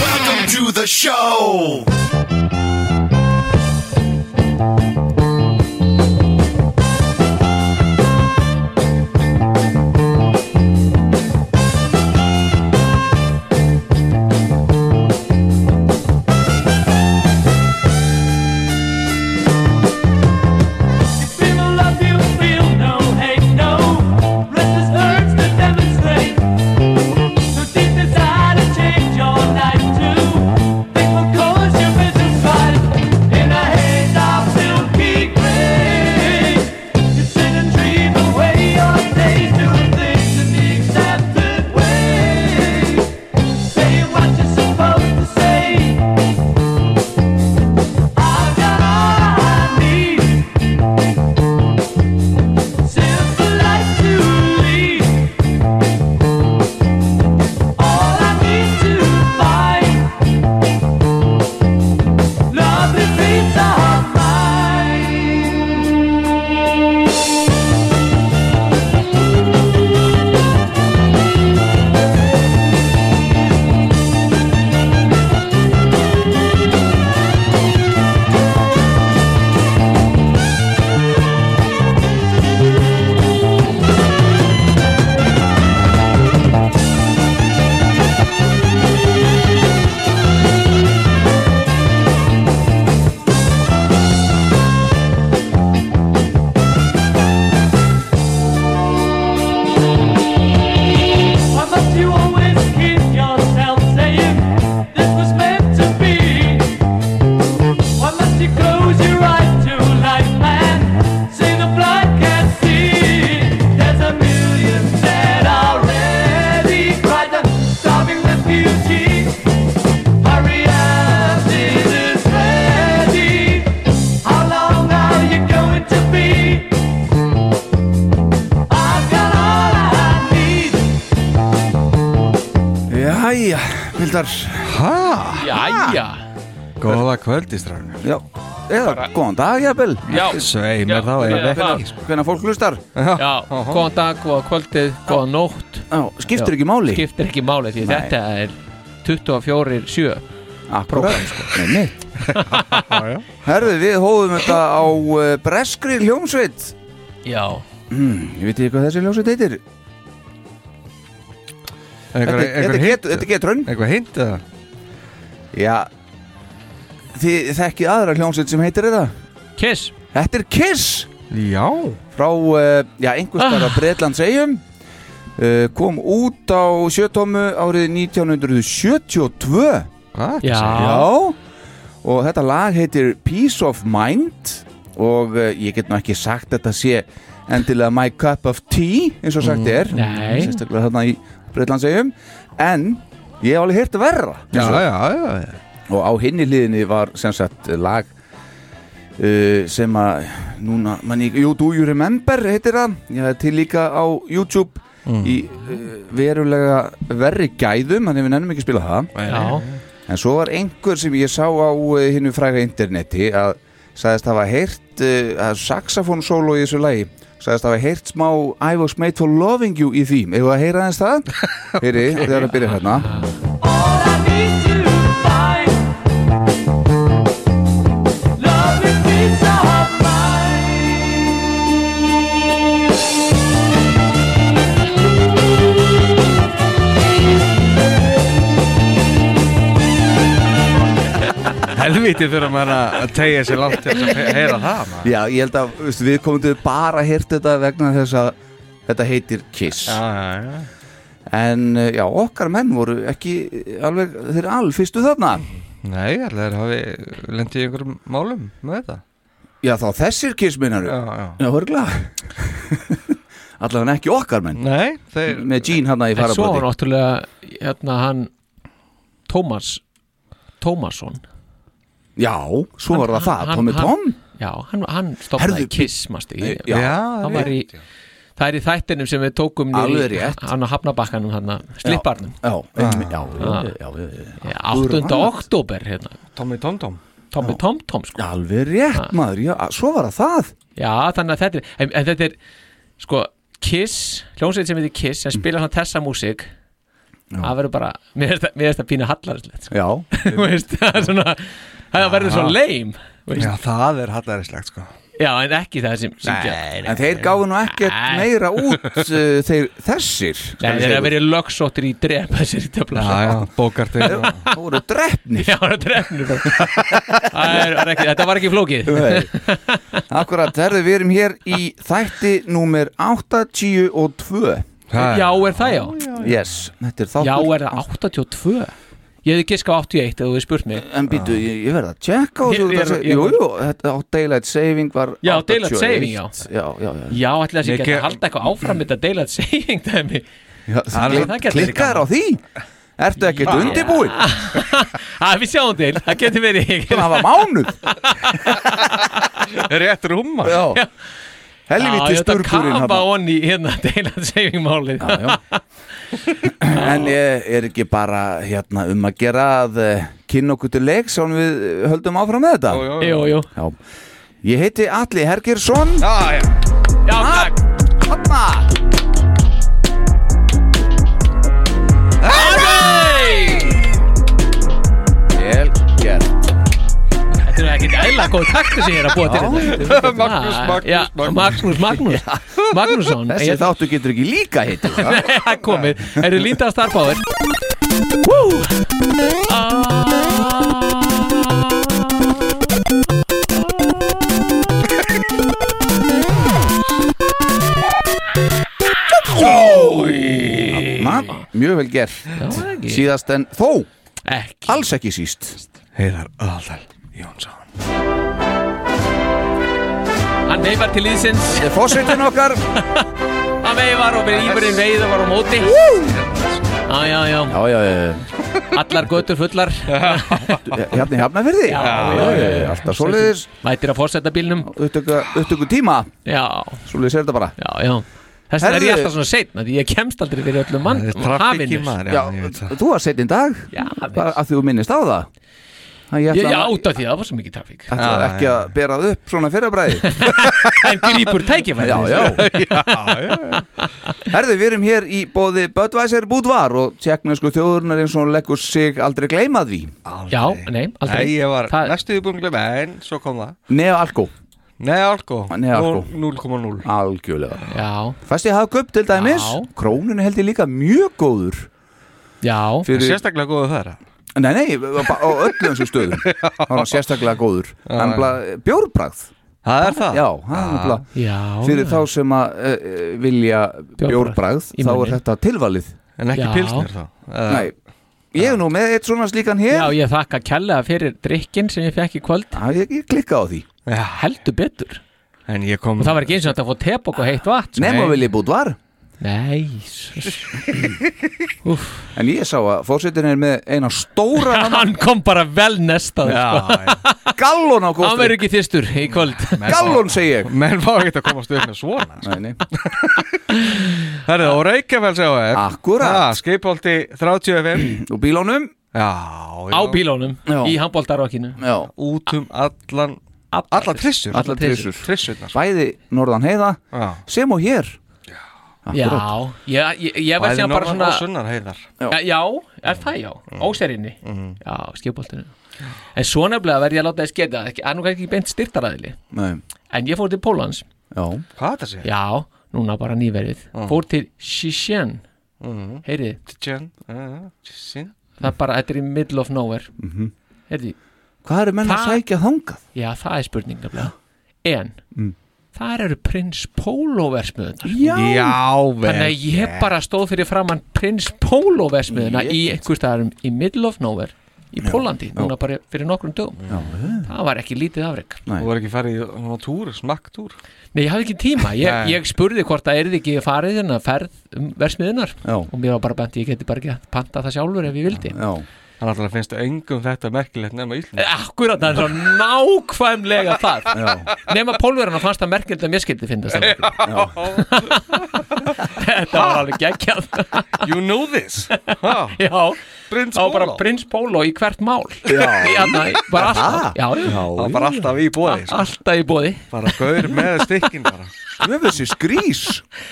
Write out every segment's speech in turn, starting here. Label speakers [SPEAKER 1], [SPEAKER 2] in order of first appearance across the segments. [SPEAKER 1] Welcome to the show.
[SPEAKER 2] Feel love you feel no hate, no restless urge to demonstrate. So deep desire to change your life too. Think what colors your vision bright. In a haze of silky gray, you sit and dream away your days doing things in the accepted way. Say what you're supposed to say. I've got all I need. Simple life to lead. All I need to find. Lovely dreams are mine. Why must you always keep yourself saying this was meant to be? Why must you close your eyes to life and say the blind can't see? There's a million dead already, cried the starving refugee. Hurry up, it is ready. How long are you going to be? I've got all I need.
[SPEAKER 3] Jæja, Vildar Hæ?
[SPEAKER 4] Jæja
[SPEAKER 3] Góða kvöldi, strafnir Já, eða góðan dag, jafnvel
[SPEAKER 4] Já.
[SPEAKER 3] Svei
[SPEAKER 4] Já,
[SPEAKER 3] mér þá, sko.
[SPEAKER 4] já,
[SPEAKER 3] eða
[SPEAKER 4] það.
[SPEAKER 3] Hvenær fólk hlustar
[SPEAKER 4] Já, góðan dag, góða kvöldið, góða nótt
[SPEAKER 3] Já, skiptir ekki máli
[SPEAKER 4] Skiptir ekki máli því
[SPEAKER 3] Nei.
[SPEAKER 4] þetta er 24-7
[SPEAKER 3] Akkurat, sko Nei, neitt Herðu, við hóðum þetta á uh, breskri hljómsveit
[SPEAKER 4] Já
[SPEAKER 3] hmm, Ég veit ekki hvað þessi hljómsveit heitir
[SPEAKER 5] Einhver,
[SPEAKER 3] Þetta- Þetta
[SPEAKER 5] einhver
[SPEAKER 3] get- þetta getur hann
[SPEAKER 5] Eitthvað hint eða?
[SPEAKER 3] Já Þið þekkið aðra hljómsveit sem heitir þetta
[SPEAKER 4] Kiss
[SPEAKER 3] Þetta er Kiss
[SPEAKER 5] Já
[SPEAKER 3] frá uh, já, einhvers staðar á
[SPEAKER 4] Ah.
[SPEAKER 3] Breitlands eigum uh, kom út á sjötómu árið 1972
[SPEAKER 5] Hvað?
[SPEAKER 4] Já,
[SPEAKER 3] já og þetta lag heitir Peace of Mind og uh, ég get nú ekki sagt að þetta sé endilega My Cup of Tea eins og
[SPEAKER 5] Mm.
[SPEAKER 3] sagt er
[SPEAKER 4] Nei.
[SPEAKER 3] sérstaklega þarna í Breitlands eigum en ég hef alveg heyrt verra
[SPEAKER 5] Já,
[SPEAKER 3] eins og-
[SPEAKER 5] já, já, já.
[SPEAKER 3] og á hinni hliðinni var sem sagt lag uh, sem að núna, mann ég, jú, Do You Remember heitir það, ég hefði til líka á YouTube í uh, verulega verri gæðum þannig við nennum ekki að spila það
[SPEAKER 4] já,
[SPEAKER 3] en svo var einhver sem ég sá á uh, hinnu fræga interneti að sagðist hafa heyrt uh, að saxofón solo í þessu lagi sagðist hafa heyrt smá I was made for loving you í því, ef að heyra aðeins það heyri, okay. þegar að byrja hérna
[SPEAKER 2] All I need to find. Lovely dreams are mine.
[SPEAKER 5] Helvítið fyrir maður að tegja sér langt til þess að he- heyra það maður.
[SPEAKER 3] Já, ég held að veist, við komum til bara að hérta þetta vegna þess að þetta heitir Kiss
[SPEAKER 5] Já, já, já
[SPEAKER 3] en eh, já, okkar menn voru ekki alveg, þeir alfyrstu þarna
[SPEAKER 5] Nei, allir þeir hafi lendið í einhverjum málum með þetta
[SPEAKER 3] já, þá þessir Kiss minnaru
[SPEAKER 5] Já, já
[SPEAKER 3] Já, hörgla Allavega ekki okkar menn
[SPEAKER 5] Nei, þeir
[SPEAKER 3] Með Jean hann í
[SPEAKER 4] En svo var
[SPEAKER 3] farabóti
[SPEAKER 4] náttúrulega hérna hann Tómas Tómasson
[SPEAKER 3] Já, svo var það það, Tommy Tom
[SPEAKER 4] Já, hann, hann stopnaði
[SPEAKER 3] Herðu,
[SPEAKER 4] Kiss, mástu
[SPEAKER 3] Nei,
[SPEAKER 4] ég
[SPEAKER 3] já.
[SPEAKER 4] Hann var í, það er í þættinum sem við tókum
[SPEAKER 3] Alveg
[SPEAKER 4] í,
[SPEAKER 3] rétt.
[SPEAKER 4] hann á hafnabakkanum hann slipparnum
[SPEAKER 3] Já,
[SPEAKER 4] Ah.
[SPEAKER 3] einmitt, já, já, já, já, já, Akkur
[SPEAKER 4] 8.
[SPEAKER 3] annað.
[SPEAKER 4] oktober hérna,
[SPEAKER 5] Tommy Tom Tom
[SPEAKER 4] Tommy Tom Tom sko.
[SPEAKER 3] Alveg rétt maður, já, svo var það það
[SPEAKER 4] Já, þannig að þetta er en, en þetta er, sko, Kiss hljónsveit sem heitir Kiss, sem spila svona þessa músík það verður bara mér finnst það- mér finnst það pínu hallarslegt
[SPEAKER 3] Já,
[SPEAKER 4] Þú veist, það er svona það verður svo leim
[SPEAKER 5] Já, það er hallaræslegt sko
[SPEAKER 4] Já, en ekki það sem syngja Nei,
[SPEAKER 3] en þeir gáðu nú ekkert
[SPEAKER 4] Nei.
[SPEAKER 3] meira út uh, þeir, Þessir skal
[SPEAKER 4] þeir
[SPEAKER 3] ég
[SPEAKER 4] eru
[SPEAKER 3] segja
[SPEAKER 4] að vera lögsóttir í drep þessir töfla
[SPEAKER 5] Já, já, bókar til
[SPEAKER 3] ykkur. Þá voru drefnir
[SPEAKER 4] Já, það er drefnir Það er- var ekki- Þetta var ekki flókið
[SPEAKER 3] Akkurat, þegar við erum hér í þætti Númer 82
[SPEAKER 4] Já, er það já
[SPEAKER 3] Yes, þetta er þáttur
[SPEAKER 4] Já, er það 82 Ég hefði giskað á 81 þegar þú hefði spurt mig
[SPEAKER 3] En býtu, ég, ég verða að tjekka á
[SPEAKER 4] Ég-
[SPEAKER 3] þessu
[SPEAKER 4] ég-
[SPEAKER 3] þessu-
[SPEAKER 4] ég-
[SPEAKER 3] Jú, jú, þetta á Daylight Saving var
[SPEAKER 4] Já, Daylight
[SPEAKER 3] 81.
[SPEAKER 4] Saving, já.
[SPEAKER 3] Já, já, já,
[SPEAKER 4] Já, ætla þess að
[SPEAKER 5] Ég
[SPEAKER 4] ég geta
[SPEAKER 5] ge-
[SPEAKER 4] að halda eitthvað áfram með þetta deilat seging dæmi
[SPEAKER 3] já það
[SPEAKER 5] það
[SPEAKER 4] gæti verið
[SPEAKER 3] Klikkaður á því Ertu ekkert undirbúin?
[SPEAKER 4] Æ, við sjáum til, það getur verið ég
[SPEAKER 3] Það var mánuð
[SPEAKER 5] Rétt rúma
[SPEAKER 3] Já Helviti sturgurinn
[SPEAKER 4] kafa
[SPEAKER 3] hana.
[SPEAKER 4] onni hérna deilat seging málið
[SPEAKER 3] Já, já. En ég er ekki bara hérna um að gera að eh, kynna okkur til leik sem við eh, höldum áfram með þetta
[SPEAKER 4] Jú, jú
[SPEAKER 3] Já. Ég heiti Atli Hergersson
[SPEAKER 5] Já, já
[SPEAKER 4] Já, takk
[SPEAKER 3] Hanna Vel gert
[SPEAKER 4] Þetta er ekki eðla góð taktu sem ég er að búa til hérna. þetta
[SPEAKER 5] Magnús,
[SPEAKER 4] Ah,
[SPEAKER 5] Magnús,
[SPEAKER 4] já, Magnús, Magnús Magnússon
[SPEAKER 3] Þessi
[SPEAKER 4] Ég-
[SPEAKER 3] þáttu getur ekki líka heitið það.
[SPEAKER 4] Nei, það er komið Eru lítið að starfbáður Ah.
[SPEAKER 3] Ma, Mjög vel gert Síðast en þó,
[SPEAKER 4] Ekki
[SPEAKER 3] alls ekki síst
[SPEAKER 5] Heiðar Aðal Jónsson
[SPEAKER 4] Hann veifar til liðsins
[SPEAKER 3] Fósveitin okkar
[SPEAKER 4] Hann veifar og byrja ímurinn veið og var á móti Já, já, já
[SPEAKER 3] Já, já, já,
[SPEAKER 4] Allar götur fullar
[SPEAKER 3] hérna í hafnafyrði
[SPEAKER 4] já,
[SPEAKER 3] Alltaf svoleiðis
[SPEAKER 4] Mætir að fórsetta bílnum
[SPEAKER 3] upptöku upptöku tíma,
[SPEAKER 4] Já,
[SPEAKER 3] svoleiðis er þetta bara
[SPEAKER 4] já, já Þess vegna er
[SPEAKER 3] Herðu.
[SPEAKER 4] ég alltaf svona seinn Því ég kemst aldrei fyrir öllum mann
[SPEAKER 5] Trafík í
[SPEAKER 4] hafinu.
[SPEAKER 5] maður, já, ég
[SPEAKER 3] Já,
[SPEAKER 5] veit það
[SPEAKER 3] þú var setjinn dag
[SPEAKER 4] Já,
[SPEAKER 3] bara af því þú minnist á það Það ég
[SPEAKER 4] Ég,
[SPEAKER 3] ætla
[SPEAKER 4] já,
[SPEAKER 3] að-
[SPEAKER 4] út af því að það var svo mikið trafík
[SPEAKER 3] ætla
[SPEAKER 5] Já,
[SPEAKER 3] ekki að bera það upp svona fyrrabræði
[SPEAKER 4] En grýpur tækifæri
[SPEAKER 3] Já, já, Herðu, við erum hér í bóði Budweiser Budvar og tjekknesku þjóðurnar eins og hún leggur sig aldrei gleymað því
[SPEAKER 4] Já, nei, aldrei
[SPEAKER 5] Nei, ég var
[SPEAKER 4] Það-
[SPEAKER 5] næstuði búin glemma En svo kom það
[SPEAKER 3] Neo Alko,
[SPEAKER 5] Nei, alko
[SPEAKER 4] Ah,
[SPEAKER 3] Nei, alko.
[SPEAKER 5] 0,0
[SPEAKER 3] algjörlega
[SPEAKER 4] Já,
[SPEAKER 3] Fæst ég hafa köpt til dæmis,
[SPEAKER 4] Já.
[SPEAKER 3] krónunni held ég líka mjög góður
[SPEAKER 4] já
[SPEAKER 3] fyrir,
[SPEAKER 5] Sérstaklega góðu þar
[SPEAKER 3] Nei, nei, bara á öllum þessum stöðum Það var sérstaklega góður En bara eh, bjórbragð,
[SPEAKER 5] Það er það
[SPEAKER 3] já, hann er bara
[SPEAKER 4] Já,
[SPEAKER 3] Fyrir þá sem að uh, vilja
[SPEAKER 4] Bjórbragð.
[SPEAKER 3] bjórbragð,
[SPEAKER 4] Í
[SPEAKER 3] þá er
[SPEAKER 4] munni.
[SPEAKER 3] þetta tilvalið
[SPEAKER 5] En ekki
[SPEAKER 4] Já.
[SPEAKER 5] pilsnir þá Eða-
[SPEAKER 3] Nei, ég er nú með eitt svona slíkan
[SPEAKER 4] Já,
[SPEAKER 3] hér
[SPEAKER 4] ég þakka kella fyrir drikkin sem ég fekk í kvöld
[SPEAKER 3] Já, ég, ég klikka á því
[SPEAKER 5] Já,
[SPEAKER 4] heldur betur
[SPEAKER 5] En ég kom
[SPEAKER 4] og það var ekki eins og þetta að fá tepokk og heitt vatn
[SPEAKER 3] Nefn að vilja búið var
[SPEAKER 4] Nei, s-
[SPEAKER 3] En ég sá að fórsetin er með eina stóra
[SPEAKER 4] hann kom bara vel nestað sko.
[SPEAKER 5] Já, já
[SPEAKER 3] gallon á
[SPEAKER 4] Hann verður
[SPEAKER 3] kóstri
[SPEAKER 4] ekki þyrstur í kvöld
[SPEAKER 5] Menn fá-
[SPEAKER 3] Gallon segi ég
[SPEAKER 5] Menn fá ekki að komast upp með svona
[SPEAKER 3] Nei, nei.
[SPEAKER 5] Það er það, og Reykjavíls EOF
[SPEAKER 3] Akkúrat.
[SPEAKER 5] Skeipolti 35
[SPEAKER 3] Og bílónum
[SPEAKER 5] Já, já
[SPEAKER 4] á bílónum
[SPEAKER 3] Já.
[SPEAKER 4] í handbóltarokkinu
[SPEAKER 3] Já,
[SPEAKER 5] Út um allan Allar trissur
[SPEAKER 3] Allar trissur.
[SPEAKER 5] Trissurnar sko.
[SPEAKER 3] bæði norðan heiða
[SPEAKER 5] Já
[SPEAKER 3] sem og hér
[SPEAKER 4] Já,
[SPEAKER 3] Akkúrat.
[SPEAKER 4] ég, ég, ég var
[SPEAKER 5] Bæði
[SPEAKER 4] síðan bara
[SPEAKER 5] norðan
[SPEAKER 4] svona
[SPEAKER 5] og sunnar heiðar
[SPEAKER 4] Já, Eh, já, er það já, óserinni Já, skipbóltinu En svo nefnilega verð ég að láta þess geta ekki, er nú kannski ekki beint styrtaræðili
[SPEAKER 3] Nei,
[SPEAKER 4] En ég fór til Pólans
[SPEAKER 3] já,
[SPEAKER 5] Hvað það sé?
[SPEAKER 4] Já, núna bara nýverið Fór til Shishien mm. Heyrið,
[SPEAKER 5] Tjen eh, Tjen
[SPEAKER 4] það er bara, þetta er í middle of nowhere mm -hmm. Heyrið,
[SPEAKER 3] hvað eru menn að
[SPEAKER 4] Það-
[SPEAKER 3] sækja þangað?
[SPEAKER 4] já það er spurning nefnilega En þar eru prins pólóversmiðunar
[SPEAKER 5] Já, vel
[SPEAKER 4] þannig að ég bara stóð fyrir framann prins pólóversmiðuna í einhver staðarum í middle of nowhere í Pólandi, núna bara fyrir nokkrum dögum það var ekki lítið afrek
[SPEAKER 5] Þú voru ekki farið í svona túr, smakktúr
[SPEAKER 4] Nei, ég hafði ekki tíma, ég,
[SPEAKER 5] Nei.
[SPEAKER 4] ég spurði hvort það erði ekki farið þennan ferð um versmiðunar
[SPEAKER 3] Já.
[SPEAKER 4] og mér var bara bent, ég geti bara ekki að panta það sjálfur ef ég vildi
[SPEAKER 3] Já,
[SPEAKER 5] Þannig að það finnst engum þetta merkilegt nema Ísland
[SPEAKER 4] Akkurat, það er svo nákvæmlega það
[SPEAKER 3] já,
[SPEAKER 4] Nefna pólverðan fannst það merkilegt að mér skildi finnast það merkilegt. Þetta var alveg geggjað
[SPEAKER 5] You know this ha,
[SPEAKER 4] Já,
[SPEAKER 5] Prins
[SPEAKER 4] það var bara
[SPEAKER 5] Óla
[SPEAKER 4] prins Pólo í hvert mál
[SPEAKER 3] já,
[SPEAKER 4] Þannig, bara alltaf Já, já,
[SPEAKER 5] Það var bara alltaf í bóði sko.
[SPEAKER 4] alltaf í bóði
[SPEAKER 5] Bara gaur með stikkin bara
[SPEAKER 3] Þú hefur þessi skrís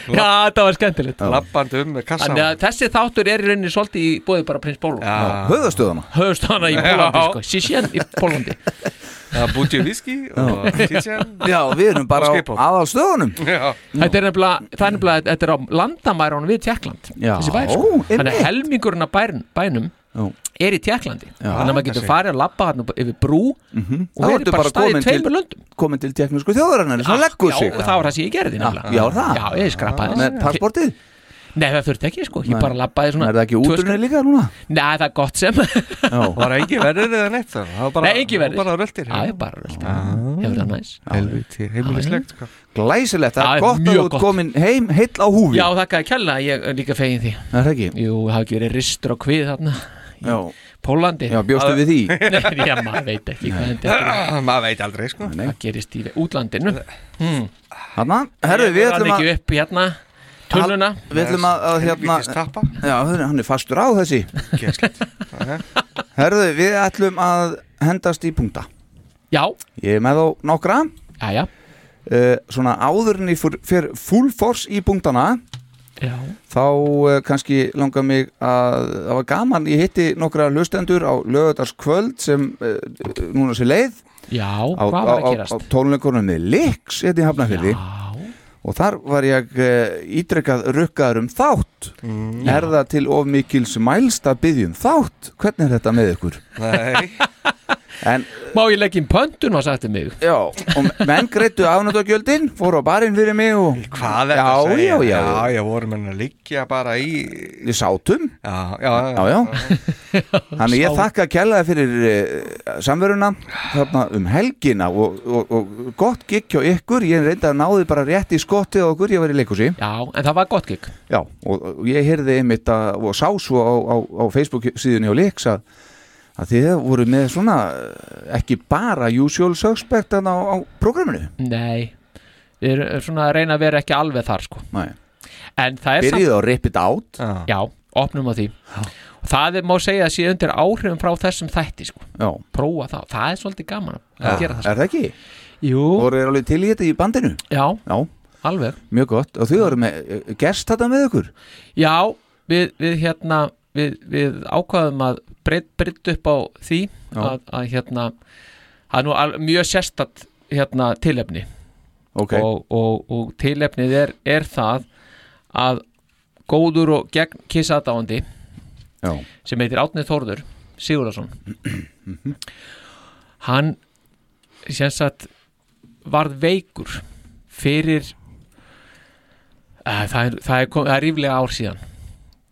[SPEAKER 4] Já, þetta var skemmtilegt
[SPEAKER 5] Lappandi um með kassa
[SPEAKER 4] Þannig að þessi þáttur er í rauninni svolítið í bóði bara prins Pólo
[SPEAKER 5] Já,
[SPEAKER 3] Höðastöðana
[SPEAKER 4] Höfst hana í Pólandi, sko Sisjen í Pólandi
[SPEAKER 5] það búti viski og kitchen
[SPEAKER 3] Já, við erum bara á
[SPEAKER 5] Og Skype.
[SPEAKER 3] aðalstöðunum
[SPEAKER 5] Já,
[SPEAKER 4] Þetta er nefnilega, það er nefnilega, þetta er á landamærunum við Tjekkland
[SPEAKER 3] Já,
[SPEAKER 4] Þessi bær, sko
[SPEAKER 3] einmitt.
[SPEAKER 4] Þannig að helmingurinn af bærin, bænum
[SPEAKER 3] Já.
[SPEAKER 4] er í Tjekklandi Þannig að maður getur
[SPEAKER 5] þessi.
[SPEAKER 4] farið að labba hann yfir brú og
[SPEAKER 3] Mm. Þá
[SPEAKER 4] verið
[SPEAKER 3] ertu
[SPEAKER 4] bara
[SPEAKER 3] bara
[SPEAKER 4] staðið í
[SPEAKER 3] komin til-
[SPEAKER 4] tveimur löndum Ah,
[SPEAKER 3] Komin til teknísku þjóðarinnar sem leggur sig
[SPEAKER 4] Já, það var það sem ég gerði nefnilega
[SPEAKER 3] Já, já, það.
[SPEAKER 4] Já, ég skrappaði
[SPEAKER 3] Með passportið
[SPEAKER 4] Nei, það þurfti ekki, sko,
[SPEAKER 3] Nei.
[SPEAKER 4] ég bara labbaði svona
[SPEAKER 3] Er það ekki
[SPEAKER 4] tvö
[SPEAKER 3] útrunni líka núna?
[SPEAKER 4] skref- Nei, það er gott sem
[SPEAKER 3] Já,
[SPEAKER 5] var engin verður eða neitt það var bara,
[SPEAKER 4] Nei, engin verðir.
[SPEAKER 5] Bara röltir
[SPEAKER 4] Já, ég bara röldi
[SPEAKER 3] Ah.
[SPEAKER 4] Hefur það næs
[SPEAKER 5] Helviti, heimilislegt sko.
[SPEAKER 3] Glæsilegt, það
[SPEAKER 4] Já,
[SPEAKER 3] er gott að þú
[SPEAKER 4] mjög
[SPEAKER 3] ert
[SPEAKER 4] gott.
[SPEAKER 3] komin heim heill á húfi
[SPEAKER 4] Já, þakkaði kjalla, ég er líka fegin því
[SPEAKER 3] Það er ekki
[SPEAKER 4] Jú, það hafi ekki verið ristur og kvið þarna
[SPEAKER 3] Já,
[SPEAKER 4] Pólandi
[SPEAKER 3] já bjóstu við því
[SPEAKER 4] Nei, já, maður veit ekki hvað þetta er
[SPEAKER 5] Ah, Maður veit aldrei sko
[SPEAKER 3] Nei.
[SPEAKER 4] Það gerist í útlandinu
[SPEAKER 3] Hanna, herðu, við
[SPEAKER 4] Rann
[SPEAKER 3] ætlum að
[SPEAKER 4] ekki upp hérna Tunnuna
[SPEAKER 3] Við ætlum að, að hérna
[SPEAKER 5] Helvitis tappa
[SPEAKER 3] Já, hann er fastur á þessi
[SPEAKER 5] Geðslegt.
[SPEAKER 3] Herðu, við ætlum að hendast í punkta
[SPEAKER 4] Já,
[SPEAKER 3] Ég er með á nokkra
[SPEAKER 4] já, já
[SPEAKER 3] uh, Svona áðurinn í fyr, fyrir full force í punktana
[SPEAKER 4] Já,
[SPEAKER 3] þá uh, kannski langar mig að það var gaman, ég hitti nokkra hlustendur á lögutarskvöld sem uh, núna sér leið
[SPEAKER 4] já
[SPEAKER 3] á,
[SPEAKER 4] hvað
[SPEAKER 3] á,
[SPEAKER 4] var
[SPEAKER 3] á,
[SPEAKER 4] að
[SPEAKER 3] á
[SPEAKER 4] gerast?
[SPEAKER 3] tónleikunum með Lix hérna í Hafnafjörði og þar var ég uh, ítrekkað rukkaður um þátt
[SPEAKER 5] Mm.
[SPEAKER 3] er það til of mikils mælst að biðja um þátt hvernig er þetta með ykkur?
[SPEAKER 5] Nei,
[SPEAKER 3] En,
[SPEAKER 4] Má ég leggja inn pöntun, var sagt um mig
[SPEAKER 3] já, og menn greittu afnáttakjöldin, fóru á barinn fyrir mig og
[SPEAKER 5] hvað er
[SPEAKER 3] Já,
[SPEAKER 5] þetta að segja?
[SPEAKER 3] já, já.
[SPEAKER 5] já, já, vorum henni að liggja bara í
[SPEAKER 3] við sátum
[SPEAKER 5] Já, já, já,
[SPEAKER 3] Já, já. Þannig ég þakka kjallaði fyrir uh, samveruna þarna um helgina og, og, og gott gikk hjá ykkur, ég reyndi að náði bara rétt í skottið á okkur, ég var í leikhúsi
[SPEAKER 4] Já, en það var gott gig
[SPEAKER 3] Já, og, og ég heyrði einmitt að, og sá svo á, á, á Facebook síðunni á Leiks að, að þið voru með svona eh, ekki bara usual suspect þarna á, á prógraminu
[SPEAKER 4] Nei, við erum svona að reyna að vera ekki alveg þar sko
[SPEAKER 3] Nei.
[SPEAKER 4] En það er
[SPEAKER 3] Byrjuðu að rip it out
[SPEAKER 5] já.
[SPEAKER 4] Já, opnum á því Og Það er, má segja að sé undir áhrifum frá þessum þætti sko
[SPEAKER 3] Já,
[SPEAKER 4] Prófa það, það er svolítið gaman að gera það
[SPEAKER 3] er það ekki?
[SPEAKER 4] sko. Jú,
[SPEAKER 3] Voru þið alveg til í þetta í bandinu?
[SPEAKER 4] já,
[SPEAKER 3] Já,
[SPEAKER 4] alveg
[SPEAKER 3] mjög gott og þið voru með eh, gerst þetta með ykkur?
[SPEAKER 4] Já, við, við hérna við, við ákvaðum að breytt breytt upp á því að, að hérna það er nú al, mjög sérstatt hérna tilefni
[SPEAKER 3] Okay.
[SPEAKER 4] og, og, og tilefnið er, er það að góður og gegn kissaðdáandi
[SPEAKER 3] Já.
[SPEAKER 4] sem heitir Átni Þórður Sigurðarsson hann sem sagt varð veikur fyrir að, það, er, það, er kom, það er ríflega ár síðan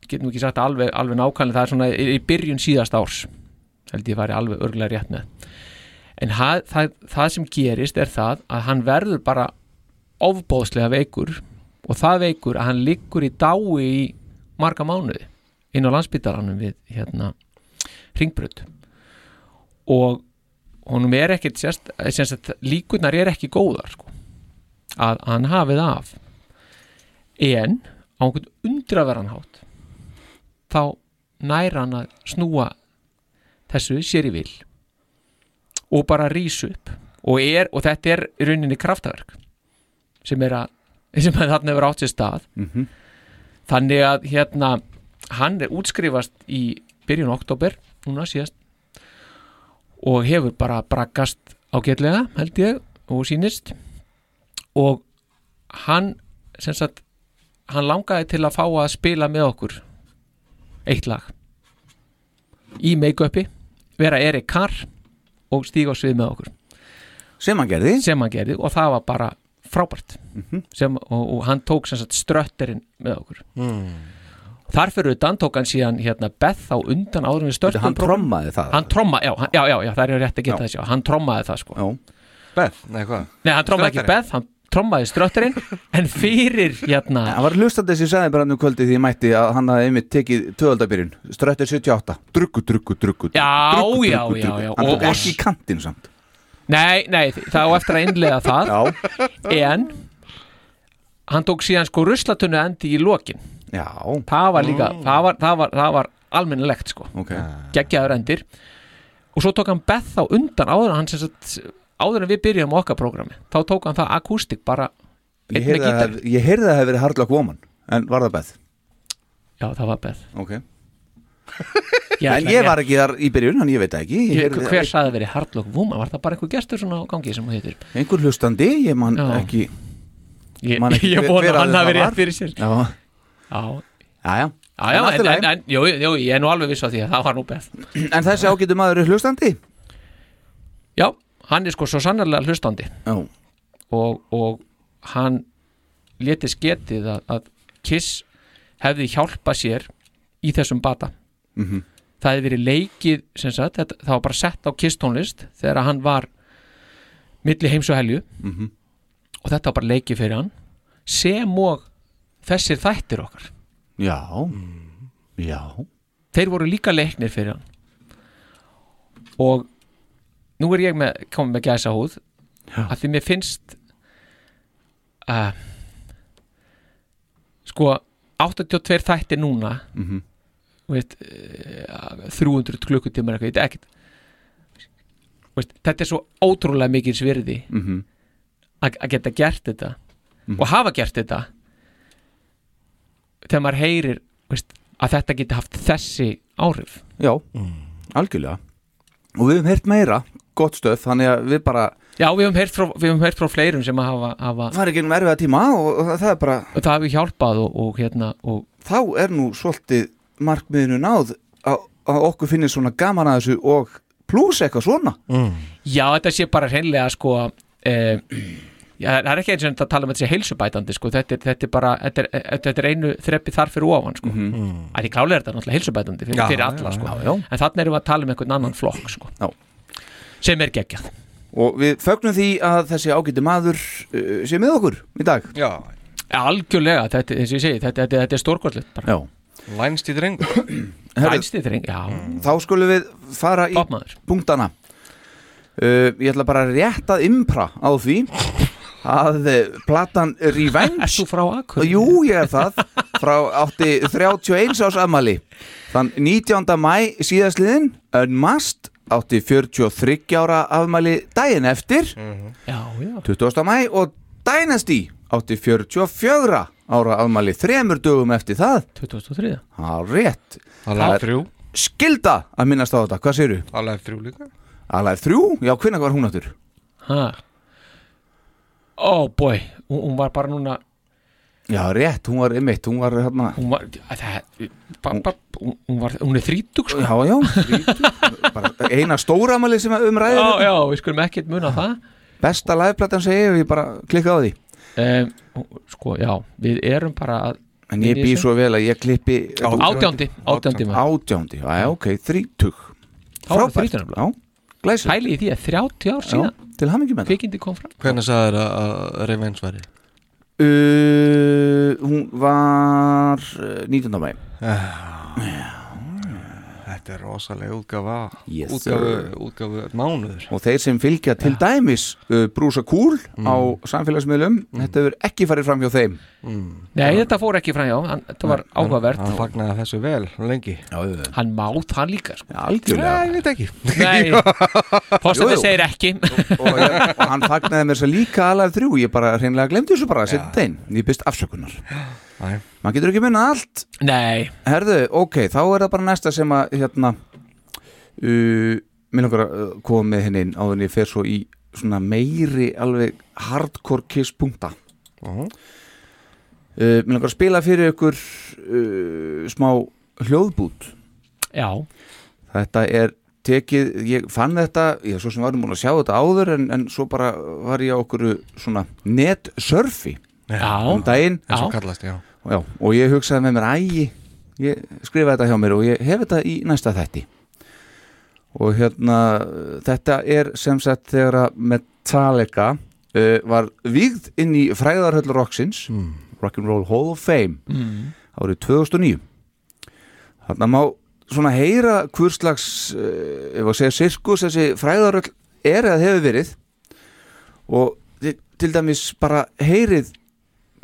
[SPEAKER 4] getum ekki sagt alveg, alveg nákvæmlega það er svona í, í byrjun síðast árs held ég væri alveg örglega rétt með en það, það, það sem gerist er það að hann verður bara ofbóðslega veikur og það veikur að hann liggur í dái í marga mánuði inn á landsbytaranum við hérna ringbröð og honum er ekkert sérst, sérst að líkurnar er ekki góðar sko, að hann hafið af en á einhvern undraveran hátt þá nær hann að snúa þessu sér í vil og bara rísu upp og, er, og þetta er í rauninni kraftaverk sem er að sem að þarna hefur átt sér stað þannig að hérna hann er útskrifast í byrjun oktober, núna síðast og hefur bara braggast ágætlega, held ég og sýnist og hann sem sagt, hann langaði til að fá að spila með okkur eitt lag í make-upi vera Erik Carr og stíga á svið með okkur
[SPEAKER 3] sem hann gerði
[SPEAKER 4] sem hann gerði og það var bara frábært
[SPEAKER 3] Mhm.
[SPEAKER 4] sem, og, og hann tók sem sagt strötterinn með okkur
[SPEAKER 3] Hmm.
[SPEAKER 6] Mm.
[SPEAKER 4] þar fyrir utan tók hann síðan hérna Beth á undan áður við
[SPEAKER 3] Þetta
[SPEAKER 4] störtum
[SPEAKER 3] hann trommaði það
[SPEAKER 4] hann tromma, já, hann- já, já, já, það er rétt að geta
[SPEAKER 3] Já.
[SPEAKER 4] þessi hann trommaði það sko
[SPEAKER 3] Já,
[SPEAKER 5] Beth, nei hvað
[SPEAKER 4] Nei, hann trommaði ekki
[SPEAKER 5] Strutterinn.
[SPEAKER 4] Beth, hann trommaði strötterinn en fyrir hérna
[SPEAKER 3] hann var hlustandi sem ég sagði bara hann um kvöldi því ég mætti að hann hafði einmitt tekið töðaldabyrjun Ströttir 78, druggu, druggu, druggu druggu,
[SPEAKER 4] Já,
[SPEAKER 3] druggu,
[SPEAKER 4] já,
[SPEAKER 3] druggu,
[SPEAKER 4] já,
[SPEAKER 3] druggu.
[SPEAKER 4] já.
[SPEAKER 3] Hann
[SPEAKER 4] Og-
[SPEAKER 3] tók ekki í kantinn samt
[SPEAKER 4] Nei, nei, það á eftir að innlega það
[SPEAKER 3] Já,
[SPEAKER 4] en hann tók síðan sko ruslatunni endi í lokin
[SPEAKER 3] já,
[SPEAKER 4] það var líka,
[SPEAKER 3] Mm.
[SPEAKER 4] það var, það var, það var almennilegt sko,
[SPEAKER 3] ok
[SPEAKER 4] geggjaður endir og svo tók hann Beth á undan áður en hann sem sagt, áður en við byrjum okkar prógrami, þá tók hann það akústik bara,
[SPEAKER 3] Ég
[SPEAKER 4] Einn með
[SPEAKER 3] heyrði að
[SPEAKER 4] gítar.
[SPEAKER 3] hef- ég heyrði að það hef verið Hardlock Woman En var það Beth?
[SPEAKER 4] já það var Beth
[SPEAKER 3] Ok
[SPEAKER 4] ég,
[SPEAKER 3] En ég var ekki þar í byrjun, hann ég veit það ekki Ég
[SPEAKER 4] Ég,
[SPEAKER 3] heyrði-
[SPEAKER 4] hver saði verið Hardlock Woman, var það bara einhver gestur svona á gangi sem hún heitir
[SPEAKER 3] Einhver hlustandi, ég man
[SPEAKER 4] Já.
[SPEAKER 3] ekki
[SPEAKER 4] Ég,
[SPEAKER 3] Man ekki
[SPEAKER 4] ég
[SPEAKER 3] hver-
[SPEAKER 4] vona
[SPEAKER 3] hver
[SPEAKER 4] að hann
[SPEAKER 3] aðeins
[SPEAKER 4] hafi
[SPEAKER 3] það var.
[SPEAKER 4] rétt fyrir sér
[SPEAKER 3] Já,
[SPEAKER 4] Já,
[SPEAKER 3] já, já
[SPEAKER 4] já, já
[SPEAKER 3] En allt í
[SPEAKER 4] en,
[SPEAKER 3] lagi.
[SPEAKER 4] en, en jú, jú, ég er nú alveg viss á því að það var nú Beth
[SPEAKER 3] En þessi ágætu maður er hlustandi
[SPEAKER 4] Já, hann er sko svo sannarlega hlustandi
[SPEAKER 3] Já,
[SPEAKER 4] og, og hann leti sketið að, að Kiss hefði hjálpa sér í þessum bata
[SPEAKER 3] Mhm.
[SPEAKER 4] það hefði verið leikið sem sagt, þetta, það var bara sett á Kiss tónlist þegar hann var milli heims og helju
[SPEAKER 3] Mhm.
[SPEAKER 4] og þetta var bara leikið fyrir hann sem og þessir þættir okkar
[SPEAKER 3] já, já
[SPEAKER 4] þeir voru líka leiknir fyrir hann og nú er ég með, komið með gæsa húð
[SPEAKER 3] Já.
[SPEAKER 4] að því mér finnst uh, sko 82 þættir núna mm
[SPEAKER 3] Mhm.
[SPEAKER 4] veist, uh, 300 klukkutímar eitthvað, ég veit ekkert veist, þetta er svo ótrúlega mikil svirði
[SPEAKER 3] Mhm.
[SPEAKER 4] að að geta gert þetta og hafa gert þetta þegar maður heyrir veist, að þetta geti haft þessi áhrif
[SPEAKER 3] Já,
[SPEAKER 4] Mm.
[SPEAKER 3] algjörlega Og við höfum heyrt meira, gott stöð Þannig að við bara
[SPEAKER 4] Já, við höfum heyrt frá, við höfum heyrt frá fleirum sem að hafa, hafa
[SPEAKER 3] farið gegnum erfiða tíma og og það er bara,
[SPEAKER 4] það hafi hjálpað og, og hérna og,
[SPEAKER 3] þá er nú svolítið markmiðinu náð að, að okkur finnir svona gaman að þessu og plús eitthvað svona
[SPEAKER 4] Já, þetta sé bara hreinlega sko eh, já, það er ekki eins og þetta tala um að þetta sé heilsubætandi sko, þetta er, þetta er bara þetta er, þetta þetta er einu þreppi þar fyrir ofan sko. mm -hmm. að því klálega er þetta náttúrulega heilsubætandi fyrir,
[SPEAKER 5] Já,
[SPEAKER 4] fyrir alla
[SPEAKER 5] já,
[SPEAKER 4] sko,
[SPEAKER 3] já, já.
[SPEAKER 4] en þannig erum við að tala um einhvern annan flokk sko,
[SPEAKER 3] Já.
[SPEAKER 4] sem er geggjað
[SPEAKER 3] Og við fögnum því að þessi ágæti maður uh, sé með okkur í dag
[SPEAKER 5] Já,
[SPEAKER 4] Algjörlega, þetta, eins og ég segi, þetta, þetta, þetta er stórkostlegt bara.
[SPEAKER 3] Já,
[SPEAKER 5] lænst í dreng
[SPEAKER 3] Herðu,
[SPEAKER 4] Ænstíðring, já,
[SPEAKER 3] þá skulum við fara í
[SPEAKER 4] toppmaður
[SPEAKER 3] punktana uh, Ég ætla bara rétt að impra á því að eh, platan
[SPEAKER 4] Er
[SPEAKER 3] Revenge
[SPEAKER 4] þú frá Akur?
[SPEAKER 3] Jú, ég er það frá átti 31 ás amali þann 19. mæ síðasliðin en mast átti 43 ára afmæli daginn eftir
[SPEAKER 4] Já, já
[SPEAKER 3] 20. mæ og Dynasty átti 44 ára afmæli þremur dögum eftir það
[SPEAKER 4] 2003
[SPEAKER 3] Það er rétt
[SPEAKER 5] Það er þrjú,
[SPEAKER 3] Skilda að minnast á þetta, hvað séru?
[SPEAKER 5] það er þrjú líka
[SPEAKER 3] Alveg þrjú? Já, hvenær var hún áttur?
[SPEAKER 4] Ha Ó, boy, hún, hún var bara núna
[SPEAKER 3] Já, rétt, hún var einmitt, hún var hérna
[SPEAKER 4] Hún var, það, ba, ba, hún, hún var, hún er þrítug sko
[SPEAKER 3] Já, já, þrítug. bara eina stóramæli sem um ræðir
[SPEAKER 4] Já,
[SPEAKER 3] hérna.
[SPEAKER 4] já, við skulum ekkert muna það
[SPEAKER 3] Besta liveplatan segi ég og ég bara klikka á því
[SPEAKER 4] um, Sko, já, við erum bara að
[SPEAKER 3] En ég
[SPEAKER 4] Inni í
[SPEAKER 3] býð
[SPEAKER 4] þessu?
[SPEAKER 3] svo vel að ég klippi
[SPEAKER 4] Átjándi, átjándi maður
[SPEAKER 3] Átjándi, já, já, ok, þrítug
[SPEAKER 4] Þá var
[SPEAKER 3] Frábært.
[SPEAKER 4] þrítugur nefnilega.
[SPEAKER 3] Já, glæsir
[SPEAKER 4] Pæli í því að 30 ár
[SPEAKER 3] Já,
[SPEAKER 4] síðan
[SPEAKER 3] Til hamingjum með það
[SPEAKER 4] Kvikindi kom fram
[SPEAKER 5] Hvernig sagði þér að að Revenge væri?
[SPEAKER 3] uh, Hún var uh, 19. mæ
[SPEAKER 5] Þetta er rosalega útgafa
[SPEAKER 3] Yes,
[SPEAKER 5] útgafu,
[SPEAKER 3] sir.
[SPEAKER 5] útgafu mánuður
[SPEAKER 3] Og þeir sem fylgja til dæmis uh, Brúsa Kúl á
[SPEAKER 4] Mm.
[SPEAKER 3] samfélagsmiðlum Þetta hefur ekki farið fram hjá þeim
[SPEAKER 4] Nei, þetta fór ekki fram, já, hann- þetta var áhugavert
[SPEAKER 5] Hann fagnaði þessu vel lengi
[SPEAKER 3] Já, auðvitað.
[SPEAKER 4] Hann má það líka sko.
[SPEAKER 3] Já,
[SPEAKER 5] Nei,
[SPEAKER 3] algjörlega
[SPEAKER 5] ég veit ekki
[SPEAKER 4] Nei,
[SPEAKER 3] Jú,
[SPEAKER 4] fórstæði
[SPEAKER 3] jú.
[SPEAKER 4] segir ekki
[SPEAKER 3] og, ég, og hann fagnaði mér svo líka alveg þrjú, ég bara hreinlega glemdi þessu bara að setja þetta inn, ég byrst afsökunar
[SPEAKER 5] Æ.
[SPEAKER 3] maður getur ekki munna allt
[SPEAKER 4] Nei,
[SPEAKER 3] herðu, ok, þá er það bara næsta sem að hérna uh, mér langar að uh, koma með henni inn áður en ég fer svo í svona meiri alveg hardcore kiss punkta
[SPEAKER 5] Mhm.
[SPEAKER 3] uh, mér langar að spila fyrir ykkur uh, smá hljóðbút
[SPEAKER 4] já
[SPEAKER 3] þetta er tekið, ég fann þetta ég svo sem varum múin að sjá þetta áður en, en svo bara var ég á okkur svona netsurfi
[SPEAKER 4] Já,
[SPEAKER 3] um daginn
[SPEAKER 4] Já.
[SPEAKER 5] Svo kallast, já
[SPEAKER 3] já, og ég hugsaði með mér, ægi ég skrifa þetta hjá mér og ég hef þetta í næsta þætti og hérna þetta er sem sagt þegar að Metallica uh, var vígð inn í fræðarhöll Rocksins Rock'n'Roll Hall of Fame árið 2009 þarna má svona heyra hvur slags uh, ef að segja sirkus þessi fræðaröll er eða hefur verið og þi- til dæmis bara heyrið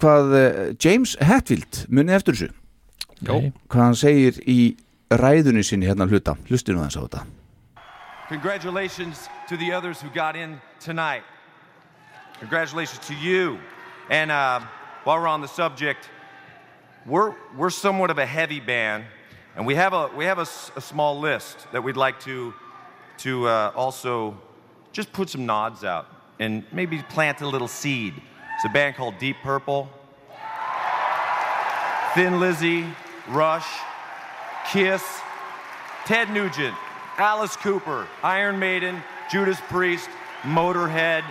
[SPEAKER 3] hvað uh, James Hetfield munið eftir þessu
[SPEAKER 4] Nei.
[SPEAKER 3] hvað hann segir í ræðunni sinni hérna hluta hlustinu þess á þetta
[SPEAKER 7] Congratulations to the others who got in tonight. Congratulations to you. And uh, while we're on the subject, we're, we're somewhat of a heavy band, and we have a, we have a, s- a small list that we'd like to, to uh, also just put some nods out and maybe plant a little seed. It's a band called Deep Purple, Thin Lizzy, Rush, Kiss, Ted Nugent, Alice Cooper, Iron Maiden, Judas Priest, Motorhead,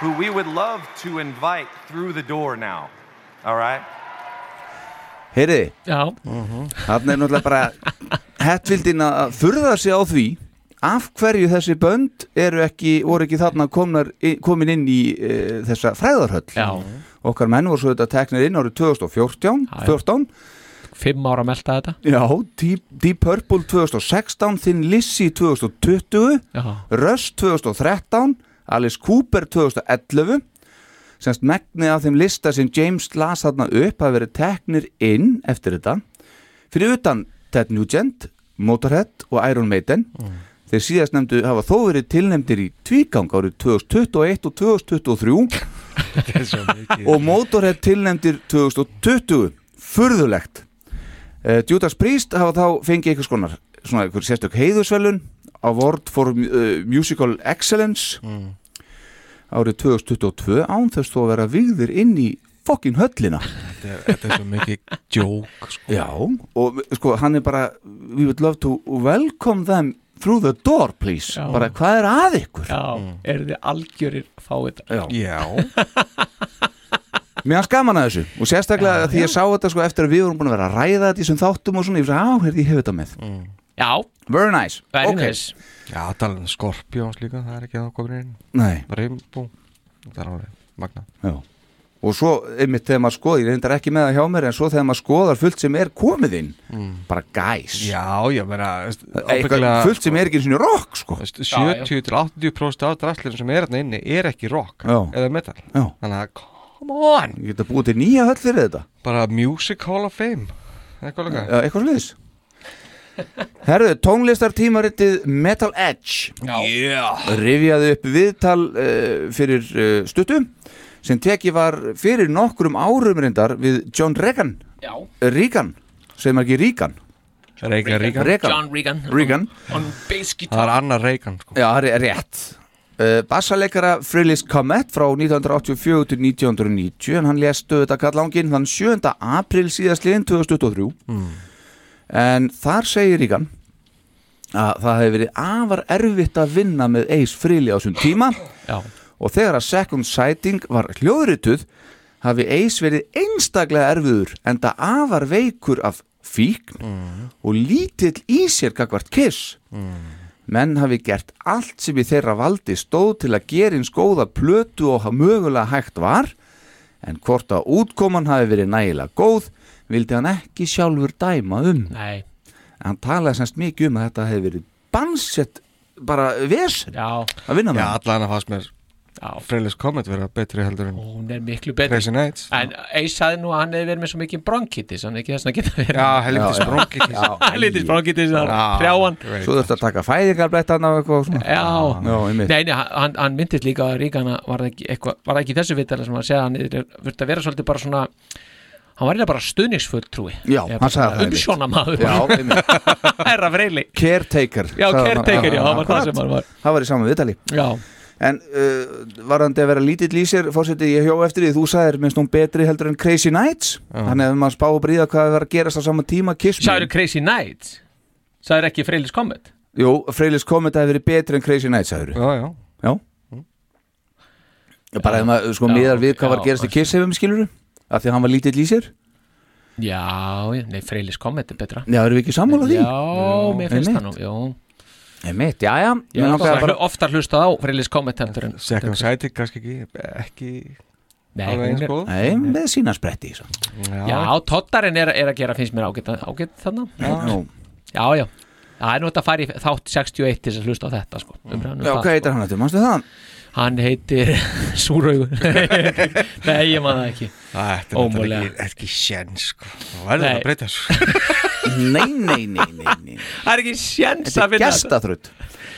[SPEAKER 7] who we would love to invite through the door now. All right?
[SPEAKER 3] heyriði,
[SPEAKER 4] já,
[SPEAKER 3] hann er náttúrulega bara Hetfieldin að furða sig á því af hverju þessi bönd eru ekki, voru ekki þarna komnar, komin inn í uh, þessa fræðarhöll
[SPEAKER 4] Já.
[SPEAKER 3] okkar menn voru svo þetta teknir inn árið 2014
[SPEAKER 4] Já, já.
[SPEAKER 3] 14,
[SPEAKER 4] fimm ára að melta þetta
[SPEAKER 3] já, Deep, Deep Purple 2016, Thin Lizzy 2020
[SPEAKER 4] Já,
[SPEAKER 3] Rush 2013 Alice Cooper 2011 semst megnið af þeim lista sem James las þarna upp að verið teknir inn eftir þetta fyrir utan Ted Nugent Motorhead og Iron Maiden þeir síðast nefndu hafa þó verið tilnefndir í tvígang árið 2021 og 2023 og Motorhead tilnefndir 2020 furðulegt uh, Judas Priest hafa þá fengið einhvers konar svona einhver sérstök heiðusvelun Award for uh, Musical Excellence
[SPEAKER 4] Mm.
[SPEAKER 3] árið 2022 án þess þó að vera vigðir inn í fokkin höllina
[SPEAKER 5] Þetta er- þetta er svo mikið joke sko.
[SPEAKER 3] Já og sko hann er bara we would love to welcome them through the door please
[SPEAKER 4] Já.
[SPEAKER 3] bara hvað er að ykkur
[SPEAKER 4] já, eru þið algjörir fáið þetta
[SPEAKER 3] Já.
[SPEAKER 5] Já,
[SPEAKER 3] Mér hans gaman að þessu og sérstaklega því ég sá þetta sko eftir að við vorum búin að vera að ræða þetta í sem þáttum og svona ég fyrir að á hérði ég hef þetta með
[SPEAKER 4] Já,
[SPEAKER 3] Very nice
[SPEAKER 4] Mm. very
[SPEAKER 3] Ok.
[SPEAKER 4] nice
[SPEAKER 5] já talað um Scorpions líka, það er ekki að komin inn
[SPEAKER 3] Nei
[SPEAKER 5] Rainbow, það er alveg magna
[SPEAKER 3] Já. og svo einmitt þegar maður skoði ég reyndar ekki með það hjá mér en svo þegar maður skoðar fullt sem er komið inn bara gæs
[SPEAKER 5] Mm. Já, ég meina veist,
[SPEAKER 3] Eitthvað,
[SPEAKER 5] ábyggilega,
[SPEAKER 3] fullt sem er ekki einu sinni rock sko.
[SPEAKER 5] veist,
[SPEAKER 4] Já, já.
[SPEAKER 5] 70 til 80% af drastlinu sem er hérna inni er ekki rock
[SPEAKER 3] Já.
[SPEAKER 5] eða metal
[SPEAKER 3] Já.
[SPEAKER 5] Þannig að come on
[SPEAKER 3] ég geta búið til nýja höll fyrir þetta
[SPEAKER 5] Bara Music Hall of Fame Eitthvað líka
[SPEAKER 3] Já, eitthvað sliðis Herðu, tónlistartímaritið Metal Edge
[SPEAKER 5] yeah.
[SPEAKER 3] rifjaði upp viðtal uh, fyrir uh, stuttu sem tekið var fyrir nokkrum árum reyndar við John Regan
[SPEAKER 4] Já,
[SPEAKER 3] Regan, segir maður ekki Regan
[SPEAKER 5] Reagan, Reagan
[SPEAKER 3] Regan,
[SPEAKER 4] John Regan
[SPEAKER 3] Regan.
[SPEAKER 4] On, on bass guitar
[SPEAKER 5] Það er annar Reagan sko.
[SPEAKER 3] Já, það er rétt uh, Bassaleikara Frilis Comet frá 1984 til 1990 en hann lestu þetta kallangin þann 7. april síðastliðin 2023 en þar segir Ríkan að það hefur verið afar erfitt að vinna með Ace Frili á þessum tíma
[SPEAKER 4] Já,
[SPEAKER 3] og þegar að Second Sighting var hljóðrituð hafi Ace verið einstaklega erfiður en það afar veikur af fíkn og lítill í sér gagvart kiss menn hafi gert allt sem í þeirra valdi stóð til að gera eins góða plötu og hafa mögulega hægt var en hvort að útkoman hafi verið nægilega góð vildi hann ekki sjálfur dæma um
[SPEAKER 4] nei,
[SPEAKER 3] hann talaði semst mikið um að þetta hefði verið bansett bara vesen
[SPEAKER 4] já,
[SPEAKER 3] að vinna með
[SPEAKER 5] Já,
[SPEAKER 3] hann.
[SPEAKER 5] allan að fannst mér
[SPEAKER 4] já
[SPEAKER 5] Freylis Comet vera betri heldur en
[SPEAKER 4] Hún er miklu betri
[SPEAKER 5] Crazy Nights
[SPEAKER 4] En Ace sagði nú að hann hefði verið með svo mikið bronkitis Hann er ekki þess að geta verið
[SPEAKER 5] Já, helviti spróki
[SPEAKER 4] Lítið bronkitis, það er hrjáan
[SPEAKER 3] Svo þurfti að taka fæðingarblættan af eitthvað og svona
[SPEAKER 4] Já,
[SPEAKER 3] Já, einmitt.
[SPEAKER 4] nei, nei, hann, hann myndist líka að Ríkana var það ekki, eitthva, var það ekki í þessu vitala sem hann segja að hann verður að vera svolítið bara svona hann var eiginlega bara stuðningsfulltrúi
[SPEAKER 3] Já,
[SPEAKER 4] Eða
[SPEAKER 3] hann
[SPEAKER 4] bara
[SPEAKER 3] sagði það einmitt.
[SPEAKER 4] umsjónamaður
[SPEAKER 3] Já, einmitt.
[SPEAKER 4] herra freyli
[SPEAKER 3] caretaker
[SPEAKER 4] já,
[SPEAKER 3] sagði hann.
[SPEAKER 4] caretaker, já, það var það
[SPEAKER 3] akkurat.
[SPEAKER 4] sem hann var
[SPEAKER 3] Það var í saman viðtali
[SPEAKER 4] já,
[SPEAKER 3] En uh, varandi að vera lítill í sér Fórseti, ég hjó eftir því, þú sagðir minnst hún betri heldur en Crazy Nights Þannig að ef maður spá og bríða hvað það var að gerast á sama tíma Kiss Me
[SPEAKER 4] sagður Crazy Nights það er ekki Freylis Comet
[SPEAKER 3] Jú, Freylis Comet hafi verið betri en Crazy Nights sagður
[SPEAKER 5] já, já
[SPEAKER 3] Já Bara ef maður sko
[SPEAKER 4] Já,
[SPEAKER 3] miðar við
[SPEAKER 4] já,
[SPEAKER 3] hvað var að gerast í
[SPEAKER 4] það-
[SPEAKER 3] Kiss hefum skilur af því að hann var lítill í sér
[SPEAKER 4] Já, já, nei, Freylis Comet er betra
[SPEAKER 3] Já, erum við ekki sammála því?
[SPEAKER 4] Já, mér finnst það nú
[SPEAKER 3] einmitt.
[SPEAKER 4] já.
[SPEAKER 3] Einmitt, já, já, mér
[SPEAKER 4] Ég hef
[SPEAKER 3] langaði
[SPEAKER 4] oftar,
[SPEAKER 3] bara
[SPEAKER 4] oftar hlustað á Freylis Comet heldur en
[SPEAKER 5] Second Sighted kannski ekki ekki
[SPEAKER 4] Nei,
[SPEAKER 5] alveg
[SPEAKER 4] hún
[SPEAKER 5] eins
[SPEAKER 4] er,
[SPEAKER 5] góð
[SPEAKER 3] Nei, með sína spretti svo.
[SPEAKER 4] Já, tottarinn er, er að gera finnst mér ágætt, ágætt þarna
[SPEAKER 3] Já,
[SPEAKER 4] Já, já Það er nú þetta að fara í þátt 61 til þess að hlusta á þetta sko, umræðan um
[SPEAKER 3] Já,
[SPEAKER 4] það,
[SPEAKER 3] hvað heitir hann þetta? Manstu það?
[SPEAKER 4] Hann heitir Súraugur Nei, ég man það ekki
[SPEAKER 5] Þetta er
[SPEAKER 4] Ómögulega.
[SPEAKER 5] náttúrulega ekki, ekki sjens sko. Það verður
[SPEAKER 4] Nei.
[SPEAKER 5] að breyta þessu
[SPEAKER 3] Nei, nei, nei, nei, nei.
[SPEAKER 4] Það er ekki sjens
[SPEAKER 3] Þetta er gestaþrödd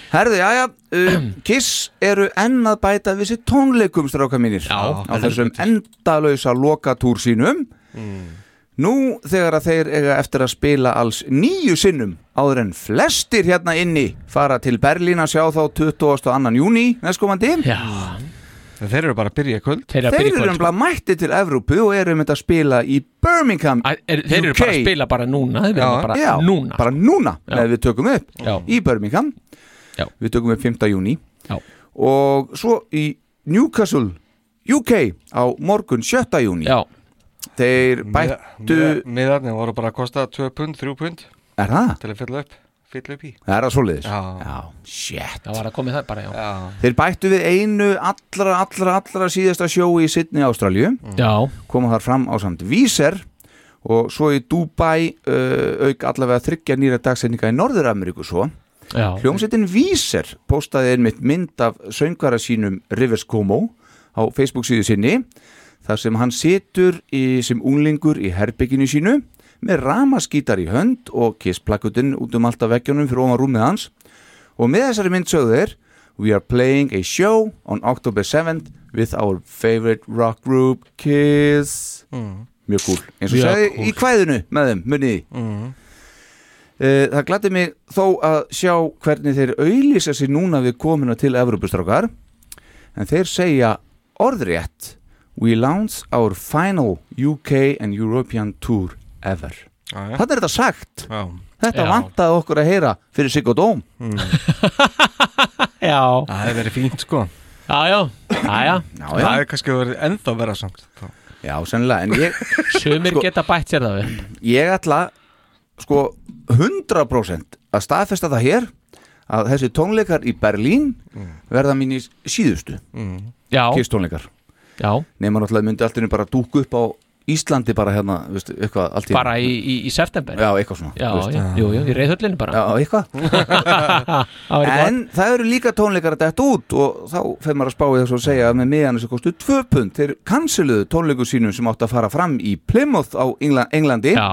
[SPEAKER 3] Herðu, já, já, uh, Kiss eru enn að bæta við sér tónleikum stráka mínir
[SPEAKER 4] Já,
[SPEAKER 3] á þessum endalausa lokatúr sínum
[SPEAKER 4] Mm.
[SPEAKER 3] Nú þegar að þeir eiga eftir að spila alls nýju sinnum áður en flestir hérna inni fara til Berlín að sjá þá 22. júni næstkomandi
[SPEAKER 4] Já,
[SPEAKER 5] Þeir eru bara að byrja í kvöld
[SPEAKER 4] þeir eru að
[SPEAKER 3] Þeir
[SPEAKER 4] byrja í
[SPEAKER 3] eru
[SPEAKER 4] kvöld sko.
[SPEAKER 3] umlað mætti til Evrópu og eru um þetta að spila í Birmingham
[SPEAKER 4] Æ, er, Þeir eru bara að
[SPEAKER 3] UK.
[SPEAKER 4] spila bara núna Þeir verða
[SPEAKER 5] Já,
[SPEAKER 4] bara
[SPEAKER 3] Já,
[SPEAKER 4] núna
[SPEAKER 3] bara núna
[SPEAKER 4] Já.
[SPEAKER 3] ef við tökum upp
[SPEAKER 4] Já.
[SPEAKER 3] í Birmingham
[SPEAKER 4] Já.
[SPEAKER 3] við tökum upp 5. júni
[SPEAKER 4] Já.
[SPEAKER 3] og svo í Newcastle UK á morgun 7. júni
[SPEAKER 4] Já,
[SPEAKER 3] þeir bættu
[SPEAKER 5] Miðarni voru bara að kosta 2 pund, 3 pund
[SPEAKER 3] er það?
[SPEAKER 5] til að fylla upp fylla upp í
[SPEAKER 3] Er það svoleiðis?
[SPEAKER 5] Já.
[SPEAKER 3] shit
[SPEAKER 4] það var að komið það bara, já
[SPEAKER 5] Já,
[SPEAKER 3] Þeir bættu við einu allra, allra, allra síðasta sjói í Sydney, Ástralju
[SPEAKER 4] Já,
[SPEAKER 3] koma þar fram á samt Víser og svo í Dubai uh, auk allavega þryggja nýra dagsendinga í Norður-Ameríku svo
[SPEAKER 4] já,
[SPEAKER 3] Hljómsveitin Víser postaði einmitt mynd af söngvara sínum Rivers Cuomo á Facebook síðu sinni þar sem hann situr í, sem unglingur í herbygginu sínu með ramaskítar í hönd og kissplakutin út um alltaf veggjónum fyrir ofan rúmið hans og með þessari mynd sögðu þeir We are playing a show on October 7th with our favorite rock group Kiss
[SPEAKER 5] Mm.
[SPEAKER 3] Mjög cool, eins og
[SPEAKER 4] Mjög
[SPEAKER 3] sagði
[SPEAKER 4] cool. Mhm.
[SPEAKER 3] í kvæðinu með þeim, munniði Eh, Það glæti mig þó að sjá hvernig þeir auðlýsa sér núna við komuna til Evropastrákar en þeir segja orðrétt We launch our final UK and European tour ever
[SPEAKER 5] já, já.
[SPEAKER 3] Þannig er þetta sagt
[SPEAKER 5] já.
[SPEAKER 3] Þetta
[SPEAKER 4] Já.
[SPEAKER 3] vantaði okkur að heyra fyrir Siggo Dóm
[SPEAKER 4] já,
[SPEAKER 5] Það hefur verið fínt sko
[SPEAKER 4] já, já, já, já.
[SPEAKER 3] Já,
[SPEAKER 5] Það
[SPEAKER 3] já,
[SPEAKER 5] hefur kannski verið ennþá vera samt þá.
[SPEAKER 3] já sennilega En ég,
[SPEAKER 4] Sumir
[SPEAKER 3] Sko-
[SPEAKER 4] geta bætt sér það við
[SPEAKER 3] ég ætla sko 100% að staðfesta það hér að þessi tónleikar í Berlín verða mínir síðustu
[SPEAKER 4] Já,
[SPEAKER 3] kistónleikar
[SPEAKER 4] já,
[SPEAKER 3] nema náttúrulega myndi allt henni bara dúk upp á Íslandi bara hérna, veistu, eitthvað allt í
[SPEAKER 4] bara í, í, í september
[SPEAKER 3] Já, eitthvað svona
[SPEAKER 4] já,
[SPEAKER 3] þú veist.
[SPEAKER 4] já, jú, jú, í reyðhöllinu bara
[SPEAKER 3] já eitthvað
[SPEAKER 4] Það væri gott.
[SPEAKER 3] En það eru líka tónleikar að detta út og þá fer maður að spá í þess að segja að með miðan þess að kostu tvö pund Þeir kansiluðu tónleikur sínum sem átti að fara fram í Plymouth á Engla Englandi
[SPEAKER 4] Já,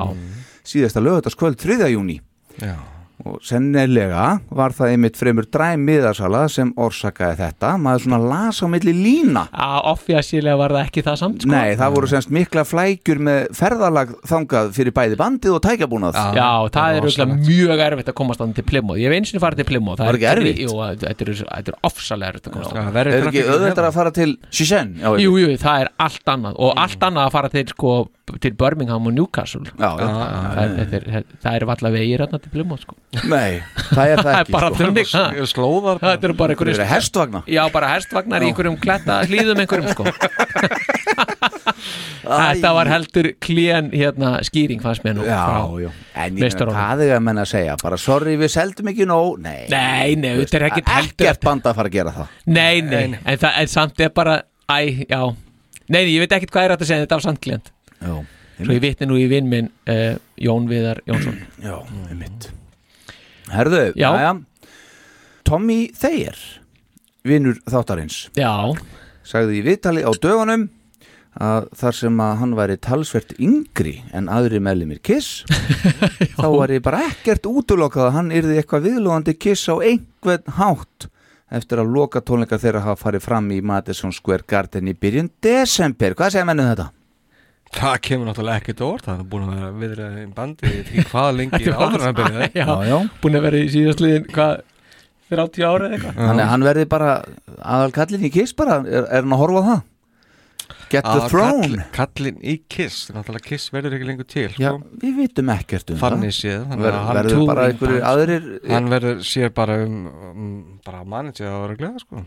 [SPEAKER 3] síðasta lögutaskvöld 3. júni
[SPEAKER 5] Já.
[SPEAKER 3] og sennilega var það einmitt fremur dræm miðarsala sem orsakaði þetta maður svona las á milli lína
[SPEAKER 4] að offjasílega var það ekki það samt sko.
[SPEAKER 3] Nei, það voru semst mikla flækjur með ferðalag þangað fyrir bæði bandið og tækjabúnað
[SPEAKER 5] Já.
[SPEAKER 4] Já, það
[SPEAKER 5] Það
[SPEAKER 4] er
[SPEAKER 5] er
[SPEAKER 4] auðvitað
[SPEAKER 5] rosalegt.
[SPEAKER 4] mjög erfitt að komast þannig til Plymouth Ég hef eins og farið til Plymouth
[SPEAKER 3] Var ekki
[SPEAKER 4] er-
[SPEAKER 3] erfitt?
[SPEAKER 4] Jú, að- þetta er- þetta er ofsalega erfitt að komast
[SPEAKER 5] Já,
[SPEAKER 4] þangað.
[SPEAKER 5] verri
[SPEAKER 3] Er ekki
[SPEAKER 5] traffic-
[SPEAKER 3] auðvitað að fara til Shenzhen? Já,
[SPEAKER 4] Jú, jú, það er allt annað og allt annað að fara til, sko, til Birmingham og Newcastle
[SPEAKER 3] já, já.
[SPEAKER 4] Það er, þetta er, það er valla vegir þarna til Plymouth sko.
[SPEAKER 3] Nei, það er það
[SPEAKER 4] Það er
[SPEAKER 3] ekki
[SPEAKER 4] bara
[SPEAKER 3] sko.
[SPEAKER 4] þannig ha.
[SPEAKER 5] Ég Slóðar
[SPEAKER 4] Þetta eru bara
[SPEAKER 3] Það
[SPEAKER 4] einhverjum
[SPEAKER 3] eru hestvagna
[SPEAKER 4] Já, bara hestvagnar í einhverjum kletta hlýðum einhverjum sko. Þetta var heldur klían hérna, skýring fannst mér nú
[SPEAKER 3] Já,
[SPEAKER 4] frá-
[SPEAKER 3] já En ég meina,
[SPEAKER 4] meistarunum.
[SPEAKER 3] hvað er að menna að segja? Bara, sorry, við seldum ekki nóg Nei,
[SPEAKER 4] Nei, nei, þetta er ekkert heldur
[SPEAKER 3] Ekkert band að fara að gera það
[SPEAKER 4] Nei, nei, en það er samt er bara Æ, já Nei, nei, ég veit ekkert hvað er hægt að segja en þetta var samt klient
[SPEAKER 3] Já,
[SPEAKER 4] Svo ég vitni nú í vinn minn uh, Jón Viðar Jónsson
[SPEAKER 3] já, einmitt Herðu,
[SPEAKER 4] Mm. Já.
[SPEAKER 3] já Tommy Thayer Vinnur þáttarins
[SPEAKER 4] Já,
[SPEAKER 3] sagði í viðtali á dögunum að þar sem að hann væri talsvert yngri en aðri meðlumir Kiss þá var ég bara ekkert útulokað að hann yrði eitthvað viðlóðandi Kiss á einhvern hátt eftir að loka tónleika þeirra hafa farið fram í Madison Square Garden í byrjun desember, hvað segja mennum þetta?
[SPEAKER 5] Það kemur náttúrulega ekkert á orð Það er búin að vera viðrað í bandi Ég veit ekki hvað lengi
[SPEAKER 4] Þetta var
[SPEAKER 5] áður en að byrja
[SPEAKER 4] já,
[SPEAKER 3] já.
[SPEAKER 4] búin að vera í síðastliðin hvað, 30 ára eða eitthvað
[SPEAKER 3] Þannig að hann verði bara aðal kallin í Kiss bara, er, er hann að horfa á það? Get the
[SPEAKER 5] að
[SPEAKER 3] throne.
[SPEAKER 5] kall- kallinn í Kiss náttúrulega Kiss verður ekki lengur til
[SPEAKER 3] Já,
[SPEAKER 5] sko.
[SPEAKER 3] við vitum ekkert um
[SPEAKER 5] þannig séð
[SPEAKER 3] það
[SPEAKER 5] þannig
[SPEAKER 3] Ver,
[SPEAKER 5] að hann
[SPEAKER 3] Verður bara
[SPEAKER 5] túrin-
[SPEAKER 3] einhverju aðrir eh,
[SPEAKER 5] hann verður sér bara um, um bara manager að vera gleða sko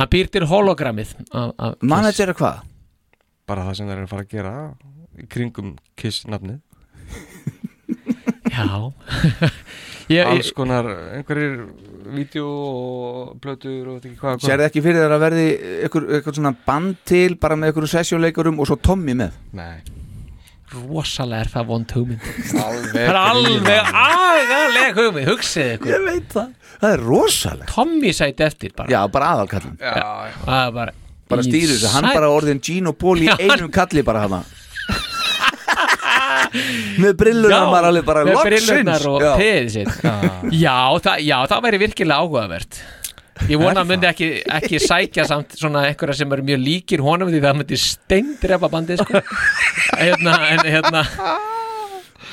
[SPEAKER 4] Hann býr til hologrammið af- af Kiss.
[SPEAKER 3] Manager er hvað?
[SPEAKER 5] bara það sem þeir eru að fara að gera í kringum Kiss nafnið
[SPEAKER 4] Já ég,
[SPEAKER 5] alls
[SPEAKER 4] ég,
[SPEAKER 5] konar einhverjir vídeo og blötur og veit ekki hvað
[SPEAKER 3] Sér ekki fyrir þér að verði einhver, einhver svona band til bara með einhverjum sessjónleikurum og svo Tommy með
[SPEAKER 5] Nei,
[SPEAKER 4] Rosalega er það vond hugmynd
[SPEAKER 5] alveg
[SPEAKER 4] Það er alveg agaleg hugmynd Hugsið ykkur
[SPEAKER 3] Ég veit það Það er rosalegt
[SPEAKER 4] Tommy sæti eftir bara
[SPEAKER 3] Já, bara aðalkallin
[SPEAKER 5] Já, já.
[SPEAKER 4] Það er bara
[SPEAKER 3] Bara
[SPEAKER 4] Í
[SPEAKER 3] stýru þessu, hann
[SPEAKER 4] sæll.
[SPEAKER 3] bara orðin Gino Paul í
[SPEAKER 4] Já, hann-
[SPEAKER 3] einum kalli bara hana Með brillurnar
[SPEAKER 4] Já,
[SPEAKER 3] maður alveg bara
[SPEAKER 4] með
[SPEAKER 3] loksins.
[SPEAKER 4] brillurnar og
[SPEAKER 3] Já.
[SPEAKER 4] peðið sitt já, það, já, það væri virkilega áhugavert ég vona að myndi ekki, ekki sækja samt svona einhverja sem eru mjög líkir honum því það myndi steindrepa bandið sko. hérna, en, hérna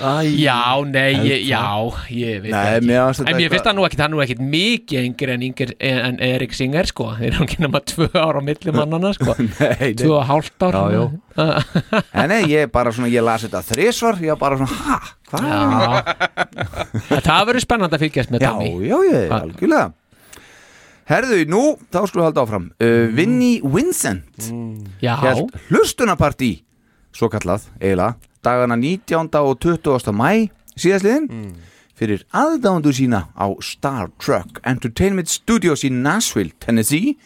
[SPEAKER 3] Æ,
[SPEAKER 4] já, nei, ég, já ég veit
[SPEAKER 3] Nei,
[SPEAKER 4] það
[SPEAKER 3] mér fannst
[SPEAKER 4] ekki
[SPEAKER 3] þetta
[SPEAKER 4] en mér
[SPEAKER 3] eitthvað-
[SPEAKER 4] finnst það nú ekkit, hann er nú ekkit mikið yngri en, yngri, en Erik Singer sko, þeir eru ekki nema tvö ára á milli mannana sko,
[SPEAKER 3] Nei,
[SPEAKER 4] tvö
[SPEAKER 3] nei.
[SPEAKER 4] og hálft ára
[SPEAKER 3] Já, já. En nei, ég bara svona, ég las þetta þrisvar Ég bara svona, ha, hvað er það?
[SPEAKER 4] það verður spennandi að fylgjast með
[SPEAKER 3] Já,
[SPEAKER 4] Tommy
[SPEAKER 3] já, ég,
[SPEAKER 4] Ha.
[SPEAKER 3] algjörlega Herðu, nú, þá skulum við halda áfram uh, Vinnie Vincent
[SPEAKER 4] Mm. Já,
[SPEAKER 3] Hélt hlustunapartí Svo kallað, eiginlega Dagana 19. og 20. mæ Síðastliðin
[SPEAKER 4] Mm.
[SPEAKER 3] Fyrir aðdándur sína á Star Trek Entertainment Studios í Nashville, Tennessee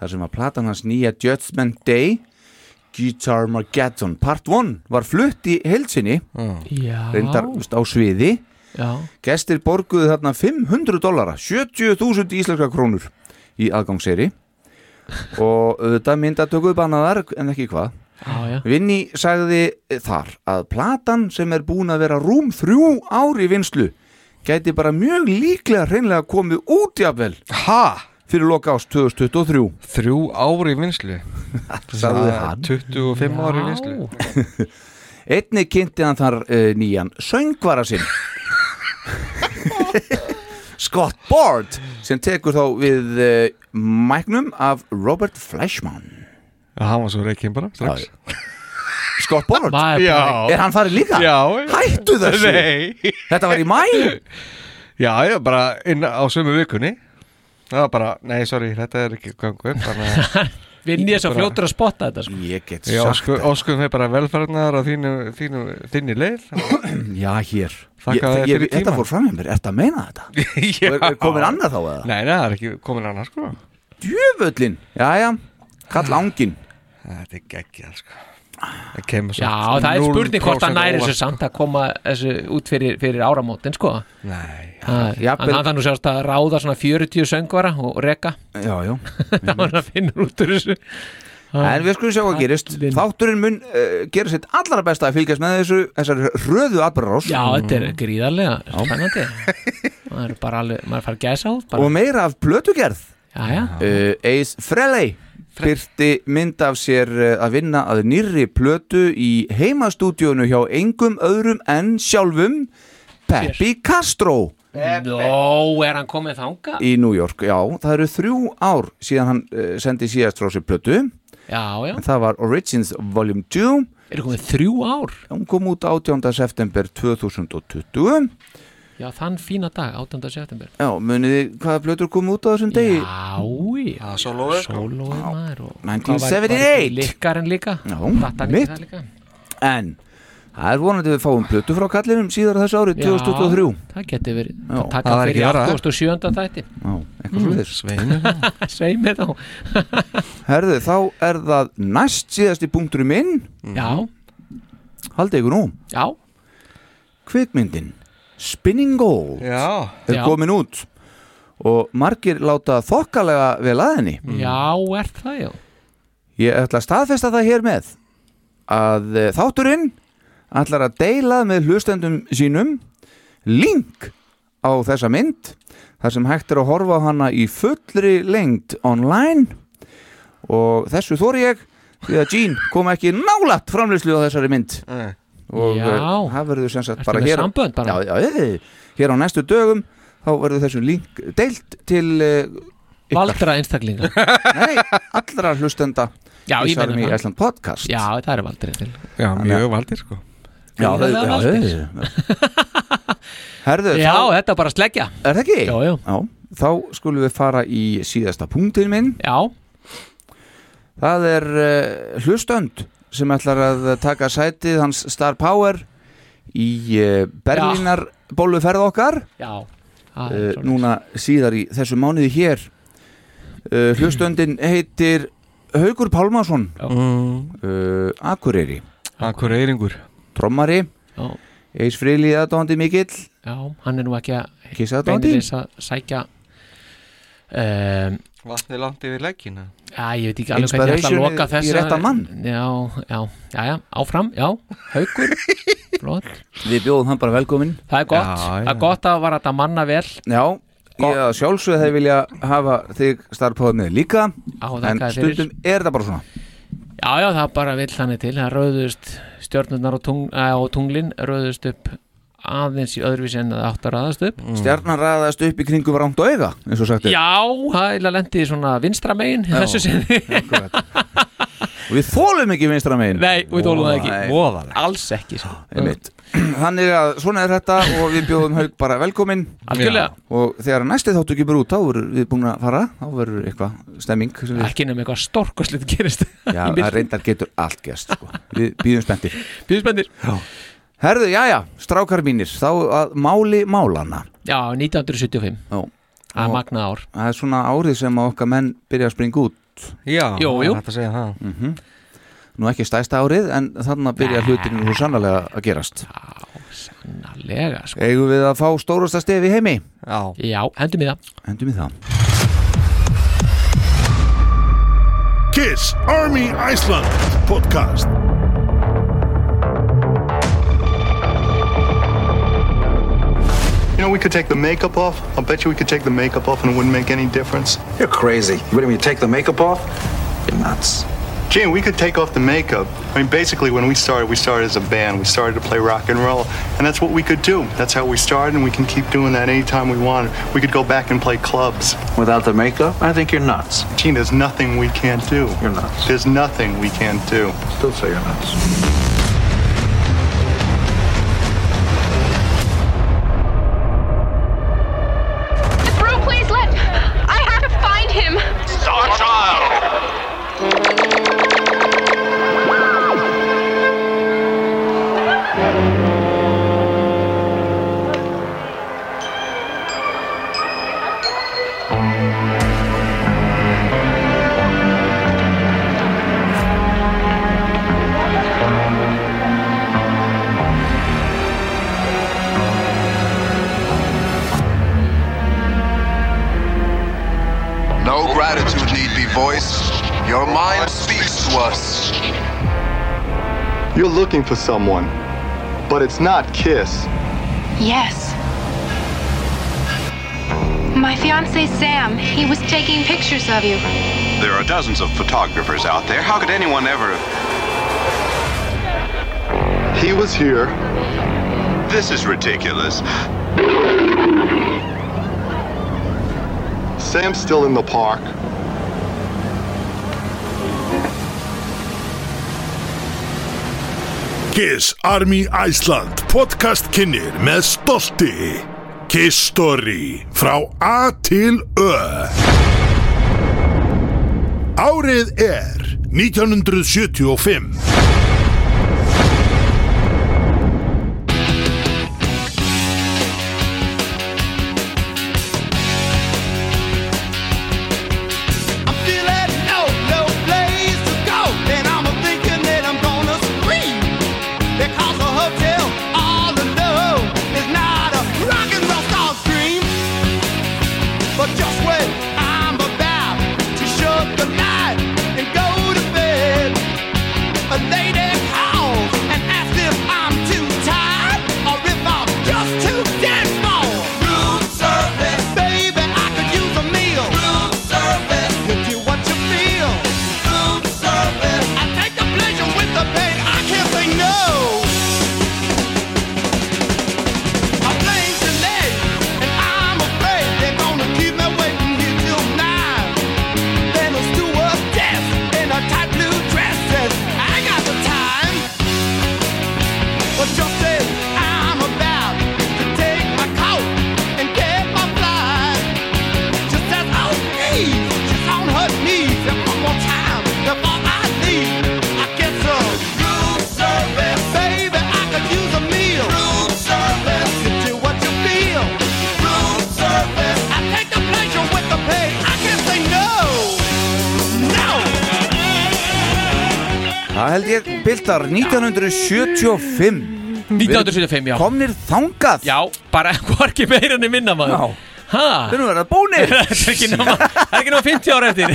[SPEAKER 3] Þar sem að platan hans nýja Judgment Day Guitar Margetton Part 1 var flutt í heilsinni
[SPEAKER 4] já,
[SPEAKER 3] reyndar þú veist, á sviði
[SPEAKER 4] já.
[SPEAKER 3] Gestir borguðu þarna 500 dollara, 70.000 íslenska krónur í aðgangseri og auðvitað myndatökuðu bannaðar en ekki hvað.
[SPEAKER 4] Já, já.
[SPEAKER 3] Vinni sagði þar að platan sem er búin að vera rúm þrjú ári vinslu gæti bara mjög líklega hreinlega komið út jafnvel
[SPEAKER 5] Ha?
[SPEAKER 3] fyrir loka ást 2023.
[SPEAKER 5] Þrjú ári í vinslu
[SPEAKER 3] Sagði hann.
[SPEAKER 5] 25 ári í vinslu
[SPEAKER 3] Einni kynnti hann þar uh, nýjan söngvara sinn Scott Bard sem tekur þá við uh, mæknum af Robert Fleischmann
[SPEAKER 5] Já, hann var svo reikinn bara strax
[SPEAKER 3] Scott Bard,
[SPEAKER 4] Maður
[SPEAKER 5] Já,
[SPEAKER 4] bara-
[SPEAKER 3] er hann farið líka?
[SPEAKER 5] já
[SPEAKER 3] Hættu þessu,
[SPEAKER 5] Nei
[SPEAKER 3] þetta var í mæ
[SPEAKER 5] Já, já, bara inn á sömu vikunni Það var bara, nei, sorry, þetta er ekki gangu upp Þannig að
[SPEAKER 4] Vinn ég svo fljótur að spotta þetta sko.
[SPEAKER 3] Ég get
[SPEAKER 5] við
[SPEAKER 3] sagt
[SPEAKER 5] ósku, óskum við bara velferðnar á þínu, þínu, þínu leið
[SPEAKER 3] Já, hér
[SPEAKER 5] Þakka þér fyrir
[SPEAKER 3] Þetta
[SPEAKER 5] tímann.
[SPEAKER 3] fór fram með mér, ertu að meina þetta?
[SPEAKER 5] Já
[SPEAKER 3] Er, er komin annað þá eða?
[SPEAKER 5] Nei, nei, það er ekki komin annars sko
[SPEAKER 3] Djöfullin, já, já, kall ángin
[SPEAKER 5] Þetta er geggjað sko Það kemur
[SPEAKER 4] Já, það er spurning hvort hann næri þessu samt að koma þessu út fyrir, fyrir áramótin sko.
[SPEAKER 5] Nei
[SPEAKER 4] Það-
[SPEAKER 3] jafnvel-
[SPEAKER 4] Hann hann nú sjást að ráða svona 40 söngvara og reka
[SPEAKER 3] Já, já
[SPEAKER 4] Það var hann að finna út úr þessu
[SPEAKER 3] En við skulum sjá hvað gerist
[SPEAKER 4] Kallinn.
[SPEAKER 3] Þátturinn mun uh, gera sitt allra besta að fylgjast með þessu þessari röðu atbyrðarás
[SPEAKER 4] Já, þetta er gríðarlega spennandi Það er bara alveg, maður fara að gæsa út
[SPEAKER 3] og
[SPEAKER 4] bara.
[SPEAKER 3] meira af plötugerð
[SPEAKER 4] Já, já,
[SPEAKER 3] uh, Ace Frehley byrti mynd af sér uh, að vinna að nýrri plötu í heimastúdíónu hjá engum öðrum en sjálfum Peppi Castro
[SPEAKER 4] Nó, er hann komið þanga?
[SPEAKER 3] í New York Já, það eru þrjú ár síðan hann uh, sendi síðast frá sér plötu
[SPEAKER 4] Já, já,
[SPEAKER 3] Það var Origins Volume 2
[SPEAKER 4] er komið þrjú ár
[SPEAKER 3] Hún kom út 18. september 2020
[SPEAKER 4] Já, þann fína dag, 8. september
[SPEAKER 3] Já, munið þið hvaða plötur kom út á þessum degi?
[SPEAKER 4] Já, já
[SPEAKER 5] Sólóið
[SPEAKER 4] Sólóið maður og
[SPEAKER 3] 1978.
[SPEAKER 4] Likkarinn líka
[SPEAKER 3] Já,
[SPEAKER 4] Datt hann ekki
[SPEAKER 3] Hmm? mitt.
[SPEAKER 4] það líka?
[SPEAKER 3] En það er vonandi við fáum plötu frá kallinum síðar á þessu árið 2023
[SPEAKER 4] Já, Það geti verið
[SPEAKER 3] Já.
[SPEAKER 4] Það taka
[SPEAKER 5] Það er
[SPEAKER 4] fyrir
[SPEAKER 5] ekki
[SPEAKER 3] eh?
[SPEAKER 5] aðra.
[SPEAKER 4] 2007. þætti
[SPEAKER 3] Já, eitthvað mm. sliðis
[SPEAKER 5] Sveinu
[SPEAKER 4] Sveið mér þá
[SPEAKER 3] Herðu, þá er það næst síðasti punkturinn minn
[SPEAKER 4] Já,
[SPEAKER 3] Haldið ykkur nú
[SPEAKER 4] já,
[SPEAKER 3] Kvikmyndin Spinning Gold
[SPEAKER 5] Já
[SPEAKER 3] er
[SPEAKER 4] Já.
[SPEAKER 3] komin út og margir láta þokkalega vel að henni
[SPEAKER 4] já, er það já
[SPEAKER 3] Ég ætla að staðfesta það hér með að eh, þátturinn ætlar að deila með hlustendum sínum link á þessa mynd þar sem hægt er að horfa á hana í fullri lengd online og þessu þóri ég því að Gene kom ekki nálat framlýslu á þessari mynd
[SPEAKER 5] Nei.
[SPEAKER 3] og
[SPEAKER 4] Já.
[SPEAKER 3] eh, það verður sem sagt
[SPEAKER 4] Ertu
[SPEAKER 3] bara
[SPEAKER 4] með
[SPEAKER 3] hér,
[SPEAKER 4] sambönd bara?
[SPEAKER 3] Já, já, eh, hér á næstu dögum þá verður þessu link deilt til eh, ykkar
[SPEAKER 4] Valdra einstaklinga
[SPEAKER 3] Nei, allra hlustenda
[SPEAKER 4] Já,
[SPEAKER 3] í
[SPEAKER 4] ég meina
[SPEAKER 3] Sárum í
[SPEAKER 4] það.
[SPEAKER 3] Æsland podcast
[SPEAKER 4] Já, það er valdir til
[SPEAKER 5] Já, mjög valdir sko
[SPEAKER 3] já, það,
[SPEAKER 4] Gríðarlega
[SPEAKER 3] já,
[SPEAKER 4] valdir.
[SPEAKER 3] já. Herðu,
[SPEAKER 4] Já,
[SPEAKER 3] þá,
[SPEAKER 4] þetta er bara sleggja
[SPEAKER 3] er það ekki?
[SPEAKER 4] Já, já.
[SPEAKER 3] þá skulum við fara í síðasta punktin minn
[SPEAKER 4] Já,
[SPEAKER 3] Það er uh, hlustönd sem ætlar að taka sætið hans Star Power í uh, Berlínar bóluferð okkar
[SPEAKER 4] já Það er
[SPEAKER 3] uh,
[SPEAKER 4] svoleiðis.
[SPEAKER 3] núna síðar í þessu mánuði hér uh, Hlustöndin heitir Haugur Pálmarsson uh, Akureyri,
[SPEAKER 5] Akkur eyringur
[SPEAKER 3] trommari
[SPEAKER 4] Já,
[SPEAKER 3] Eis Freyli aðdóndi mikill
[SPEAKER 4] já, hann er nú ekki að
[SPEAKER 3] Kissa aðdóndi
[SPEAKER 4] beinir að sækja um,
[SPEAKER 5] Vatni langt yfir leggina
[SPEAKER 4] Já, ég veit ekki alveg hvernig ég ætla að
[SPEAKER 3] Inspiration
[SPEAKER 4] loka
[SPEAKER 3] í- í
[SPEAKER 4] þessa
[SPEAKER 3] réttan mann.
[SPEAKER 4] Já, já, já, já, áfram, já, haukur Flott,
[SPEAKER 3] Við bjóðum hann bara velkomin
[SPEAKER 4] það er gott
[SPEAKER 5] Já, já.
[SPEAKER 4] Það er gott að var þetta manna vel
[SPEAKER 3] Já, ég að sjálfsögðu þeir vilja hafa þig Star Power með líka
[SPEAKER 4] á
[SPEAKER 3] En
[SPEAKER 4] þakkaði fyrir
[SPEAKER 3] stundum er það bara svona
[SPEAKER 4] Já, já, það bara vill þannig til Það rauðust stjórnurnar og, tung, eh, og tunglin rauðust upp aðeins í öðruvísi en það átt að raðast upp
[SPEAKER 3] Stjarnar raðast upp í kringum rangt og auga eins og sagt er
[SPEAKER 4] Mm. Já, það er lendið í svona vinstra megin í þessu sinni
[SPEAKER 3] Akkurat. og við þólum ekki vinstra megin
[SPEAKER 4] Nei, við tólum það ekki
[SPEAKER 5] Voðalega
[SPEAKER 4] Alls ekki sko.
[SPEAKER 3] Einmitt. þannig að svona er þetta og við bjóðum Haug bara velkomin
[SPEAKER 4] Algjörlega,
[SPEAKER 3] og þegar næsti þáttu ekki út þá verður við búin að fara þá verður eitthvað stemming sem við,
[SPEAKER 4] ekki nefnum eitthvað storkoslið gerist
[SPEAKER 3] já, það reyndar getur allt gæst sko. við býðum spenntir
[SPEAKER 4] Bíðspendir
[SPEAKER 3] herðu, já, já, strákar mínir þá að máli málana
[SPEAKER 4] Já, 1975,
[SPEAKER 3] já,
[SPEAKER 4] það er
[SPEAKER 3] Og-
[SPEAKER 4] magna ár
[SPEAKER 3] það er svona árið sem að okkar menn byrja að springa út
[SPEAKER 5] Já,
[SPEAKER 4] Jú,
[SPEAKER 5] það er
[SPEAKER 4] jú.
[SPEAKER 5] hægt að segja það
[SPEAKER 3] nú ekki stæsta árið en þannig að byrja hlutinu svo sannlega að gerast
[SPEAKER 4] Já, sannarlega sko.
[SPEAKER 3] eigum við að fá stórasta stef í heimi
[SPEAKER 5] Já,
[SPEAKER 4] Já, hendum í það
[SPEAKER 3] endum við það
[SPEAKER 1] Kiss Army Iceland podcast.
[SPEAKER 6] You know, we could take the makeup off. I'll bet you we could take the makeup off and it wouldn't make any difference.
[SPEAKER 8] You're crazy. What do you mean, take the makeup off? You're nuts.
[SPEAKER 6] Gene, we could take off the makeup. I mean, basically, when we started, we started as a band. We started to play rock and roll, and that's what we could do. That's how we started, and we can keep doing that anytime we want. We could go back and play clubs.
[SPEAKER 8] Without the makeup, I think you're nuts.
[SPEAKER 6] Gene, there's nothing we can't do.
[SPEAKER 8] You're nuts.
[SPEAKER 6] There's nothing we can't do.
[SPEAKER 8] Still say you're nuts.
[SPEAKER 9] Brew, please let. I have to find him.
[SPEAKER 10] No gratitude need be voiced. Your mind speaks to us.
[SPEAKER 6] You're looking for someone, but it's not Kiss.
[SPEAKER 9] Yes. My fiance Sam, he was taking pictures of you.
[SPEAKER 10] There are dozens of photographers out there. How could anyone ever?
[SPEAKER 6] He was here.
[SPEAKER 10] This is ridiculous.
[SPEAKER 6] Sam's still in the park.
[SPEAKER 1] Kiss Army Iceland podcast kynir með stolti Kiss Story frá A til Ö Árið er 1975
[SPEAKER 2] Just wait, I'm about to shut the night and go to bed. And they
[SPEAKER 3] held ég Bildar 1975
[SPEAKER 4] 1975, já
[SPEAKER 3] Komnir þangað
[SPEAKER 4] Já, bara hvorki meira enn minna maður Hæ?
[SPEAKER 3] Þeir eru að vera bónir
[SPEAKER 4] Það er ekki nema það er ekki nema 50 ára eftir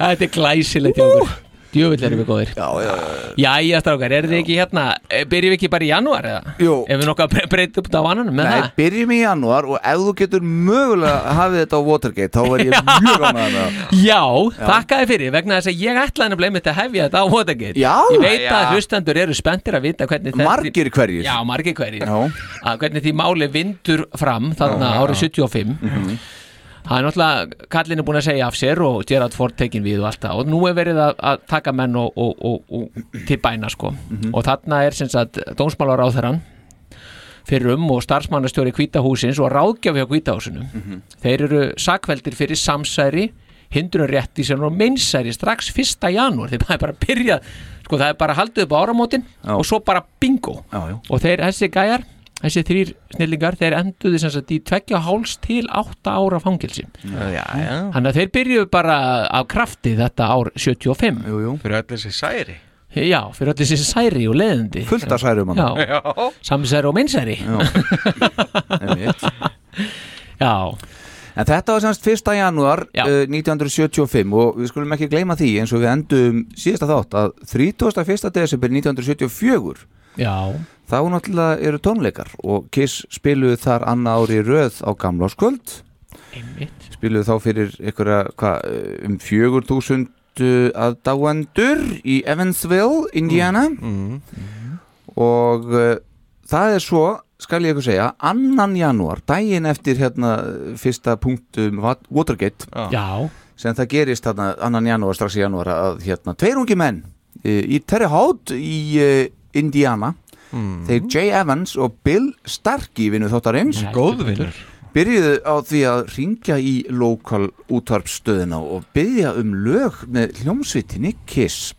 [SPEAKER 4] Þetta er glæsilegt hjá okkur Djöfull erum við góðir
[SPEAKER 3] Já, já,
[SPEAKER 4] já Jæja, strákar, er þið ekki hérna eh, Byrjum við ekki bara í janúar eða? Jú Ef við nokkuð að bre- breyta upp á annan með
[SPEAKER 3] Nei,
[SPEAKER 4] það
[SPEAKER 3] byrjum í janúar og ef þú getur mögulega hafið þetta á Watergate þá var ég mjög ánægð með það
[SPEAKER 4] Já,
[SPEAKER 3] Já.
[SPEAKER 4] þakka þið fyrir vegna þess að ég ætlaði nefnilega einmitt að hefja þetta á Watergate
[SPEAKER 3] Já.
[SPEAKER 4] Ég veit að
[SPEAKER 3] Já.
[SPEAKER 4] hlustendur eru spenntir að vita hvernig þetta
[SPEAKER 3] Margir hverjir.
[SPEAKER 4] Já, margir hverjir Að Hvernig því máli vindur fram þarna
[SPEAKER 3] Já.
[SPEAKER 4] árið 75 Það er náttúrulega, kallin er búin að segja af sér og Gerard Ford tekin við og allt það og nú er verið að, að taka menn og, og, og, og til bæna sko
[SPEAKER 11] Mhm.
[SPEAKER 4] og þarna er sem sagt dómsmálar á þeirran fyrir um og starfsmannastjóri kvítahúsins og ráðgjafi á kvítahúsinu þeir eru sakveldir fyrir samsæri hindrun rétti sem og meinsæri strax 1. janúar, þeir bara, bara byrja sko það er bara haldið upp á áramótin og svo bara bingo
[SPEAKER 3] Já, já
[SPEAKER 4] og þeir, þessi gæjar, þessi þrýr snillingar þeir enduðu sem sagt í tveggja og háls til átta ára fangilsi
[SPEAKER 5] Já, já
[SPEAKER 4] þannig að þeir byrjuðu bara af krafti þetta ár 75
[SPEAKER 3] jú, jú.
[SPEAKER 5] Fyrir öll þessi særi
[SPEAKER 4] já, fyrir allir þessi særi og leðindi
[SPEAKER 3] Fullt af særum hann.
[SPEAKER 4] já, samsæri og minnsæri Já
[SPEAKER 3] En þetta var semst 1. janúar uh, 1975 og við skulum ekki gleyma því eins og við endum síðasta þátt að 31. desember 1974
[SPEAKER 4] já,
[SPEAKER 3] þá náttúrulega eru tónleikar og Kiss spiluðu þar annað ári í röð á gamláskvöld
[SPEAKER 4] Einmitt.
[SPEAKER 3] spiluðu þá fyrir einhverja hva, um 4000 að dáendur í Evansville, Indiana og uh, það er svo skal ég ykkur segja, annan janúar daginn eftir hérna fyrsta punktum Wat- Watergate
[SPEAKER 4] Já.
[SPEAKER 3] sem það gerist þarna annan janúar strax í janúar að hérna tveir ungi menn uh, í Terre Haute í uh, Indiana þeir Jay Evans og Bill Starkey vinnu þáttarins
[SPEAKER 5] Góðvinur.
[SPEAKER 3] byrjuðu á því að ringja í lokal útvarpstöðina og byrja um lög með hljómsvitinni Kiss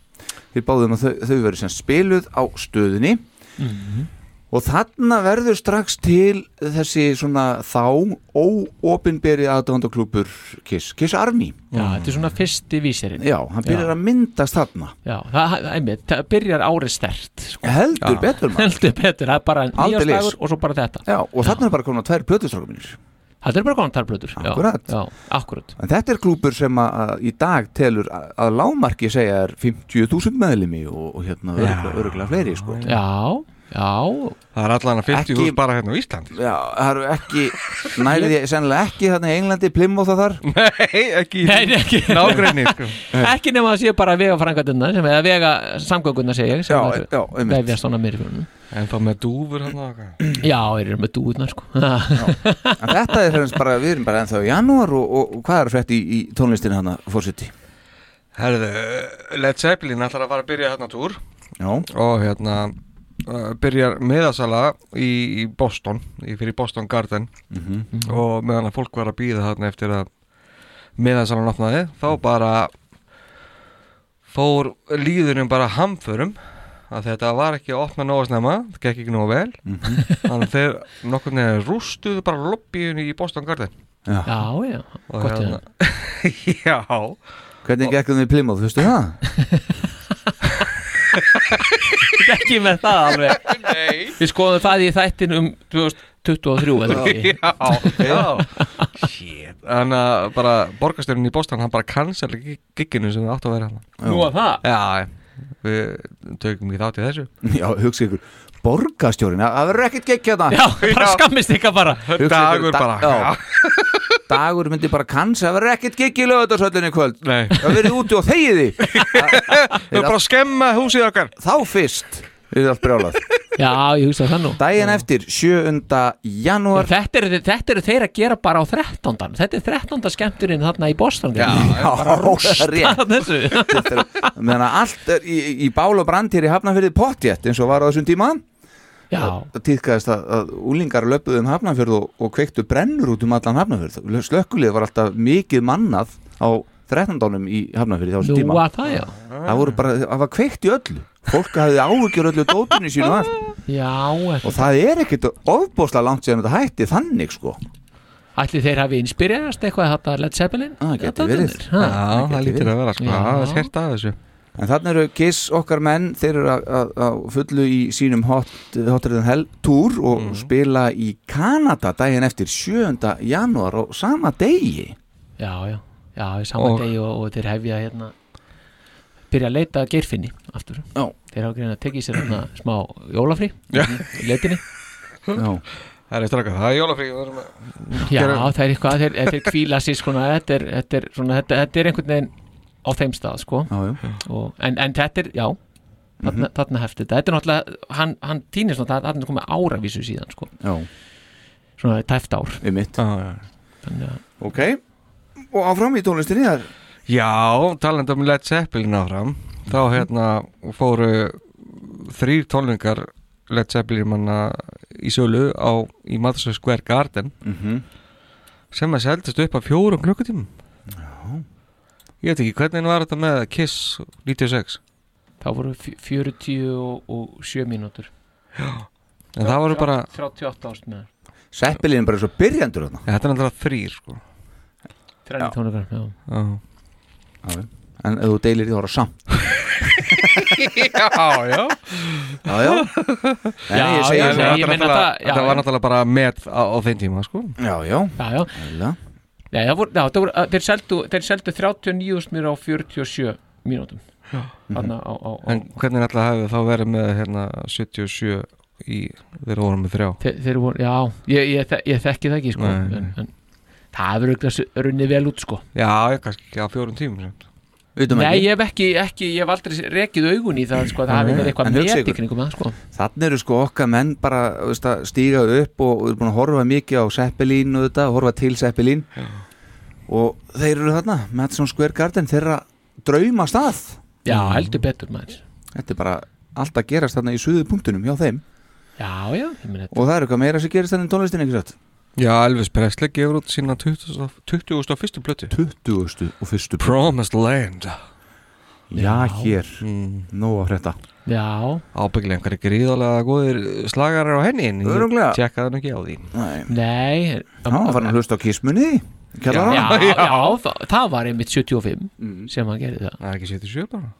[SPEAKER 3] þeir báðum að þau, þau verið sem spiluð á stöðinni og þarna verður strax til þessi svona þá óopinberi aðdóndaklúpur Kiss, Kiss Army
[SPEAKER 4] já, þetta er svona fyrsti vísirinn
[SPEAKER 3] Já, hann byrjar að myndast þarna
[SPEAKER 4] Já, það, það- einmitt, það byrjar árið stert sko.
[SPEAKER 3] Heldur
[SPEAKER 4] Já.
[SPEAKER 3] betur, maður.
[SPEAKER 4] Heldur betur, það er bara
[SPEAKER 3] Aldeilis.
[SPEAKER 4] nýjastagur og svo bara þetta
[SPEAKER 3] Já, og þarna er bara komin á tvær plötustrákum mínir
[SPEAKER 4] Þetta er bara komin tarplötur
[SPEAKER 3] Akkurat.
[SPEAKER 4] Já, akkurat
[SPEAKER 3] En þetta er klúpur sem að, að í dag telur að, að lámarki segja er 50.000 meðlimi og, og hérna
[SPEAKER 5] Já.
[SPEAKER 3] öruglega, öruglega fleiri sko.
[SPEAKER 4] Já, já
[SPEAKER 5] Það er allan að 50
[SPEAKER 3] Ekki-
[SPEAKER 5] hús bara hérna á Íslandi
[SPEAKER 3] Já, það eru ekki, nærið ég sennilega ekki þarna í Englandi, Plymouth og þar
[SPEAKER 5] Nei, ekki,
[SPEAKER 4] Nei, nei, ekki.
[SPEAKER 5] Nágrenni, sko.
[SPEAKER 4] Ekki nema að sé bara vega frangatunna sem eða vega samgönguna segja sem já, já, vefjast svona mér fyrir
[SPEAKER 5] En þá með dúfur hann og eitthvað
[SPEAKER 4] Já, þeir eru með dúðnar sko
[SPEAKER 3] En þetta er hérna bara, við erum bara ennþá í janúar og, og, og hvað er frétt í, í tónlistinu hana fórseti?
[SPEAKER 5] Herðu, Led Zeppelin ætlar að fara að byrja hérna túr
[SPEAKER 3] Já.
[SPEAKER 5] og hérna uh, byrjar meðasala í, í Boston í, fyrir Boston Garden
[SPEAKER 11] Mhm.
[SPEAKER 5] og meðan að fólk var að býða þarna eftir að meðasalan opnaði þá bara fór líðunum bara hamförum að þetta var ekki að opna nógu snemma, það gekk ekki nógu vel þannig að þeir nokkur neður rústuðu bara lobbyinu í Boston Garden
[SPEAKER 3] Já.
[SPEAKER 4] Já, já,
[SPEAKER 5] Og
[SPEAKER 4] gott í
[SPEAKER 5] hérna- Já
[SPEAKER 3] Hvernig gekkum við í Plymouth, veistu það?
[SPEAKER 4] það Ekki með það alveg
[SPEAKER 5] Nei
[SPEAKER 4] Við skoðum það í þættin um 2023 eða ekki
[SPEAKER 5] Já, já Shit Þannig að bara borgarstjórnin í Boston hann bara cancel gigginu sem það átt að vera hann
[SPEAKER 4] Nú að það?
[SPEAKER 5] Já, við tökum ekki þátt í þessu
[SPEAKER 3] Já, hugsa ykkur, borgarstjórin, það það verður ekkert gekk hérna
[SPEAKER 4] Já, bara skammist ykkar bara
[SPEAKER 3] Hugsa ykkur,
[SPEAKER 5] Dagur bara,
[SPEAKER 3] já. Dagur myndi bara kansa, það verður ekkert gekk í lögutarsöllinni í kvöld
[SPEAKER 5] Nei.
[SPEAKER 3] Það verður úti og þegið því Þau
[SPEAKER 5] bara skemma húsið okkar
[SPEAKER 3] Þá fyrst er allt brjálað
[SPEAKER 4] Já, ég hugsa það nú
[SPEAKER 3] Dæin eftir, 7. janúar
[SPEAKER 4] Þetta eru, þetta eru þeir að gera bara á 13. Þetta er 13. skemmturinn þarna í Boston Já,
[SPEAKER 3] bara rústa
[SPEAKER 4] þessu
[SPEAKER 3] Meðan að allt er í, í bál og brand hér í Hafnafyrði pottjett eins og var á þessum tíma
[SPEAKER 4] Já.
[SPEAKER 3] Það týðkaðist að, að úlingar löpuðu um Hafnafjörð og, og kveiktu brennur út um allan Hafnafjörð Slökkulið var alltaf mikið mannað á 13 dánum í Hafnafjörði á þessum
[SPEAKER 4] Nú
[SPEAKER 3] tíma
[SPEAKER 4] að það, já
[SPEAKER 3] Það voru bara, það var kveikt í öllu Fólk hafði áhugjur öllu dótunni sínu og allt
[SPEAKER 4] Já,
[SPEAKER 3] Og það er ekkit ofbóðslega langt sem þetta hætti þannig sko
[SPEAKER 4] Ætli þeir hafi inspirerast eitthvað þetta Led Zeppelin?
[SPEAKER 3] Ah,
[SPEAKER 4] Þetta
[SPEAKER 3] geti verið
[SPEAKER 4] dóttir, ha?
[SPEAKER 5] sko. af þessu
[SPEAKER 3] En þannig eru Kiss okkar menn þeir eru að- að að fullu í sínum hot, Hotter than Hell túr og spila í Kanada daginn eftir 7. janúar og sama degi
[SPEAKER 4] Já, já, já, í sama
[SPEAKER 3] Og-
[SPEAKER 4] degi og, og þeir hefja hérna byrja að leita að geirfinni aftur
[SPEAKER 3] já.
[SPEAKER 4] þeir hafa greina að tekið sér hérna smá jólafri
[SPEAKER 5] Já.
[SPEAKER 4] í leitinni
[SPEAKER 3] Já.
[SPEAKER 5] Það er eftir okkar, það er jólafrí við verðum að
[SPEAKER 4] Já,
[SPEAKER 5] gera-
[SPEAKER 4] það er eitthvað, þeir, þeir kvíla sér svona, þetta er, þetta, er svona þetta, þetta er einhvern veginn á þeim stað, sko
[SPEAKER 3] já,
[SPEAKER 4] Og, en, en þetta er, já þarna,
[SPEAKER 5] Mhm.
[SPEAKER 4] þarna hefti þetta, þetta er náttúrulega hann, hann týnir svona, þarna er komið áravísu síðan, sko
[SPEAKER 3] Já.
[SPEAKER 4] svona tæft ár
[SPEAKER 3] um mitt
[SPEAKER 4] að...
[SPEAKER 3] ok og áfram í tónlistinni þar
[SPEAKER 5] Já, talandi um Led Zeppelin áfram þá hérna fóru þrýr tónlingar Led Zeppelin manna í sölu á, í Madison Square Garden
[SPEAKER 3] Mhm.
[SPEAKER 5] sem að seldast upp að fjórum klukkutímum Já Ég veit ekki, hvernig var þetta með Kiss 96?
[SPEAKER 4] þá voru fjö- 47 mínútur
[SPEAKER 5] Já, en það voru bara
[SPEAKER 4] 38 ást með
[SPEAKER 3] Zeppelin er bara svo byrjandur þarna
[SPEAKER 5] ja, Þetta er náttúrulega þrýr sko
[SPEAKER 4] Þrennir tónleikar, já
[SPEAKER 5] Já.
[SPEAKER 3] en ef þú deilir því þá er það samt
[SPEAKER 5] já, já
[SPEAKER 3] Já, já Nei,
[SPEAKER 5] Já,
[SPEAKER 3] ég segi
[SPEAKER 5] já,
[SPEAKER 3] það.
[SPEAKER 5] já,
[SPEAKER 3] Ég
[SPEAKER 5] þetta
[SPEAKER 3] meina
[SPEAKER 5] náttúrulega-
[SPEAKER 3] það- já,
[SPEAKER 5] Þetta var
[SPEAKER 3] já.
[SPEAKER 5] náttúrulega bara met á, á þeim tíma sko.
[SPEAKER 3] Já, já
[SPEAKER 4] Já, já
[SPEAKER 3] Æla.
[SPEAKER 4] Nei, það voru, já, það voru, að- þeir seldu, þeir seldu 39 smýra á 47 mínútum Þarna á, á, á
[SPEAKER 5] En hvernig náttúrulega hefði þá verið með hérna 77 í þeirra vorum með þrjá
[SPEAKER 4] Þe, þeir voru, já, ég, ég, þe- ég þekki það ekki, sko
[SPEAKER 5] Nei, nei.
[SPEAKER 4] en, en það hefur auðvitað runnið vel út, sko
[SPEAKER 5] Já, ég kannski ekki á fjórum tímum sem.
[SPEAKER 4] Nei, ég hef ekki, ekki, ég hef aldrei rekið augun í það, sko, það hafi verið eitthvað met í kringum það, sko
[SPEAKER 3] Þannig eru sko okkar menn bara þú veist, að stíga upp og og eru búin að horfa mikið á Zeppelin og þetta, horfa til Zeppelin og þeir eru þarna Madison Square Garden, þeirra drauma stað
[SPEAKER 4] Já,
[SPEAKER 5] Mm.
[SPEAKER 4] heldur betur maður
[SPEAKER 3] Þetta er bara allt að gerast þarna í suðu punktunum hjá þeim
[SPEAKER 4] Já, já, ég meina þetta
[SPEAKER 3] og það eru eitthvað meira sem gerist þarna í tónlistinni ekki satt
[SPEAKER 5] Já, Elvis Presley gefur út sína 20. 21. plötu
[SPEAKER 3] 20. og fyrstu
[SPEAKER 5] Promised Land
[SPEAKER 3] Já, hér,
[SPEAKER 5] Mm,
[SPEAKER 3] nóg að frétta
[SPEAKER 4] Já
[SPEAKER 5] Ábygglega einhverju gríðalega góðir slagarar á henni en ég
[SPEAKER 3] Örugglega.
[SPEAKER 5] Tjekkaði hann ekki á því
[SPEAKER 3] Nei,
[SPEAKER 4] Nei
[SPEAKER 3] Ná, það var hann að hlusta á kismunni
[SPEAKER 4] Já,
[SPEAKER 3] Kjallara
[SPEAKER 4] já, já það, það var einmitt 75
[SPEAKER 3] Mm.
[SPEAKER 4] sem hann gerði það
[SPEAKER 5] Það er ekki 77 bara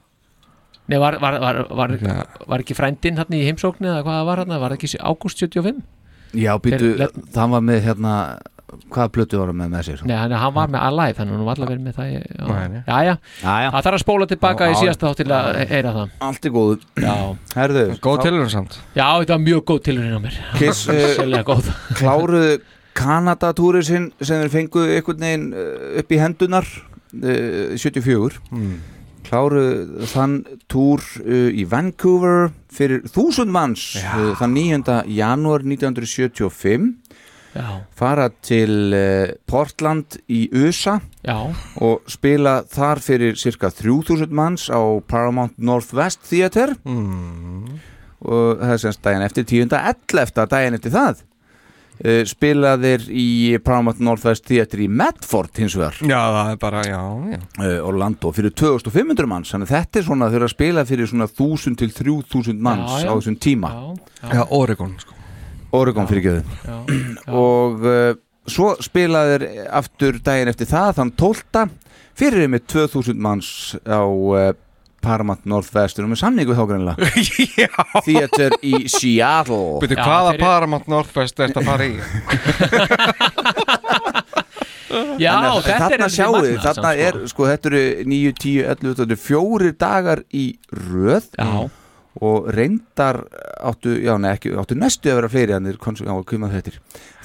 [SPEAKER 4] Nei, var, var, var, var,
[SPEAKER 5] Já.
[SPEAKER 4] var ekki frændinn hann í heimsóknu eða hvað það var hann, var það ekki ágúst 75?
[SPEAKER 3] Já, býtu,
[SPEAKER 4] Þeir- let-
[SPEAKER 3] það var með hérna hvaða plötu var hann með með sér
[SPEAKER 4] Nei, hann, hann var með Alive, þannig að hann var allavega verið með það í-
[SPEAKER 3] Nei, nei.
[SPEAKER 4] já, já, já,
[SPEAKER 3] já.
[SPEAKER 4] það þarf að spóla tilbaka
[SPEAKER 3] Já,
[SPEAKER 4] í
[SPEAKER 3] já.
[SPEAKER 4] síðasta þátt til að heyra það
[SPEAKER 3] Allt er góð
[SPEAKER 4] Já,
[SPEAKER 3] Herðu,
[SPEAKER 5] Góð
[SPEAKER 3] þá-
[SPEAKER 5] tilhörun samt
[SPEAKER 4] já þetta var mjög góð tilhörinn á mér
[SPEAKER 3] Kiss eh,
[SPEAKER 4] Sérlega góð
[SPEAKER 3] kláruðu Kanadatúri sinn sem þeir fenguðu einhvern veginn uh, upp í hendunar uh, 74
[SPEAKER 5] mm.
[SPEAKER 3] kláruðu þann túr uh, í Vancouver fyrir þúsund manns uh, þann 9. janúar 1975
[SPEAKER 4] Já.
[SPEAKER 3] fara til uh, Portland í USA
[SPEAKER 4] Já.
[SPEAKER 3] og spila þar fyrir cirka 3000 manns á Paramount Northwest Theatre
[SPEAKER 5] mm.
[SPEAKER 3] og það er semst daginn eftir 10. 11. daginn eftir það uh, spila þeir í Paramount Northwest Theatre í Medford hins vegar
[SPEAKER 5] Já, það er bara, já, já
[SPEAKER 3] uh, Orlando fyrir 2500 manns þannig að þetta er svona þeir eru að spila fyrir svona 1000 til 3000 manns
[SPEAKER 5] Já,
[SPEAKER 3] á
[SPEAKER 5] já.
[SPEAKER 3] þessum tíma
[SPEAKER 5] Já, Oregon sko
[SPEAKER 3] Oregon fyrir og uh, svo spila þeir aftur daginn eftir það þann 12. fyrir með 2000 manns á uh, Paramount Northwest og með samningu þá greinlega Theatre í Seattle
[SPEAKER 5] Býtu, hvaða Paramount Northwest er þetta að fara í?
[SPEAKER 4] Já,
[SPEAKER 3] Þannig að
[SPEAKER 4] þetta er
[SPEAKER 3] þarna
[SPEAKER 4] einmitt
[SPEAKER 3] sjáu þið,
[SPEAKER 4] magnað
[SPEAKER 3] þarna
[SPEAKER 4] samt, sko.
[SPEAKER 3] er, sko, þetta eru 9, 10, 11, þetta eru fjóri dagar í röð
[SPEAKER 4] Já.
[SPEAKER 3] og reyndar áttu, já, nei, ekki, áttu næstu að vera fleiri en þeir kons- já, koma þetta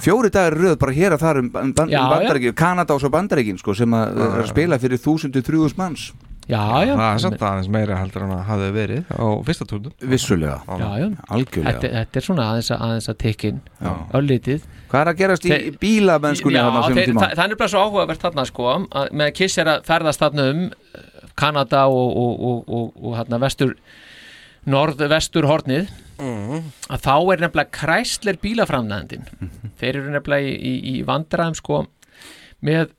[SPEAKER 3] fjóri dagar í röð bara hér að þar um, ban- ban-
[SPEAKER 4] Já,
[SPEAKER 3] um
[SPEAKER 4] já.
[SPEAKER 3] bandarækin, Kanada og svo bandarækin, sko, sem að, er að spila fyrir 1000-3000 manns
[SPEAKER 4] Já, já
[SPEAKER 5] Það er samt aðeins meira heldur en að hafði verið á fyrsta turnum
[SPEAKER 3] Vissulega,
[SPEAKER 4] Já, já.
[SPEAKER 3] algjörlega
[SPEAKER 4] þetta, þetta er svona aðeins að, aðeins að tekin öllitið
[SPEAKER 3] Hvað er að gerast í
[SPEAKER 4] Þeir-
[SPEAKER 3] bílamennskunni
[SPEAKER 4] Já,
[SPEAKER 3] þarna hérna á sínum
[SPEAKER 4] þeir-
[SPEAKER 3] tíma?
[SPEAKER 4] það, það er bara svo áhugavert þarna sko að með Kiss er að ferðast þarna um eh, Kanada og, og, og, og, og hérna vestur norð-vestur hornið að þá er nefnilega kræsler bílaframnæðandin
[SPEAKER 3] Mhm.
[SPEAKER 4] þeir eru nefnilega í, í, í vandræðum sko með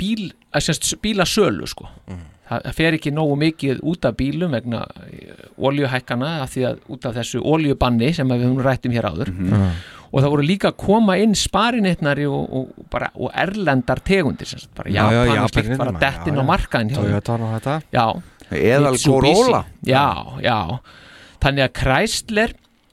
[SPEAKER 4] bíl, að sérst bílasölu sko
[SPEAKER 5] Mm.
[SPEAKER 4] það, það fer ekki nógu mikið út af bílum vegna eh, oljuhækkana af því að út af þessu oljubanni sem að við höfum rætt um hér áður
[SPEAKER 5] Mhm.
[SPEAKER 4] og það voru líka að koma inn sparinetnari og, og, bara, og erlendar tegundir sem sagt, bara Japan og slíkt var að detta inn á markaðin hjá þeim.
[SPEAKER 5] Toyota og þetta
[SPEAKER 4] já
[SPEAKER 5] Eðal
[SPEAKER 4] Mitsubishi.
[SPEAKER 5] Corolla.
[SPEAKER 4] já, já, þannig að Chrysler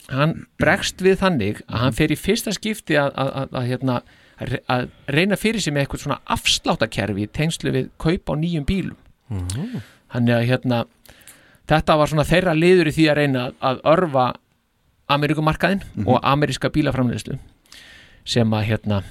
[SPEAKER 4] hann bregst við þannig að hann fer í fyrsta skipti að, að, að, að, hérna, að re- að reyna fyrir sig með eitthvað svona afsláttakerfi í tengslu við kaup á nýjum bílum
[SPEAKER 2] Mhm.
[SPEAKER 4] þannig að hérna þetta var svona þeirra liður í því að reyna að örfa Ameríkumarkaðin
[SPEAKER 2] Mhm.
[SPEAKER 4] og ameríska bílaframleyslu sem að hérna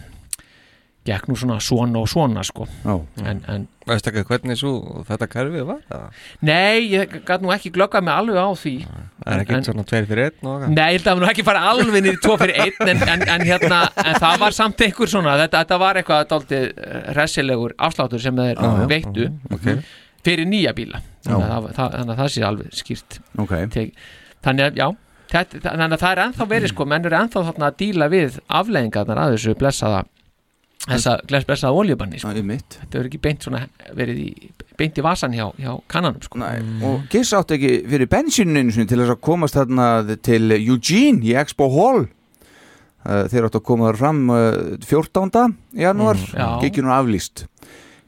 [SPEAKER 4] gekk nú svona svona og svona sko
[SPEAKER 3] Já.
[SPEAKER 2] Mhm.
[SPEAKER 4] en, en
[SPEAKER 5] Veist ekki hvernig svo þetta kerfið var? eða?
[SPEAKER 4] Nei, ég gæt nú ekki glöggað mig alveg á því
[SPEAKER 5] Það er ekki
[SPEAKER 4] En-
[SPEAKER 5] svona tveir fyrir einn og
[SPEAKER 4] Nei, ég held að það var nú ekki fara alveg niður í tvo fyrir einn en, en, en, hérna, en það var samt einhver svona þetta, þetta var eitthvað dálítið resilegur afsláttur sem þeir
[SPEAKER 3] Já, já.
[SPEAKER 4] veittu
[SPEAKER 3] Ok.
[SPEAKER 4] fyrir nýja bíla
[SPEAKER 3] Já.
[SPEAKER 4] þannig að, það- það, þannig að það sé alveg skýrt
[SPEAKER 3] Ok.
[SPEAKER 4] Tek- þannig að, já, þetta, þannig að það er ennþá verið sko, menn eru ennþá þarna að díla við afleðingarnar að þessu blessaða þessa gless blessaða oljubanni sko. þetta verður ekki beint svona verið í, beint í vasan hjá, hjá kannanum sko.
[SPEAKER 3] Nei, og Giss átti ekki fyrir bensíninu einu sinni til þess að komast þarna til Eugene í Expo Hall Uh, þeir áttu að koma þar fram uh, 14. janúar
[SPEAKER 4] Mm, já.
[SPEAKER 3] gikinu aflýst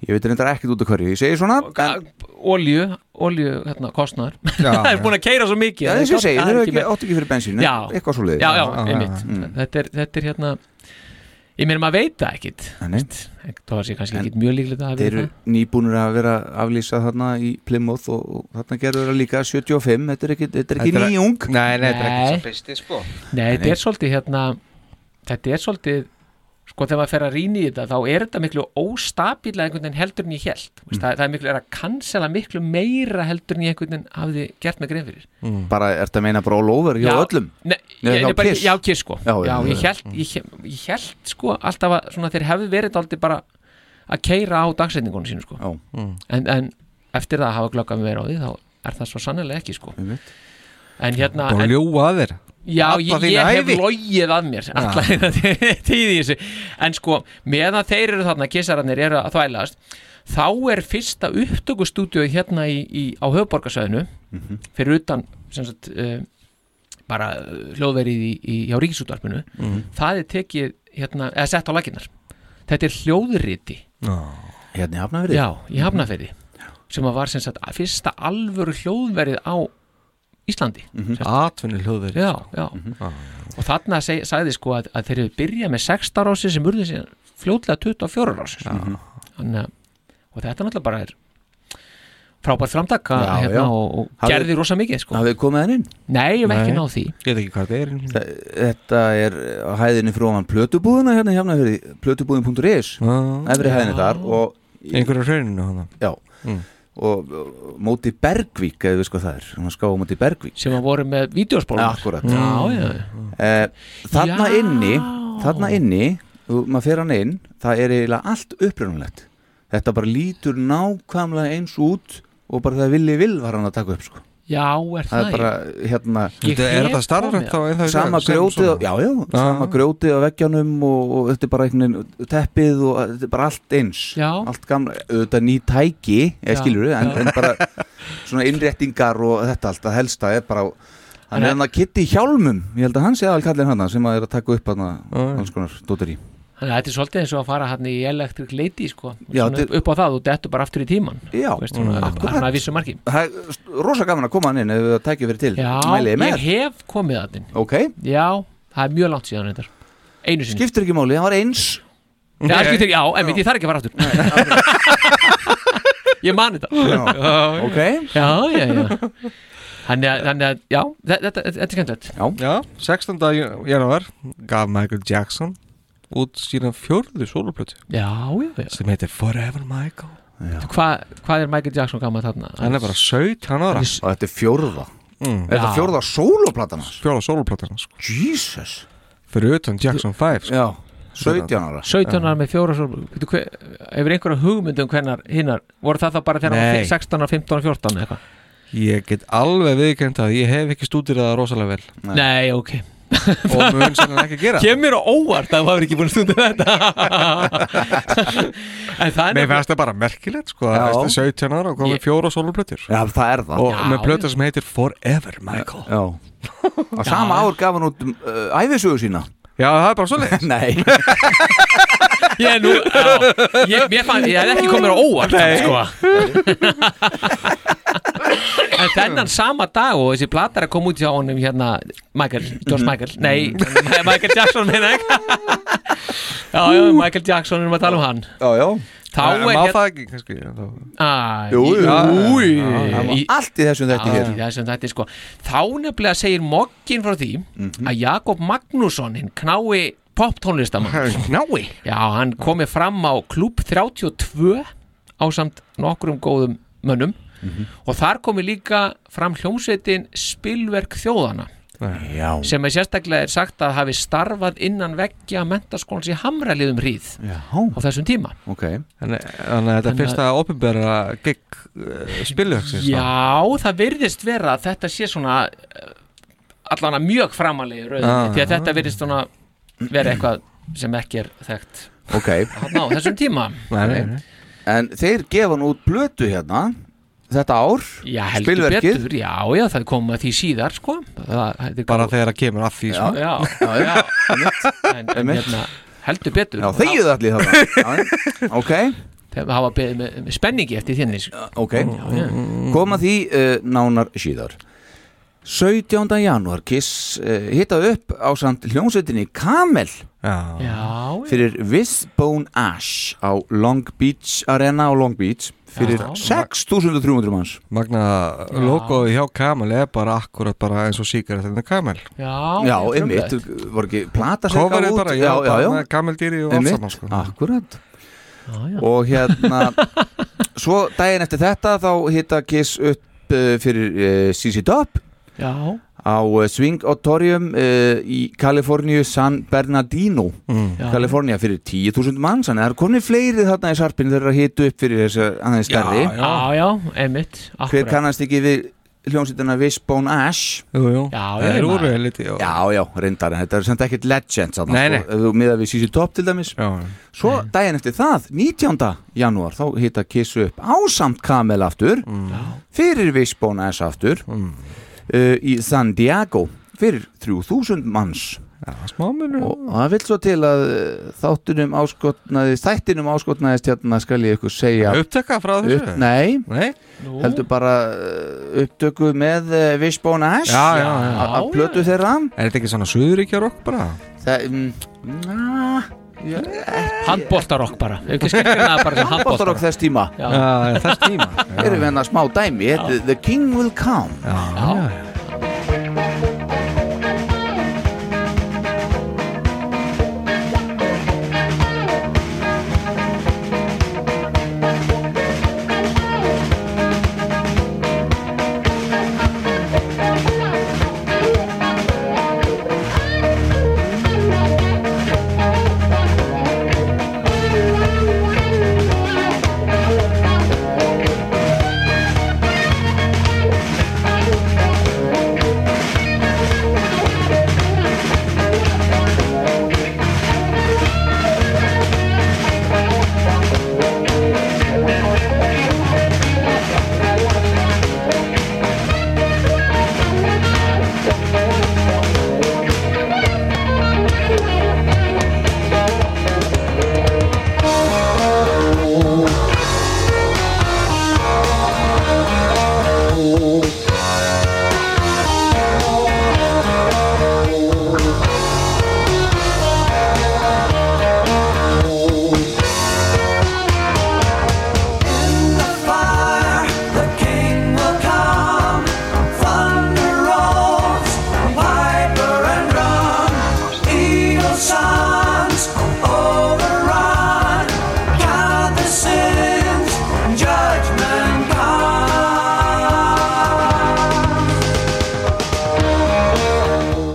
[SPEAKER 3] ég veit reyndar ekkert út af hverju, ég segi svona en,
[SPEAKER 4] olju, olju hérna, kostnar það er búin að keira svo mikið
[SPEAKER 3] Já,
[SPEAKER 4] að
[SPEAKER 3] þess að
[SPEAKER 4] það
[SPEAKER 3] segja, þeir
[SPEAKER 4] gátt- það
[SPEAKER 3] eru
[SPEAKER 4] er
[SPEAKER 3] ekki,
[SPEAKER 4] með-
[SPEAKER 3] áttu ekki fyrir bensínu
[SPEAKER 4] já,
[SPEAKER 3] eitthvað svo leiðis
[SPEAKER 4] já, já, einmitt þetta, er, þetta er hérna ég meina maður veit það ekkit það var sér kannski ekkit mjög líklegt að hafa
[SPEAKER 3] Þeir eru
[SPEAKER 4] verið
[SPEAKER 3] nýbúnir að vera aflýsa þarna í Plymouth og, og þarna gerur þeirra líka 75, þetta er ekki, þetta er ekki
[SPEAKER 5] Þetta er-
[SPEAKER 3] nýjung
[SPEAKER 5] Nei, nei, þetta er ekki
[SPEAKER 4] Nei.
[SPEAKER 5] svo fyrsti, sko.
[SPEAKER 4] Nei, þetta
[SPEAKER 3] Nei.
[SPEAKER 4] er svolítið hérna þetta er svolítið sko þegar maður fer að rýna í þetta þá er þetta miklu óstabíla einhvern veginn heldur en ég held mm. það, það er miklu er að cancela miklu meira heldur en ég einhvern veginn hafði gert með grein fyrir
[SPEAKER 3] bara ertu að meina bara all over hjá öllum
[SPEAKER 4] Nei,
[SPEAKER 3] Nei,
[SPEAKER 4] ég,
[SPEAKER 3] hjá
[SPEAKER 4] ég, bara,
[SPEAKER 3] Kiss.
[SPEAKER 4] já, kiss sko
[SPEAKER 3] Já,
[SPEAKER 4] já,
[SPEAKER 3] já,
[SPEAKER 4] ég,
[SPEAKER 3] já.
[SPEAKER 4] held, ég, hé- ég held sko alltaf að svona, þeir hefðu verið aldrei bara að keira á dagsetningunum sínu sko
[SPEAKER 5] Mm.
[SPEAKER 4] en, en eftir það að hafa glöggað með meira á því þá er það svo sannlega ekki sko
[SPEAKER 3] Einmitt.
[SPEAKER 4] en hérna
[SPEAKER 5] Bara
[SPEAKER 4] en,
[SPEAKER 5] ljúga að þér
[SPEAKER 4] Já,
[SPEAKER 5] Alla
[SPEAKER 4] ég,
[SPEAKER 5] þína
[SPEAKER 4] ég hef
[SPEAKER 5] ævi.
[SPEAKER 4] logið að mér alla
[SPEAKER 5] Já.
[SPEAKER 4] hérna tíð í þessu En sko, meðan þeir eru þarna, kissararnir eru að þvælaðast Þá er fyrsta upptökustúdíu hérna í, í, á höfuborgarsöðinu
[SPEAKER 5] Mhm.
[SPEAKER 4] Fyrir utan, sem sagt, uh, bara eh, hljóðverið í, í, hjá ríkisútvarpinu
[SPEAKER 2] Mhm.
[SPEAKER 4] Það er tekið, hérna, eða sett á laginnar Þetta er hljóðriti
[SPEAKER 3] Hérna í Hafnafyrði
[SPEAKER 4] Já,
[SPEAKER 5] Mhm.
[SPEAKER 4] í Hafnafyrði Sem að var sem sagt fyrsta alvöru hljóðverið á Íslandi
[SPEAKER 5] Mhm.
[SPEAKER 4] Sem sagt,
[SPEAKER 5] Atvinni hljóðverið
[SPEAKER 4] Já, já
[SPEAKER 3] Ah,
[SPEAKER 4] Og þarna seg, sagði sko að, að þeir eru byrjað með 16 rásir sem urðu síðan fljótlega 24 rásir sko. Þannig að og þetta náttúrulega bara er frábært framtak
[SPEAKER 3] Já,
[SPEAKER 4] að-
[SPEAKER 3] já.
[SPEAKER 4] hérna, og, og
[SPEAKER 3] Hafið-
[SPEAKER 4] gerði rosa mikið sko.
[SPEAKER 3] hafið þið komið hann inn?
[SPEAKER 4] Nei, ég hef ekki náð því
[SPEAKER 5] Ég veit ekki hvað þetta er
[SPEAKER 3] Þa, Þetta er á hæðinni frá hann plötubúðuna hérna hérna fyrir plötubúðin.is
[SPEAKER 5] Ah.
[SPEAKER 3] efri hæðinni þar og
[SPEAKER 5] Einhverju hrauninu hana
[SPEAKER 3] Já og, og móti Bergvík eða við sko það er, hann skáði móti Bergvík
[SPEAKER 4] sem að voru með vídeospólunar
[SPEAKER 3] Akkurat
[SPEAKER 4] Já, já.
[SPEAKER 3] Eh, Þarna
[SPEAKER 4] Já.
[SPEAKER 3] inni þarna inni, þú- maður fer hann inn það er eiginlega allt uppröðunlegt þetta bara lítur nákvæmlega eins út og bara það villi vil var hann að taka upp sko
[SPEAKER 4] Já, er það,
[SPEAKER 3] það er bara hérna
[SPEAKER 4] Ég Þetta- er hef þetta starfrænt komið þá að- ennþá í dag,
[SPEAKER 3] sama
[SPEAKER 4] sem
[SPEAKER 3] grjótið,
[SPEAKER 4] svona?
[SPEAKER 3] á- já, já, sama grjótið á veggjanum og, og þetta er bara einhvern veginn teppið og þetta er bara allt eins já. allt gamla, auðvitað ný tæki
[SPEAKER 4] Já,
[SPEAKER 3] eða skilur við, en,
[SPEAKER 4] já.
[SPEAKER 3] en bara svona innréttingar og þetta allt að helsta er bara,
[SPEAKER 4] Hann
[SPEAKER 3] hann er
[SPEAKER 4] er-
[SPEAKER 3] hann að kitti í hjálmum ég held að hann sé aðal kallin hann sem að er að taka upp hann alls konar dóttir í
[SPEAKER 4] Þannig að þetta er svolítið eins og að fara hann í Electric Lady sko.
[SPEAKER 3] Já, Mm,
[SPEAKER 4] Svona upp, upp á það, þú dettur bara aftur í tíman
[SPEAKER 3] Já,
[SPEAKER 4] svona, svona að vissu marki
[SPEAKER 3] Það er rosa gaman að koma hann inn ef það tækið fyrir til
[SPEAKER 4] Já,
[SPEAKER 3] Mæli ég
[SPEAKER 4] ég
[SPEAKER 3] með
[SPEAKER 4] hef komið að þinn
[SPEAKER 3] Ok
[SPEAKER 4] Já, það er mjög langt síðan reyndar Einu sinni
[SPEAKER 3] Skiptir ekki máli, það var eins
[SPEAKER 4] Já, það skiptir ekki, já, en ég þarf ekki að fara aftur Ég man þetta
[SPEAKER 3] Já, ok.
[SPEAKER 4] Já, já, já Þannig að, þannig að já, þe- þetta, þetta er skemmtilegt
[SPEAKER 3] Já,
[SPEAKER 5] Já 16. jan- janúar gaf Michael Jackson út sína fjörðu sóluplötu
[SPEAKER 4] Já, já, já
[SPEAKER 5] sem heitir Forever Michael
[SPEAKER 4] Hvað hva er Michael Jackson gammal þarna?
[SPEAKER 5] Hann er bara 17 ára
[SPEAKER 3] Og þetta er fjórða
[SPEAKER 5] mm.
[SPEAKER 3] Er þetta fjórða sóloplatan hans?
[SPEAKER 5] Fjórða sóluplötu hans sko.
[SPEAKER 3] Jesus
[SPEAKER 5] Fyrir utan Jackson 5 sko.
[SPEAKER 3] Já, 17 ára
[SPEAKER 4] 17 ára með fjóra sólbrú Hefur einhverja hugmyndum hvernar hinnar voru það þá bara þegar hann
[SPEAKER 5] Nei.
[SPEAKER 4] var 16, 15, 14 eða eitthvað?
[SPEAKER 5] Ég get alveg viðkend að ég hef ekki stúdir það rosalega vel
[SPEAKER 4] Nei, ok
[SPEAKER 5] Og mun sennilega ekki gera.
[SPEAKER 4] Kemur á óvart að þú hafur ekki búin að stunda þetta En það er
[SPEAKER 5] Mér finnst það bara merkilegt sko
[SPEAKER 3] Já.
[SPEAKER 5] að eftir 17 ára og komið
[SPEAKER 4] Ég-
[SPEAKER 5] fjóra sóluplötur
[SPEAKER 3] Já, það er það
[SPEAKER 5] Og
[SPEAKER 3] Já,
[SPEAKER 5] með plötu
[SPEAKER 3] já.
[SPEAKER 5] sem heitir Forever Michael
[SPEAKER 3] Já Á sama ár gaf hann út uh, æfisögu sína
[SPEAKER 5] Já, það er bara svoleiðis
[SPEAKER 3] Nei
[SPEAKER 4] Ég er nú, já, ég, mér fann, ég hef ekki komið á óvart
[SPEAKER 5] Nei.
[SPEAKER 4] sko. En þennan sama dag og þessi platar að koma út hjá honum hérna Michael, George Michael, nei Michael Jackson meina ég Já, já, Michael Jackson, erum að tala um hann
[SPEAKER 3] Já, já
[SPEAKER 4] Þá
[SPEAKER 5] Má
[SPEAKER 4] er
[SPEAKER 5] það
[SPEAKER 4] hérna
[SPEAKER 5] ekki, kannski já, þá-
[SPEAKER 4] Æ,
[SPEAKER 3] Jú,
[SPEAKER 4] í-
[SPEAKER 3] jú,
[SPEAKER 4] Új.
[SPEAKER 3] já, það var
[SPEAKER 4] Í-
[SPEAKER 3] allt í þessum þætti
[SPEAKER 4] Já,
[SPEAKER 3] hér.
[SPEAKER 4] í þessum þætti, sko. Þá nefnilega segir Mokkin frá því
[SPEAKER 3] Mhm.
[SPEAKER 4] að Jakob Magnússon hinn knái poptónlistamann
[SPEAKER 5] Knái?
[SPEAKER 4] Já, hann komi fram á klub 32 ásamt nokkrum góðum mönnum
[SPEAKER 3] Mhm.
[SPEAKER 4] og þar komi líka fram hljómsveitin Spilverk þjóðana
[SPEAKER 3] Já.
[SPEAKER 4] sem er sérstaklega er sagt að hafi starfað innan veggja mentaskólans í hamraliðum hríð
[SPEAKER 3] Já.
[SPEAKER 4] á þessum tíma
[SPEAKER 3] Ok
[SPEAKER 5] Þannig þannig að þetta er
[SPEAKER 4] Þannig að-
[SPEAKER 5] fyrsta opinbera gig uh, spiljöksins
[SPEAKER 4] Já, það virðist vera að þetta sé svona eh, allan að mjög framalegi rauðinni
[SPEAKER 5] Ah.
[SPEAKER 4] því að þetta virðist svona vera eitthvað sem ekki er þekkt
[SPEAKER 3] Ok
[SPEAKER 4] þarna á þessum tíma
[SPEAKER 3] En þeir gefa hann út blötu hérna Þetta ár
[SPEAKER 4] Já, heldur
[SPEAKER 3] Spilverkið.
[SPEAKER 4] betur, já, já, það kom að því síðar sko það, það,
[SPEAKER 5] Bara þegar það kemur að því sko.
[SPEAKER 4] Já, já, já, en, en
[SPEAKER 3] einmitt.
[SPEAKER 4] hérna heldur betur
[SPEAKER 3] Já, þegið allir þarna Ok,
[SPEAKER 4] Það hafa beðið með, með spenningi eftir þínni sko.
[SPEAKER 3] ok Koma því uh, nánar síðar 17. janúar Kiss uh, hitta upp á samt hljómsveitinni Kamel
[SPEAKER 5] Já.
[SPEAKER 4] Já,
[SPEAKER 3] fyrir Wishbone Ash á Long Beach Arena á Long Beach fyrir
[SPEAKER 4] Já.
[SPEAKER 3] 6300 manns
[SPEAKER 5] Magna logoði hjá Kamel er bara akkurat bara eins og síkar þetta er Kamel
[SPEAKER 4] já,
[SPEAKER 3] Já,
[SPEAKER 4] þetta er
[SPEAKER 3] einmitt,
[SPEAKER 4] frumlegt.
[SPEAKER 3] voru ekki plata sem gaf
[SPEAKER 5] Kofar er
[SPEAKER 3] út?
[SPEAKER 5] bara, já,
[SPEAKER 3] já, já, já,
[SPEAKER 5] bara Kamel dýri og allt
[SPEAKER 3] einmitt, Ah.
[SPEAKER 5] saman sko.
[SPEAKER 3] akkurat
[SPEAKER 4] Já, já.
[SPEAKER 3] og hérna svo daginn eftir þetta þá hitta Kiss upp uh, fyrir uh, CC Top
[SPEAKER 4] já,
[SPEAKER 3] á uh, Swing Auditorium uh, í Kaliforníu San Bernardino
[SPEAKER 5] mm.
[SPEAKER 4] já.
[SPEAKER 3] Kalifornía fyrir 10.000 manns þannig að það er konni fleiri þarna í sarpinu þegar að hitta upp fyrir þessu aðeins stærri
[SPEAKER 5] Já,
[SPEAKER 4] Já, já, einmitt
[SPEAKER 3] hver
[SPEAKER 4] akkurat.
[SPEAKER 3] kannast ekki við hljómsýttina Wishbone Ash
[SPEAKER 5] Jú, jú.
[SPEAKER 4] Já,
[SPEAKER 5] það
[SPEAKER 4] ég
[SPEAKER 5] er
[SPEAKER 4] maður.
[SPEAKER 5] úr heliti já.
[SPEAKER 3] já, já, reyndar, en þetta er samt ekkert legend samt,
[SPEAKER 5] Nei, nei.
[SPEAKER 3] Sko, miða við CC Top til dæmis
[SPEAKER 5] Já.
[SPEAKER 3] svo daginn eftir það, 19. janúar þá hitta Kiss upp ásamt Kamel aftur fyrir Wishbone Ash aftur
[SPEAKER 5] Mm,
[SPEAKER 3] uh, í San Diego fyrir 3000 manns
[SPEAKER 5] Já, smá munur
[SPEAKER 3] og það vil svo til að uh, þáttunum áskotnaðist þættinum áskotnaðist hérna skal ég ykkur segja
[SPEAKER 5] Upptaka frá þessu?
[SPEAKER 3] upp, nei,
[SPEAKER 5] Nei?
[SPEAKER 4] Nú.
[SPEAKER 3] heldur bara uh, upptöku með uh, Wishbone Ash
[SPEAKER 5] Já, já, já.
[SPEAKER 3] að að
[SPEAKER 4] já.
[SPEAKER 3] plötu þeirra
[SPEAKER 5] Er þetta ekki svona suðuríkja rokk bara?
[SPEAKER 3] það, um, na, ég,
[SPEAKER 4] handbóltarokk bara Ef ekki skilgjana það bara sem
[SPEAKER 3] handbóttarokk
[SPEAKER 4] handbóltarokk
[SPEAKER 3] þess tíma
[SPEAKER 4] Já.
[SPEAKER 5] Já, já, þess tíma
[SPEAKER 3] erum við hennar smá dæmi, þetta er The King Will Come
[SPEAKER 5] Já, já, já.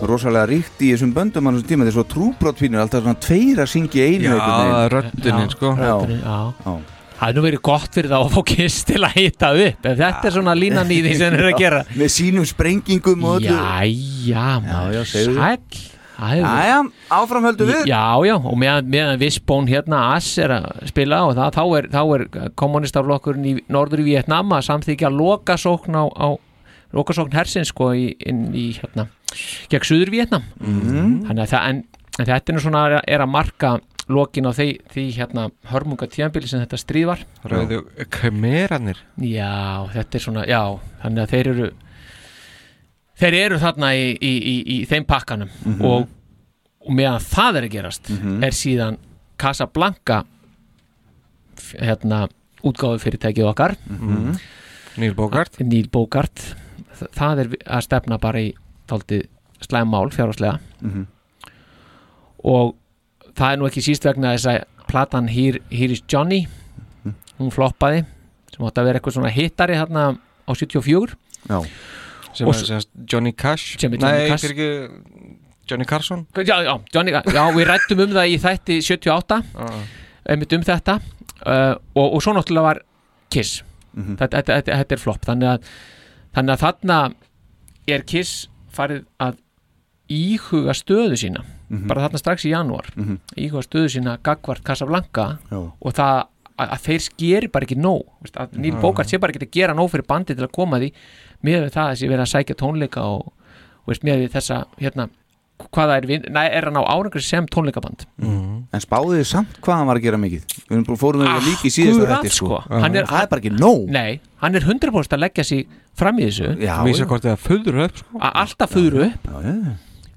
[SPEAKER 3] rosalega ríkt í þessum böndum á þessum tíma, þetta er svo trúbrotfínur alltaf svona tveir að syngja í einu
[SPEAKER 5] Já,
[SPEAKER 3] einhvern veginn.
[SPEAKER 5] röddunni, sko
[SPEAKER 4] röddin, já. Það er nú verið gott fyrir það að fá kiss til að hita upp ef þetta er svona línan í því sem þeir eru að gera
[SPEAKER 3] með sínum sprengingum og öllu
[SPEAKER 4] Jæja, maður,
[SPEAKER 3] Já, já, segðu.
[SPEAKER 4] sæll Það hefur-
[SPEAKER 3] Jæja, áfram höldum við
[SPEAKER 4] Já, já, og meðan með Vissbón hérna Ass er að spila og það, þá er, þá er kommunistaflokkurinn í norður í Vietnam að samþykja lokasókn á, á
[SPEAKER 3] Mhm.
[SPEAKER 4] lokasókn hersins sko í, inn í hérna gegn suður Vietnam mm. þannig að það en en þetta er nú svona er að marka lokin á því, því hérna hörmunga tíðanbili sem þetta stríð var
[SPEAKER 5] Rauðu kameranir
[SPEAKER 4] Já, þetta er svona, já þannig að þeir eru þeir eru þarna í, í, í, í þeim pakkanum
[SPEAKER 5] Mhm.
[SPEAKER 4] og, og meðan það er að gerast
[SPEAKER 5] Mhm.
[SPEAKER 4] er síðan Casablanca f- hérna útgáfu fyrirtækið okkar
[SPEAKER 5] Mhm. Neil Bogart
[SPEAKER 4] Neil Bogart Þa- það er vi- að stefna bara í tóltið slæm mál fjárháslega
[SPEAKER 3] Mhm.
[SPEAKER 4] og það er nú ekki síst vegna þess að platan Here, Here is Johnny hún floppaði sem átti að vera eitthvað svona hittari hérna á 74
[SPEAKER 3] Já.
[SPEAKER 5] Sem
[SPEAKER 4] Og
[SPEAKER 5] er
[SPEAKER 4] s-
[SPEAKER 5] sem sagt Johnny Cash
[SPEAKER 4] Sem er Johnny
[SPEAKER 5] Nei,
[SPEAKER 4] Cash.
[SPEAKER 5] fyrir Johnny Carson
[SPEAKER 4] já, já, Johnny, já, við rættum um það í þætti 78 einmitt um þetta uh, og, og svo náttúrulega var Kiss
[SPEAKER 2] Mhm.
[SPEAKER 4] þetta, þetta, þetta, þetta er flop þannig að, þannig að þarna er Kiss farið að íhuga stöðu sína
[SPEAKER 2] Mhm.
[SPEAKER 4] bara þarna strax í janúar
[SPEAKER 2] Mhm.
[SPEAKER 4] íhuga stöðu sína gagvart Casablanca
[SPEAKER 2] Já.
[SPEAKER 4] og það að, að þeir skeri bara ekki nóg veist, að Neil
[SPEAKER 2] Já.
[SPEAKER 4] Bogart sé bara ekki að gera nóg fyrir bandi til að koma því með við það að sé verið að sækja tónleika og, og veist, með við þessa hérna, hvaða er, vin, nei, er hann á árangur sem tónleikaband
[SPEAKER 3] En spáðu þið samt hvað hann var að gera mikið Við erum búin fórum við líka í síðasta
[SPEAKER 4] Akkurat,
[SPEAKER 3] þætti,
[SPEAKER 4] sko. Hann
[SPEAKER 3] Það
[SPEAKER 4] er-
[SPEAKER 3] er bara ekki nóg
[SPEAKER 4] Nei, hann er 100% að leggja sig fram í þessu
[SPEAKER 5] Ah.
[SPEAKER 3] Já, Vísa já.
[SPEAKER 5] hvort það föður upp sko.
[SPEAKER 4] Alltaf föður upp
[SPEAKER 3] já, já.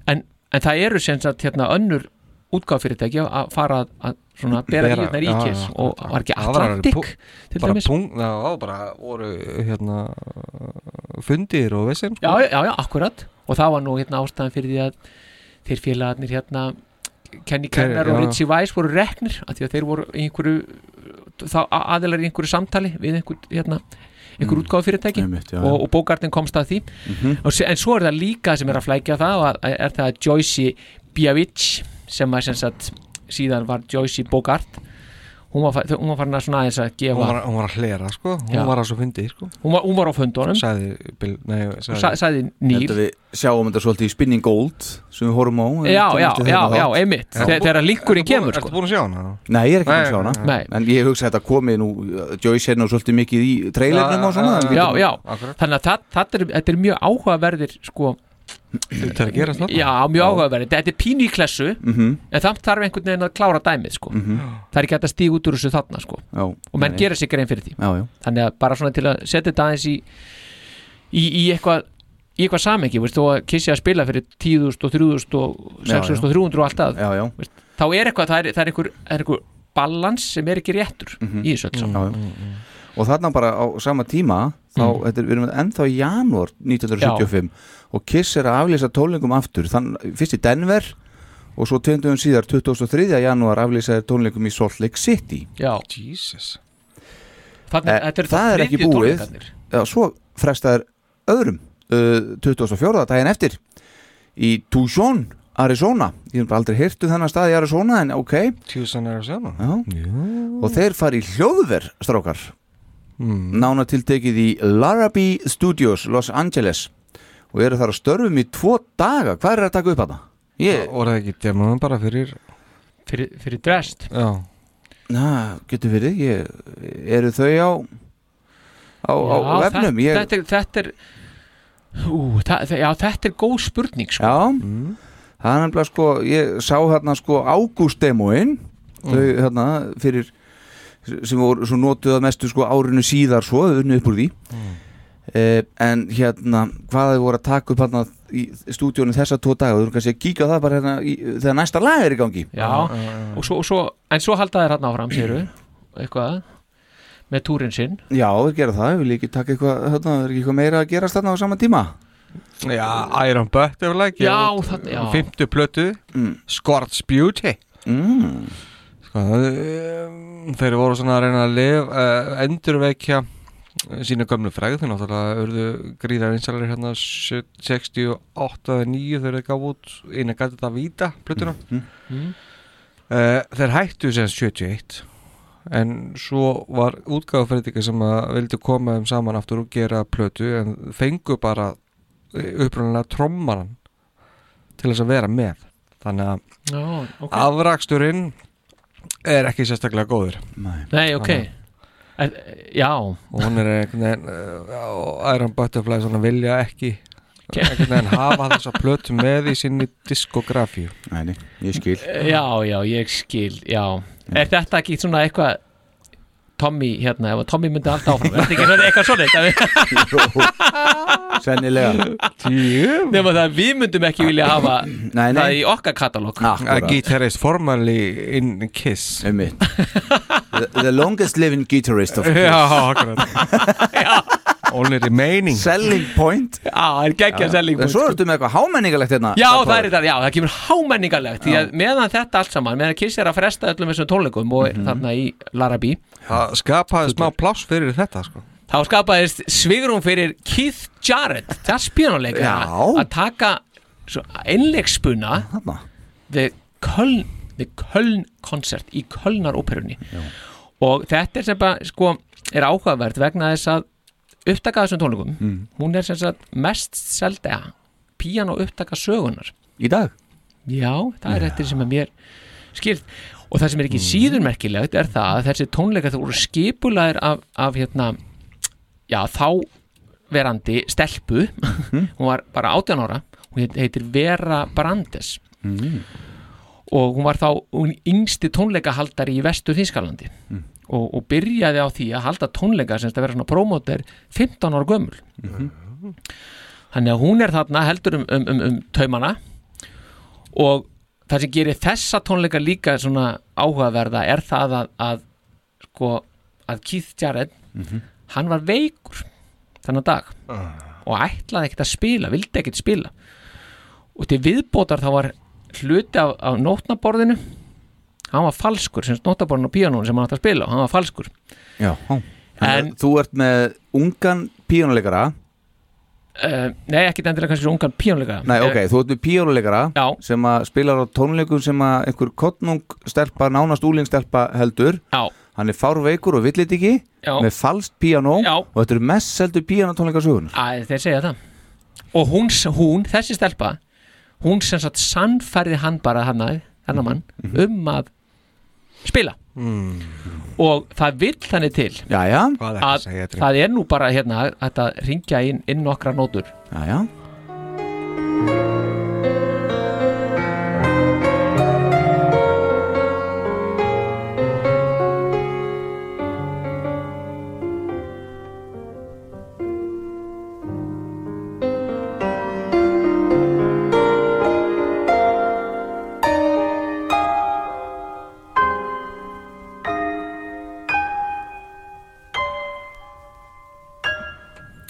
[SPEAKER 4] En, en það eru sem sagt hérna önnur útgáffyrirtæki að fara að, að svona bera í hérna ríkis og var ekki Atlantik til
[SPEAKER 5] bara
[SPEAKER 4] dæmis
[SPEAKER 5] pung, já, það var bara voru hérna fundir og vissir sko.
[SPEAKER 4] já, já, já, já, akkurat og það var nú hérna ástæðan fyrir því að þeir félagarnir hérna Kenny
[SPEAKER 5] Þeir-
[SPEAKER 4] Kenner og
[SPEAKER 5] já.
[SPEAKER 4] Richie Weiss voru reknir af því að þeir voru í einhverju þá a- aðilar í einhverju samtali við einhver, hérna, einhver mm. útgáfufyrirtæki
[SPEAKER 3] Einmitt, já, já.
[SPEAKER 4] og, og bókartin komst að því
[SPEAKER 3] Mhm.
[SPEAKER 4] og, se- en svo er það líka sem er að flækja það og að, að- er það að Joyce Biavich sem að sem sagt, síðan var Joyce Bogart hún var, fa- hún var farin að svona aðeins að gefa
[SPEAKER 5] hún var, hún var að hlera sko, hún
[SPEAKER 4] Já.
[SPEAKER 5] var að svo fundi sko.
[SPEAKER 4] hún var, hún var á fundunum
[SPEAKER 5] sagði, Bill, nei, sagði,
[SPEAKER 4] Sa- sagði Neil.
[SPEAKER 3] Þetta við sjáum þetta svolítið í Spinning Gold sem við horfum á
[SPEAKER 4] Já, já,
[SPEAKER 3] Eftir
[SPEAKER 4] já,
[SPEAKER 3] þennan
[SPEAKER 4] já,
[SPEAKER 3] þátt.
[SPEAKER 4] einmitt Þe- Þegar linkurinn kemur sko.
[SPEAKER 5] búin að sjá hana?
[SPEAKER 3] Nei, ég er ekki búin að sjá
[SPEAKER 4] Nei,
[SPEAKER 3] hana En ég hugsa að þetta komið nú Joyce er nú svolítið mikið í trailernum og svona en við
[SPEAKER 4] Já,
[SPEAKER 3] getum-
[SPEAKER 4] já, þannig að það, það er, þetta er mjög áhugaverðir sko
[SPEAKER 5] Þetta er að gerast þarna.
[SPEAKER 4] Já, mjög áhugaverðir, þetta er pínu í klessu
[SPEAKER 3] Mhm.
[SPEAKER 4] en það þarf einhvern veginn að klára dæmið sko
[SPEAKER 3] Mhm.
[SPEAKER 4] Það er ekki hægt að stíga út úr þessu þarna sko
[SPEAKER 3] Já.
[SPEAKER 4] og menn
[SPEAKER 3] Nei.
[SPEAKER 4] gera sig grein fyrir því
[SPEAKER 3] Já, já.
[SPEAKER 4] Þannig að bara svona til að setja þetta aðeins í í, í eitthvað í eitthvað samengi, veist, og að kissi að spila fyrir 10.000 og 3.000 og 6.000 og 300 og allt að
[SPEAKER 3] já, já.
[SPEAKER 4] Veist, þá er eitthvað, það er, það er einhver, það er einhver balans sem er ekki réttur
[SPEAKER 3] Mhm.
[SPEAKER 4] í þessu öll saman
[SPEAKER 3] Já, já. og þarna bara á sama tíma þá,
[SPEAKER 4] Mm.
[SPEAKER 3] þetta er, við erum ennþá í janúar 1975 og Kiss er að aflýsa tónleikum aftur, Þann, fyrst í Denver og svo 20. síðar 23. janúar aflýsa þeir tónleikum í Salt Lake City
[SPEAKER 4] Já
[SPEAKER 5] Jesus
[SPEAKER 4] Þannig,
[SPEAKER 3] Mhm. Eh,
[SPEAKER 4] þetta eru
[SPEAKER 3] það
[SPEAKER 4] þá
[SPEAKER 3] er ekki
[SPEAKER 4] þriðju
[SPEAKER 3] búið
[SPEAKER 4] tónleikarnir.
[SPEAKER 3] Já, svo frestaður öðrum uh, 24. daginn eftir í Tucson, Arizona ég hef bara aldrei hirtu þennan stað í Arizona en ok
[SPEAKER 5] Tucson, Arizona
[SPEAKER 3] Já. og þeir fari í hljóðver strákar
[SPEAKER 5] Hmm.
[SPEAKER 4] Mm.
[SPEAKER 3] nána tiltekið í Larrabee Studios Los Angeles og eru þar að störfum í tvo daga hvað er að taka upp að það? Ég...
[SPEAKER 5] og það ekki demóðum bara fyrir
[SPEAKER 4] fyrir, fyrir drest
[SPEAKER 5] já
[SPEAKER 3] Na, getur verið, ég, eru þau á á, á
[SPEAKER 4] Já,
[SPEAKER 3] vefnum
[SPEAKER 4] þetta,
[SPEAKER 3] ég,
[SPEAKER 4] þetta, er- þetta er ú, það, það- já, þetta er góð spurning sko.
[SPEAKER 3] Já, það er nefnilega sko, ég sá hérna sko ágústdemóin
[SPEAKER 4] Mm.
[SPEAKER 3] þau hérna fyrir sem voru svo notuð að mestu sko árinu síðar svo, unni upp úr því
[SPEAKER 4] Mm.
[SPEAKER 3] Eh, en hérna, hvað þau voru að taka upp hérna í stúdíónu þessa tvo daga, þú erum kannski að kíka á það bara hérna í, þegar næsta lag er í gangi
[SPEAKER 4] já, og svo, og svo, en svo halda þér hann áfram séru, eitthvað með túrin sinn
[SPEAKER 3] Já, við gera það, við líka taka eitthvað hérna, er ekki eitthvað meira að gerast þarna á sama tíma
[SPEAKER 5] Já, Iron Butterfly
[SPEAKER 3] Já,
[SPEAKER 5] gefur út,
[SPEAKER 3] þarna-
[SPEAKER 5] uh,
[SPEAKER 3] já.
[SPEAKER 5] Fimmtu plötu
[SPEAKER 3] mm.
[SPEAKER 5] Scorch Beauty
[SPEAKER 3] mm.
[SPEAKER 5] sko, um, Þeir voru svona að reyna að lif uh, Endurvekja uh, sína gömlu fræð Þeir náttúrulega urðu gríðar einsalir hérna 68-9 þegar þeir gaf út Eina gæti þetta víta plötuna
[SPEAKER 3] Mhm.
[SPEAKER 4] Mhm.
[SPEAKER 5] uh, Þeir hættu sem 71 En svo var útgáðafræðika sem að vildi koma þeim saman aftur og gera plötu en fengu bara upprunalega trommaran til þess að vera með þannig að
[SPEAKER 4] Já, ok.
[SPEAKER 5] afraksturinn er ekki sérstaklega góður
[SPEAKER 3] Nei,
[SPEAKER 4] Nei, ok. en, já
[SPEAKER 5] eh, og hún er einhvern veginn uh, Iron Butterfly svona vilja ekki einhvern veginn hafa þessa plötu með í sinni diskografíu
[SPEAKER 3] Nei, ég skil
[SPEAKER 4] Já, já, ég skil, já Er þetta ekki svona eitthvað Tommy, hérna, ef að Tommy myndi alltaf áfram Er þetta ekki svona eitthvað svona eitthvað
[SPEAKER 3] Sennilega
[SPEAKER 4] Nefnum það að við myndum ekki vilja hafa
[SPEAKER 5] Nei, nei.
[SPEAKER 4] það í okkar katalóg
[SPEAKER 5] A guitarist formerly in Kiss
[SPEAKER 3] Einmitt the, the longest living guitarist of Kiss
[SPEAKER 5] Já, akkurat Only remaining
[SPEAKER 3] Selling point
[SPEAKER 4] Já, það er geggjað selling
[SPEAKER 3] En
[SPEAKER 4] point,
[SPEAKER 3] svo
[SPEAKER 4] sko.
[SPEAKER 3] ertu með eitthvað hámenningalegt hérna
[SPEAKER 4] Já,
[SPEAKER 3] Þarna
[SPEAKER 4] það
[SPEAKER 3] frá
[SPEAKER 4] er þetta, já, það kemur hámenningarlegt Því að meðan þetta allt saman, meðan Kiss er að fresta öllum þessum tónleikum og þarna í Larabí
[SPEAKER 5] Það skapaði smá pláss fyrir þetta sko.
[SPEAKER 4] þá skapaðist svigrum fyrir Keith Jarrett, þess píanuleika
[SPEAKER 5] Já.
[SPEAKER 4] að taka einlegspuna við Köln, við Köln koncert í Kölnar óperunni og þetta er sem bara sko er áhugavert vegna þess að upptaka af þessum tónleikum,
[SPEAKER 3] Mm.
[SPEAKER 4] hún er sem sagt mest selda píano upptaka sögunar
[SPEAKER 3] Í dag?
[SPEAKER 4] Já, það er þetta sem er mér skýrt og það sem er ekki
[SPEAKER 2] Mm.
[SPEAKER 4] síður merkilegt er það að þessi tónleikar það voru skipulaðir af, af hérna já, þá verandi stelpu
[SPEAKER 2] Mhm.
[SPEAKER 4] hún var bara 18 ára hún heit- heitir Vera Brandes
[SPEAKER 2] Mm.
[SPEAKER 4] og hún var þá hún yngsti tónleikahaldari í vestur Þískalandi
[SPEAKER 2] Mm.
[SPEAKER 4] og, og byrjaði á því að halda tónleika sem þetta vera svona promóter 15 ára gömul
[SPEAKER 2] Mhm.
[SPEAKER 4] þannig að hún er þarna heldur um, um, um, um taumana og það sem gerir þessa tónleika líka svona áhugaverða er það að, að sko að Keith Jarrett
[SPEAKER 2] Mhm.
[SPEAKER 4] hann var veikur þennan dag
[SPEAKER 2] Ah.
[SPEAKER 4] og ætlaði ekkert að spila, vildi ekkert spila og til viðbótar þá var hluti af, af nótnaborðinu hann var falskur, sem sagt nótnaborðinu og píanónu sem hann ætti að spila og hann var falskur
[SPEAKER 3] Já en, Þú ert með ungan píónuleikara
[SPEAKER 4] uh, nei, ekki endilega kannski svo ungan píanóleika
[SPEAKER 3] Nei, ok, þú ert með píónuleikara
[SPEAKER 4] Já
[SPEAKER 3] Sem að spilar á tónleikum sem að einhver kottnung stelpa, nánast úlingstelpa heldur
[SPEAKER 4] Já
[SPEAKER 3] Hann er fárveikur og villit ekki
[SPEAKER 4] Já.
[SPEAKER 3] Með falskt píanó
[SPEAKER 4] Já.
[SPEAKER 3] Og þetta eru mest seldu píanotónleikasögunar
[SPEAKER 4] Æ, þeir segja það og hún, hún, þessi stelpa hún sem sagt sannfærði hann bara hann að, hennar mann um að spila
[SPEAKER 5] mm.
[SPEAKER 4] og það vill þannig til
[SPEAKER 3] já, já.
[SPEAKER 5] Hvað er að
[SPEAKER 4] að
[SPEAKER 5] segja, Tryggvi?
[SPEAKER 4] það er nú bara hérna hægt að ringja inn, inn nokkra nótur
[SPEAKER 3] já, já.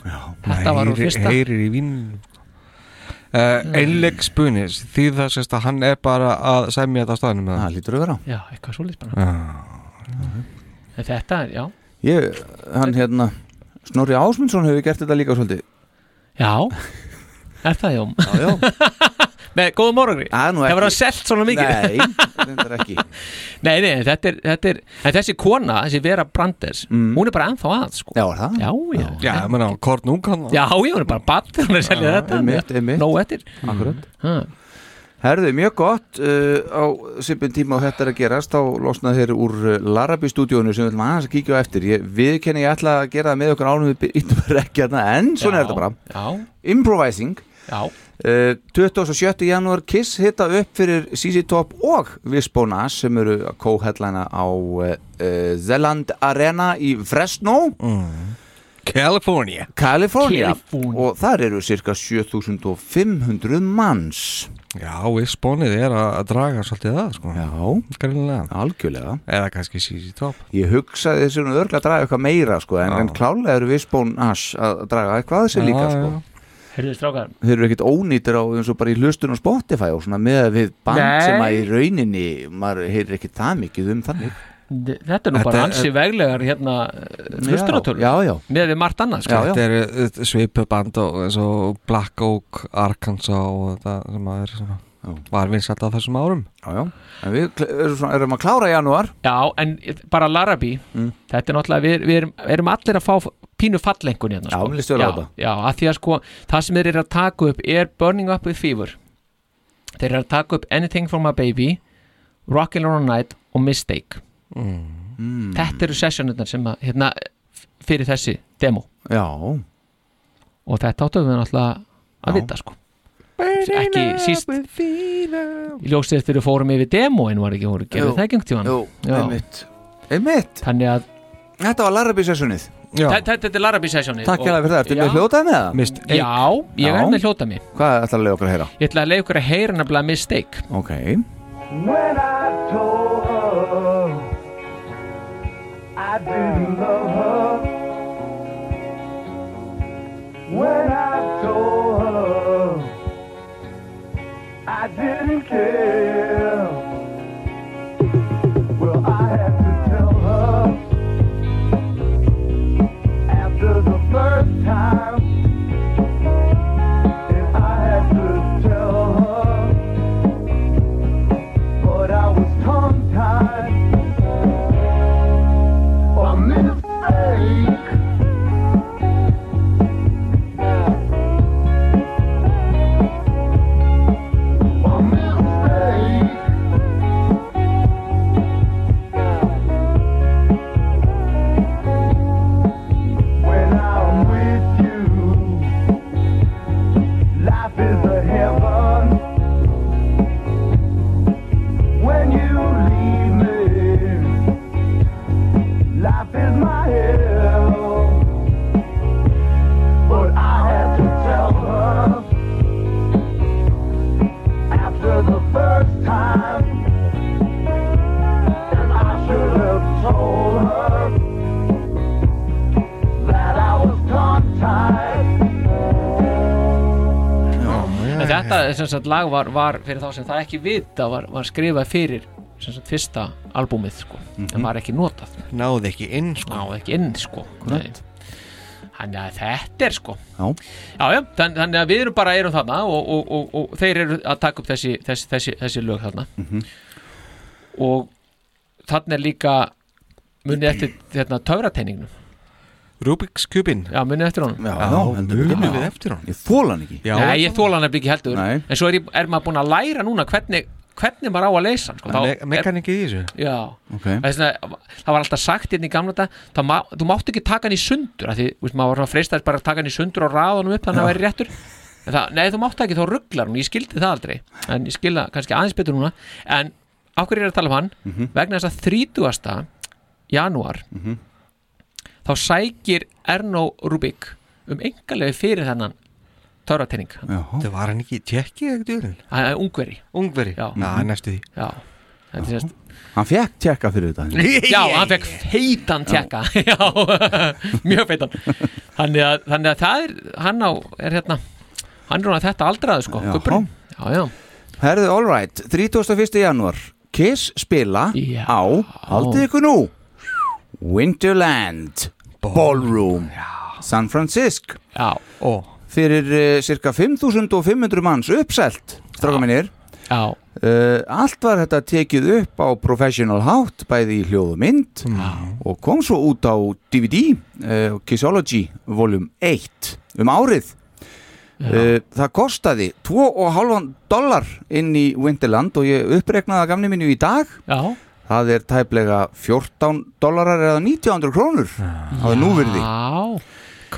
[SPEAKER 4] Þetta var úr
[SPEAKER 5] Heyri-
[SPEAKER 4] fyrsta. Mm.
[SPEAKER 5] Heyrir í vinn Uh, einleg spunis því það sést að hann er bara að semja þetta á staðnum
[SPEAKER 3] Það lítur að vera
[SPEAKER 4] já, eitthvað svolítið bara
[SPEAKER 5] Já.
[SPEAKER 4] En þetta, er- já,
[SPEAKER 3] Ég, hann hérna Snorri Ásmundsson hefur gert þetta líka svolítið
[SPEAKER 4] já er það jóm
[SPEAKER 3] Já, já
[SPEAKER 4] með góðum morgri,
[SPEAKER 3] nú
[SPEAKER 4] það
[SPEAKER 3] ekki.
[SPEAKER 4] var að selt svona mikið
[SPEAKER 3] Nei, þetta er ekki
[SPEAKER 4] nei, nei, þetta er, þetta er en þessi kona, þessi Vera Brandes hún er bara ennþá að, sko
[SPEAKER 3] Já, er það?
[SPEAKER 4] Já, já,
[SPEAKER 5] já, ég meina, Korn Ungan
[SPEAKER 4] Já, ég var bara batt hún er að selja þetta
[SPEAKER 3] einmitt, einmitt.
[SPEAKER 4] Nó eftir
[SPEAKER 3] Akkurat
[SPEAKER 4] Ha.
[SPEAKER 3] Herðu, mjög gott uh, á sipin tíma og þetta er að gerast þá losnað þeir úr uh, Larabi stúdíónu sem við ætlum aðeins að kíkja á eftir ég, Við kenni ég ætla að gera það með okkur ánum við ítum bara ekki hérna en svona er þetta bara
[SPEAKER 4] Já,
[SPEAKER 3] Improvising
[SPEAKER 4] já
[SPEAKER 3] uh, 27. janúar Kiss hitta upp fyrir CC Top og Visbonas sem eru að co-headlina á uh, uh, Zeland Arena í Fresno
[SPEAKER 5] California
[SPEAKER 3] California
[SPEAKER 5] California.
[SPEAKER 3] og þar eru cirka 7500 manns
[SPEAKER 5] Já, Isbónið er að að draga svolítið það sko.
[SPEAKER 3] Já,
[SPEAKER 5] Greinlega.
[SPEAKER 3] algjörlega
[SPEAKER 5] Eða kannski CC Top
[SPEAKER 3] Ég hugsaði þessi hún örgla að draga eitthvað meira sko, en,
[SPEAKER 5] Já.
[SPEAKER 3] en klálega eru Visbón Ash að draga eitthvað þessi
[SPEAKER 5] Já,
[SPEAKER 3] líka sko.
[SPEAKER 5] já.
[SPEAKER 4] Herðu strákar
[SPEAKER 3] Þeir eru ekkert ónýtir á eins og bara í hlustun á Spotify og svona með við band
[SPEAKER 4] Nei.
[SPEAKER 3] sem að í rauninni maður heyrir ekki það mikið um þannig
[SPEAKER 4] Þetta er nú
[SPEAKER 3] Þetta
[SPEAKER 4] bara
[SPEAKER 3] er-
[SPEAKER 4] ansi veglegar hérna hlustunartölur
[SPEAKER 3] Já, já, já.
[SPEAKER 4] Með við margt annað sko.
[SPEAKER 5] Þetta er uh, svipu band og eins og Black Oak, Arkansas og þetta sem að er svona, var vinsælt á þessum árum
[SPEAKER 3] Já, já, en við kl- erum, svona, erum að klára í janúar
[SPEAKER 4] Já, en bara Larabí
[SPEAKER 3] Mm.
[SPEAKER 4] Þetta er náttúrulega, við, við erum, erum allir að fá pínu fallengun hérna sko.
[SPEAKER 3] Já, mér líst vel á
[SPEAKER 4] já,
[SPEAKER 3] þetta.
[SPEAKER 4] Já, að því að sko, það sem þeir eru að taka upp er Burning Up With Fever Þeir eru að taka upp Anything For My Baby Rockin' On A Night og Mistake
[SPEAKER 3] Mm.
[SPEAKER 4] Þetta eru sessionirnar sem að, hérna, f- fyrir þessi demo
[SPEAKER 3] Já
[SPEAKER 4] Og þetta áttum við náttúrulega að vita sko ekki síst í ljósið eftir við fórum yfir demóin var ekki voru
[SPEAKER 3] Jú,
[SPEAKER 4] gerðið það gengt í hann
[SPEAKER 3] jú, einmitt. einmitt
[SPEAKER 4] þannig að
[SPEAKER 3] þetta var Larrabí sessunnið
[SPEAKER 4] Þa- þa- þetta er Larrabí sessjónið
[SPEAKER 3] Takk hérlega fyrir það, ertu
[SPEAKER 4] Já.
[SPEAKER 3] með hljótaði með það?
[SPEAKER 5] Mist
[SPEAKER 4] Já, ég er með hljóta mig
[SPEAKER 3] Hvað ætlar að leiða okkur að heyra?
[SPEAKER 4] Ég ætla að leiða ykkur að heyra nefnilega mistake
[SPEAKER 3] Ok
[SPEAKER 2] When I told her I didn't love her. When I told her I didn't care. Well, I had to tell her after the first time. And I had to tell her but I was tongue tied. A mistake. A mistake. When I'm with you, life is a heaven. When you leave me, life is my hell. But I had to tell her after the first time, and I should have told her that I was tongue-tied.
[SPEAKER 3] Mm.
[SPEAKER 4] En þetta sem sagt, lag var, var fyrir þá sem það ekki vita var, var skrifað fyrir sem sagt, fyrsta albúmið sko.
[SPEAKER 3] Mhm.
[SPEAKER 4] en var ekki notað
[SPEAKER 5] Náði ekki inn sko
[SPEAKER 4] Náði ekki inn sko Nei.
[SPEAKER 5] Akkúrat.
[SPEAKER 4] Þannig að þetta er sko
[SPEAKER 3] Já.
[SPEAKER 4] Já, já, þann- þannig að við erum bara erum þarna og, og, og, og þeir eru að taka upp þessi, þessi, þessi, þessi lög þarna
[SPEAKER 3] Mhm.
[SPEAKER 4] og þarna er líka munið eftir þarna töfrateiningnum
[SPEAKER 5] Rubik's Cubin
[SPEAKER 4] Já, munið eftir honum
[SPEAKER 3] Já, heldur betur.
[SPEAKER 5] munum við eftir hann
[SPEAKER 3] Ég þóla hann ekki
[SPEAKER 4] Nei, ég þóla hann nefnilega ekki heldur
[SPEAKER 3] Nei.
[SPEAKER 4] En svo er, ég, er maður búin að læra núna hvernig, hvernig maður á að leysa hann, sko. Þá
[SPEAKER 5] Me
[SPEAKER 4] er-
[SPEAKER 5] Mekanikið í þessu
[SPEAKER 4] Já,
[SPEAKER 3] Ok.
[SPEAKER 4] Þess vegna, það var alltaf sagt hérna í gamla þetta má, þú mátt ekki taka hann í sundur af því, þú veist, maður var svona freistast bara að taka hann í sundur og raða hann upp þannig að það væri réttur En það, nei, þú mátt ekki, þá rugglar hún, ég skildi það aldrei en ég skilda kannski aðeins betur núna en af hverju er ég að tala um hann
[SPEAKER 3] Mhm.
[SPEAKER 4] vegna þess að 30. janúar þá sækir Erno Rubik um engalegi fyrir þennan törratenning,
[SPEAKER 5] Það var hann ekki í tjekki eða djúrin
[SPEAKER 4] hann er ungveri
[SPEAKER 5] Ungveri
[SPEAKER 4] Já. Mhm.
[SPEAKER 5] Já, næstu því
[SPEAKER 4] já, þetta er sérst
[SPEAKER 3] Hann fekk tjekka fyrir þetta
[SPEAKER 4] Já, hann fekk feitan tjekka Já, mjög feitan Þannig að, þannig að það er hann á, er hérna hann er hún að þetta aldraðu sko,
[SPEAKER 3] Já.
[SPEAKER 4] gubburinn Já, já,
[SPEAKER 3] Herðu, all right, 31. janúar Kiss spila
[SPEAKER 4] Já.
[SPEAKER 3] á Haldið ykkur nú Winterland Ballroom San Francisco
[SPEAKER 4] já,
[SPEAKER 5] Ó,
[SPEAKER 3] Fyrir uh, cirka 5500 manns uppselt Stráka minnir
[SPEAKER 4] já,
[SPEAKER 3] Uh, allt var þetta tekið upp á professional hát, bæði í hljóð og mynd og kom svo út á DVD, uh, Kissology volum 1 um árið uh, það kostaði 2,5 dollar inn í Winterland og ég uppregnaði að gamni mínu í dag
[SPEAKER 4] já
[SPEAKER 3] það er tæplega 14 dollarar eða 1900 krónur það er núverði
[SPEAKER 4] Já,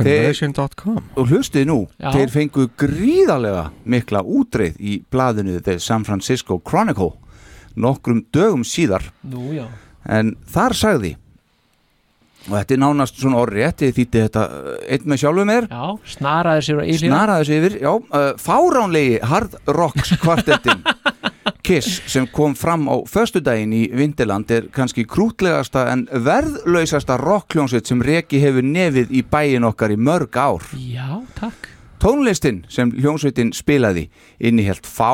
[SPEAKER 5] conversion.com
[SPEAKER 3] og hlustið nú,
[SPEAKER 4] Já.
[SPEAKER 3] þeir fengu gríðarlega mikla útreið í blaðinu The San Francisco Chronicle nokkrum dögum síðar
[SPEAKER 4] nú já
[SPEAKER 3] en þar sagði og þetta er nánast svona orri þetta þýtti þetta uh, einn með sjálfum er
[SPEAKER 4] Já, snaraði sér að ílíða
[SPEAKER 3] snaraði sig yfir, já, uh, fáránlegi hard rocks kvartettin Kiss sem kom fram á föstudaginn í Vindeland er kannski krútlegasta en verðlausasta rockljónsveit sem reki hefur nefið í bæin okkar í mörg ár
[SPEAKER 4] Já, takk
[SPEAKER 3] Tónlistin sem hljómsveitin spilaði innihelt fá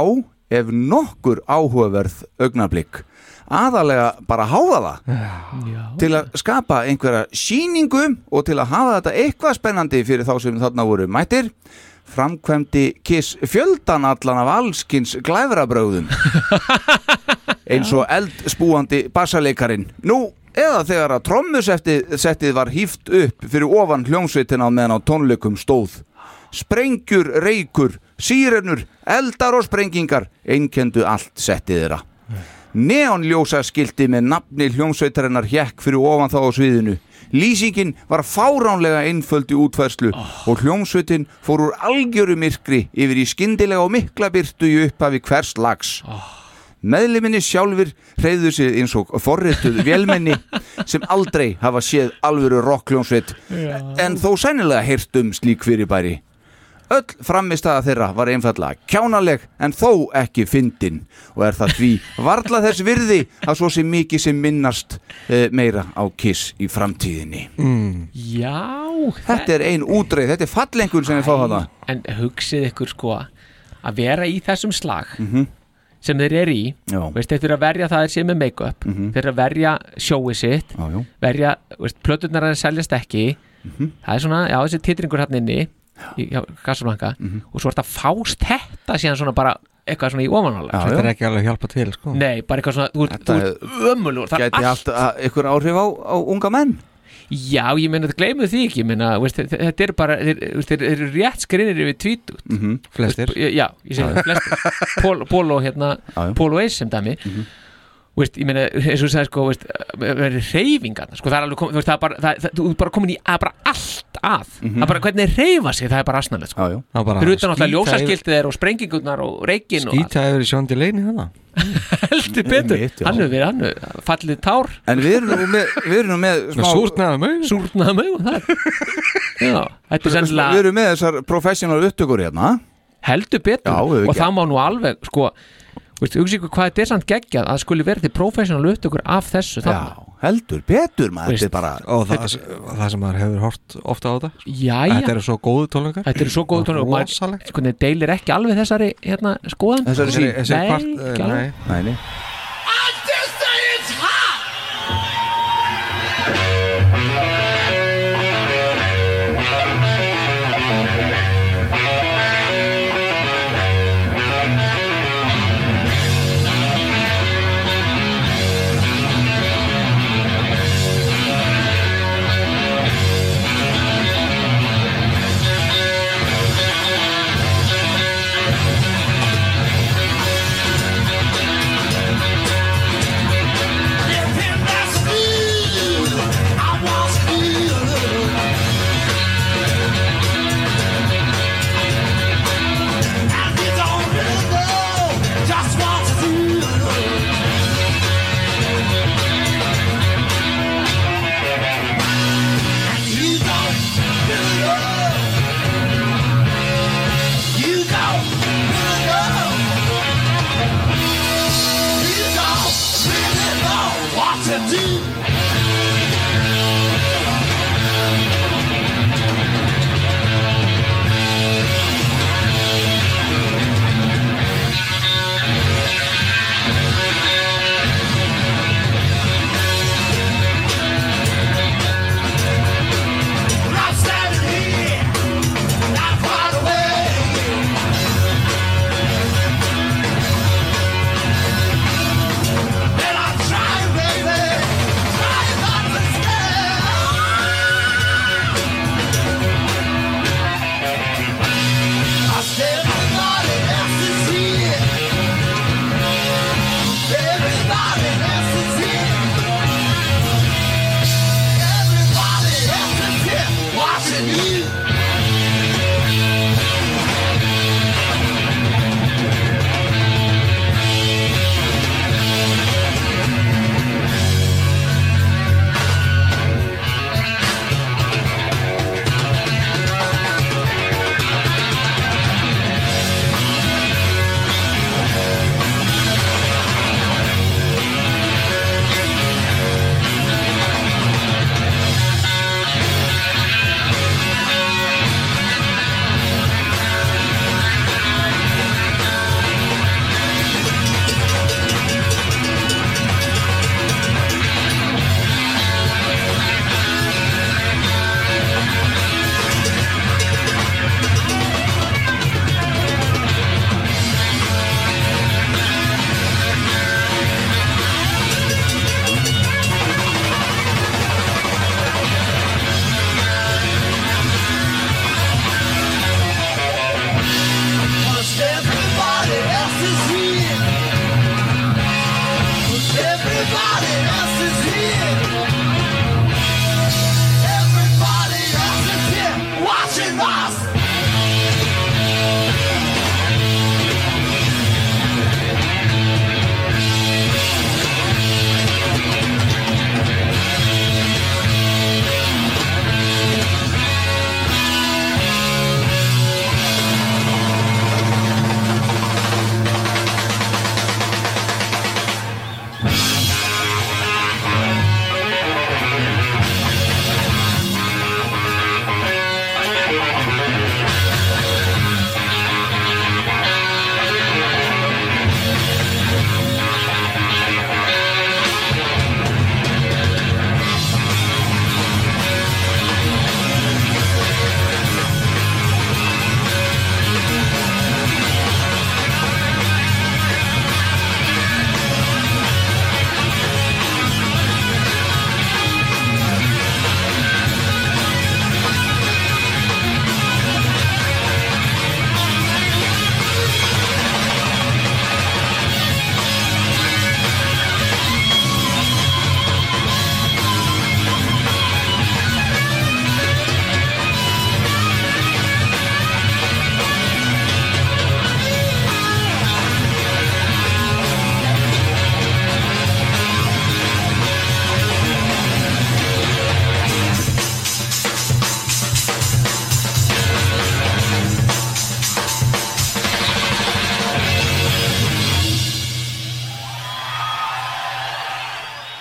[SPEAKER 3] ef nokkur áhugaverð augnablík. Aðalega bara háða það
[SPEAKER 4] Já,
[SPEAKER 3] til að skapa einhverja síningu og til að hafa þetta eitthvað spennandi fyrir þá sem þarna voru mættir framkvæmdi Kiss fjöldan allan af allskins glæfrabröðum eins og eldspúandi bassaleikarin. Nú, eða þegar að trommusettið var hýft upp fyrir ofan hljómsveitina á meðan á tónleikum stóð. Sprengjur, reykur, sírennur, eldar og sprengingar einkendu allt settið þeirra. neonljósaskilti með nafni hljómsveitarinnar hjekk fyrir ofan þá á sviðinu. Lýsingin var fáránlega einföld í útfærslu og hljómsveitin fór úr algjöru myrkri yfir í skyndilega og mikla byrtu í upphafi hvers lags. Meðliminni sjálfur hreyðu sig eins og forrituð vélmenni sem aldrei hafa séð alvöru rockljónsveit
[SPEAKER 2] Já.
[SPEAKER 3] en þó sænilega heyrt um slík fyrirbæri. Öll frammistaða þeirra var einfallega kjánaleg en þó ekki fyndin og er það því varla þess virði að svo sem mikið sem minnast eh, meira á kiss í framtíðinni.
[SPEAKER 5] Mm.
[SPEAKER 4] Já
[SPEAKER 3] Þetta er ein útreið, þetta er fallengur sem við fá hana.
[SPEAKER 4] En hugsið ykkur sko að vera í þessum slag sem þeir eru í
[SPEAKER 3] Já.
[SPEAKER 4] veist, þeir fyrir að verja það þeir séu með make-up
[SPEAKER 3] Mhm.
[SPEAKER 4] þeir eru að verja sjóið sitt
[SPEAKER 3] Já, já.
[SPEAKER 4] verja, veist, plöturnar að seljast ekki það er svona, já þessi titringur hann inni í Kassablanka og svo er þetta fást þetta síðan svona bara eitthvað svona í ofanálega
[SPEAKER 5] Þetta er ekki alveg að hjálpa til sko.
[SPEAKER 4] Nei, bara eitthvað svona, þú ert, þú ert ömulur Það er
[SPEAKER 3] Gæti
[SPEAKER 4] allt
[SPEAKER 3] allt ykkur áhrif á, á unga menn?
[SPEAKER 4] Já, ég meina, gleymið því ekki, ég meina, veist, þe- þetta er bara, þeir, veist, þeir eru rétt skrinir yfir tvítut
[SPEAKER 3] -hmm.
[SPEAKER 5] Flestir
[SPEAKER 4] Já, ég segi
[SPEAKER 5] Já, já.
[SPEAKER 4] flestir Pól- Pól og hérna, Pól og Eis sem dæmi
[SPEAKER 5] Mhm.
[SPEAKER 4] Veist, ég meina, eins og þú sagði, sko, veist, reyfingarna, sko, það er alveg komið, þú veist, það er bara, það, það, þú er bara komin í, að bara allt að,
[SPEAKER 5] Mhm.
[SPEAKER 4] það er bara, hvernig þeir reyfa sig, það er bara asnalegt, sko.
[SPEAKER 3] Já,
[SPEAKER 5] já.
[SPEAKER 4] Fyrir utan alltaf ljósaskiltið er og sprengingurnar og reygin og allt,
[SPEAKER 5] Skýta yfir í sjóndi leini hana
[SPEAKER 4] heldur betur,
[SPEAKER 5] Einmitt, já.
[SPEAKER 4] hann hefur verið, hann hefur, fallið tár.
[SPEAKER 3] En við erum nú með, við erum nú með smá...
[SPEAKER 5] Súrnaða mögum.
[SPEAKER 4] Súrnaða mögum, það er. um Já, þetta er sennilega...
[SPEAKER 3] Við erum með þessar professional upptökur hérna.
[SPEAKER 4] heldur betur
[SPEAKER 3] Já, við
[SPEAKER 4] og
[SPEAKER 3] ekki.
[SPEAKER 4] það má nú alveg sko, veist, hugsa ykkur hvað þetta er samt geggjað að það skuli verið professional upptökur af þessu þarna.
[SPEAKER 3] heldur betur maður þetta er bara
[SPEAKER 5] og það, það sem maður hefur hort ofta á þetta sko.
[SPEAKER 4] Jæja.
[SPEAKER 5] þetta eru svo góðu tónleikar
[SPEAKER 4] þetta eru svo góð tónlega og maður sko, deilir ekki alveg þessari hérna, skoðan
[SPEAKER 5] Þessari sín. Þessari
[SPEAKER 4] nei,
[SPEAKER 5] kvart-
[SPEAKER 4] ekki
[SPEAKER 5] eh, nei.
[SPEAKER 4] alveg.
[SPEAKER 3] eh, Nei, nei.
[SPEAKER 2] What to do? I'm standing here, not far away. And I'm trying, baby.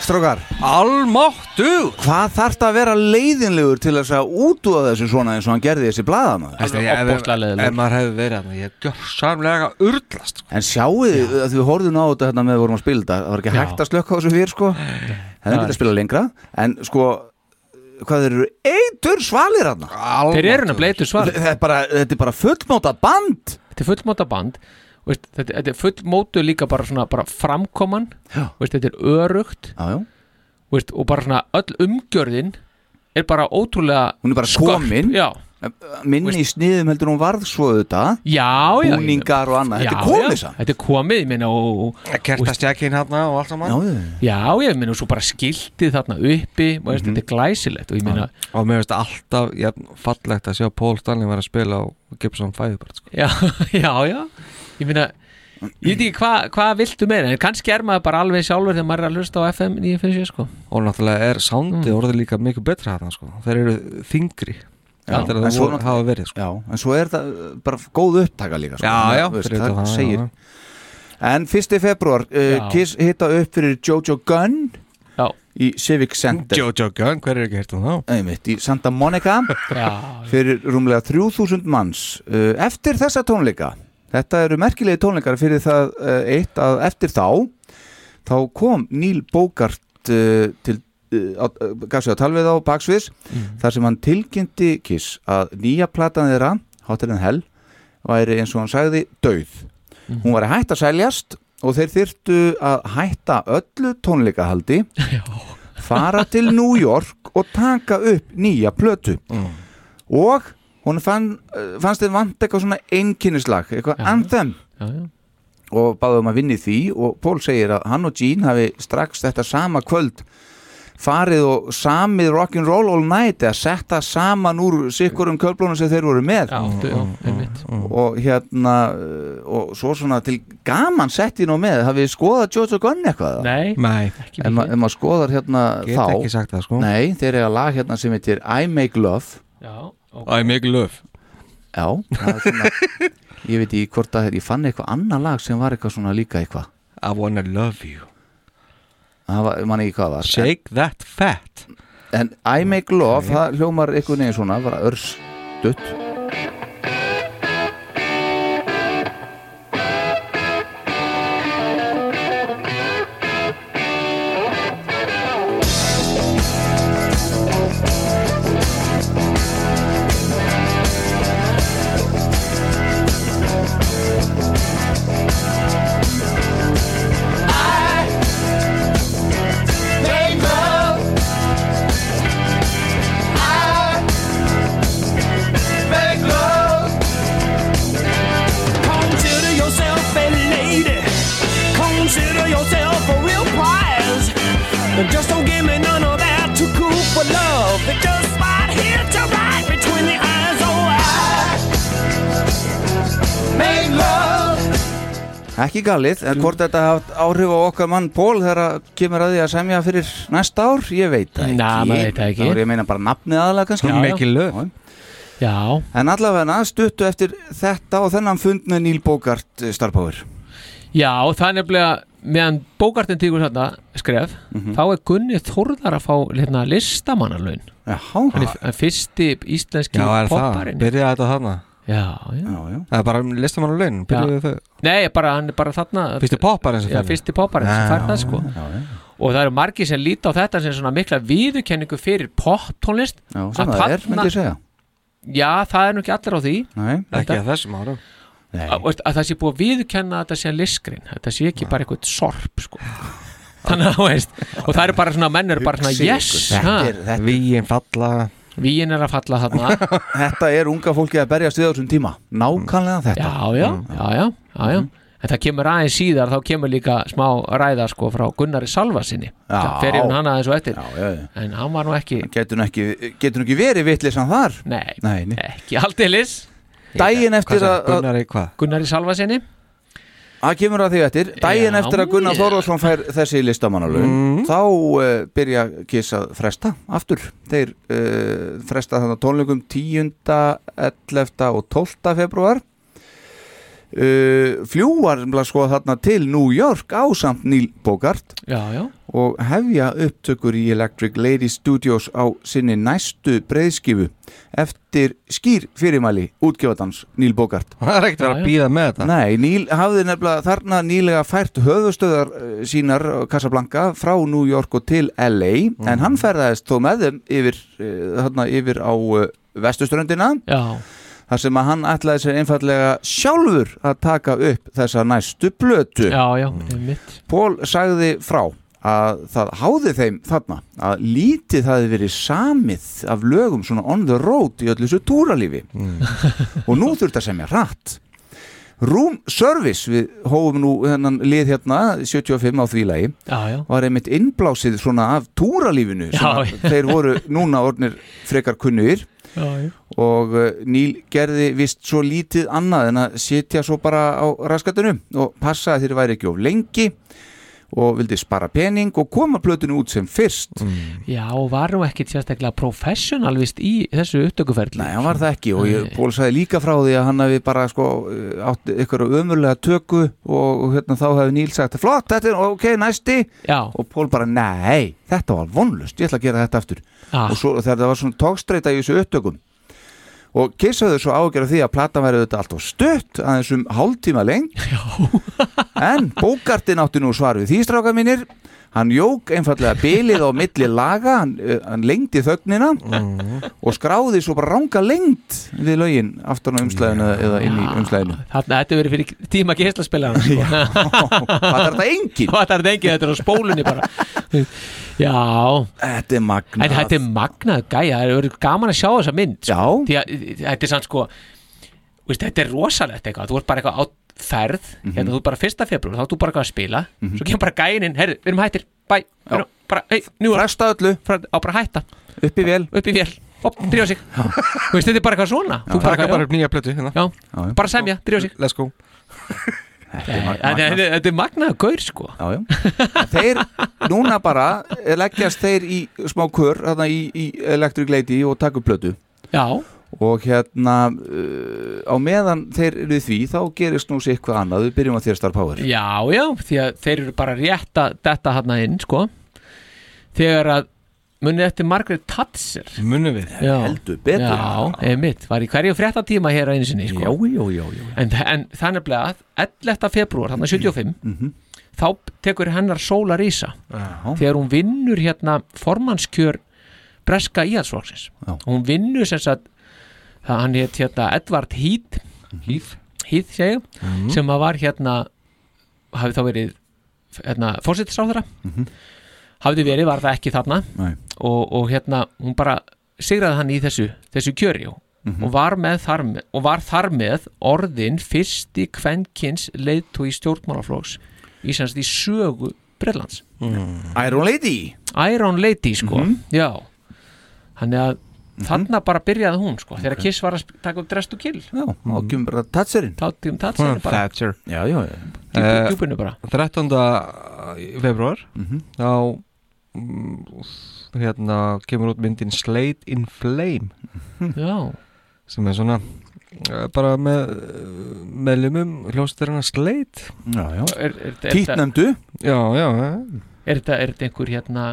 [SPEAKER 11] strókar
[SPEAKER 5] Almáttu
[SPEAKER 3] Hvað þarf það að vera leiðinlegur til þess að útúða þessu svona eins og hann gerði þessi blaðamaður
[SPEAKER 5] En maður hefði verið hann Ég gjör samlega urðlast
[SPEAKER 3] En sjáu þið, að því við horfðum á þetta hérna með við vorum að spila þetta, það var ekki
[SPEAKER 5] Já.
[SPEAKER 3] hægt að slökka á þessu fyrir sko, hefðum
[SPEAKER 5] Nei.
[SPEAKER 3] getað að spila lengra en sko, hvað þeir eru eitur svalir hann
[SPEAKER 4] Þeir eru nefnilega eitur svalir.
[SPEAKER 3] Þetta er bara, þetta er bara fullmóta band
[SPEAKER 4] Þetta er fullmóta band Þú veist, þetta, þetta er fullmótu líka bara svona bara framkoman Þú veist, þetta er örugt
[SPEAKER 3] já, já.
[SPEAKER 4] Veist, og bara svona öll umgjörðin er bara ótrúlega
[SPEAKER 3] hún er bara komin
[SPEAKER 4] Sko, já.
[SPEAKER 3] minni í sniðum heldur hún varð svo þetta
[SPEAKER 4] Já, já,
[SPEAKER 3] Búningar og annað, þetta er
[SPEAKER 4] Já,
[SPEAKER 3] komið
[SPEAKER 4] já,
[SPEAKER 3] samt.
[SPEAKER 4] Þetta er komið, ég meina og, og,
[SPEAKER 5] Kertastjakkin hérna og allt saman
[SPEAKER 3] Já,
[SPEAKER 4] já, ég meina og svo bara skiltið þarna uppi og veist, þetta er glæsilegt og ég meina
[SPEAKER 5] Og mér finnst alltaf jafn, fallegt að sjá Pól Stanley var að spila á Gibson 5 bara, sko.
[SPEAKER 4] já, já, já, ég meina ég veit ekki hvað hva viltu meira en kannski er maður bara alveg sjálfur þegar maður er að hlusta á FM 957 sko
[SPEAKER 5] Og náttúrulega er soundið orðið líka mikið betra hérna sko. Þeir eru þingri
[SPEAKER 3] Já,
[SPEAKER 5] Heldur en
[SPEAKER 3] en
[SPEAKER 5] það
[SPEAKER 3] svo
[SPEAKER 5] voru-
[SPEAKER 3] náttúrulega-
[SPEAKER 5] hafa verið sko.
[SPEAKER 3] Já, en svo er það uh, bara góð upptaka líka sko.
[SPEAKER 5] Já, já,
[SPEAKER 3] Þú veist,
[SPEAKER 5] fyrir
[SPEAKER 3] það,
[SPEAKER 5] utan það,
[SPEAKER 3] segir
[SPEAKER 5] já, já.
[SPEAKER 3] En 1. februar, uh,
[SPEAKER 5] Já.
[SPEAKER 3] Kiss hitta upp fyrir Jojo Gunn
[SPEAKER 4] já.
[SPEAKER 3] í Civic Center
[SPEAKER 5] Jojo Gunn, hver er ekki hirt um þá?
[SPEAKER 3] Einmitt, í Santa Monica
[SPEAKER 4] Já.
[SPEAKER 3] fyrir rúmlega 3000 manns uh, eftir þessa tónleika þetta eru merkilegi tónleikar fyrir það uh, eitt að eftir þá þá kom Neil Bogart uh, til uh, á- uh, gaf sig á talvið á Baksviðs þar sem hann tilkynnti Kiss að nýja platan þeirra, Hotel in Hell væri eins og hann sagði döð hún var að hætta að sæljast og þeir þyrtu að hætta öllu tónleikahaldi fara til New York og taka upp nýja plötu og hún fann, eh, fannst þeir vant eitthvað svona einkinnislag eitthvað anthem
[SPEAKER 4] já, já.
[SPEAKER 3] og báðum að vinni því og Pól segir að hann og Gene hafi strax þetta sama kvöld farið og samið rock'n'roll all night eða setta saman úr sikkurum köflunum sem þeir voru með
[SPEAKER 4] já, já, einmitt.
[SPEAKER 5] Mm.
[SPEAKER 3] og hérna eh, og svo svona til gaman setti nú með hafið þið skoðað Jojo Gunn eitthvað?
[SPEAKER 4] Nei,
[SPEAKER 5] Nei.
[SPEAKER 3] Ef, ma ef maður skoðar hérna
[SPEAKER 5] Get
[SPEAKER 3] þá
[SPEAKER 5] ekki sagt það, sko.
[SPEAKER 3] Nei, þeir eru að lag hérna sem heitir I Make Love
[SPEAKER 4] Já,
[SPEAKER 5] I make love
[SPEAKER 3] Já, það er svona Ég veit ekki hvort að ég fann eitthvað annað lag sem var eitthvað svona líka eitthvað
[SPEAKER 5] I wanna love you
[SPEAKER 3] Það var, mann ekki hvað það var
[SPEAKER 5] Shake that fat
[SPEAKER 3] En I Make Love, það hljómar einhvern veginn svona, bara örstutt
[SPEAKER 2] Make love. I make love. Consider yourself a lady. Consider yourself a real prize. And just don't give me none of that too cool for love. It just right here to right between the eyes. Oh, I Oh, make love.
[SPEAKER 3] Ekki galið, en hvort þetta haft áhrif á okkar mann Pól þegar að kemur að því að semja fyrir næsta ár, ég veit það ekki
[SPEAKER 4] Nei, maður veit það ekki.
[SPEAKER 3] Það voru ég að meina bara nafnið aðalega kannski
[SPEAKER 4] Já, já. Mikil
[SPEAKER 5] löf
[SPEAKER 4] Já
[SPEAKER 3] En allavega stuttu eftir þetta og þennan fund með Neil Bogart eh, starfbáður
[SPEAKER 4] Já, það er nefnilega meðan bókartin tíkur þarna skref þá er Gunni Þórðar að fá hérna, listamannalaun
[SPEAKER 3] Já,
[SPEAKER 4] hann er f- hann er fyrsti íslenski
[SPEAKER 5] Já, er það,
[SPEAKER 4] popparinn
[SPEAKER 5] byrjaði þetta þarna
[SPEAKER 4] Já, já.
[SPEAKER 5] Það er bara um listamann og laun, byrjaði þau
[SPEAKER 4] Nei, bara, hann er bara þarna
[SPEAKER 5] Fyrsti popparinn sem
[SPEAKER 4] Já,
[SPEAKER 5] fer.
[SPEAKER 4] fyrsti popparinn sem
[SPEAKER 5] Já,
[SPEAKER 4] fær það sko og það eru margir sem líta á þetta sem svona mikla viðurkenningu fyrir poptónlist
[SPEAKER 3] Já,
[SPEAKER 4] Að
[SPEAKER 3] sem það er,
[SPEAKER 4] þarna-
[SPEAKER 3] myndi ég segja
[SPEAKER 4] Já, það er nú ekki allir á því
[SPEAKER 3] Nei,
[SPEAKER 5] Ekki að þessum árum
[SPEAKER 4] að, veist, að það sé búið að viðkenna þetta sé listgrein þetta sé ekki bara eitthvað sorp sko. þannig að þú veist og það eru bara svona mennur bara svona
[SPEAKER 3] Hugsið
[SPEAKER 4] yes
[SPEAKER 3] ykkur, þetta er- þetta er-
[SPEAKER 5] Víin falla
[SPEAKER 4] Víin er að falla þarna
[SPEAKER 3] Þetta er unga fólki að berjast við á þessum tíma Nákvæmlega þetta
[SPEAKER 4] Já, já,
[SPEAKER 3] Mm.
[SPEAKER 4] já, já, já, já. En það kemur aðeins síðar, þá kemur líka smá ræða sko frá Gunnari Salvasinni
[SPEAKER 3] Já.
[SPEAKER 4] fer yfir hann aðeins og eftir
[SPEAKER 3] já, já.
[SPEAKER 4] en hann var nú ekki
[SPEAKER 3] Getur nú ekki, getur nú ekki verið vitlisann þar
[SPEAKER 4] Nei,
[SPEAKER 3] Nei, nei.
[SPEAKER 4] ekki aldeilis
[SPEAKER 3] Daginn eftir Hvað sagði, að- Gunnari
[SPEAKER 5] hvað?
[SPEAKER 4] Gunnari Salvasinni
[SPEAKER 3] Það kemur að því eftir, daginn
[SPEAKER 4] Já,
[SPEAKER 3] eftir að Gunnar
[SPEAKER 4] já.
[SPEAKER 3] Þorvarsson fær þessi listamannalögin þá uh, byrja Kiss að fresta aftur, þeir uh, fresta þannig tónleikum 10. 11. og Eh, 12. februar uh, fljúar nefnilega, sko, þarna til New York á samt Neil Bogart
[SPEAKER 4] Já, já
[SPEAKER 3] og hefja upptökur í Electric Lady Studios á sinni næstu breiðskifu eftir skýr fyrirmæli útgefandans Neil Bogart.
[SPEAKER 5] Það er ekkert að vera að býða með þetta.
[SPEAKER 3] Nei, Neil hafði nefnilega þarna nýlega fært höfustöðar eh, sínar eh, Casablanca frá New York og til LA en hann ferðaðist þó með þeim yfir, eh, þarna, yfir á eh, vestuströndina
[SPEAKER 4] Já.
[SPEAKER 3] þar sem að hann ætlaði sér einfallega sjálfur að taka upp þessa næstu blötu
[SPEAKER 4] Já, já,
[SPEAKER 3] Mm.
[SPEAKER 4] einmitt
[SPEAKER 3] Pól sagði frá að það háði þeim þarna að lítið hafi verið samið af lögum svona on the road í öllu þessu túralífi
[SPEAKER 4] Mm.
[SPEAKER 3] og nú þurft að semja hratt Room Service við hófum nú hennan lið hérna 75 á því lagi
[SPEAKER 4] Já, já.
[SPEAKER 3] var einmitt innblásið svona af túralífinu svona,
[SPEAKER 4] Já.
[SPEAKER 3] þeir voru núna orðnir frekar kunnugir
[SPEAKER 4] Já, já.
[SPEAKER 3] og eh, Neil gerði vist svo lítið annað en að sitja svo bara á raskatinu og passa að þeir væri ekki of lengi og vildi spara pening og koma plötunni út sem fyrst
[SPEAKER 4] Já, og var nú ekkit sérstaklega professional vist í þessu upptökuferli
[SPEAKER 3] Nei, hann var það ekki og ég, Pól sagði líka frá því að hann hafi bara sko eh, átt ykkur ömurlega töku og hérna þá hefði Neil sagt flott, þetta er ok, næsti
[SPEAKER 4] Já.
[SPEAKER 3] og Pól bara, nei, þetta var vonlust ég ætla að gera þetta aftur
[SPEAKER 4] Ah.
[SPEAKER 3] og svo, þegar það var svona tókstreita í þessu upptökum og kissaðu svo ágjör af því að platan væri auðvitað alltaf stutt aðeins um hálftíma lengt en bókartin átti nú svar við því stráka mínir hann jók einfallega bilið á milli laga hann, eh, hann lengdi þögnina
[SPEAKER 4] Mhm.
[SPEAKER 3] og skráði svo bara ranga lengd við lögin aftan á umslæðinu eða inn í umslæðinu
[SPEAKER 4] Þarna, þetta verið fyrir tíma geislaspilaran sko.
[SPEAKER 3] Fattar þetta enginn?
[SPEAKER 4] Fattar þetta enginn, þetta er á spólunni bara Já
[SPEAKER 3] Þetta er magnað
[SPEAKER 4] Þetta, er magnað gæja, það er gaman að sjá þessa mynd sko.
[SPEAKER 3] Já
[SPEAKER 4] Því að þetta er sann sko veist, Þetta er rosalegt eitthvað, þú ert bara eitthvað á ferð hérna, Þú ert bara fyrsta februar, þá ert þú bara eitthvað að spila Svo kemur bara gæin inn, herru, við erum hættir, bæ við erum bara, hey,
[SPEAKER 3] Fresta öllu
[SPEAKER 4] Á bara að hætta,
[SPEAKER 3] upp í vel
[SPEAKER 4] upp í vél Hopp, drífa sig Þú veist, Þetta er bara eitthvað svona Þú
[SPEAKER 5] Taka bara upp nýja plötu hérna.
[SPEAKER 4] já, bara semja, drífa sig Eh,
[SPEAKER 5] Let's go
[SPEAKER 4] Þetta er- þetta er magnað gaur sko
[SPEAKER 3] Já, já. Þeir núna bara leggjast þeir í smá kör þarna í, í Electric Lady og taka upp plötu
[SPEAKER 4] Já
[SPEAKER 3] og hérna uh, á meðan þeir eru því þá gerist nú sér eitthvað annað við byrjum á þér Star Power
[SPEAKER 4] Já, já, því að þeir eru bara rétt að detta hann inn, sko þegar að munið eftir Margaret Thatcher
[SPEAKER 5] Munum við
[SPEAKER 4] já.
[SPEAKER 3] Heldur betur.
[SPEAKER 4] Já, einmitt, var í hverju fréttatíma hér að einu sinni, sko
[SPEAKER 3] já, já, já.
[SPEAKER 4] En, en þannig að 11. februar, þannig 75
[SPEAKER 3] Mhm.
[SPEAKER 4] þá tekur hennar sólar ísa
[SPEAKER 3] Já.
[SPEAKER 4] þegar hún vinnur hérna formannskjör breska íhaldsflokksins
[SPEAKER 3] Já.
[SPEAKER 4] hún vinnur sem sagt það hann hétt hérna Edvard Heath
[SPEAKER 3] Mhm.
[SPEAKER 4] Heath, Heath segja, sem að var hérna hafi þá verið hérna, fórsetisráðara
[SPEAKER 3] Mhm.
[SPEAKER 4] hafði verið, var það ekki þarna
[SPEAKER 3] Nei.
[SPEAKER 4] og, og hérna hún bara sigraði hann í þessu, þessu kjöri
[SPEAKER 5] Mhm.
[SPEAKER 4] og, var með þar með, og var þar með orðin fyrsti kvenkins leiðtói stjórnmálaflóks í semst í sögu Bretlands
[SPEAKER 3] Iron Lady
[SPEAKER 4] Iron Lady sko
[SPEAKER 5] Mhm.
[SPEAKER 4] já þannig að þarna bara byrjaði hún sko þegar Kiss var að sp- taka upp Dress to Kill
[SPEAKER 3] Já, og kemur bara Tatsurinn
[SPEAKER 4] tátum tatsinu bara
[SPEAKER 5] Thatcher
[SPEAKER 3] Já, já, já
[SPEAKER 4] djúpu-
[SPEAKER 5] Eh,
[SPEAKER 4] djúpinu bara
[SPEAKER 5] 13. februar
[SPEAKER 3] Mhm.
[SPEAKER 5] þá mm, hérna kemur út myndin Slate in Flame Hmm.
[SPEAKER 4] já
[SPEAKER 5] sem er svona eh, bara með eh, meðlumum hljósturina Slate
[SPEAKER 3] já, já.
[SPEAKER 4] er, er, er, er, er,
[SPEAKER 3] Títnefndu
[SPEAKER 5] já, já, já.
[SPEAKER 4] er, þetta- er þetta einhver hérna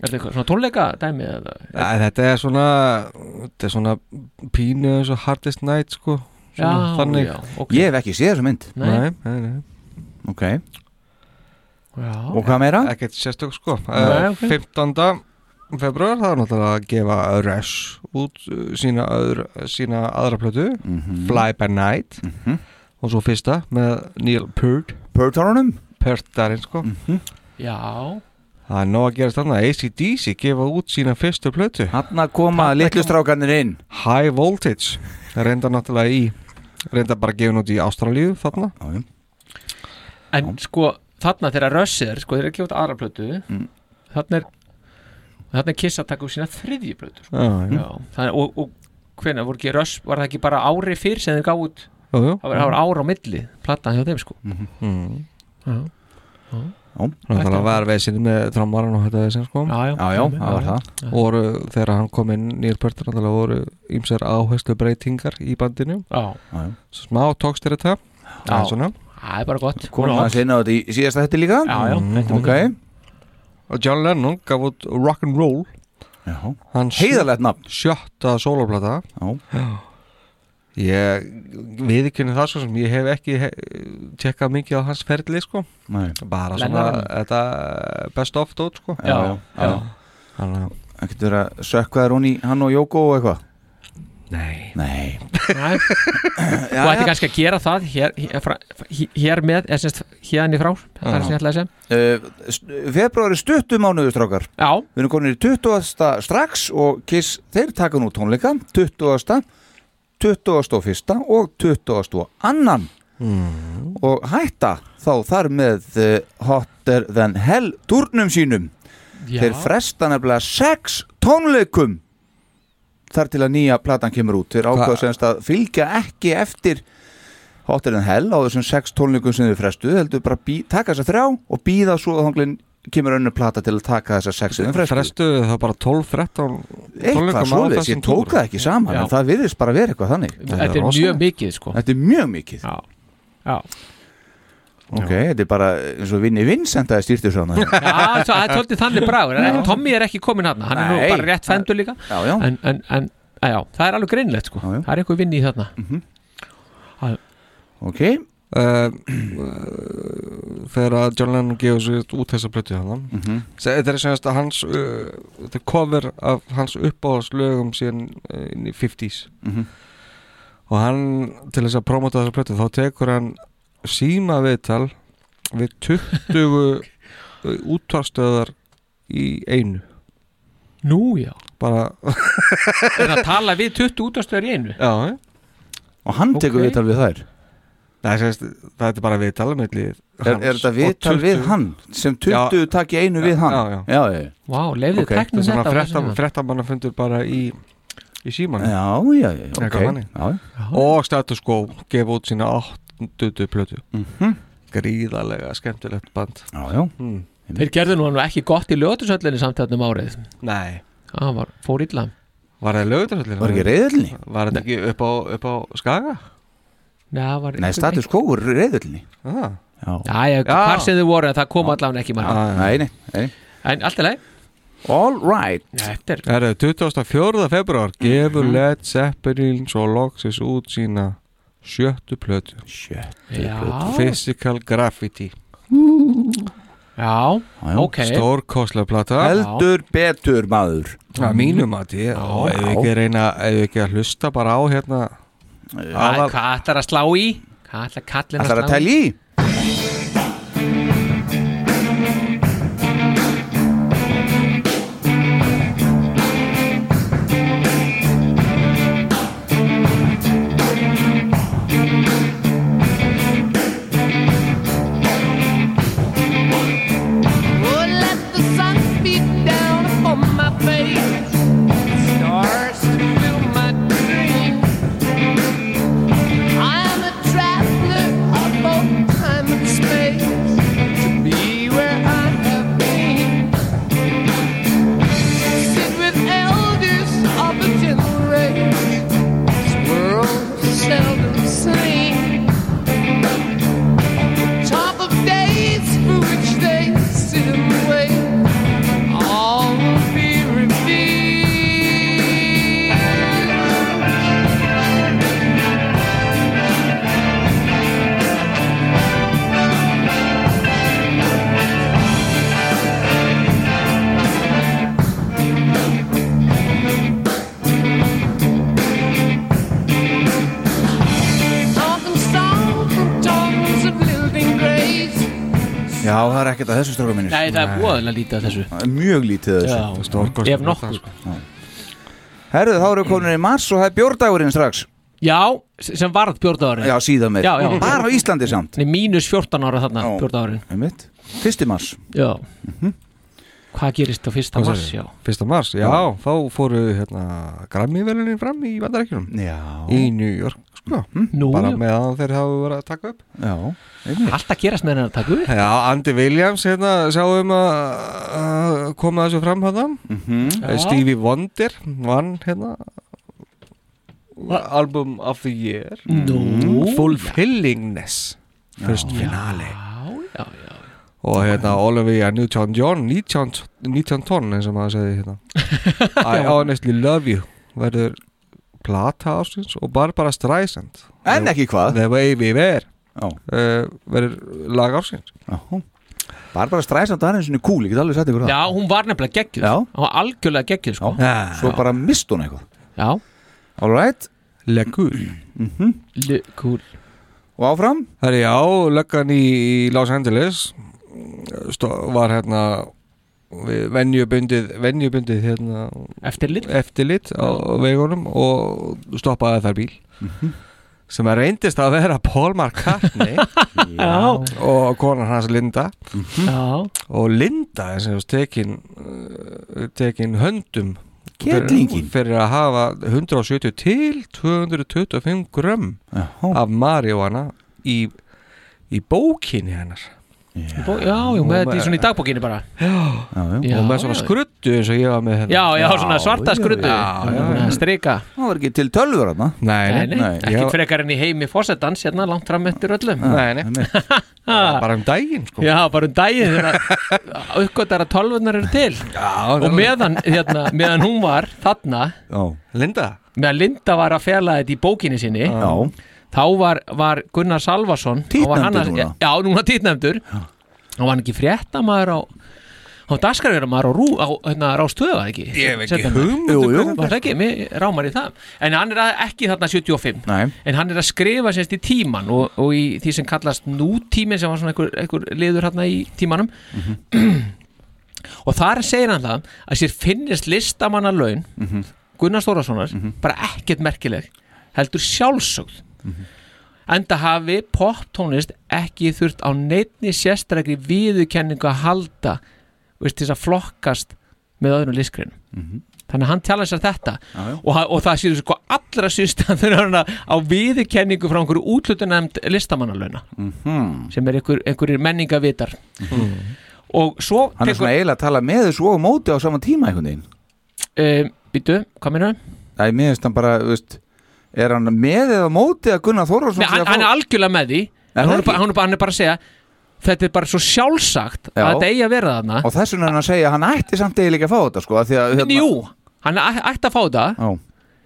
[SPEAKER 4] er þetta eitthvað svona tónleika dæmi eða
[SPEAKER 5] Æ, þetta er svona þetta er svona pínu eins og Hardest Night sko svona,
[SPEAKER 4] já,
[SPEAKER 5] þannig
[SPEAKER 4] já, ok
[SPEAKER 3] Ég hef ekki séð þessa mynd
[SPEAKER 4] Nei,
[SPEAKER 5] Nei, nei, nei.
[SPEAKER 3] Ok,
[SPEAKER 4] já,
[SPEAKER 3] og hvað meira?
[SPEAKER 5] ekkert sérstök sko
[SPEAKER 4] Nei,
[SPEAKER 5] uh,
[SPEAKER 4] ok.
[SPEAKER 5] 15. februar það er náttúrulega að gefa Rush út uh, sína, öðru, sína aðra plötu
[SPEAKER 4] Mhm.
[SPEAKER 3] Mhm.
[SPEAKER 5] Fly by Night og svo fyrsta með Neil Peart
[SPEAKER 3] Pörtorunum
[SPEAKER 5] Peart darinn sko
[SPEAKER 3] Mhm.
[SPEAKER 4] já
[SPEAKER 5] það er nóg að gera stanna ACDC gefa út sína fyrstu plötu
[SPEAKER 3] Hanna koma litlu strákanir inn
[SPEAKER 5] High Voltage reynda náttúrulega í reynda bara gefin út í Ástralíu þarna
[SPEAKER 3] Já, já.
[SPEAKER 4] En sko, þarna þegar Russell, sko, þeir eru að gefa út aðra plötu
[SPEAKER 3] Mm.
[SPEAKER 4] þarna er þarna er Kiss að taka upp sína þriðju plötu sko.
[SPEAKER 5] Já,
[SPEAKER 3] Mm.
[SPEAKER 5] já.
[SPEAKER 4] Já, þannig, og, og hvenær voru ekki Russ, var það ekki bara ári fyrr sem þeir gáðu út,
[SPEAKER 5] Jú, jú.
[SPEAKER 4] það var,
[SPEAKER 3] Mm.
[SPEAKER 4] það var ára á milli platan hjá þeim, sko
[SPEAKER 5] Mm.
[SPEAKER 4] Já,
[SPEAKER 5] náttúrulega var veðsinn með trommaran og þetta veðsinn sko
[SPEAKER 4] já,
[SPEAKER 3] Já, já, það var það
[SPEAKER 5] voru þegar hann kom inn Neil Peart náttúrulega voru ýmsar áherslu breytingar í bandinu
[SPEAKER 4] Já,
[SPEAKER 3] Já, já.
[SPEAKER 5] smá tókst er þetta
[SPEAKER 4] Já.
[SPEAKER 5] en svona
[SPEAKER 4] það er bara gott
[SPEAKER 3] Komum að
[SPEAKER 4] já,
[SPEAKER 3] sinna þetta í síðasta þetta líka
[SPEAKER 4] já,
[SPEAKER 5] Mm,
[SPEAKER 4] þetta er
[SPEAKER 3] Ok,
[SPEAKER 5] og John Lennon gaf út Rock'n'Roll
[SPEAKER 3] Heiðarlegt
[SPEAKER 5] nafn Sjötta sólaplata Ég viðkynni það svo sem ég hef ekki he tekkað mikið á hans ferli sko
[SPEAKER 3] Nei.
[SPEAKER 5] Bara svona
[SPEAKER 3] Lennon.
[SPEAKER 5] þetta best of dót sko
[SPEAKER 3] Já, já, já. Það getur að sökka þér hún í hann og Jóko og eitthvað
[SPEAKER 5] Nei
[SPEAKER 3] Nei
[SPEAKER 4] Nei. Þú ætti kannski að gera það hér, hér, frá- hér, hér með, eða semst hérna í frá Það er sem ég ætlaði að segja
[SPEAKER 3] uh, Februari stuttum mánuður strákar
[SPEAKER 4] Já
[SPEAKER 3] Við erum komin í 20. strax og Kiss, þeir taka nú tónleika 20. 21. og 22. annan
[SPEAKER 4] Mm.
[SPEAKER 3] og hætta þá þar með uh, Hotter Than Hell turnum sínum
[SPEAKER 4] Já.
[SPEAKER 3] Þeir fresta nefnilega sex tónleikum þar til að nýja platan kemur út Þeir ákvaða semst að fylgja ekki eftir Hotter Than Hell á þessum sex tónleikum sem þau frestu heldur bara bí, taka þessa þrjá og býða svo að þanglinn kemur önnur plata til að taka þessa sex sem þau frestu
[SPEAKER 5] Frestuðu það bara 12-13
[SPEAKER 3] eitthvað
[SPEAKER 5] tónleikum á
[SPEAKER 3] svoleiðis, ég
[SPEAKER 5] þessum
[SPEAKER 3] tók
[SPEAKER 5] túr.
[SPEAKER 3] það ekki saman
[SPEAKER 5] Já.
[SPEAKER 3] en það virðist bara vera eitthvað þannig
[SPEAKER 5] Þetta er er rosalegt. mjög
[SPEAKER 4] mikið sko
[SPEAKER 3] Þetta er mjög mikið
[SPEAKER 4] Já, já.
[SPEAKER 3] Ok, þetta er bara eins og vinni Vincent að stýrtu svona
[SPEAKER 4] Já, svo- það er tóltið þannig bragur en Tommy er ekki komin hann, hann er nú
[SPEAKER 3] Nei.
[SPEAKER 4] bara rétt fendur líka
[SPEAKER 3] Já, já
[SPEAKER 4] En, en, en að, já, það er alveg greinlegt sko Það er eitthvað vinni í þarna
[SPEAKER 3] Ok
[SPEAKER 5] Eh, Þegar að John Lennon gefur sér út þessa plötu hann
[SPEAKER 3] Mhm.
[SPEAKER 5] Þetta er semast að hans uh, Þetta er cover af hans uppáðslögum síðan uh, inn í 50s
[SPEAKER 3] Mhm.
[SPEAKER 5] Og hann til þess að promota þessa plötu þá tekur hann síma viðtal við 20 útvarstöðar í einu
[SPEAKER 4] Nú já
[SPEAKER 5] Bara
[SPEAKER 4] En að tala við 20 útastöður í einu
[SPEAKER 5] Já, já.
[SPEAKER 3] Og hann tekur viðtal við þær
[SPEAKER 5] Nei, sérst, það er bara viðtal melli
[SPEAKER 3] Er, er þetta viðtal við hann sem 20 takk í einu við hann
[SPEAKER 5] Já, já,
[SPEAKER 3] já, já.
[SPEAKER 4] Vá, leyfðu
[SPEAKER 3] Ok.
[SPEAKER 4] tæknum
[SPEAKER 5] Svona
[SPEAKER 4] þetta á
[SPEAKER 5] frétta-
[SPEAKER 4] þessum tíma.
[SPEAKER 5] fréttamannafundur bara í, í síman
[SPEAKER 3] Já, já, já, ok. Já,
[SPEAKER 5] Og status quo gefa út sína 8. plötu
[SPEAKER 3] Mhm.
[SPEAKER 5] Gríðalega skemmtilegt band
[SPEAKER 3] Já, já
[SPEAKER 5] mm.
[SPEAKER 4] Þeir gerðu nú hann ekki gott í lögatursöllinni samt þarna um árið
[SPEAKER 5] Nei
[SPEAKER 4] Það var fór illa
[SPEAKER 5] Var það lögutarhöllinni?
[SPEAKER 3] Var ekki reyðulni?
[SPEAKER 5] Var þetta ekki upp á, upp á skaga?
[SPEAKER 4] Nei, það var
[SPEAKER 3] Nei, status quo er reyðulni
[SPEAKER 5] ah.
[SPEAKER 3] Já,
[SPEAKER 4] Já, hvar sem þið voru en það kom allavega ekki margir
[SPEAKER 3] Nei, nei, nei
[SPEAKER 4] En allt er leið
[SPEAKER 3] All right
[SPEAKER 4] Þetta er
[SPEAKER 5] Er 24. februar
[SPEAKER 3] Mhm.
[SPEAKER 5] gefur Led Zeppelin svo loksis út sína sjöttu plötu Sjöttu
[SPEAKER 4] Já.
[SPEAKER 5] Physical Graffiti
[SPEAKER 4] Já, já. ok.
[SPEAKER 5] Stórkostlega plata
[SPEAKER 3] Heldur betur maður
[SPEAKER 5] Að mínum að ég og Mhm. ef við ekki reyna, ef við ekki að hlusta bara á hérna
[SPEAKER 4] Hvað hvað ætlar að slá í? Hvað ætlar kallin að slá
[SPEAKER 5] Ætlar að telja í?
[SPEAKER 2] Oh, let the sun beat down upon my face. Stars to fill my dream. I am a traveler of both time and space. To be where I have been. Sit with elders of a gentle race. This world is seldom seen. Top of days for which they sit and wait. All will be revealed. Talking song from tongues of living grace.
[SPEAKER 3] Já, það er ekkert að þessu stráka minnir
[SPEAKER 4] Nei, það er voðalega lítið að þessu
[SPEAKER 3] Mjög lítið að
[SPEAKER 4] Já,
[SPEAKER 3] þessu
[SPEAKER 4] Stórkostleg ef nokkuð. plata,
[SPEAKER 3] Herðu, þá eru komin í mars og það er bjórdagurinn strax
[SPEAKER 4] Já, sem varð bjórdáðurinn
[SPEAKER 3] Já, síðan meir
[SPEAKER 4] Já, já.
[SPEAKER 3] Bara á Íslandi samt
[SPEAKER 4] Nei, mínus 14 ára þarna, bjórdáðurinn
[SPEAKER 3] Einmitt Fyrsti mars
[SPEAKER 4] Já Hvað gerist á fyrsta mars, já
[SPEAKER 5] Fyrsta mars, já,
[SPEAKER 4] Já.
[SPEAKER 5] þá fóru hérna Grammy-velunin fram í vandarækjunum
[SPEAKER 3] Já
[SPEAKER 5] Í New York, sko
[SPEAKER 4] Nú,
[SPEAKER 5] Bara
[SPEAKER 4] Mhm. já.
[SPEAKER 5] meðan þeir hafa verið að taka upp
[SPEAKER 3] Já,
[SPEAKER 4] Alltaf gerast með hennar að taka upp
[SPEAKER 5] Já, Andy Williams, hérna, sjáum að að koma þessu fram hérna
[SPEAKER 3] Mhm.
[SPEAKER 5] Eh, Stevie Wonder vann, hérna Album of the Year
[SPEAKER 4] Nú.
[SPEAKER 5] Fulfillingness First finale
[SPEAKER 4] Já, já, já
[SPEAKER 5] og hérna Olivia Newton-John 19, 19 tonn eins og maður segi hérna I honestly love you verður plata ásins og Barbara Streisand
[SPEAKER 3] En ekki hvað?
[SPEAKER 5] The way we were uh, verður lag ásins
[SPEAKER 3] Barbara Streisand var einu sinni cool, ég get alveg sagt ykkur það
[SPEAKER 4] Já, hún var nefnilega geggjuð
[SPEAKER 3] Já.
[SPEAKER 4] Hún var algjörlega geggjuð sko.
[SPEAKER 3] Svo bara mist hún eitthvað
[SPEAKER 4] Já
[SPEAKER 3] All right
[SPEAKER 5] Le cool
[SPEAKER 4] Le cool
[SPEAKER 3] Og áfram?
[SPEAKER 5] Það er já, löggan í í Los Angeles eh, stó, var hérna við venjubundið, venjubundið hérna,
[SPEAKER 4] eftirlit,
[SPEAKER 5] á vegunum og stoppaði þar bíl
[SPEAKER 4] Mhm.
[SPEAKER 5] sem að reyndist að vera Paul McCartney
[SPEAKER 4] Já.
[SPEAKER 5] og konan hans Linda
[SPEAKER 4] Já.
[SPEAKER 5] og Linda er sem þess tekin, uh, tekin höndum
[SPEAKER 3] Kettlingin.
[SPEAKER 5] fyrir að hafa 170 til 225 grömm af marihuana í, í bókinni hennar
[SPEAKER 4] Bó, Já, já, með þetta í svona í dagbókinni bara
[SPEAKER 5] Já,
[SPEAKER 4] já.
[SPEAKER 5] og með svona
[SPEAKER 4] Já, já.
[SPEAKER 5] skruttu eins og ég var með hérna
[SPEAKER 4] Já, já, svona svarta skruddu Strika
[SPEAKER 3] Það var ekki til tölvur hann
[SPEAKER 5] Nei,
[SPEAKER 4] Nei, nei, ekki
[SPEAKER 5] ég-
[SPEAKER 4] frekar enn í heimi fósettans hérna langt fram eftir öllum
[SPEAKER 5] Nei, nei. bara um daginn sko
[SPEAKER 4] Já, bara um daginn þegar uppgötar að tölvunar eru til
[SPEAKER 5] Já,
[SPEAKER 4] og meðan, hérna, meðan hún var þarna,
[SPEAKER 5] Linda
[SPEAKER 4] meðan Linda var að fela þetta í bókinni sinni
[SPEAKER 3] Já.
[SPEAKER 4] þá var, var Gunnar Salvason þá var hann að-
[SPEAKER 3] Títtnefndur núna.
[SPEAKER 4] Já, núna títnefndur hann var hann ekki fréttamaður á hann var daskarverðamaður á, rú, á hérna, rástöða ekki
[SPEAKER 5] Ég hef ekki
[SPEAKER 4] Seinna.
[SPEAKER 5] hugmynd um
[SPEAKER 3] Jú, jú.
[SPEAKER 4] Var það ekki, mér rámar í það En hann er að, ekki þarna 75
[SPEAKER 3] Nei.
[SPEAKER 4] En hann er að skrifa sérst í tíman og, og í því sem kallast nútímin sem var svona einhver, einhver liður hérna í tímanum Og þar segir hann það að sér finnist listamanna laun Gunnar Stórasonar bara ekkert merkileg heldur sjálfsögð enda hafi poptónlist ekki þurft á neittni sérstakri viðurkenningu að halda veist, til þess að flokkast með öðrum listgreinum þannig að hann tala sér þetta
[SPEAKER 2] Já, já.
[SPEAKER 4] og, ha- og það séu sko allra sýstan þegar hann hérna á viðurkenningu frá einhverju útlutunemnd listamannalauna
[SPEAKER 3] Mm. Hmm.
[SPEAKER 4] sem er einhver, einhverjir menningavitar og svo
[SPEAKER 3] Mm. Hann er svona eiginlega að tala með þessu og á móti á sama tíma einhvern veginn
[SPEAKER 4] um, Býtu, hvað meina?
[SPEAKER 3] Það er miðast hann bara, þú veist Er hann með eða á móti að Gunnar Þórarsson
[SPEAKER 4] Nei, hann, hann er algjörlega með því
[SPEAKER 3] Er
[SPEAKER 4] en
[SPEAKER 3] það
[SPEAKER 4] hún er, bara,
[SPEAKER 3] ekki?
[SPEAKER 4] hún er bara, hann er bara að segja þetta er bara svo sjálfsagt
[SPEAKER 3] Já.
[SPEAKER 4] að þetta eigi að vera þarna
[SPEAKER 3] Og þess vegna er hann að segja að hann ætti samt eiginlega að fá þetta sko af því að,
[SPEAKER 4] Jú, hann æ- ætti að fá það
[SPEAKER 3] Já.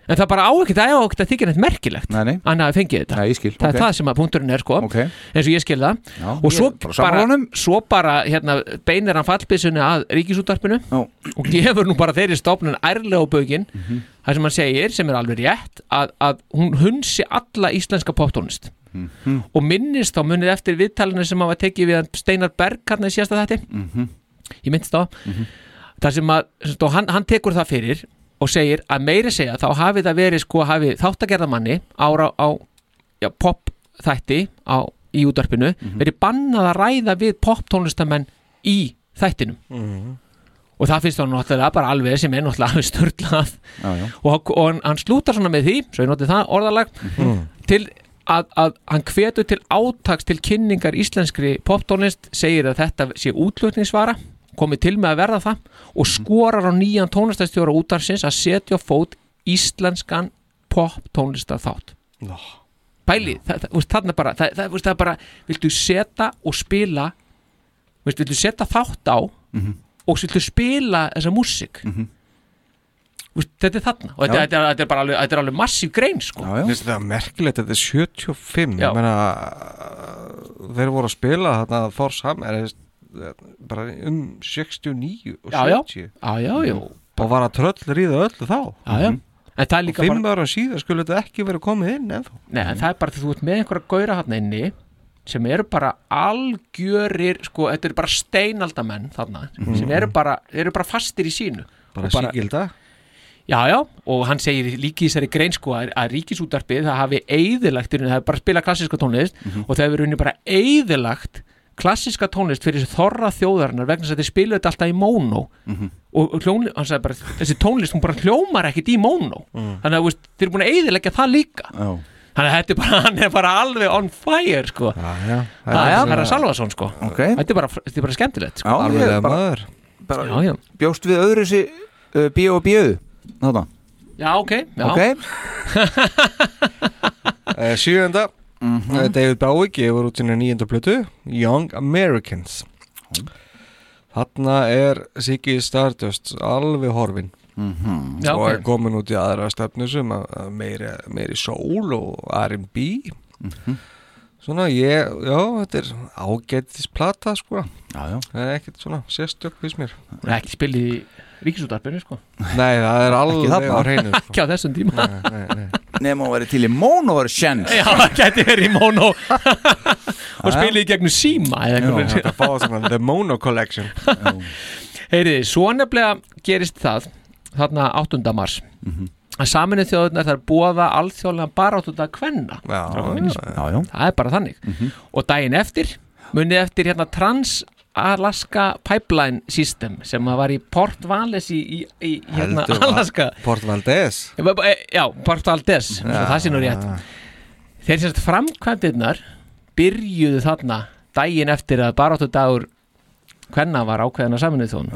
[SPEAKER 4] en það bara á ekkert, það á ekkert að þykja neitt merkilegt
[SPEAKER 3] Nei, nei,
[SPEAKER 4] hann hafi fengið þetta
[SPEAKER 3] nei, ég skil
[SPEAKER 4] það
[SPEAKER 3] ok.
[SPEAKER 4] er það sem að punkturinn er sko
[SPEAKER 3] Ok.
[SPEAKER 4] eins og ég skil það
[SPEAKER 3] Já,
[SPEAKER 4] og svo
[SPEAKER 3] ég er bara sammála
[SPEAKER 4] bara, svo bara hérna, beinir hann fallbissunni að ríkisúttarpinu
[SPEAKER 3] Já. Mhm.
[SPEAKER 4] og gefur nú bara þeirri stofnun ærlega á baukinn það sem hann segir sem er alveg rétt að, að hún hunsi alla íslenska poptónist
[SPEAKER 3] Mhm.
[SPEAKER 4] og minnist þá munið eftir viðtalinu sem hann var tekið við hann Steinar Berg hann er síðasta þetta
[SPEAKER 3] Mhm.
[SPEAKER 4] ég minnst þá þar sem að sem stó, hann, hann tekur það fyrir og segir að meiri segja þá hafi það verið sko hafi þáttagerðamanni ára á já, pop þætti á, í útvarpinu
[SPEAKER 3] Mhm.
[SPEAKER 4] verið bannað að ræða við pop tónlistamenn í þættinum
[SPEAKER 3] Mhm.
[SPEAKER 4] og það finnst þá náttúrulega bara alveg sem er náttúrulega alveg störtlað
[SPEAKER 3] Já, já.
[SPEAKER 4] og, hann- og hann, hann slútar svona með því svo ég notið það orðalag
[SPEAKER 3] Mhm.
[SPEAKER 4] til að, að hann hvetur til átaks til kynningar íslenskri poptónlist segir að þetta sé útlutningsvara komið til með að verða það og skorar á nýjan tónlistastjóra útarsins að setja á fót íslenskan poptónlista þátt pælið, það, það, það, þarna bara það, það, það, það bara, viltu setja og spila veist, viltu setja þátt á og viltu spila þessa músík veist, þetta er þarna og þetta,
[SPEAKER 5] Já.
[SPEAKER 4] þetta, er, þetta er bara alveg, þetta er alveg massív grein sko.
[SPEAKER 5] Mér finnst þetta merkilegt, þetta er 75
[SPEAKER 4] Já.
[SPEAKER 5] ég meina uh, þeir voru að spila þarna Thor Hammer eh, bara um 69 og
[SPEAKER 4] Já, já.
[SPEAKER 5] 70
[SPEAKER 4] já, já, já,
[SPEAKER 5] og var að tröll ríða öllu þá Mm.
[SPEAKER 4] já, já. en það er
[SPEAKER 5] Mhm. og
[SPEAKER 4] líka
[SPEAKER 5] fimm
[SPEAKER 4] bara,
[SPEAKER 5] ára síðan skulle þetta ekki verið komið inn ennþá
[SPEAKER 4] nei, en það er bara því þú ert með einhverja gauðra hann inni sem eru bara algjörir sko, þetta eru bara steinaldamenn þarna, sem eru bara, eru bara fastir í sínu
[SPEAKER 5] Mhm. bara,
[SPEAKER 4] Og bara-
[SPEAKER 5] sígilda
[SPEAKER 4] Já, já, og hann segir líki í þessari grein sko að, að ríkisútarpið það hafi eyðilagt, í rauninni, það hefur bara spilað klassiska tónlist
[SPEAKER 3] Mhm.
[SPEAKER 4] og það hefur unni bara eyðilagt klassiska tónlist fyrir þessi þorra þjóðarinnar vegna þess að þeir spilu þetta alltaf í mónó
[SPEAKER 3] Mhm.
[SPEAKER 4] og, og hljónli, hann sagði bara þessi tónlist hún bara hljómar ekkit í mónó þannig að þú veist, þeir eru búin að eyðilegja það líka
[SPEAKER 3] Mm. Já.
[SPEAKER 4] þannig að þetta er bara, hann er bara alveg on fire sko,
[SPEAKER 5] já,
[SPEAKER 4] það er bara Salvason sko
[SPEAKER 3] Ok,
[SPEAKER 4] þetta er bara, þetta er bara skemmtilegt sko.
[SPEAKER 3] já, ég
[SPEAKER 5] alveg
[SPEAKER 3] er bara,
[SPEAKER 5] maður
[SPEAKER 4] já,
[SPEAKER 3] bara
[SPEAKER 4] já.
[SPEAKER 3] bjóst við öðru sér uh, bíu og bíu Þarna,
[SPEAKER 4] já, ok, já.
[SPEAKER 3] ok
[SPEAKER 5] Eh, Sjöunda, mm David Bowie gefur út sinni nýjönda plötu Young Americans Þarna er Siggy Stardust alveg horfin
[SPEAKER 2] Mhm. Já,
[SPEAKER 5] og
[SPEAKER 2] ok.
[SPEAKER 5] er komin út í aðra stefnu sem að- að meiri, meiri sól og R&B Mhm. Svona ég, já, þetta er ágætis plata sko
[SPEAKER 3] Já, já
[SPEAKER 5] Það er ekkert svona sérstök fyrst mér
[SPEAKER 4] Það er ekki spilið í ríkisútarpinu sko
[SPEAKER 5] Nei, það er
[SPEAKER 4] Ekki
[SPEAKER 5] alveg
[SPEAKER 4] þarna.
[SPEAKER 5] á hreinu sko.
[SPEAKER 4] Ekki á þessum tíma
[SPEAKER 5] Nei, nei, nei.
[SPEAKER 3] Nefnum að vera til í mónu var sjens
[SPEAKER 4] Já, það gæti verið í mono Og
[SPEAKER 3] Já, já.
[SPEAKER 4] spilið í gegnum síma eða einhvern veginn.
[SPEAKER 5] Þetta fáið svona The Mono Collection
[SPEAKER 4] Heyriði, svo nefnilega gerist það þarna 8. mars
[SPEAKER 5] Mhm.
[SPEAKER 4] að saminuð þjóðunar þar bóða alþjóðlega baráttuða kvenna
[SPEAKER 5] já, Mhm.
[SPEAKER 4] já, já. það er bara þannig og daginn eftir, munið eftir hérna Trans-Alaska Pipeline System sem að var í Port Valles í, í, í hérna
[SPEAKER 5] Heldur var-
[SPEAKER 4] Alaska
[SPEAKER 5] Port Valdez
[SPEAKER 4] Eh, b- eh, Já, Port Valdez, svo það sé nú rétt Þeir sérst framkvæmdirnar byrjuðu þarna daginn eftir að baráttu dagur hvenna var ákveðina saminuð þón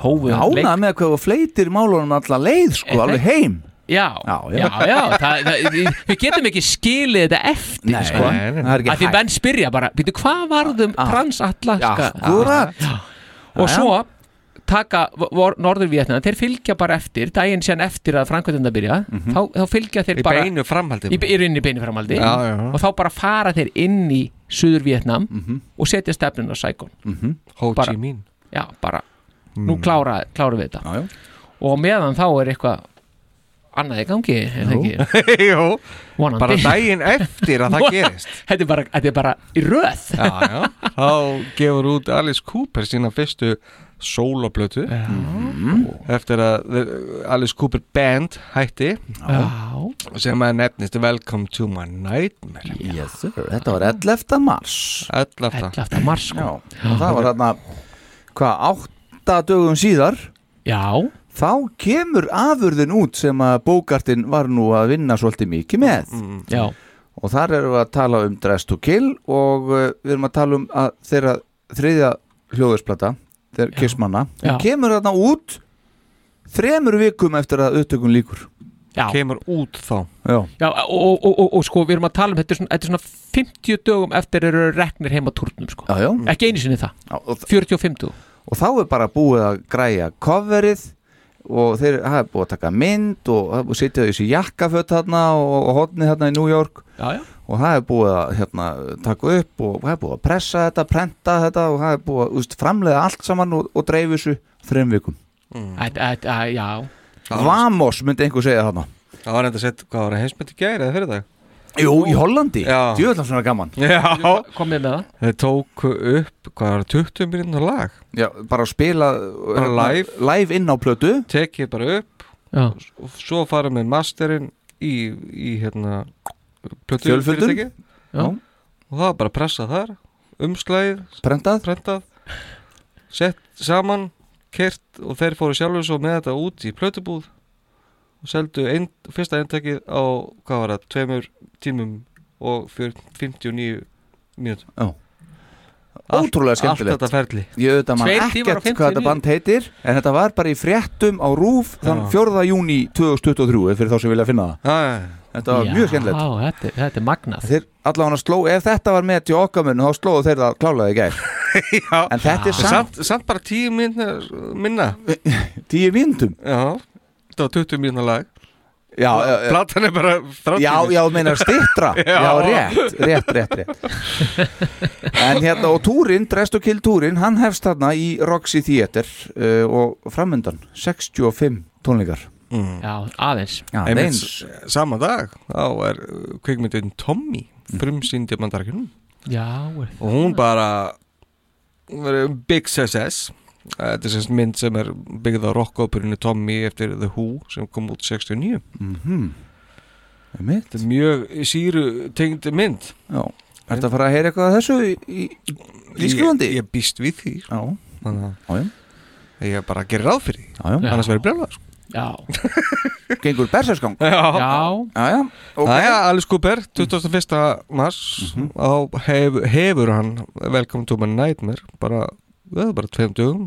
[SPEAKER 4] hófuð
[SPEAKER 3] Ánað með hvað þú fleitir málunum alla leið sko,
[SPEAKER 4] Er það
[SPEAKER 3] alveg
[SPEAKER 4] ekki?
[SPEAKER 3] heim
[SPEAKER 4] Já, já,
[SPEAKER 3] já.
[SPEAKER 4] já, það, það, við- Við getum ekki skilið þetta eftir
[SPEAKER 3] Nei,
[SPEAKER 4] sko.
[SPEAKER 3] nei, nei, það er ekki
[SPEAKER 4] Af Því
[SPEAKER 3] hægt.
[SPEAKER 4] menn spyrja bara, býtu hvað varðum transatlaska
[SPEAKER 3] Akkúrat.
[SPEAKER 4] Og svo taka norður-vietnana, þeir fylgja bara eftir daginn síðan eftir að framkvæmdina byrja
[SPEAKER 3] Mhm.
[SPEAKER 4] þá, þá fylgja þeir
[SPEAKER 5] Í
[SPEAKER 4] bara
[SPEAKER 5] beinu framhaldi
[SPEAKER 4] í, í rauninni beinu framhaldi
[SPEAKER 5] Já, já, já.
[SPEAKER 4] og þá bara fara þeir inn í Suður-Vietnam og setja stefnun á Saigon
[SPEAKER 5] Mhm. Ho
[SPEAKER 4] Bara-
[SPEAKER 5] Chi Minh
[SPEAKER 4] já, bara, nú klára, klára við þetta Mm. já, já. og á meðan þá er eitthvað annað í gangi er það ekki?
[SPEAKER 5] Jú,
[SPEAKER 4] Vonandi.
[SPEAKER 5] bara daginn eftir að það gerist
[SPEAKER 4] þetta, er bara, þetta er bara í röð
[SPEAKER 5] já, já. þá gefur út Alice Cooper sína fyrstu sólablötu eftir að the- Alice Cooper Band hætti
[SPEAKER 4] Já.
[SPEAKER 5] sem að nefnist Welcome to my nightmare
[SPEAKER 3] yes, Þetta var 11. mars
[SPEAKER 5] 11.
[SPEAKER 4] 11. mars sko.
[SPEAKER 3] Já, og það var hérna hvað, átta dögum síðar
[SPEAKER 4] Já
[SPEAKER 3] Þá kemur afurðin út sem að bókartinn var nú að vinna svolítið mikið með
[SPEAKER 4] Já
[SPEAKER 3] Og þar erum við að tala um Dress to Kill og uh, við erum að tala um að þeirra þriðja hljóðisplata þeirra kissmanna,
[SPEAKER 5] Já.
[SPEAKER 3] hún kemur þarna út þremur vikum eftir að upptökum líkur
[SPEAKER 4] Já.
[SPEAKER 5] kemur út þá
[SPEAKER 3] Já.
[SPEAKER 4] Já, og, og, og, og sko, við erum að tala um þetta er svona, þetta er svona 50 dögum eftir eru reknir heim á turnum sko.
[SPEAKER 3] Já, já.
[SPEAKER 4] ekki einu sinni það,
[SPEAKER 3] Já, og
[SPEAKER 4] 40 og 50
[SPEAKER 3] og þá er bara búið að græja coverið og þeir hafa búið að taka mynd og það er búið að sitja þessi jakkafött þarna og, og hotnið þarna í New York
[SPEAKER 4] já, já.
[SPEAKER 3] og það er búið að hérna, taka upp og það er búið að pressa þetta, prenta þetta og það er búið að úst, framleiða allt saman og, og dreifu þessu þreim vikum
[SPEAKER 4] Æ, æ, æ, Já
[SPEAKER 3] Vamos myndi einhver segja þarna
[SPEAKER 5] það var enda sett, hvað var það heimsmyndi gæri eða fyrir dag
[SPEAKER 3] Jú, í Hollandi,
[SPEAKER 5] Já.
[SPEAKER 3] djöðlan svona gaman
[SPEAKER 5] Já.
[SPEAKER 4] komið með það
[SPEAKER 5] þeir tóku upp, hvað var það, 20 mínútur lag
[SPEAKER 3] Já, bara að spila hérna,
[SPEAKER 5] bara live,
[SPEAKER 3] live inn á plötu
[SPEAKER 5] tekið bara upp
[SPEAKER 4] Já.
[SPEAKER 5] og svo fara með masterinn í, í hérna plötu
[SPEAKER 3] Fjölföldun.
[SPEAKER 5] fyrirtæki.
[SPEAKER 4] Já.
[SPEAKER 5] og það var bara pressað þar umslæðið,
[SPEAKER 3] prentað,
[SPEAKER 5] sett saman, kert og þeir fóru sjálfur svo með þetta út í plötubúð og seldu ein, fyrsta eintakið á, hvað var það, tveimur tímum og fyrir 59 mínútur
[SPEAKER 3] Já. Ótrúlega skemmtilegt
[SPEAKER 5] allt þetta ferli
[SPEAKER 3] Ég auðvitað mann
[SPEAKER 5] Tveir tímar og
[SPEAKER 3] ekkert
[SPEAKER 5] 50
[SPEAKER 3] hvað þetta band heitir En þetta var bara í fréttum á RÚF Þann 4. júni 2023 eh, Fyrir þá sem vilja finna það
[SPEAKER 5] Æ.
[SPEAKER 3] Þetta var mjög skemmtilegt
[SPEAKER 4] Já, þetta, þetta er magnað
[SPEAKER 3] Þeir allavega sló, ef þetta var með til okkar mun Þá slóðu þeir það klálega í gær En þetta er samt
[SPEAKER 5] samt, samt bara 10 mínútur minna
[SPEAKER 3] 10 mínútum
[SPEAKER 5] Já, þetta var 20 mínútur lag
[SPEAKER 3] Já, já, já.
[SPEAKER 5] Platan er bara 30
[SPEAKER 3] Já, já, þú meinar stittra
[SPEAKER 5] Já.
[SPEAKER 3] já. rétt, rétt, rétt, rétt En hérna, og túrin, Dress to Kill túrin Hann hefst þarna í Roxy Theater uh, Og framundan 65 tónleikar
[SPEAKER 5] mm.
[SPEAKER 4] Já, aðeins
[SPEAKER 3] Já,
[SPEAKER 5] Einmitt
[SPEAKER 3] aðeins.
[SPEAKER 5] s- Sama dag, þá er uh, kvikmyndin Tommy frumsýndi á mandarkinum
[SPEAKER 4] Já, er
[SPEAKER 5] og hún bara hún er um big success Uh, þetta er sérst mynd sem er byggð á rockopurinu Tommy eftir The Who sem kom út 69
[SPEAKER 3] Mhm. Einmitt.
[SPEAKER 5] þetta er mjög síru tengd mynd
[SPEAKER 3] Já, ertu að fara að heyra eitthvað af þessu í, í, í skrifandi?
[SPEAKER 5] ég, ég býst við því
[SPEAKER 3] Já,
[SPEAKER 5] Þannig
[SPEAKER 3] já,
[SPEAKER 5] að ég bara gerir ráð fyrir því
[SPEAKER 3] já, já.
[SPEAKER 5] annars verður brjálað sko.
[SPEAKER 4] já.
[SPEAKER 3] Gengur berserskang
[SPEAKER 5] Já.
[SPEAKER 4] já.
[SPEAKER 3] Já, já, ok Mhm.
[SPEAKER 5] Það er Alice Cooper, 21. mars mm hef, hefur hann Welcome to my nightmare bara, það er bara tveim dögum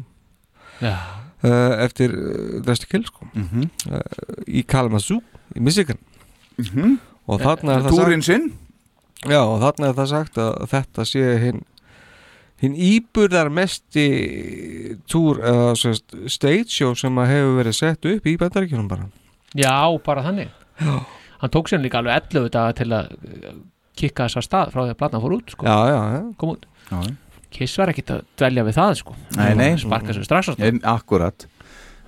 [SPEAKER 4] Já.
[SPEAKER 5] uh, eftir uh, Dress to Kill sko.
[SPEAKER 3] Mhm.
[SPEAKER 5] uh, í Kalamazoo í Michigan
[SPEAKER 3] Mhm.
[SPEAKER 5] og þarna er það
[SPEAKER 3] Túrin sinn
[SPEAKER 5] sagt, já, og þarna er það sagt að þetta sé hinn hinn íburðar mesti túr, eða sem sagt, stage show sem að hefur verið sett upp í bandaríkjunum bara
[SPEAKER 4] Já, bara þannig Hann tók sér líka alveg 11 daga til að uh, kikka þessa stað frá því að platna fór út sko.
[SPEAKER 5] Já, já, já
[SPEAKER 4] Kom út
[SPEAKER 3] Já, já.
[SPEAKER 4] Kiss var ekkit að dvelja við það sko.
[SPEAKER 3] Nei, nei.
[SPEAKER 4] Sparka sér strax á
[SPEAKER 3] En, akkurat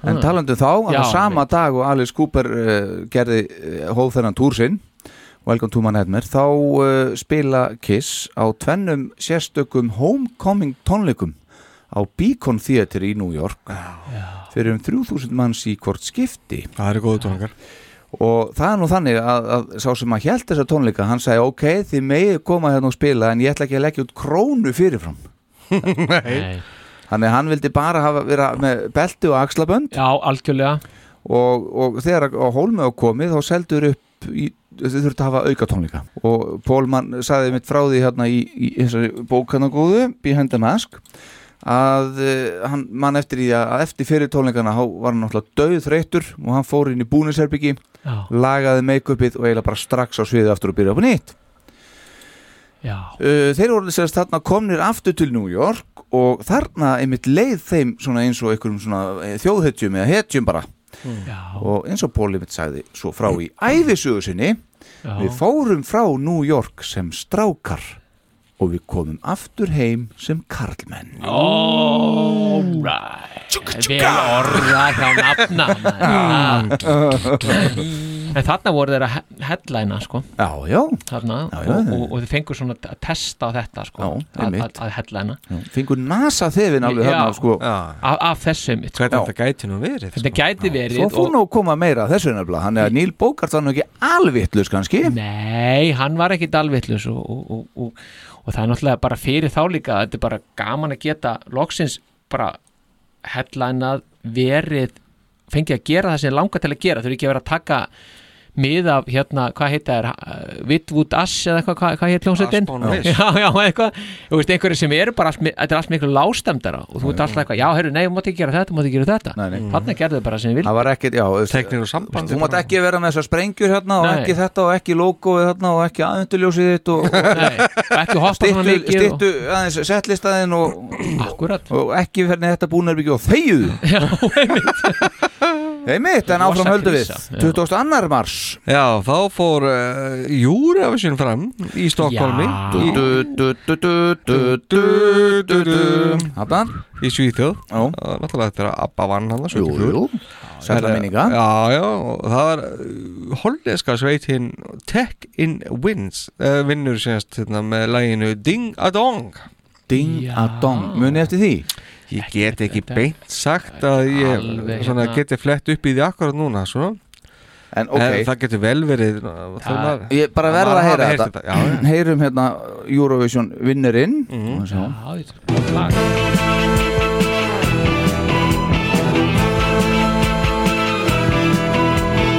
[SPEAKER 3] En talandu þá, að
[SPEAKER 4] Ah. Já,
[SPEAKER 3] það sama dag og Alice Cooper uh, gerði uh, hóð þennan túr sinn Welcome to Manhattan þá uh, spila Kiss á tvennum sérstökum homecoming tónleikum á Beacon Theatre í New York Já. fyrir um 3000 manns í hvort skipti
[SPEAKER 5] Það eru góðu tónleikar
[SPEAKER 3] og það er nú þannig að, að sá sem að hjælt þessa tónleika hann sagði ok, þið megið koma hérna og spila en ég ætla ekki að leggja út krónu fyrirfram
[SPEAKER 4] Nei.
[SPEAKER 3] Þannig að hann vildi bara hafa vera með belti og axlabönd
[SPEAKER 4] Já, algjörlega
[SPEAKER 3] Og, og þegar að- á hólmið á komið þá seldur upp í, þau þurftu að hafa auka tónleika og Pólmann sagði mitt frá því hérna í, í þessari bókana góðu Behind the Mask að uh, hann mann eftir í að, að eftir fyrir tónleikana þá var hann náttúrulega döð þreyttur og hann fór inn í búnisherbyggi
[SPEAKER 4] Já.
[SPEAKER 3] lagaði make-upið og eiginlega bara strax á sviðið aftur og byrjaði upp á nýtt
[SPEAKER 4] Já.
[SPEAKER 3] Uh, þeir voru sérst þarna komnir aftur til New York og þarna einmitt leið þeim svona eins og einhverjum svona eh, þjóðhetjum eða hetjum bara og eins og Paul einmitt sagði svo frá í æfisögu sinni
[SPEAKER 4] Já.
[SPEAKER 3] við fórum frá New York sem strákar og við komum aftur heim sem karlmenn
[SPEAKER 4] Alright Vel orða hjá nafna
[SPEAKER 3] Mm.
[SPEAKER 4] maður. Ah. En þarna voru þeir að he- headlina sko.
[SPEAKER 3] Já, já
[SPEAKER 4] Þarna,
[SPEAKER 3] já,
[SPEAKER 4] og,
[SPEAKER 3] já.
[SPEAKER 4] og, og þeir fengur svona að testa á þetta sko,
[SPEAKER 3] Já,
[SPEAKER 4] að,
[SPEAKER 3] einmitt.
[SPEAKER 4] að, að headlina
[SPEAKER 3] fengur NASA þefin alveg
[SPEAKER 4] Já.
[SPEAKER 3] þarna sko
[SPEAKER 4] af, af þessu mitt
[SPEAKER 5] Hvernig þetta gæti nú verið
[SPEAKER 4] Þetta gæti verið
[SPEAKER 3] Ah. Svo fór nú að koma meira af þessu nefnilega hann er að Neil Bogart var nú ekki alvittlust kannski
[SPEAKER 4] Nei, hann var ekkit alvitlaus og, og, og, og, og það er náttúrulega bara fyrir þá líka þetta er bara gaman að geta loksins bara hellanað verið, fengið að gera það sem langar til að gera, þurfi ekki að vera að taka mið af hérna, hvað heita er Vitwood Ash eða eitthvað, hvað, hvað heit hljómsveitin?
[SPEAKER 5] Aston Wish.
[SPEAKER 4] Já, já, eitthvað þú veist, einhverju sem eru bara, allt mi- þetta er allt miklu lástemdara og þú ert alltaf eitthvað, já, heyrðu, nei, þú mátt ekki gera þetta, þú mátt ekki gera þetta
[SPEAKER 3] nei.
[SPEAKER 4] þannig gerðu þau bara sem við
[SPEAKER 3] það var ekkert, já
[SPEAKER 5] Teknir og samband
[SPEAKER 3] Þú mátt ekki vera með þessar sprengjur hérna og
[SPEAKER 4] Nei.
[SPEAKER 3] ekki þetta og ekki logoið hérna og ekki aðunduljósið þitt og, og
[SPEAKER 4] viljum ekki hoppa svona
[SPEAKER 3] stittu,
[SPEAKER 4] mikið
[SPEAKER 3] stittu aðeins settlistaðin og,
[SPEAKER 4] og, akkurat,
[SPEAKER 3] og ekki hvernig þetta búinarbyggju og þeyjuðu
[SPEAKER 4] já, einmitt
[SPEAKER 3] Einmitt, en áfram
[SPEAKER 4] Rosa
[SPEAKER 3] höldu við
[SPEAKER 4] krísa, já.
[SPEAKER 3] 22. mars
[SPEAKER 5] Já, þá fór uh, Eurovision fram í Stokkólmi
[SPEAKER 4] Já.
[SPEAKER 5] í,
[SPEAKER 3] Abba,
[SPEAKER 5] í Svíþjóð
[SPEAKER 3] já,
[SPEAKER 5] og náttúrulega þetta er að Abba vann hann
[SPEAKER 3] jú, jú Sætla minninga
[SPEAKER 5] Já, já, og það var uh, hollenska sveitinn Tech in Wins uh, vinnur sérst hérna, með læginu Ding a Dong
[SPEAKER 3] Ding a dong, muni eftir því
[SPEAKER 5] Ég get ekki beint sagt að ég
[SPEAKER 4] Alveg
[SPEAKER 5] svona,
[SPEAKER 4] hérna.
[SPEAKER 5] geti flett upp í því akkurat núna svona.
[SPEAKER 3] En
[SPEAKER 5] en
[SPEAKER 3] ok,
[SPEAKER 5] það getur vel verið uh, þau maður-
[SPEAKER 3] ég bara
[SPEAKER 5] það
[SPEAKER 3] verða
[SPEAKER 5] maður
[SPEAKER 3] að heyra
[SPEAKER 5] hafi heyrt
[SPEAKER 3] þetta
[SPEAKER 5] þetta, já, já.
[SPEAKER 3] Heyrum hérna Eurovision vinnerinn Og sjá.
[SPEAKER 4] Já, ég- gott lag.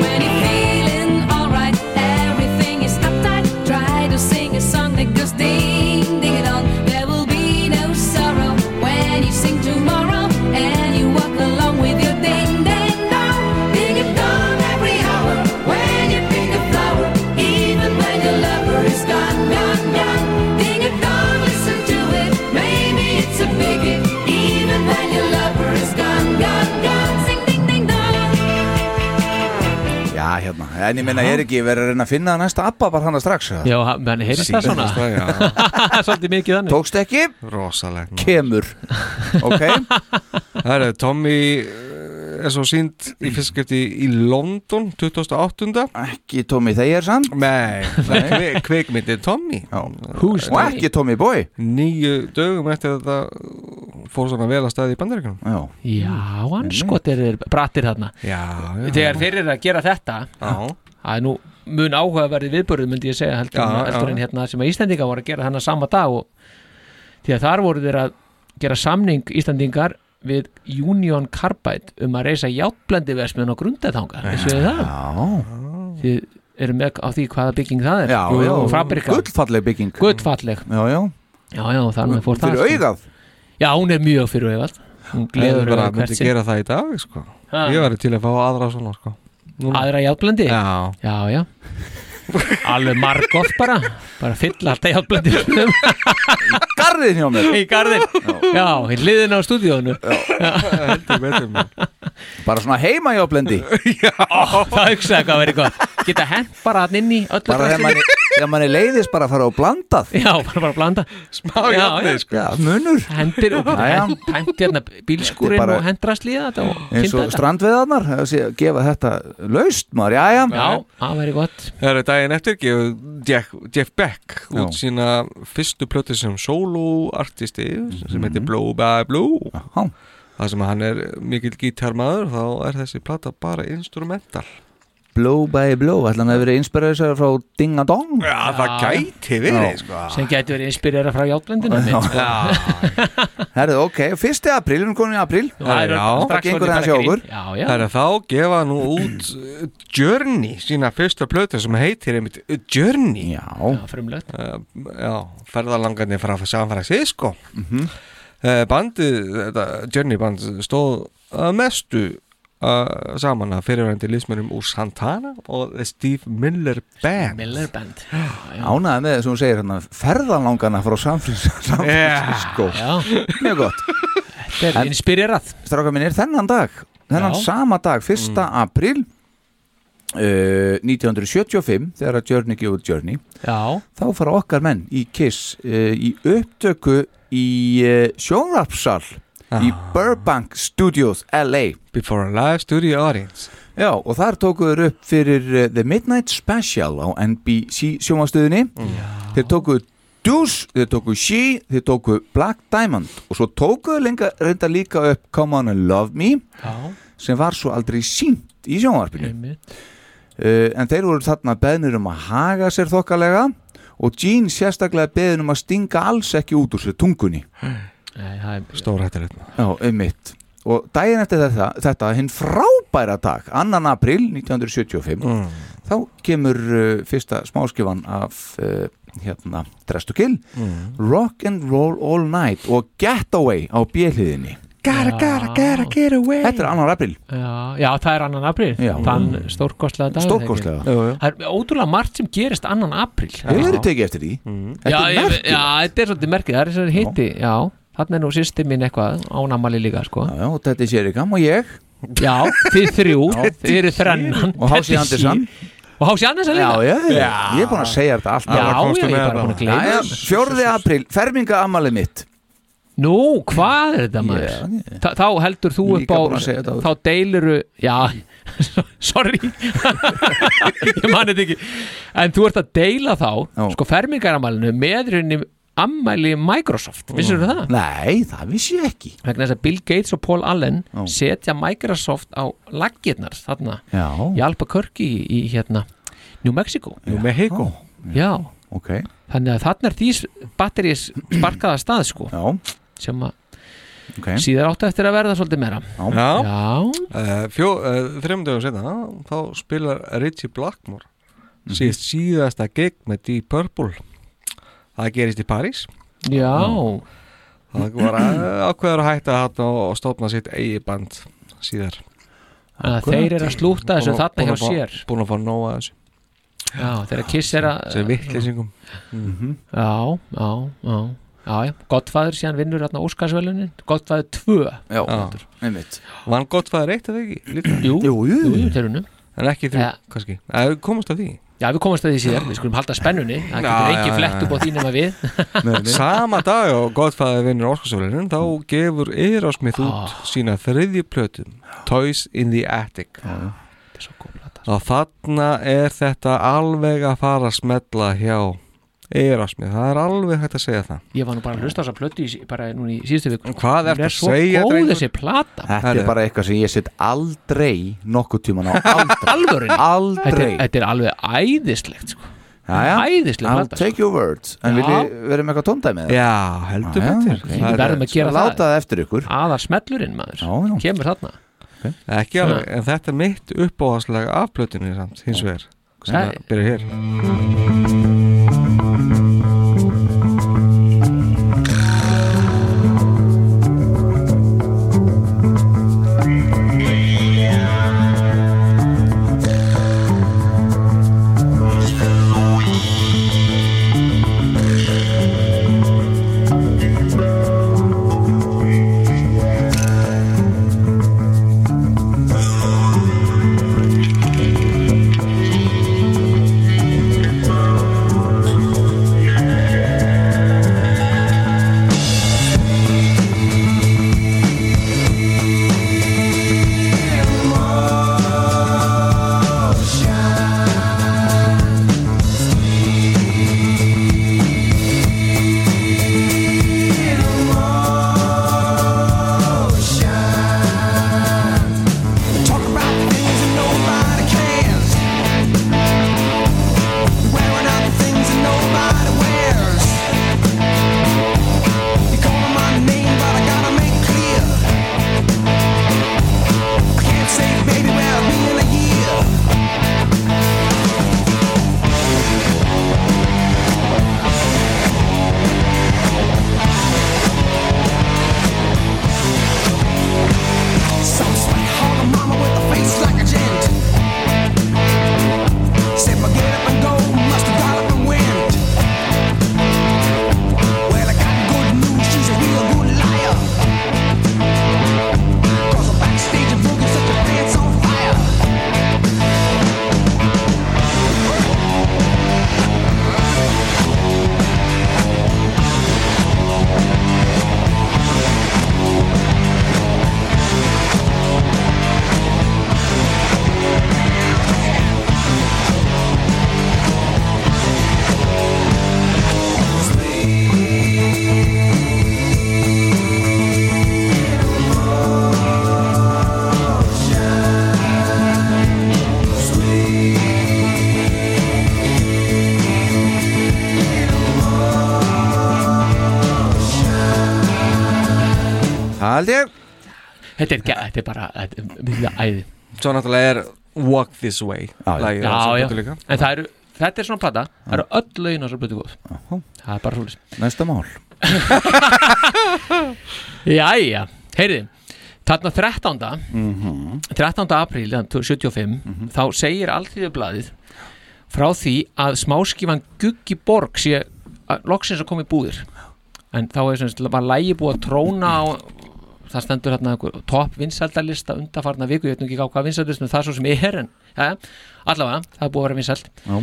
[SPEAKER 2] When you're feeling alright, everything is uptight. Try to sing a song that goes ding, ding it on. There will be no sorrow when you sing tomorrow and you walk along with your ding, ding, dong. Ding it dong every hour when you pick a flower, even when your lover is gone, gone, gone. Ding it dong, listen to it. Maybe it's a big hit, even when your lover is gone, gone, gone. Sing ding, ding, dong.
[SPEAKER 3] Já, hérna, en ég meina ég er ekki Ég verður að reyna að finna næsta Abba bara hana strax eða?
[SPEAKER 4] Já, menn, heyrist það svona?
[SPEAKER 5] Það, já,
[SPEAKER 4] Svolítið mikið þannig
[SPEAKER 3] Tókst ekki?
[SPEAKER 5] rosalegt
[SPEAKER 3] kemur ok,
[SPEAKER 5] Það eru Tommy eh, er svo sínd í fyrstskipti í London 2008.
[SPEAKER 3] ekki Tommy Thayer samt
[SPEAKER 5] Nei, kve- kvikmyndin Tommy.
[SPEAKER 4] Who's
[SPEAKER 3] og ekki Tommy Boy
[SPEAKER 5] Nýju dögum eftir að þetta fór svona vel að staði í bandaríkunum.
[SPEAKER 3] já,
[SPEAKER 4] Já, hann skotir þeir brattir þarna
[SPEAKER 5] Já, já.
[SPEAKER 4] Þegar þeir eru að gera þetta
[SPEAKER 5] Já,
[SPEAKER 4] Það er nú mun áhugaverði viðbörðu myndi ég segja heldur,
[SPEAKER 5] Já,
[SPEAKER 4] en,
[SPEAKER 5] já.
[SPEAKER 4] heldur en hérna sem að Íslendinga voru að gera þennan sama dag og því að þar voru þeir að gera samning Íslendingar við Union Carbide um að reysa játblendi versmiðan á grundetanga eins og það
[SPEAKER 3] já,
[SPEAKER 4] Þið eru með á því hvaða bygging það er
[SPEAKER 3] já,
[SPEAKER 4] Jú,
[SPEAKER 3] já.
[SPEAKER 4] og fabrika
[SPEAKER 3] gullfalleg bygging
[SPEAKER 4] Guðfalleg
[SPEAKER 3] já, já,
[SPEAKER 4] Já, já, þar með fór það
[SPEAKER 3] fyrir
[SPEAKER 4] sko.
[SPEAKER 3] augað
[SPEAKER 4] Já, hún er mjög fyrir auðvald Hún
[SPEAKER 5] ég
[SPEAKER 4] gleður
[SPEAKER 5] bara
[SPEAKER 4] auðvitað
[SPEAKER 5] myndi
[SPEAKER 4] hvert sinn
[SPEAKER 5] gera það í dag, sko.
[SPEAKER 4] Ha.
[SPEAKER 5] Ég væri til að fá aðra svona, sko. Núna.
[SPEAKER 4] Aðra játblandi?
[SPEAKER 5] Já,
[SPEAKER 4] Já, já Alveg margótt bara Bara fylla alltaf játblandi
[SPEAKER 3] garðin hjá mér
[SPEAKER 4] um Í garðin, já, í hliðin á stúdíónu
[SPEAKER 3] Bara svona heima hjá blendi
[SPEAKER 4] Ó, Það hugsaði hvað verið gott Geta hent bara hann inn í öllu
[SPEAKER 3] Bara þegar manni, þegar manni leiðist bara að fara á blandað
[SPEAKER 4] Já, bara bara að blanda Smá
[SPEAKER 3] jafnir, sko. Já, munur
[SPEAKER 4] Hendir og
[SPEAKER 3] Já, já.
[SPEAKER 4] hent, hent hérna bílskúrin
[SPEAKER 3] Þetta er bara-
[SPEAKER 4] og hendrast líða þetta og
[SPEAKER 3] eins
[SPEAKER 4] kynda
[SPEAKER 3] og
[SPEAKER 4] þetta
[SPEAKER 3] strandveðarnar það sé að gefa þetta laust maður, já, já,
[SPEAKER 4] Já, það verið gott
[SPEAKER 5] Það eru daginn eftir gefur Jeff, Jeff Beck
[SPEAKER 3] Já.
[SPEAKER 5] út sína fyrstu plötu sem soloartisti sem heitir Blow by Blow
[SPEAKER 3] Já.
[SPEAKER 5] Það sem hann er mikill gítarmaður þá er þessi plata bara instrumental
[SPEAKER 3] blow by blow, ætla hann að vera inspirasar frá Ding a Dong
[SPEAKER 5] Já, það gæti
[SPEAKER 3] Já.
[SPEAKER 5] verið sko.
[SPEAKER 4] Sem gæti verið inspirera frá játlendinu
[SPEAKER 3] Já.
[SPEAKER 4] mitt, sko.
[SPEAKER 3] Herðu, ok, fyrsti april, við erum komin í april
[SPEAKER 4] Það er strax
[SPEAKER 3] það gengur
[SPEAKER 4] orðið
[SPEAKER 3] aðeins hjá
[SPEAKER 4] bara
[SPEAKER 3] okkur
[SPEAKER 4] grín. Já, já
[SPEAKER 5] Það er að þá gefa nú út uh, Journey, sína fyrsta plötu sem heitir einmitt uh, Journey
[SPEAKER 3] Já,
[SPEAKER 4] frumlegt
[SPEAKER 5] uh, Já, ferðalangarnir frá San Francisco uh, sko. Bandið, þetta Journey band stóð að mestu uh, saman að fyrirvændi lýsmönnum úr Santana og The Steve Miller Band
[SPEAKER 4] Miller Band
[SPEAKER 3] Ánaði með þess að hún segir hérna ferðalangana frá samfélagsskó
[SPEAKER 5] Yeah.
[SPEAKER 3] Mjög gott
[SPEAKER 4] Þetta er inspirerað
[SPEAKER 3] Stráka minn er þennan dag Þennan
[SPEAKER 4] Já. Mm.
[SPEAKER 3] sama dag, 1. april uh, 1975 þegar að Journey gefur Journey
[SPEAKER 4] Já,
[SPEAKER 3] þá fara okkar menn í Kiss uh, í upptöku í uh, sjónvarpsal í
[SPEAKER 4] Ah.
[SPEAKER 3] Burbank Studios LA
[SPEAKER 5] Before a live studio audience
[SPEAKER 3] Já, og þar tókuður upp fyrir uh, The Midnight Special á NBC sjónvarpstöðinni þeir tókuðu Deuce, þeir tókuðu She, þeir tókuðu Black Diamond og svo tókuðu lenga, reynda líka upp Come On and Love Me
[SPEAKER 4] já,
[SPEAKER 3] sem var svo aldrei sínt í sjónvarpinu
[SPEAKER 4] einmitt
[SPEAKER 3] uh, en þeir voru þarna beðnir um að haga sér þokkalega og Gene sérstaklega beðin um að stinga alls ekki út úr sér tungunni
[SPEAKER 4] Nei, það er
[SPEAKER 5] Stóra hættir þetta
[SPEAKER 3] já, um mitt og daginn eftir þetta, þetta hinn frábæra dag 2. april 1975
[SPEAKER 5] mm.
[SPEAKER 3] þá kemur uh, fyrsta smáskifan af uh, hérna, Dress to Kill
[SPEAKER 4] Mm.
[SPEAKER 3] Rock and Roll All Night og Getaway á bjöliðinni
[SPEAKER 5] Gotta, gotta, gotta get away
[SPEAKER 3] þetta er 2. april,
[SPEAKER 4] Já, já, það er annan april
[SPEAKER 3] Já.
[SPEAKER 4] Þann stórkostlega dag
[SPEAKER 3] stórkostlega
[SPEAKER 4] Það er ótrúlega margt sem gerist annan april
[SPEAKER 3] hefur verið tekið eftir því þetta
[SPEAKER 4] já,
[SPEAKER 3] er
[SPEAKER 4] ég-
[SPEAKER 3] merkilegt
[SPEAKER 4] já, þetta er svolítið merkið, það er svolítið hitti Já, þannig er nú sýsti mín eitthvað ánamali líka, sko
[SPEAKER 3] Já, já, og þetta er Sérikam og ég
[SPEAKER 4] Já, þið þrjú, þið eru þrennan
[SPEAKER 3] og Hási
[SPEAKER 4] Þetta er
[SPEAKER 3] Andersson
[SPEAKER 4] sír. Og Hási Andersson
[SPEAKER 3] Já,
[SPEAKER 4] líka
[SPEAKER 3] já, já, ég er búin að segja þetta
[SPEAKER 4] Já, já,
[SPEAKER 3] alltaf
[SPEAKER 4] ég er bara búin að gleyma
[SPEAKER 3] Jæja,
[SPEAKER 4] þessu.
[SPEAKER 3] 4. april, ferminga ammalið mitt
[SPEAKER 4] Nú, hvað er þetta maður?
[SPEAKER 3] Já, ég-
[SPEAKER 4] Þa, þá heldur þú
[SPEAKER 3] Líka
[SPEAKER 4] upp á
[SPEAKER 3] búin að segja þetta áður.
[SPEAKER 4] Þá deiluru, já Sorry Ég man þetta ekki En þú ert að deila þá,
[SPEAKER 3] Já.
[SPEAKER 4] sko fermingaramælinu meðrunni ammæli Microsoft, vissir þú það?
[SPEAKER 3] Nei, það vissi ég ekki
[SPEAKER 4] vegna þess að Bill Gates og Paul Allen
[SPEAKER 3] Já.
[SPEAKER 4] setja Microsoft á laggirnar þarna
[SPEAKER 3] Já,
[SPEAKER 4] í Albuquerque í, í hérna New Mexico
[SPEAKER 5] Nú með heiko
[SPEAKER 4] já,
[SPEAKER 3] ok Já,
[SPEAKER 4] þannig að þarna er því batterís sparkaða stað sko sem að
[SPEAKER 3] ok
[SPEAKER 4] síðar áttu eftir að verða svolítið meira
[SPEAKER 5] Já,
[SPEAKER 4] já,
[SPEAKER 5] Uh, fjó, uh, þrejum dögum setna þá spilar Richie Blackmore síðast síðasta gig með Deep Purple það gerist í París
[SPEAKER 4] já
[SPEAKER 5] það var uh, ákveður að hætta hann og stofna sitt eigi band síðar
[SPEAKER 4] þannig að þeir eru að slúta þessu
[SPEAKER 5] Búin að-
[SPEAKER 4] þarna
[SPEAKER 5] búin
[SPEAKER 4] hjá
[SPEAKER 5] að fá-
[SPEAKER 4] sér
[SPEAKER 5] búin að fá nóa þessu
[SPEAKER 4] já, þeirra kiss er að
[SPEAKER 5] sem vittlýsingum
[SPEAKER 4] já, já, já Já, já, Gottfæður síðan vinnur hérna Óskarsvelunin Gottfæður 2
[SPEAKER 3] Já,
[SPEAKER 5] Já.
[SPEAKER 3] einmitt
[SPEAKER 5] vann gott fæður eitt af því ekki líka
[SPEAKER 4] Jú,
[SPEAKER 3] Jú, jú,
[SPEAKER 4] jú, jú, þeir unnu
[SPEAKER 5] en ekki þrjú,
[SPEAKER 4] Ja.
[SPEAKER 5] kannski að við komumst af því
[SPEAKER 4] Já, við komumst að því síðar, við skulum halda spennunni Það
[SPEAKER 5] Já,
[SPEAKER 4] getur
[SPEAKER 5] já,
[SPEAKER 4] engin
[SPEAKER 5] já,
[SPEAKER 4] flett upp á
[SPEAKER 5] já.
[SPEAKER 4] því nema við
[SPEAKER 5] sama dag og Godfather vinnur Óskarsvölunin þá gefur Eyrásmið út sína þriðju plötum Toys in the Attic
[SPEAKER 4] Þetta er svo góð plata
[SPEAKER 5] og þarna er þetta alveg að fara að smetla hjá Eyrásmið, það er alveg hægt að segja það
[SPEAKER 4] Ég var nú bara að hlusta á þess að plötu í, bara núna í síðustu viku
[SPEAKER 5] Hvað ertu
[SPEAKER 4] Hún
[SPEAKER 5] að segja,
[SPEAKER 4] Hún er svo góð
[SPEAKER 5] drengur?
[SPEAKER 4] þessi plata
[SPEAKER 3] Þetta
[SPEAKER 5] Herðu.
[SPEAKER 3] er bara eitthvað sem ég set aldrei nokkuð tíman á aldrei
[SPEAKER 4] Alvörin þetta er,
[SPEAKER 3] Aldrei
[SPEAKER 4] þetta er alveg æðislegt sko.
[SPEAKER 3] Jæja,
[SPEAKER 4] æðisleg
[SPEAKER 3] I'll
[SPEAKER 4] plata, sko.
[SPEAKER 3] take your words En
[SPEAKER 4] Já.
[SPEAKER 3] viljið vera með eitthvað tóndæmið
[SPEAKER 5] Já, heldur
[SPEAKER 3] Já,
[SPEAKER 5] betur
[SPEAKER 3] ok.
[SPEAKER 5] Það
[SPEAKER 4] Við verðum að gera
[SPEAKER 3] Láta
[SPEAKER 4] það
[SPEAKER 3] það eftir ykkur
[SPEAKER 4] Aðar smellurinn maður
[SPEAKER 3] Já, já.
[SPEAKER 4] Kemur þarna
[SPEAKER 5] er ekki alveg, en þetta er mitt uppáðaslega af plötunni samt, hins vegar sem
[SPEAKER 4] Það-
[SPEAKER 5] að byrja hér held ég
[SPEAKER 4] Þetta er, ge- þetta er bara þetta er- þetta er æði
[SPEAKER 5] Svo náttúrulega er Walk This Way lagið á
[SPEAKER 4] já,
[SPEAKER 5] þessari
[SPEAKER 4] já.
[SPEAKER 5] plötu líka.
[SPEAKER 4] En það eru, þetta er svona plata Það eru öll lögin á þessar blötu góð Það er bara húlis
[SPEAKER 3] Næsta mál
[SPEAKER 4] Jæja, heyrði Þarna 13.
[SPEAKER 3] Mhm.
[SPEAKER 4] 13. apríl 75 þá segir Alþýðublaðið frá því að smáskifan Guggi Borg sé að loksins að koma í búðir en þá er sem sagt bara lægi búið að tróna á það stendur hérna einhver topp vinsældalista undarfarna viku, ég veit nú ekki á hvað vinsældalistum það svo sem er en ja, allavega, það er búið að vera vinsæld
[SPEAKER 3] Já.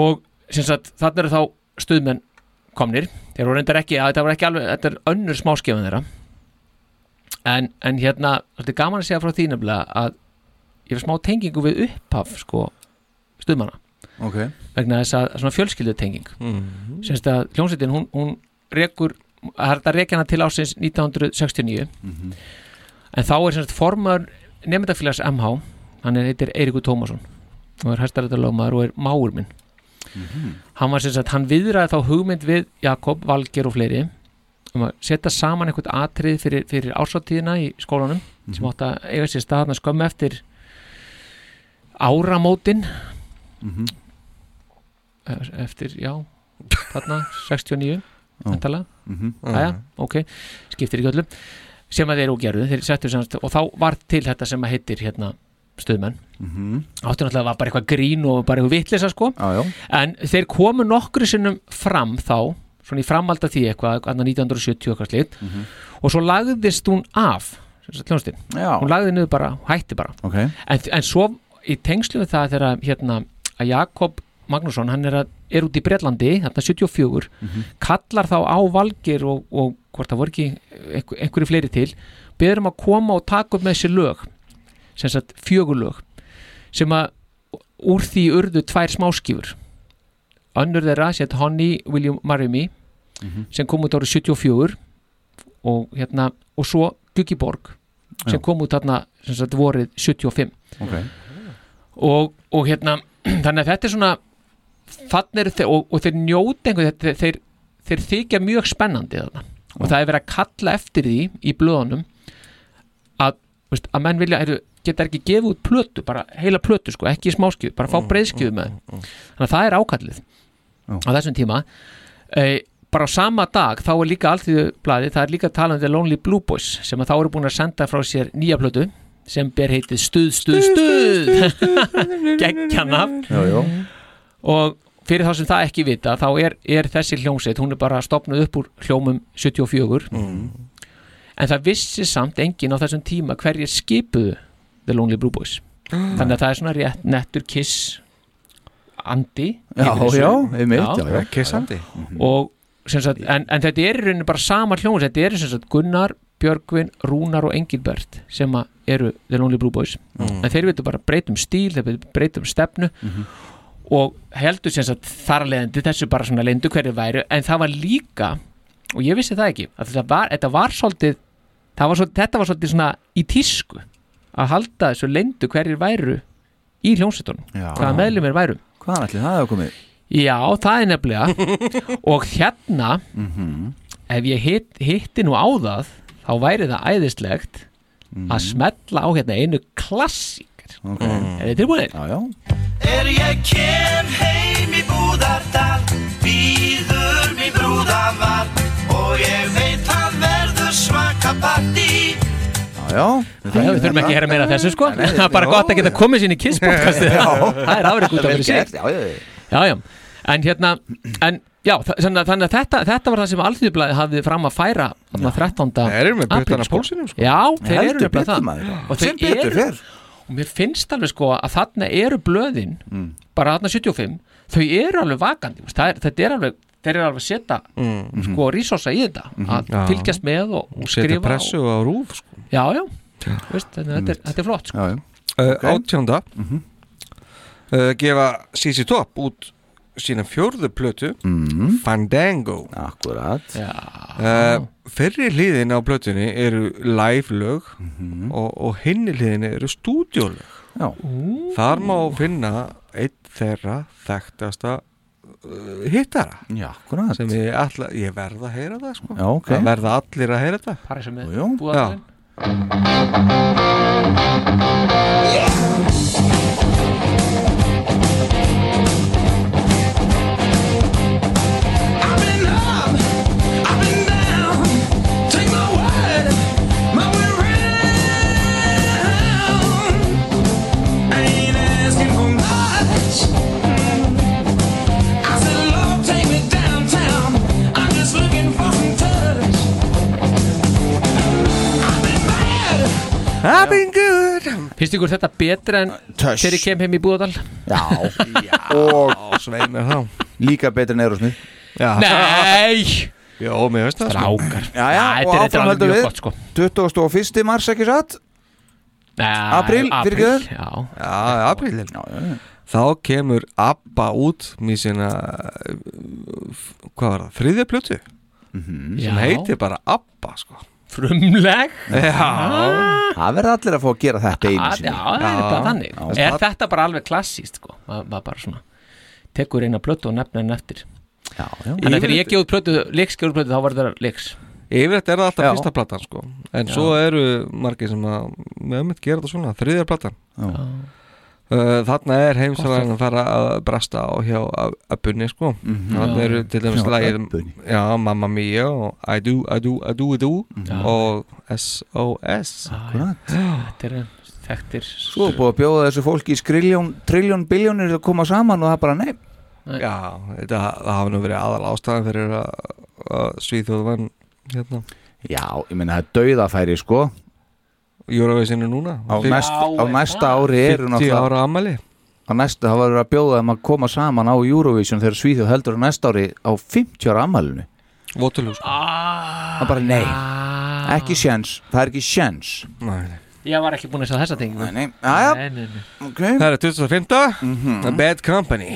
[SPEAKER 4] og sem sagt þarna eru þá stuðmenn komnir þeir voru reyndar ekki, að, þetta voru ekki alveg þetta er önnur smáskifan þeirra en, en hérna, þetta er gaman að segja frá því nefnilega að ég er smá tengingu við upphaf sko, stuðmanna
[SPEAKER 3] Ok.
[SPEAKER 4] vegna þess að svona fjölskyldu tenging
[SPEAKER 5] Mhm.
[SPEAKER 4] semst að hljómsveitin hún, hún rekur, það er hægt að rekja hana til ásins 1969
[SPEAKER 2] Mhm.
[SPEAKER 4] en þá er semst formar nefndafélags MH, hann er heitir Eiríkur Tómasson og er hæstarættarlögmaður og er máur minn hann var sem sagt, hann viðraði þá hugmynd við Jakob, Valger og fleiri um að setja saman einhvern atrið fyrir, fyrir ársáttíðina í skólanum sem átt að eiga sér staðna skömmu eftir áramótin
[SPEAKER 3] Mhm.
[SPEAKER 4] E- eftir, já þarna, 69 endala,
[SPEAKER 3] Mhm.
[SPEAKER 4] aðja, ok skiptir ekki öllum, sem að þeir og gerðu þeir settu sem sagt, og þá var til þetta sem að heitir hérna stöðmenn
[SPEAKER 3] Mhm.
[SPEAKER 4] áttu náttúrulega var bara eitthvað grín og bara eitthvað vitlisa sko
[SPEAKER 3] já, já.
[SPEAKER 4] en þeir komu nokkru sinnum fram þá svona í framhald af því eitthvað annar 1970 og eitthvað slíkt
[SPEAKER 3] Mhm.
[SPEAKER 4] og svo lagðist hún af hljónstinn, hún lagði niður bara hætti bara
[SPEAKER 3] Ok.
[SPEAKER 4] en, en svo í tengslu við það þegar hérna, að Jakob Magnússon hann er, að, er út í Bretlandi þarna 74
[SPEAKER 2] Mhm.
[SPEAKER 4] kallar þá á valgir og, og hvort það voru ekki einhver, einhverju fleiri til beður um að koma og taka upp með þessi lög sem sagt fjögurlög sem að úr því urðu tvær smáskífur önnur þeirra sétt Honey Will You Marry Me
[SPEAKER 2] Mhm.
[SPEAKER 4] sem kom út árið 74 og hérna og svo Guggiborg sem
[SPEAKER 2] Já.
[SPEAKER 4] kom út þarna sem sagt vorið 75
[SPEAKER 2] Ok.
[SPEAKER 4] og, og hérna þannig að þetta er svona þannig eru þeir og, og þeir njóti einhver þeir, þeir, þeir þykja mjög spennandi þarna og það er verið að kalla eftir því í blöðunum að, veist, að menn vilja heyrðu, geta ekki gefið út plötu, bara heila plötu sko, ekki smáskjöf, bara fá
[SPEAKER 5] Mm,
[SPEAKER 4] breiðskjöf
[SPEAKER 5] mm,
[SPEAKER 4] með
[SPEAKER 5] mm, mm.
[SPEAKER 4] þannig að það er ákallið á þessum tíma e, bara á sama dag þá er líka alþjóðblæði, það er líka talandi Lonely Blue Boys sem að þá eru búin að senda frá sér nýja plötu sem ber heitið Stuð, Stuð, Stuð geggjanaf
[SPEAKER 3] Já, já.
[SPEAKER 4] og fyrir þá sem það ekki vita þá er, er þessi hljómsveit, hún er bara stopnuð upp úr hljómum 74
[SPEAKER 3] Mm.
[SPEAKER 4] en það vissi samt enginn á þessum tíma hverjir skipuðu The Lonely Blue Boys
[SPEAKER 3] Mm.
[SPEAKER 4] þannig að það er svona rétt nettur kiss andi
[SPEAKER 3] Já,
[SPEAKER 4] yfir þessu.
[SPEAKER 3] já, einmitt, já, já. Kiss andi.
[SPEAKER 4] og sem sagt, en, en þetta er í rauninni bara sama hljómsveit, þetta eru sem sagt Gunnar, Björgvin, Rúnar og Engilbert sem að eru The Lonely Blue Boys
[SPEAKER 5] Mm.
[SPEAKER 4] en þeir veitum bara breytum stíl, þeir veitum breytum stefnu og heldur sem sagt þar að leiðandi þessu bara svona leindu hverju væru en það var líka, og ég vissi það ekki að þetta var, þetta var svolítið það var svolítið, þetta var svolítið svona í tísku að halda þessu leindu hverjir væru í hljómsveitunum
[SPEAKER 3] Já.
[SPEAKER 4] hvaða meðlumir væru
[SPEAKER 3] Hvað ætli það hefur komið?
[SPEAKER 4] Já, það er nefnilega og hérna
[SPEAKER 5] Mhm.
[SPEAKER 4] ef ég hitt, hitti nú á það þá væri það æðislegt
[SPEAKER 5] Mhm.
[SPEAKER 4] að smetla á hérna einu klassíker
[SPEAKER 3] okay.
[SPEAKER 4] Er þið tilbúinir?
[SPEAKER 3] Já, já
[SPEAKER 2] Er ég kem heim í Búðardal Býður mér brúðavar Og ég veit það verður svaka partí
[SPEAKER 3] Já, já
[SPEAKER 4] Æ, við þurfum ekki að heyra meira af þessu sko Það er bara gott að geta komið sín í kisspodcastið
[SPEAKER 3] Já.
[SPEAKER 4] Það er afrið út
[SPEAKER 3] Vel
[SPEAKER 4] af fyrir sig
[SPEAKER 3] gert, já, já, já.
[SPEAKER 4] já, já. En hérna en, já, þa- þannig að, þannig að þetta, þetta var það sem Alþýðublaði hafði fram að færa þarna 13.
[SPEAKER 5] Þeir eru með
[SPEAKER 4] apríl,
[SPEAKER 5] puttana á
[SPEAKER 4] sko.
[SPEAKER 5] pólsinum, sko.
[SPEAKER 4] Já, þeir
[SPEAKER 5] Heldur
[SPEAKER 4] eru nefnilega
[SPEAKER 5] betur,
[SPEAKER 4] það
[SPEAKER 5] maður.
[SPEAKER 4] Og þeir
[SPEAKER 5] Sem betur
[SPEAKER 4] eru-
[SPEAKER 5] fer.
[SPEAKER 4] Og mér finnst alveg sko að þarna eru blöðin
[SPEAKER 3] Mm.
[SPEAKER 4] bara þarna 75 þau eru alveg vakandi þú veist, það er, þetta er alveg þeir eru alveg að setja sko resursa í þetta
[SPEAKER 3] Mhm.
[SPEAKER 4] að
[SPEAKER 5] Mm. Já.
[SPEAKER 4] fylgjast með og, og
[SPEAKER 5] Setja
[SPEAKER 4] skrifa
[SPEAKER 5] pressu
[SPEAKER 4] og,
[SPEAKER 5] á rúf sko.
[SPEAKER 4] Já, já, Veist, þannig að þetta, er, þetta er flott sko.
[SPEAKER 3] já, já.
[SPEAKER 5] uh, Átjónda uh, gefa CC Top út sína fjórðu plötu Fandango
[SPEAKER 3] Akkurat
[SPEAKER 5] uh, Fyrri hliðin á plötunni eru live lög og, og hinni hliðin eru stúdjólög
[SPEAKER 3] Já.
[SPEAKER 5] Þar má finna einn þeirra þekktasta uh, hittara
[SPEAKER 3] Já, akkurat.
[SPEAKER 5] sem ég, alla, ég verð að heyra það sko.
[SPEAKER 3] Já, ok.
[SPEAKER 5] það verða allir að heyra þetta
[SPEAKER 4] Paris er með
[SPEAKER 5] Já.
[SPEAKER 4] búðarinn
[SPEAKER 5] I've been good
[SPEAKER 4] Finnst ykkur þetta betra en þegar ég kem heim í Búðardal?
[SPEAKER 3] Já, og
[SPEAKER 5] sveinar þá
[SPEAKER 3] Líka betur en Erosmith
[SPEAKER 4] Nei
[SPEAKER 5] Jó, mér veist það sko.
[SPEAKER 4] Strákar
[SPEAKER 3] Já, já, og
[SPEAKER 4] Æ, þetta er- þetta er
[SPEAKER 3] áfram
[SPEAKER 4] alveg
[SPEAKER 3] höldum
[SPEAKER 4] mjög
[SPEAKER 3] við
[SPEAKER 4] gott sko
[SPEAKER 3] 21. mars, ekki satt?
[SPEAKER 4] Nei,
[SPEAKER 3] Apríl, fyrirgefðu.
[SPEAKER 4] Já
[SPEAKER 5] Já, apríl er- Þá kemur Abba út með sína uh, f- hvað var það, þriðja plötu sem
[SPEAKER 4] Já.
[SPEAKER 5] heitir bara Abba sko.
[SPEAKER 4] Frumleg
[SPEAKER 5] Já.
[SPEAKER 3] Það verða allir að fá að gera þetta einu
[SPEAKER 4] Já,
[SPEAKER 3] sinni
[SPEAKER 4] það er bara þannig
[SPEAKER 3] Já.
[SPEAKER 4] Er þetta bara alveg klassíst sko Ma- Maður bara svona Tekur eina plötu og nefna henni eftir
[SPEAKER 3] Já, já
[SPEAKER 4] Þannig að þegar ég gefið plötu, leiks gefið plötu þá var þetta leiks
[SPEAKER 5] Yfirleitt er það alltaf
[SPEAKER 4] Já.
[SPEAKER 5] fyrsta platan sko. en
[SPEAKER 4] Já.
[SPEAKER 5] svo eru margir sem að með ömmit gera þetta svona, þriðja platan
[SPEAKER 3] Já.
[SPEAKER 5] Uh, þarna er heimsalagan að fara að brasta á hjá Ab- Abbunni sko
[SPEAKER 3] Mhm.
[SPEAKER 5] þarna
[SPEAKER 3] Já.
[SPEAKER 5] eru til dæmis
[SPEAKER 3] Hjá
[SPEAKER 5] lagið
[SPEAKER 3] Abbunni.
[SPEAKER 5] já, Mamma Mia og I do, I do, I do, I do
[SPEAKER 3] Já.
[SPEAKER 5] og S.O.S
[SPEAKER 3] Akkurat.
[SPEAKER 4] Þetta er þekktir
[SPEAKER 3] Svo
[SPEAKER 5] Sko.
[SPEAKER 3] er búið að bjóða þessu fólki í skriljón, triljón, biljónir að koma saman og það bara nei
[SPEAKER 5] Já, þetta, það hafa nú verið aðal ástæðan fyrir að, að Svíþjóð vann hérna
[SPEAKER 3] Já, ég meina það er dauðafæri sko
[SPEAKER 5] Eurovision er núna
[SPEAKER 3] Á,
[SPEAKER 5] Fimm-
[SPEAKER 3] næst, á næsta ári eru
[SPEAKER 5] 50 ára ammali
[SPEAKER 3] Á næsta, það verður að bjóða þeim að koma saman á Eurovision þegar Svíþjóð heldur á næsta ári á 50 ára ammælinu
[SPEAKER 5] Votulú sko
[SPEAKER 3] Það
[SPEAKER 4] Ah.
[SPEAKER 3] er bara nei, ekki sjens, það er ekki sjens
[SPEAKER 5] Nei, nei.
[SPEAKER 4] Ég var ekki búin að sjá þessa tengi
[SPEAKER 3] Nei, nei, aðja,
[SPEAKER 4] nei, nei, nei.
[SPEAKER 3] ok
[SPEAKER 5] Það er 2015
[SPEAKER 4] Mhm.
[SPEAKER 5] A Bad Company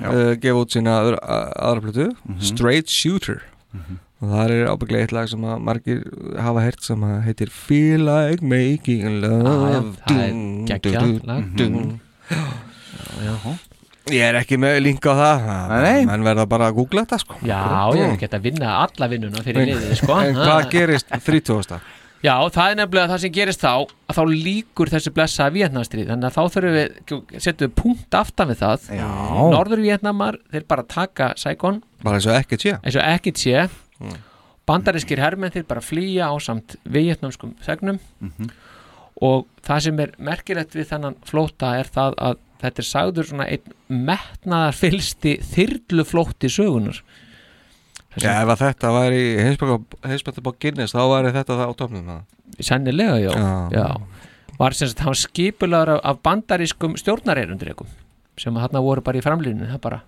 [SPEAKER 5] uh, gefa út sína aðra, aðra plötu
[SPEAKER 4] Mhm.
[SPEAKER 5] Straight Shooter og það er ábygglega eitt lag sem að margir hafa hert sem að heitir Feel Like Making Love
[SPEAKER 4] Ah, já, það er
[SPEAKER 5] Dun,
[SPEAKER 4] geggjað
[SPEAKER 5] dun, dun,
[SPEAKER 4] lag. Mhm.
[SPEAKER 5] dun. Ég er ekki með link á það
[SPEAKER 3] Nei, nei.
[SPEAKER 5] menn verða bara að googla þetta sko
[SPEAKER 4] Já, ég er ekki að vinna alla vinnuna fyrir
[SPEAKER 5] En-
[SPEAKER 4] liðið sko
[SPEAKER 5] En
[SPEAKER 4] Ha.
[SPEAKER 5] hvað gerist 30.
[SPEAKER 4] Já, það er nefnilega það sem gerist þá að þá líkur þessu blessa Vietnamstríð þannig að þá þurfum við, setjum við punkt aftan við það
[SPEAKER 3] Já.
[SPEAKER 4] Norður Vietnamar, þeir bara taka Saigon
[SPEAKER 5] bara eins og ekki tjá
[SPEAKER 4] eins og ekkit sé bandarískir hermenn þeir bara flýja á samt vietnamskum þegnum og það sem er merkilegt við þennan flóta er það að þetta er sagður svona einn metnaðar fylsti þyrluflótti sögunar
[SPEAKER 5] Já, ef að þetta væri heimsbættabók Guinness þá væri þetta það á topnum það.
[SPEAKER 4] sennilega, já,
[SPEAKER 5] Já.
[SPEAKER 4] já. var sem sagt, hann skipulaður af, af bandarískum stjórnarerundrekum sem að þarna voru bara í framlýninu það bara,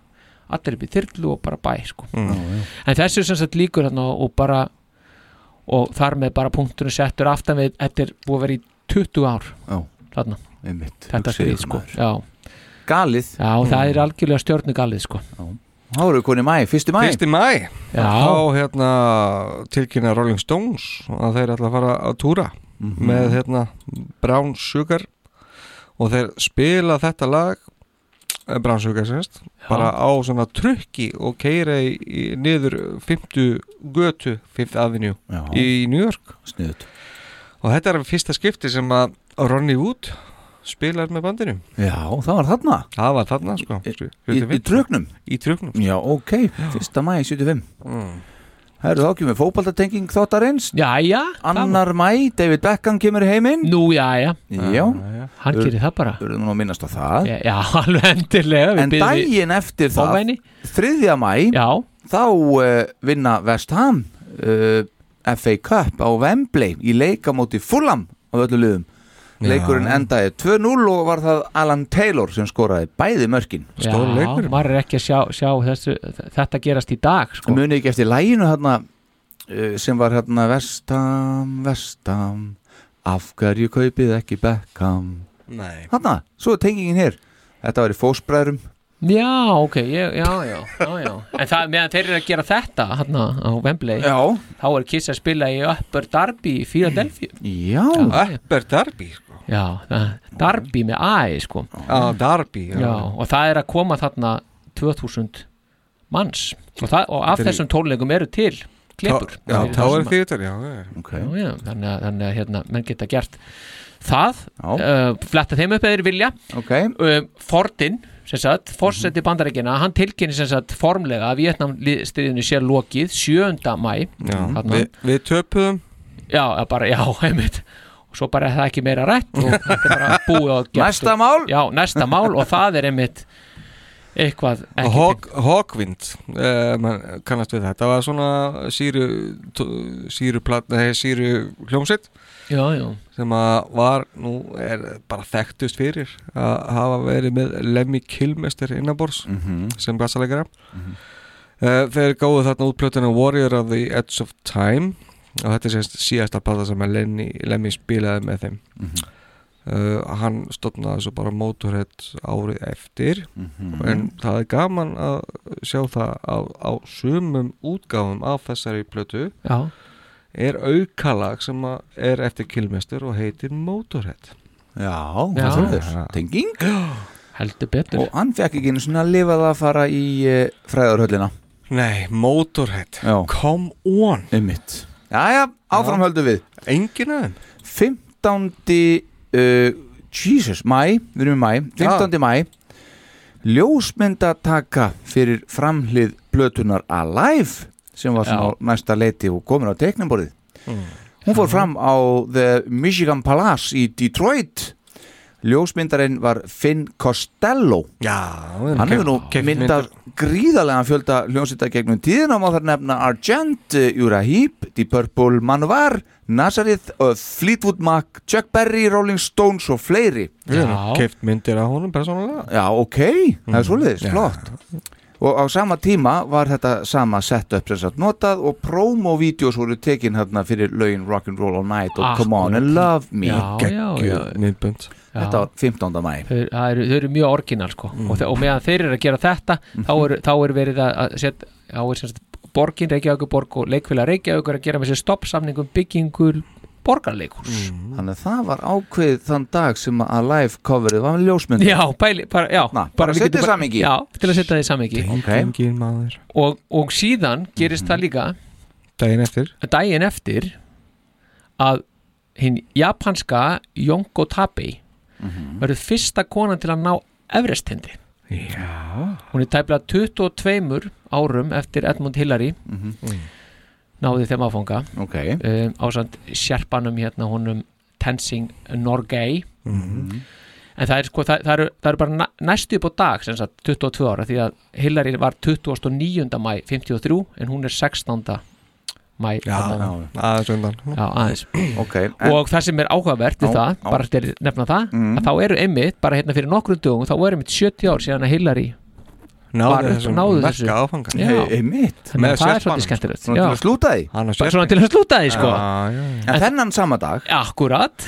[SPEAKER 4] allir upp í þyrlu og bara bæ sko.
[SPEAKER 5] Mm.
[SPEAKER 4] en þessu sem sagt líkur þarna og og bara og þar með bara punktunum settur aftan við þetta er búið að vera í 20 ár
[SPEAKER 3] Já.
[SPEAKER 4] þarna,
[SPEAKER 3] Einmitt,
[SPEAKER 4] þetta
[SPEAKER 3] hugsiði
[SPEAKER 4] stríð sko
[SPEAKER 3] maður. Mm.
[SPEAKER 4] já,
[SPEAKER 3] Galið,
[SPEAKER 4] já það er algjörlega stjórnugalið sko
[SPEAKER 3] þá eru við konið mæ, fyrsti mæ
[SPEAKER 5] Fyrst í mæ
[SPEAKER 4] Já.
[SPEAKER 5] þá hérna tilkynna Rolling Stones að þeir ætla að fara að túra með hérna Brown Sugar og þeir spila þetta lag eh, Brown Sugar semst bara á svona trukki og keira í, í, niður 50 götu 5th Avenue
[SPEAKER 3] Já.
[SPEAKER 5] í New York
[SPEAKER 3] Sniðut
[SPEAKER 5] og þetta er fyrsta skipti sem að Ronnie Wood spilar með bandinu
[SPEAKER 3] Já, það var þarna
[SPEAKER 5] það var þarna sko
[SPEAKER 3] Í, í trögnum
[SPEAKER 5] í truknum
[SPEAKER 3] Já, ok, fyrsta mæ 75 Herru, þá kemur fótbaldatenging þóttarins
[SPEAKER 4] já, já,
[SPEAKER 3] Annar mæ, David Beckham kemur heiminn
[SPEAKER 4] nú já, já,
[SPEAKER 3] Já,
[SPEAKER 4] hann
[SPEAKER 3] Ur-
[SPEAKER 4] gerir það bara
[SPEAKER 3] þú erum nú að minnast á það
[SPEAKER 4] Mm. já, já, alveg endilega við
[SPEAKER 3] En
[SPEAKER 4] biðum við-
[SPEAKER 3] daginn eftir það
[SPEAKER 4] Óvæni.
[SPEAKER 3] Þriðja mæ,
[SPEAKER 4] já,
[SPEAKER 3] þá uh, vinna West Ham uh, FA Cup á Wembley í leikamóti Fulham á öllu liðum Leikurinn endaði 2-0 og var það Alan Taylor sem skoraði bæði mörkin
[SPEAKER 5] Stór
[SPEAKER 4] já,
[SPEAKER 5] leikur.
[SPEAKER 4] maður er ekki að sjá, sjá þessu, þetta gerast í dag sko.
[SPEAKER 3] muni ekki eftir læginu hérna eh, sem var hérna Vestam, Vestam af hverju kaupið ekki Beckham
[SPEAKER 5] Nei.
[SPEAKER 3] hérna, svo er tengingin hér þetta var í fósbræðrum
[SPEAKER 4] já, ok, ég, já, já, já, já en það, meðan þeir eru að gera þetta hann á Wembley,
[SPEAKER 3] já,
[SPEAKER 4] þá er Kiss að spila í Upper Derby í Philadelphia
[SPEAKER 3] já,
[SPEAKER 5] Mm. Upper Derby sko.
[SPEAKER 4] já, það- Derby með AI sko.
[SPEAKER 5] ah, Derby já.
[SPEAKER 4] já, og það er að koma þarna 2000 manns og, það, og af
[SPEAKER 5] Þetta er-
[SPEAKER 4] þessum tónleikum eru til klippur
[SPEAKER 5] Tá- já,
[SPEAKER 4] Það
[SPEAKER 5] þá
[SPEAKER 4] eru það
[SPEAKER 5] eru
[SPEAKER 4] sem að-
[SPEAKER 5] þýðvitar, já, já.
[SPEAKER 3] Okay.
[SPEAKER 4] já, já, þannig að, þannig að hérna, menn geta gert það uh, fletta þeim upp eða þeir vilja
[SPEAKER 3] okay.
[SPEAKER 4] uh, Fordin sem sagt, forseti
[SPEAKER 5] Mhm.
[SPEAKER 4] bandaríkina hann tilkynni sem sagt formlega að Vietnamstriðinu sé lokið 7. mæ
[SPEAKER 5] Já, við- við töpuðum
[SPEAKER 4] já, eða bara, já, heimitt og svo bara er það ekki meira rætt og þetta er bara búið og gert
[SPEAKER 5] Næsta
[SPEAKER 4] og-
[SPEAKER 5] mál.
[SPEAKER 4] já, næsta mál og það er einmitt eitthvað ekki
[SPEAKER 5] Hawk, Hawkwind uh, mann kannast við þetta var svona síru tó- síru, platna, hey, síru hljómsitt
[SPEAKER 4] Já, já.
[SPEAKER 5] sem að var nú er bara þekktust fyrir að hafa verið með Lemmy Kilmester innabors
[SPEAKER 3] Mhm,
[SPEAKER 5] sem bassalegara mm þeir gáðu þarna út plötuna Warrior of the Edge of Time og þetta er sérst síðasta plata sem að Lemmy, Lemmy spilaði með þeim uh, hann stofnaði svo bara Motorhead árið eftir
[SPEAKER 3] Mhm.
[SPEAKER 5] en það er gaman að sjá það á, á sumum útgáfum af þessari plötu
[SPEAKER 4] Já.
[SPEAKER 5] er aukalag sem að er eftir kilmestur og heitir Motorhead
[SPEAKER 3] Já,
[SPEAKER 5] Já.
[SPEAKER 3] það er
[SPEAKER 5] Já.
[SPEAKER 3] tenging
[SPEAKER 4] Heldur betur
[SPEAKER 3] Og hann fekk ekki einu svona að lifa það að fara í uh, fræðarhöllina
[SPEAKER 5] Nei, Motorhead
[SPEAKER 3] Já.
[SPEAKER 5] Come on
[SPEAKER 3] Einmitt Jæja, áfram höldum við
[SPEAKER 5] Engin aðeim
[SPEAKER 3] 15. Uh, Jesus, mæ, við erum í mæ 15. mæ Ljósmyndataka fyrir framhlið blötunar Alive sem var svona á næsta leiti og komin á teiknumborðið Hún fór fram á The Michigan Palace í Detroit Ljósmyndarinn var Finn Costello
[SPEAKER 5] Já,
[SPEAKER 3] Hann hefur nú myndað gríðarlega fjölda hljónsita gegnum tíðina og má þar nefna Argent, Jura Heap, Deep Purple, Manvar, Nazareth, uh, Fleetwood Mac, Chuck Berry, Rolling Stones og fleiri
[SPEAKER 5] Við erum keft myndir af honum persónulega
[SPEAKER 3] Já, ok, það er svoleiðis, flott Og á sama tíma var þetta sama setup sem satt notað og promo-vídeós voru tekin hérna fyrir lögin Rock'n'Roll All Night og Come On and Love Me
[SPEAKER 4] já, já, já.
[SPEAKER 5] myndbönd
[SPEAKER 3] Þetta var 15. mæ
[SPEAKER 4] Þeir, það eru, þau eru mjög orginal sko. og, þe- og meðan þeir eru að gera þetta þá eru, þá eru verið að- að setja þá er semst borgin Reykjavíkuborg og leikfélag Reykjavíkur að gera með sér stoppsamningum byggingur borgarleikurs
[SPEAKER 3] Þannig að það var ákveðið þann dag sem að live coverið var með ljósmynd
[SPEAKER 4] Já, bæli, bara, já,
[SPEAKER 3] Na,
[SPEAKER 4] bara
[SPEAKER 3] bara
[SPEAKER 4] við
[SPEAKER 3] setja
[SPEAKER 4] getum
[SPEAKER 3] í
[SPEAKER 4] bara-
[SPEAKER 3] samingi
[SPEAKER 4] Já, til að setja það í samingi
[SPEAKER 5] Engin maður
[SPEAKER 4] og, og síðan gerist það líka
[SPEAKER 5] Daginn eftir
[SPEAKER 4] daginn eftir að hinn japanska Yonko Tabei verður fyrsta konan til að ná Everestindi
[SPEAKER 5] Já
[SPEAKER 4] Hún er tæplega 22 árum eftir Edmund Hillary náði þeim áfanga
[SPEAKER 3] okay.
[SPEAKER 4] um, ásand sérpanum hérna honum Tensing Norgay en það er sko það, það, eru, það eru bara na- næstu upp á dag sem sagt 22 ára því að Hillary var 29. mæ 53 en hún er 16. mæ þarna.
[SPEAKER 5] aðeins undan
[SPEAKER 4] Já, aðeins
[SPEAKER 3] okay,
[SPEAKER 4] og það sem er áhugavert við
[SPEAKER 5] Já,
[SPEAKER 4] það,
[SPEAKER 5] já. Mm.
[SPEAKER 4] bara til að nefna það að þá eru einmitt, bara hérna fyrir nokkrum dögum þá eru einmitt 70 ár síðan að Hillary
[SPEAKER 5] Náðu
[SPEAKER 4] var-
[SPEAKER 5] þessum merka áfanga.
[SPEAKER 4] Já.
[SPEAKER 5] Hey, einmitt.
[SPEAKER 4] Þannig
[SPEAKER 5] Með
[SPEAKER 4] að það er
[SPEAKER 5] sérpanum.
[SPEAKER 4] svolítið skemmtilegt
[SPEAKER 5] Svona til að slúta
[SPEAKER 3] því
[SPEAKER 5] Hann á
[SPEAKER 4] Bara svona til að slúta því sko
[SPEAKER 3] Mm. En þennan sama dag
[SPEAKER 4] Akkurat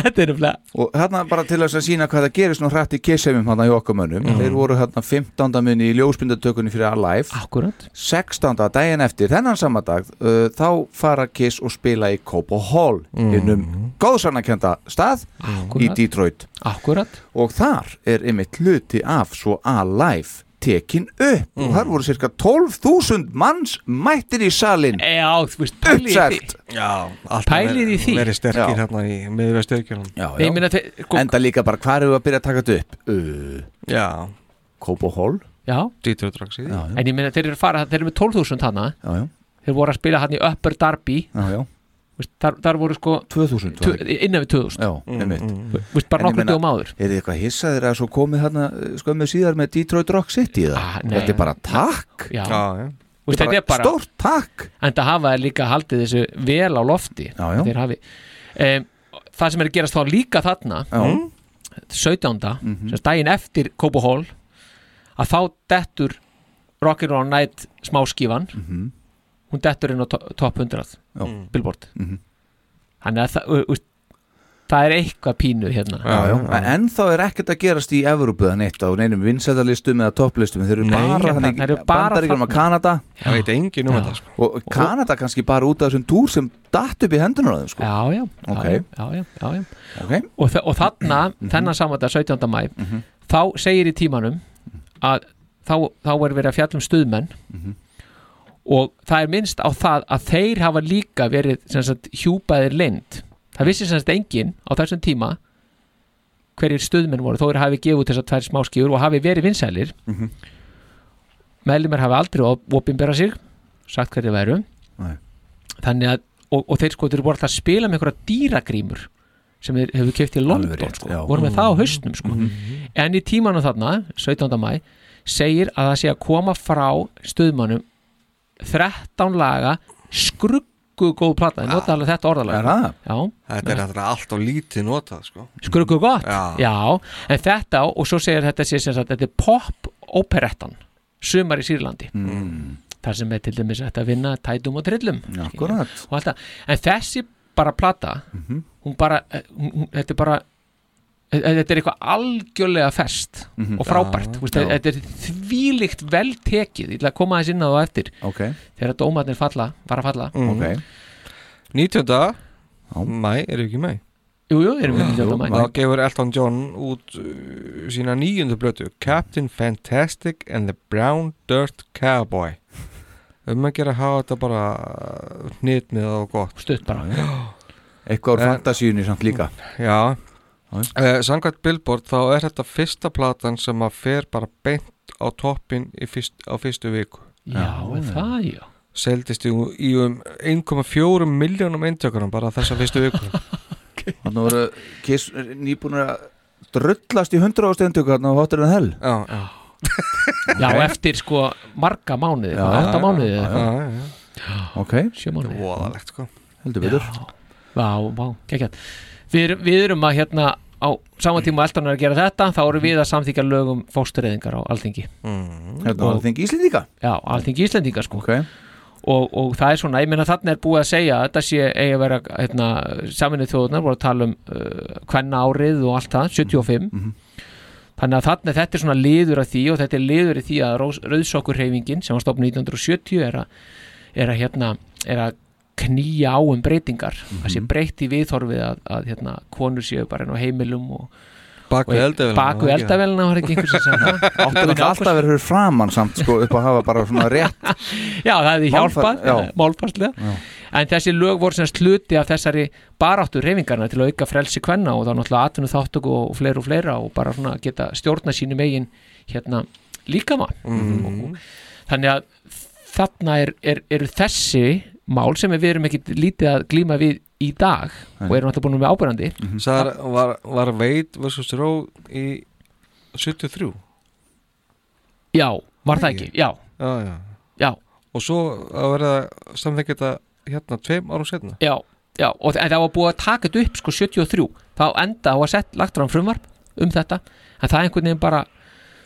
[SPEAKER 4] Þetta er umlega
[SPEAKER 3] Og hérna bara til þess að sína hvað það gerist nú hrætt í kissemum hérna í okkar mönnum Þeir voru hérna 15. minni í ljósmyndatökunni fyrir Alive
[SPEAKER 4] Akkurat
[SPEAKER 3] 16. daginn eftir þennan sama dag uh, þá fara Kiss og spila í Copo Hall mm. innum góðsannakenda stað í
[SPEAKER 4] Akkúrat.
[SPEAKER 3] Detroit
[SPEAKER 4] Akkurat
[SPEAKER 3] Og þar er einmitt hluti af svo Alive tekin upp og þar voru cirka 12.000 manns mættir í salin
[SPEAKER 4] Já, þú veist, pælið í því.
[SPEAKER 3] Uppsælt
[SPEAKER 5] Já, alltaf
[SPEAKER 4] Pælið í því.
[SPEAKER 5] Verið
[SPEAKER 3] Já.
[SPEAKER 5] sterkir hérna í miðvesturkjörnum
[SPEAKER 3] já,
[SPEAKER 4] Ég meina, þe- sko-
[SPEAKER 3] Enda líka bara hvar eru að byrja að taka þetta upp uh,
[SPEAKER 5] Já
[SPEAKER 3] Kópo Hall
[SPEAKER 4] Já,
[SPEAKER 5] Dítur og drags í því
[SPEAKER 4] en ég meina þeir eru að fara þeir eru með 12.000 hana
[SPEAKER 3] já, já,
[SPEAKER 4] þeir voru að spila hann í Upper Derby
[SPEAKER 3] já, já.
[SPEAKER 4] Vist, þar, þar voru sko
[SPEAKER 3] 2000 var
[SPEAKER 4] tu-
[SPEAKER 3] ekki.
[SPEAKER 4] innan við 2000
[SPEAKER 3] Já, einmitt
[SPEAKER 4] Vist, bara nokkrum dögum áður
[SPEAKER 3] Er þið eitthvað hissaðir að svo komið hérna skömmu síðar með Detroit Rock City það?
[SPEAKER 4] Ah, nei.
[SPEAKER 3] Þetta er bara takk
[SPEAKER 4] Já,
[SPEAKER 5] já
[SPEAKER 4] Vist, þetta er bara
[SPEAKER 3] Stórt takk
[SPEAKER 4] en það hafa þeir líka haldið þessu vel á lofti
[SPEAKER 3] Já, já.
[SPEAKER 4] þeir hafi um, það sem er að gerast þá líka þarna
[SPEAKER 3] Já.
[SPEAKER 4] 17. Mm
[SPEAKER 3] Mhm.
[SPEAKER 4] -hmm. daginn eftir Kobo Hall að þá dettur Rock'n'Roll Night smáskífan hún dettur inn á to- top 100
[SPEAKER 3] Mhm. Já. Mhm.
[SPEAKER 4] Billboard þannig að það, úst, það er eitthvað pínu hérna
[SPEAKER 3] Já, já. En þá er ekkert að gerast í Evrópu þann eitt á neinum vinsæðarlistum eða topplistum þeir eru
[SPEAKER 4] Nei,
[SPEAKER 3] bara
[SPEAKER 4] hérna,
[SPEAKER 3] þannig
[SPEAKER 4] þeir eru bara
[SPEAKER 3] bandaríkjum að
[SPEAKER 4] þarna.
[SPEAKER 3] Kanada
[SPEAKER 5] Það veit enginn um þetta sko.
[SPEAKER 3] og Kanada kannski bara út af þessum túr sem datt upp í hendunar á þeim sko.
[SPEAKER 4] já, já,
[SPEAKER 3] Ok. Mhm.
[SPEAKER 4] já, já, já, já, já.
[SPEAKER 3] okay.
[SPEAKER 4] Og,
[SPEAKER 3] Mhm.
[SPEAKER 4] þa- og þarna, þennan samvæta 17. mæ þá segir í tímanum að þá, þá er verið að fjalla um stuðmenn
[SPEAKER 3] Mhm.
[SPEAKER 4] og það er minnst á það að þeir hafa líka verið sem sagt, hjúpaðir leynd það vissi sem sagt engin á þessum tíma hverjir stuðmenn voru þó er hafi gefið út þessar tvær smáskífur og hafi verið vinsælir
[SPEAKER 3] Mhm.
[SPEAKER 4] meðlumar hafi aldrei opinbera sig sagt hverju væru
[SPEAKER 3] Nei.
[SPEAKER 4] þannig að og, og þeir sko þeir voru alltaf að spila með einhverja dýragrímur sem þeir hefur keft í London sko. voru með það á haustnum sko.
[SPEAKER 3] Mhm.
[SPEAKER 4] en í tímanum þarna, 17. mæ segir að það sé að koma frá stuðmannum 13 laga skruggu góð plata, ég nota alveg þetta orðalega Já.
[SPEAKER 5] Þetta er alltaf allt og lítið notað sko.
[SPEAKER 4] Skruggu gott?
[SPEAKER 5] Já.
[SPEAKER 4] En þetta, og svo segir þetta sé sem sagt, þetta er pop-operettan sumar í Sýrlandi
[SPEAKER 3] Mm.
[SPEAKER 4] þar sem er til dæmis hægt að vinna tætum og trillum
[SPEAKER 3] Akkurat.
[SPEAKER 4] og allt það. En þessi bara plata
[SPEAKER 3] Mhm.
[SPEAKER 4] hún bara, eh, hún, hún- þetta er bara eh, þetta er eitthvað algjörlega fest
[SPEAKER 3] Mhm.
[SPEAKER 4] og
[SPEAKER 3] Já,
[SPEAKER 4] frábært, Þú veist,
[SPEAKER 3] já.
[SPEAKER 4] þetta er þvílíkt vel tekið, ég ætla að koma þess inn á það á eftir
[SPEAKER 3] okay.
[SPEAKER 4] þegar dómarnir falla, var að falla
[SPEAKER 5] Mm. Ok. 19. mæ, erum við ekki í mæ?
[SPEAKER 4] Jú, jú, erum við 19. maí.
[SPEAKER 5] Þá gefur Elton John út uh, sína nýjundu blötu Captain Fantastic and the Brown Dirt Cowboy um að gera að hafa þetta bara hnitmið og gott
[SPEAKER 4] Stutt bara
[SPEAKER 3] Eitthvað úr fantasíunni samt líka
[SPEAKER 5] Já uh, Samkvæmt Billboard þá er þetta fyrsta platan sem að fer bara beint á toppin í fyrst, á fyrstu viku
[SPEAKER 4] Já, Já. er það, já.
[SPEAKER 5] Seldist í, í um 1,4 miljónum eintökunum bara þessa fyrstu viku
[SPEAKER 3] Þannig voru kiss nýbúinir að drullast í 100 ástendöku Þannig að hóttur en hell
[SPEAKER 5] Já, já
[SPEAKER 4] Já,
[SPEAKER 3] Ok.
[SPEAKER 4] eftir sko marga mánuði,
[SPEAKER 3] Já,
[SPEAKER 4] átta
[SPEAKER 3] já,
[SPEAKER 4] mánuði eða
[SPEAKER 3] já,
[SPEAKER 4] eitthvað.
[SPEAKER 3] já, já. Ok
[SPEAKER 4] Sjö mánuði.
[SPEAKER 5] Þetta er voðalegt sko
[SPEAKER 3] Heldur betur
[SPEAKER 4] Vá, vá, geggjart við, erum- við erum að hérna á sama tíma eldan er að gera þetta þá erum við að samþýkja lögum fóstureyðingar á Alþingi
[SPEAKER 5] mm.
[SPEAKER 3] Hérna á Alþingi Íslendinga?
[SPEAKER 4] Já, Alþingi Íslendinga sko
[SPEAKER 3] okay.
[SPEAKER 4] og, og það er svona, ég meina þarna er búið að segja að þetta sé eigi að vera hérna, saminnið þjóðunar voru að tala um uh, hvenna árið og allt það, 75
[SPEAKER 5] Mhm.
[SPEAKER 4] þannig að þarna þetta er svona liður af því og þetta er liður í því að rauðsokkurheifingin sem var stopn 1970 er að, er að hérna er að knýja á um breytingar
[SPEAKER 5] Mhm.
[SPEAKER 4] það sé breytt í viðhorfið að, að hérna, konur séu bara enn á heimilum og
[SPEAKER 5] Bak við
[SPEAKER 4] og-
[SPEAKER 5] eldavélina, var
[SPEAKER 4] bak við
[SPEAKER 5] ekki það?
[SPEAKER 4] eldavélina var ekki einhvers sem sagði það
[SPEAKER 3] Áttur þetta alltaf að vera fyrir framann samt sko upp að hafa bara svona rétt
[SPEAKER 4] Já, það hefði
[SPEAKER 3] Málfar-
[SPEAKER 4] hjálpað,
[SPEAKER 3] já.
[SPEAKER 4] málfarslega
[SPEAKER 3] Já.
[SPEAKER 4] En þessi lög voru sem sluti af þessari baráttu reyfingarna til að auka frelsi kvenna og þá náttúrulega atvinnu þáttöku og fleira og fleira og bara svona geta stjórna sínum eigin hérna líkamann
[SPEAKER 5] Mhm.
[SPEAKER 4] og, Þannig að þarna er, er, eru þessi mál sem við erum ekki lítið að glíma við í dag og erum alltaf búin með ábyrjandi
[SPEAKER 3] Mm.
[SPEAKER 5] Sar, var, var Wade vs. Roe í 73
[SPEAKER 4] Já, var það ekki, já
[SPEAKER 5] já, já.
[SPEAKER 4] Já.
[SPEAKER 5] og svo að verða samþekja þetta hérna tveim árum setna
[SPEAKER 4] Já, já og, en það var búið að taka þetta upp sko 73 þá enda og að sett, lagt fram frumvarp um þetta en það einhvern veginn bara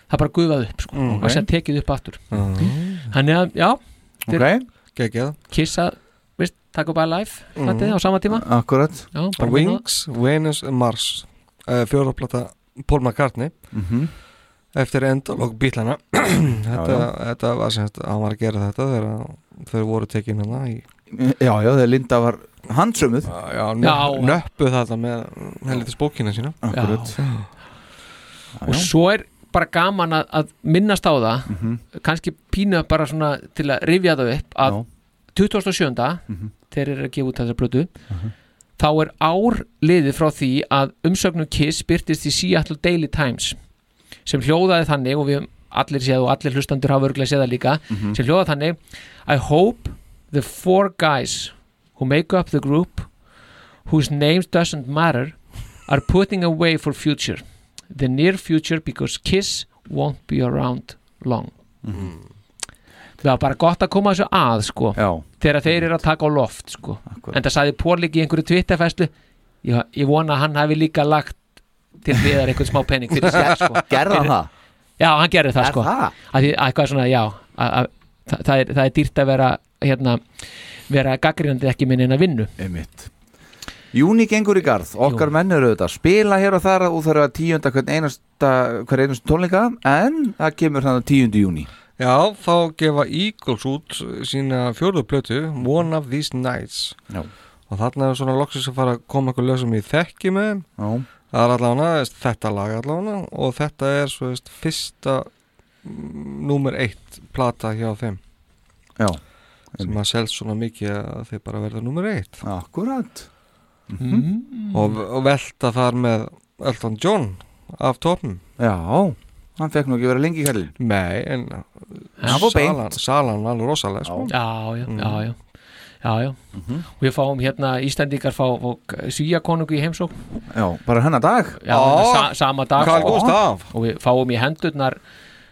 [SPEAKER 4] það bara gufaði upp sko
[SPEAKER 5] Mm,
[SPEAKER 4] og
[SPEAKER 5] ok.
[SPEAKER 4] sem tekið upp aftur
[SPEAKER 5] Mhm.
[SPEAKER 4] Þannig að, já
[SPEAKER 3] okay.
[SPEAKER 5] Gekkjað
[SPEAKER 4] Kissa, veist, taka bara live mm. á sama tíma
[SPEAKER 3] Akkurat
[SPEAKER 4] Já, bara hérna.
[SPEAKER 5] Wings, Venus and Mars uh, fjóraplata Paul McCartney
[SPEAKER 3] Mhm.
[SPEAKER 5] eftir endalog bílana
[SPEAKER 3] Já,
[SPEAKER 5] þetta,
[SPEAKER 3] já.
[SPEAKER 5] þetta var sem þetta, hann var að gera þetta þegar þau voru tekin hana í
[SPEAKER 3] Já, já, þegar Linda var handsömuð
[SPEAKER 5] Já, nöpp, nöppuð þetta með helvitis bókina sína
[SPEAKER 3] Akkurat.
[SPEAKER 4] og svo er bara gaman að, að minnast á það kannski pínu bara svona til að rifja það upp að 2007. þeir eru að gefa út þessa blötu þá er ár liðið frá því að umsögnum Kiss byrtist í Seattle Daily Times sem hljóðaði þannig og við höfum allir séð og allir hlustandur hafa örgulega séð það líka
[SPEAKER 2] Mhm.
[SPEAKER 4] sem hljóðaði þannig I hope the four guys who make up the group whose names doesn't matter are putting away for future the near future because Kiss won't be around long það var bara gott að koma þessu að sko
[SPEAKER 3] Já.
[SPEAKER 4] þegar þeir eru að taka á loft sko en það saði Pórlik í einhverju twitterfæslu ég, ég vona að hann hafi líka lagt til viðar einhvern smá penning fyrir sér sko
[SPEAKER 3] Gerði hann
[SPEAKER 4] Fyrir-
[SPEAKER 3] það?
[SPEAKER 4] Já, hann gerði það
[SPEAKER 3] Er
[SPEAKER 4] sko
[SPEAKER 3] það?
[SPEAKER 4] Að því- að Eitthvað svona, já að, að, það, það er, það er dýrt að vera hérna, vera gaggrinandi ekki minn en að vinnu
[SPEAKER 3] Einmitt Júni gengur í garð, okkar menn eru auðvitað að spila hér og þar og þarf að tíunda hvern einasta, hver einasta tónleika en það kemur þannig tíundi júni
[SPEAKER 5] Já, þá gefa Eagles út sína fjórðu plötu One of These Nights
[SPEAKER 3] Já.
[SPEAKER 5] og þarna er svona loksins að fara að koma eitthvað lög sem ég þekki með þeim.
[SPEAKER 3] Já.
[SPEAKER 5] það er allavega, þetta lag allavega og þetta er svo veist, fyrsta nummer eitt plata hjá þeim
[SPEAKER 3] Já
[SPEAKER 5] sem að selst svona mikið að þeir bara verða nummer eitt
[SPEAKER 3] Akkurat
[SPEAKER 5] og, og velta þar með Elton John af topnum
[SPEAKER 3] Já, hann fekk nú ekki vera lengi í kærlinn
[SPEAKER 5] Nei, en
[SPEAKER 3] Hann fór beint.
[SPEAKER 5] salan, salan var alveg rosalega sko.
[SPEAKER 4] Já, já,
[SPEAKER 5] Mm.
[SPEAKER 4] já, já Já, já,
[SPEAKER 3] Mhm.
[SPEAKER 4] og við fáum hérna Íslendingar fá svíakonungu í heimsók
[SPEAKER 3] Já, bara hennar dag
[SPEAKER 4] já, sa sama dag
[SPEAKER 3] Karl
[SPEAKER 4] sko.
[SPEAKER 3] Gústaf.
[SPEAKER 4] og við fáum í hendurnar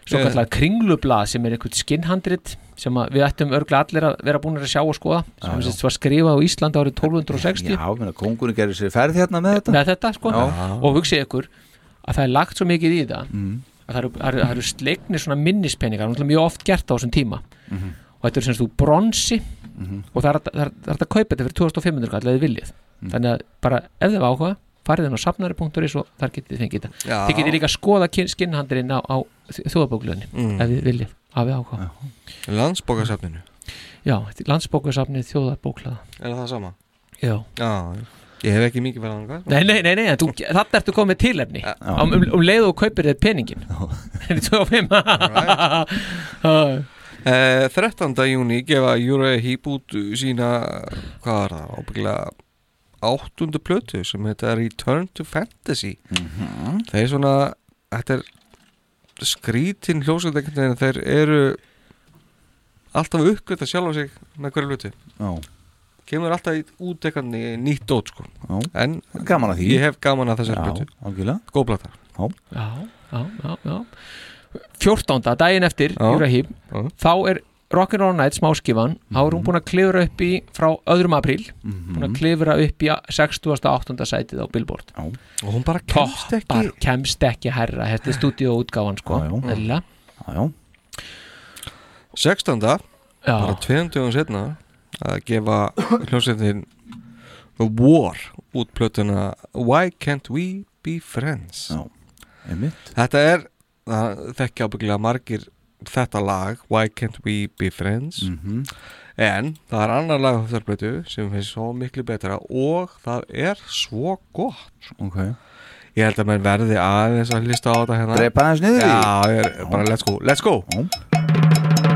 [SPEAKER 4] svo kallar
[SPEAKER 3] Eh.
[SPEAKER 4] kringlublað sem er einhvern skinnhandrit sem að við ættum örglega allir að vera búin að sjá og skoða sem
[SPEAKER 3] Já,
[SPEAKER 4] já, var skrifað á Íslandi árið 1260
[SPEAKER 3] Já, menna, kongurinn gerir sér ferð hérna með þetta
[SPEAKER 4] með þetta sko
[SPEAKER 3] Já.
[SPEAKER 4] og hugsið ykkur að það er lagt svo mikið í það
[SPEAKER 3] Mm.
[SPEAKER 4] að það eru, það eru, það eru slegnir svona minnispenningar náttúrulega mjög oft gert á þessum tíma
[SPEAKER 3] Mhm.
[SPEAKER 4] og þetta er sem þú bronsi og það er, hægt- það, er, það er hægt að kaupa þetta fyrir 2500 kall eða þið viljið
[SPEAKER 3] Mm.
[SPEAKER 4] þannig að bara ef þið var áhuga farið inn á safnari.is og þar getið þið fengið þetta
[SPEAKER 5] Já.
[SPEAKER 4] þið getið líka að skoða skinnhandurinn á, á þjóðabóklunni
[SPEAKER 5] Mm.
[SPEAKER 4] ef þið viljið hafið áhuga
[SPEAKER 5] Landsbókasafninu
[SPEAKER 4] já, þetta er landsbókasafnið þjóðabóklaða
[SPEAKER 5] Er það sama?
[SPEAKER 4] já
[SPEAKER 5] Já, ég hef ekki mikið verið annað
[SPEAKER 4] Nei, nei, nei, nei, en þú, þarna ertu komið með tilefni um, um, um leið og þú kaupir þér peningin Þetta er 25
[SPEAKER 5] Eh, 13. júni gefa Júra Hýb út sína, hvað var það, ábyggilega áttundu plötu sem heita Return to Fantasy
[SPEAKER 3] Mhm.
[SPEAKER 5] Það er svona, þetta er skrítin hljósöldekandi en þeir eru alltaf að uppgöta sjálfa sig með hverju hluti
[SPEAKER 3] Já.
[SPEAKER 5] Kemur alltaf í- út eitthvað nýtt dót sko
[SPEAKER 3] Já.
[SPEAKER 5] En
[SPEAKER 3] Gaman að því.
[SPEAKER 5] ég hef gaman að þessari
[SPEAKER 3] Já,
[SPEAKER 5] plötu
[SPEAKER 3] algjörlega.
[SPEAKER 5] Góð plata
[SPEAKER 3] Já.
[SPEAKER 4] Já, já, já, já 14. daginn eftir,
[SPEAKER 5] Já.
[SPEAKER 4] Júra Hýb
[SPEAKER 5] Já.
[SPEAKER 4] þá er Rock'n'Roll Night smáskifan þá er hún búin að klifra upp í frá öðrum apríl búin að klifra upp í 68. sætið á Billboard
[SPEAKER 3] já.
[SPEAKER 5] Og hún bara
[SPEAKER 4] kemst ekki kemst ekki herra, þetta er stúdíóútgáfan sko, eðlilega.
[SPEAKER 5] 16. bara tveim dögum setna að gefa hljómsveitin The War út plötuna Why Can't We Be Friends
[SPEAKER 3] Já, einmitt
[SPEAKER 5] Þetta er, það þekkja ábyggilega margir þetta lag Why Can't We Be Friends
[SPEAKER 3] Mhm.
[SPEAKER 5] en það er annar lag á þessar plötu sem finnst svo miklu betra og það er svo gott
[SPEAKER 3] okay.
[SPEAKER 5] Ég held að menn verði aðeins að hlista á þetta hérna
[SPEAKER 3] Drepa aðeins niður í.
[SPEAKER 5] Já, ég er, bara let's go, let's go
[SPEAKER 3] Já.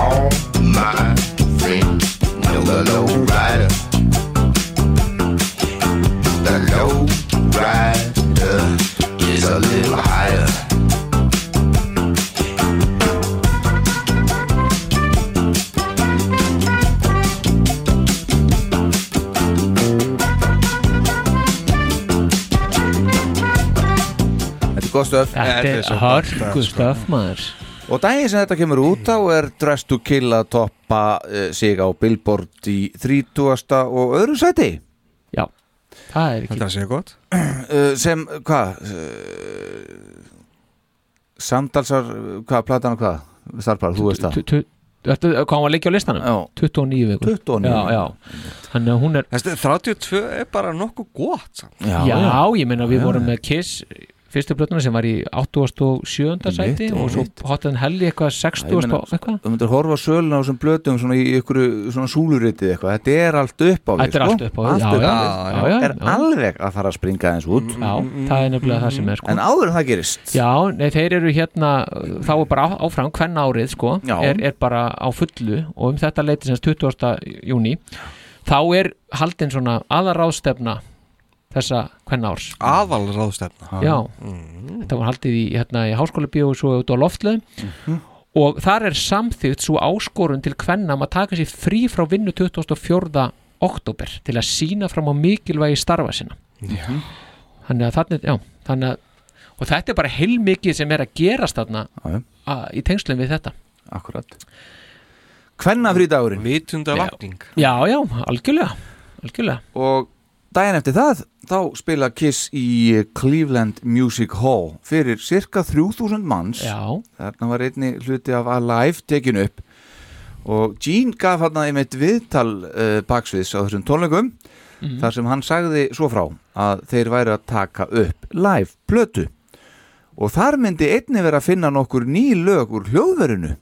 [SPEAKER 11] All my friends know the low rider. The low rider is a little higher.
[SPEAKER 3] Þetta er gott stöf
[SPEAKER 4] Þetta er hörgu stöf maður
[SPEAKER 3] Og daginn sem þetta kemur út á er Dress to Kill að toppa uh, sig á Billboard í 30. og öðru sæti
[SPEAKER 4] Já, það er ekki
[SPEAKER 5] Þetta sé gott
[SPEAKER 3] uh, sem, hvað uh, samtalsar hvað, platan og hvað starfbar, þú veist það
[SPEAKER 4] Tu- tu- Ertu, hvað hún var leikja á listanum?
[SPEAKER 3] Já.
[SPEAKER 4] 29 vikur
[SPEAKER 3] 29
[SPEAKER 4] já, já. Þannig að hún er
[SPEAKER 5] Þessi 32 er bara nokkuð gott samt.
[SPEAKER 4] Já, ég meina við vorum með Kiss fyrstu blötuna sem var í 87. sæti
[SPEAKER 3] Einmitt,
[SPEAKER 4] og svo
[SPEAKER 3] einmitt.
[SPEAKER 4] Hot and Hell í eitthvað 60.
[SPEAKER 3] meina,
[SPEAKER 4] og eitthvað
[SPEAKER 3] þú myndir horfa á söluna á þessum blötum svona í ykkur svona súluritið eitthvað þetta er allt upp á því
[SPEAKER 4] Þetta
[SPEAKER 3] sko.
[SPEAKER 4] er allt upp á við, já,
[SPEAKER 3] allt upp á
[SPEAKER 4] já,
[SPEAKER 3] við.
[SPEAKER 4] já, já,
[SPEAKER 3] er
[SPEAKER 4] já.
[SPEAKER 3] alveg að fara að springa eins út
[SPEAKER 4] Já, það er nefnilega það sem er sko.
[SPEAKER 3] en áður en það gerist
[SPEAKER 4] Já, nei, þeir eru hérna þá er bara á- áfram hvern árið sko
[SPEAKER 3] Já.
[SPEAKER 4] er, er bara á fullu og um þetta leiti sem 20. júni þá er haldin svona aðaráðstefna þessa hvern árs
[SPEAKER 5] Aðal ráðstefna
[SPEAKER 4] Já, þetta var haldið í, hérna, í háskóla bíó og svo út á loftlöðum Mhm. og þar er samþýtt svo áskorun til kvenna um að taka sér frí frá vinnu 24. oktober til að sína fram á mikilvægi starfa sinna Mhm.
[SPEAKER 5] Já.
[SPEAKER 4] þannig að þannig, já, þannig að og þetta er bara heilmikið sem er að gerast þarna
[SPEAKER 3] Já, já.
[SPEAKER 4] að, í tengslum við þetta
[SPEAKER 3] akkurat hvenna frídagurinn
[SPEAKER 5] Vitunda vakning
[SPEAKER 4] Já, já, algjörlega, algjörlega.
[SPEAKER 3] og daginn eftir það þá spila Kiss í Cleveland Music Hall fyrir cirka 3000 manns
[SPEAKER 4] Já.
[SPEAKER 3] þarna var einni hluti af Alive tekin upp og Gene gaf hann einmitt viðtal uh, baksviðs á þessum tónleikum þar sem hann sagði svo frá að þeir væri að taka upp live plötu og þar myndi einni vera að finna nokkur ný lög úr hljóðverinu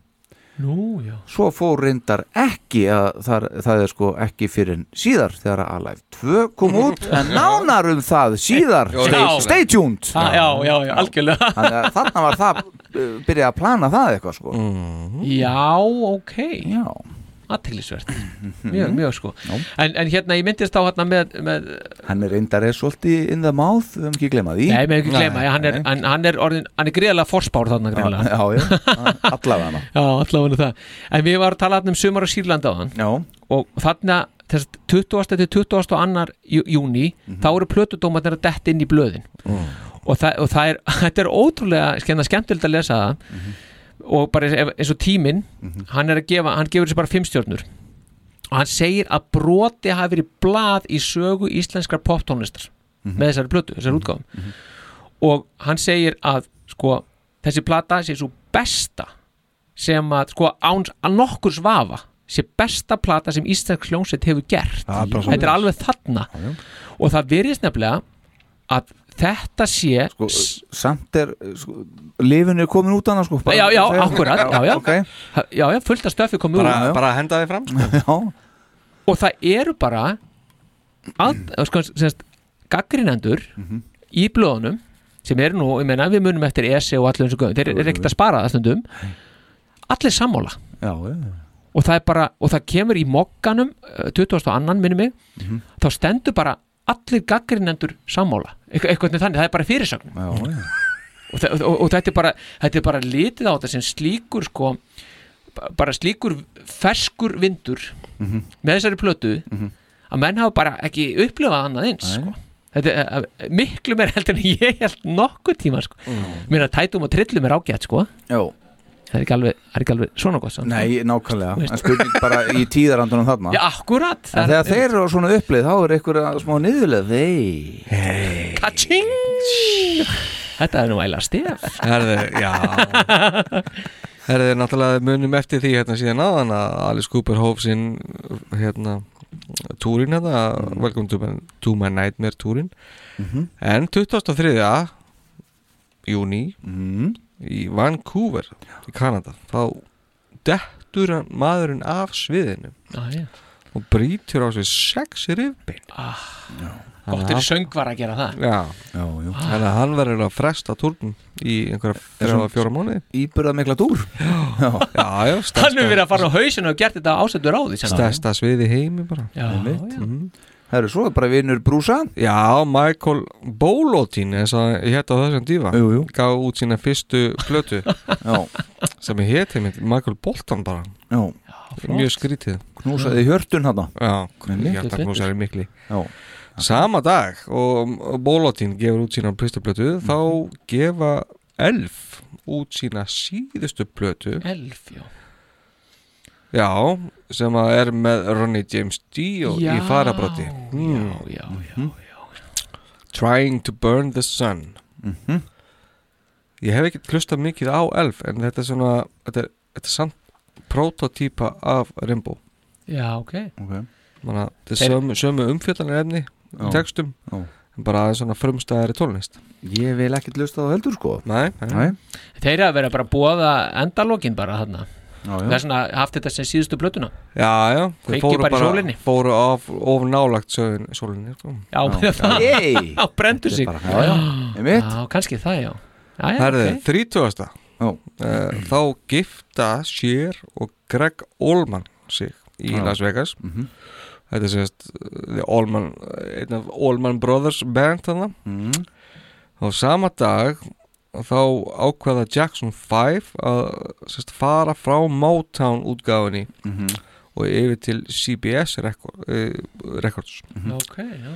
[SPEAKER 4] Nú, já.
[SPEAKER 3] svo fór reyndar ekki að þar, það er sko ekki fyrir en síðar þegar að Alive 2 kom út en nánar um það síðar
[SPEAKER 4] Já.
[SPEAKER 3] stay, stay tuned
[SPEAKER 4] Já, já, já, já, algjörlega
[SPEAKER 3] Þannig að þarna var það uh, byrjað að plana það eitthvað sko
[SPEAKER 4] Já, ok
[SPEAKER 3] Já
[SPEAKER 4] Aðteglisvert,
[SPEAKER 3] Mhm.
[SPEAKER 4] mjög, mjög sko en, en hérna, ég myndist á hérna með, með
[SPEAKER 3] Hann er reyndar er svolítið in the mouth við höfum ekki glema því
[SPEAKER 4] Nei, með ekki gleyma, hann er,
[SPEAKER 3] nei.
[SPEAKER 4] hann, hann er orðin Hann er greiðlega forspár þarna greiðlega
[SPEAKER 3] Já, já, allavega hana
[SPEAKER 4] Já, allavega það En við varum að tala þarna um sumar á Sýrlanda á hann
[SPEAKER 3] Já.
[SPEAKER 4] Og þarna, þess 20. til 22. annar júni
[SPEAKER 3] Mhm.
[SPEAKER 4] Þá eru plötudómarnir að detta inn í blöðin og, það, og það er, þetta er ótrúlega skemmt, skemmtilegt að lesa það og bara eins, ef- eins og tíminn hann er að gefa, hann gefur þessu bara fimm stjórnur og hann segir að broti hafi verið blað í sögu íslenskar poptónlistar með þessari plötu, þessari útgáfum og hann segir að sko, þessi plata sé svo besta sem að sko án að nokkurs vafa sé besta plata sem íslensk hljónsett hefur gert
[SPEAKER 3] Ja, bara
[SPEAKER 4] þetta er
[SPEAKER 3] svoleiðis.
[SPEAKER 4] alveg þarna og það virðist nefnilega að þetta sé
[SPEAKER 3] sko, Samt er, sko, lifinu er komin út annars sko bara-
[SPEAKER 4] já, já,
[SPEAKER 3] segja-
[SPEAKER 4] akkurat, já, já,
[SPEAKER 3] ok.
[SPEAKER 4] já, já, fullt af stöfi komið
[SPEAKER 3] Bara-
[SPEAKER 4] úr
[SPEAKER 3] bara
[SPEAKER 4] henda þið fram
[SPEAKER 3] sko.
[SPEAKER 4] og það eru bara að, sko, semst, gaggrinendur
[SPEAKER 3] Mhm.
[SPEAKER 4] í blöðunum sem eru nú, ég meina, við munum eftir ESE og allir eins og göðum, þeir eru ekkert að spara það stundum allir sammála
[SPEAKER 3] Já, já
[SPEAKER 4] og það er bara, og það kemur í mokkanum 22. minni mig
[SPEAKER 3] Mhm.
[SPEAKER 4] þá stendur bara allir gaggrinendur sammála, Eitthvað- eitthvað með þannig, það er bara fyrirsögnum
[SPEAKER 3] Já, já.
[SPEAKER 4] og, þe- og, og þetta, er bara, þetta er bara litið á þetta sem slíkur sko, ba- bara slíkur ferskur vindur
[SPEAKER 3] Mhm.
[SPEAKER 4] með þessari plötu að menn hafa bara ekki upplifað annað eins sko. þetta er eh, eh, miklu meir heldur en ég held nokkuð tíma sko.
[SPEAKER 3] Mm.
[SPEAKER 4] mér að tætum og trillum er ágætt sko.
[SPEAKER 3] Jó.
[SPEAKER 4] það er ekki alveg, það er ekki alveg svona gott samt.
[SPEAKER 3] Nei,
[SPEAKER 4] Þú
[SPEAKER 3] nákvæmlega,
[SPEAKER 4] veist.
[SPEAKER 3] en spurning bara í tíðarandunum þarna
[SPEAKER 4] Já, akkurat
[SPEAKER 3] En þegar þeir eru á svona upplið þá er einhver að smá niðurlega Þeir hey.
[SPEAKER 4] Kaching Þetta er nú æla stef
[SPEAKER 5] Herðu, já Herðu, náttúrulega munum eftir því hérna síðan áðan að Alice Cooper hóf sinn hérna túrin hérna,
[SPEAKER 4] Mm.
[SPEAKER 5] Welcome to my, to my Nightmare túrin
[SPEAKER 3] Mhm.
[SPEAKER 5] en 23. júni
[SPEAKER 4] Mm.
[SPEAKER 5] í Vancouver í Kanada, þá dettur hann maðurinn af sviðinu
[SPEAKER 4] Ah, já.
[SPEAKER 5] og brýtur á sig sex rifbein
[SPEAKER 4] ah, Gott er söngvar að gera það
[SPEAKER 5] Já,
[SPEAKER 3] já, já.
[SPEAKER 5] Þannig að hann verður að fresta túrnum í einhverja
[SPEAKER 3] Er
[SPEAKER 5] þrjá
[SPEAKER 3] svona
[SPEAKER 5] að fjóra mánuði
[SPEAKER 3] Íbyrða mikla dúr Já,
[SPEAKER 5] já, já stærsta-
[SPEAKER 4] Hann hefur verið að fara á hausinu og gert þetta ásettur á því
[SPEAKER 5] Stærsta sviði í heimi bara
[SPEAKER 4] Já, já.
[SPEAKER 3] Það eru Mm. svo bara vinur brúsa
[SPEAKER 5] Já, Michael Bolotín eins og hétt á þessum dífa jú, jú. gaf út sína fyrstu plötu sem er hétt heimitt Michael Bolton bara
[SPEAKER 3] Já,
[SPEAKER 5] mjög skrítið
[SPEAKER 3] Knúsaði hjörtun þarna.
[SPEAKER 5] Já,
[SPEAKER 3] Einmitt.
[SPEAKER 5] hjartaknúsari mikli
[SPEAKER 3] Já.
[SPEAKER 5] Sama dag og Bolotín gefur út sína fyrstu plötu þá gefa Elf út sína síðustu plötu
[SPEAKER 4] Elf, já
[SPEAKER 5] Já, sem að er með Ronnie James Dio
[SPEAKER 4] Já,
[SPEAKER 5] í farabroti mm.
[SPEAKER 4] já, já,
[SPEAKER 5] já Trying to burn the sun
[SPEAKER 3] Mhm.
[SPEAKER 5] Ég hef ekkert hlustað mikið á Elf en þetta er svona, þetta er, þetta er samt prototýpa af Rimbo
[SPEAKER 4] Já, ok
[SPEAKER 3] okay.
[SPEAKER 5] Manna, þetta er
[SPEAKER 4] Þeir-
[SPEAKER 5] sömu, sömu umfjöldanir efni
[SPEAKER 3] Já,
[SPEAKER 5] í textum,
[SPEAKER 3] já.
[SPEAKER 5] en bara aðeins svona frumstæðari tónlist
[SPEAKER 3] Ég vil ekkert lusta það heldur sko
[SPEAKER 5] Nei,
[SPEAKER 3] Nei.
[SPEAKER 4] Þeir eru að vera bara að bóða endalókin bara þarna
[SPEAKER 3] Já, já.
[SPEAKER 4] Það er svona haft þetta sem síðustu blötuna
[SPEAKER 5] Já, já, þeir
[SPEAKER 4] Kveikið bara í sólinni.
[SPEAKER 5] fóru of, of nálagt sögin, sólinni sko.
[SPEAKER 4] Já, meina það
[SPEAKER 5] Hey.
[SPEAKER 4] Já, brendu sig
[SPEAKER 5] Þetta er bara- já, já, einmitt.
[SPEAKER 4] Já, kannski það, já Já, já,
[SPEAKER 5] Herðu,
[SPEAKER 4] Eh, ok.
[SPEAKER 5] 30. Uh, þá gifta Sheer og Greg Allman sig í
[SPEAKER 3] Já.
[SPEAKER 5] Las Vegas
[SPEAKER 3] Mhm,
[SPEAKER 5] Þetta er sérst uh, The Allman, einn af Allman Brothers band þannig
[SPEAKER 3] mm.
[SPEAKER 5] Á sama dag þá ákvaða Jackson 5 að sérst, fara frá Motown útgáfinni
[SPEAKER 3] Mhm.
[SPEAKER 5] og yfir til CBS rekord, uh, Records
[SPEAKER 4] Ok, já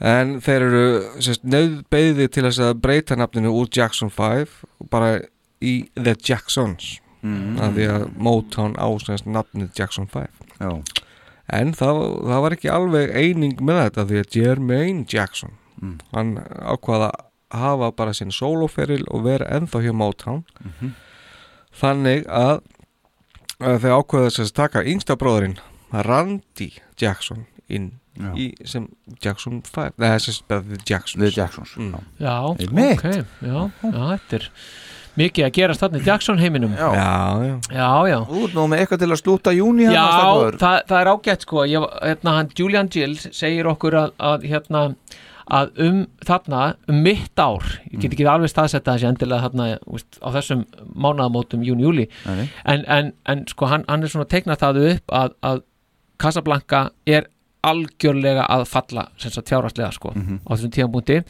[SPEAKER 5] En þeir eru sérst, nöðbeðið til þess að breyta nafninu úr Jackson 5 bara í The Jacksons
[SPEAKER 3] Mm.
[SPEAKER 5] af því að Motown ásæðast nafnið Jackson 5
[SPEAKER 3] Já.
[SPEAKER 5] En það, það var ekki alveg eining með þetta því að Jermaine Jackson
[SPEAKER 3] Mm.
[SPEAKER 5] hann ákvaða að hafa bara sinn soloferil og vera ennþá hjá Motown
[SPEAKER 3] Mhm.
[SPEAKER 5] þannig að, að þau ákvaða þess að taka yngsta bróðurinn Randy Jackson inn
[SPEAKER 3] Já.
[SPEAKER 5] í, sem Jackson 5 Nei, sem sagt bara The Jacksons
[SPEAKER 3] The Jacksons
[SPEAKER 5] mm.
[SPEAKER 4] Já,
[SPEAKER 5] Einmitt.
[SPEAKER 4] ok, já, já, þetta er mikið að gerast þarna í Jackson heiminum
[SPEAKER 3] Já, hérna
[SPEAKER 5] já,
[SPEAKER 4] já, já.
[SPEAKER 3] Þú ert nú með eitthvað til að slúta júni hann að
[SPEAKER 4] Já,
[SPEAKER 3] stakkaður.
[SPEAKER 4] það, það er ágætt sko ég, hérna, hann, Julian Gill segir okkur að, að, hérna, að um þarna um mitt ár, ég
[SPEAKER 2] Mm.
[SPEAKER 4] get ekki alveg staðsetta þessi endilega þarna úst, á þessum mánaðamótum júni-júli
[SPEAKER 2] Nei.
[SPEAKER 4] en, en, en sko hann, hann er svona teiknað það upp að, að Casablanca er algjörlega að falla sem sagt fjárhastlega sko
[SPEAKER 2] Mhm.
[SPEAKER 4] á þessum tíðanbúndi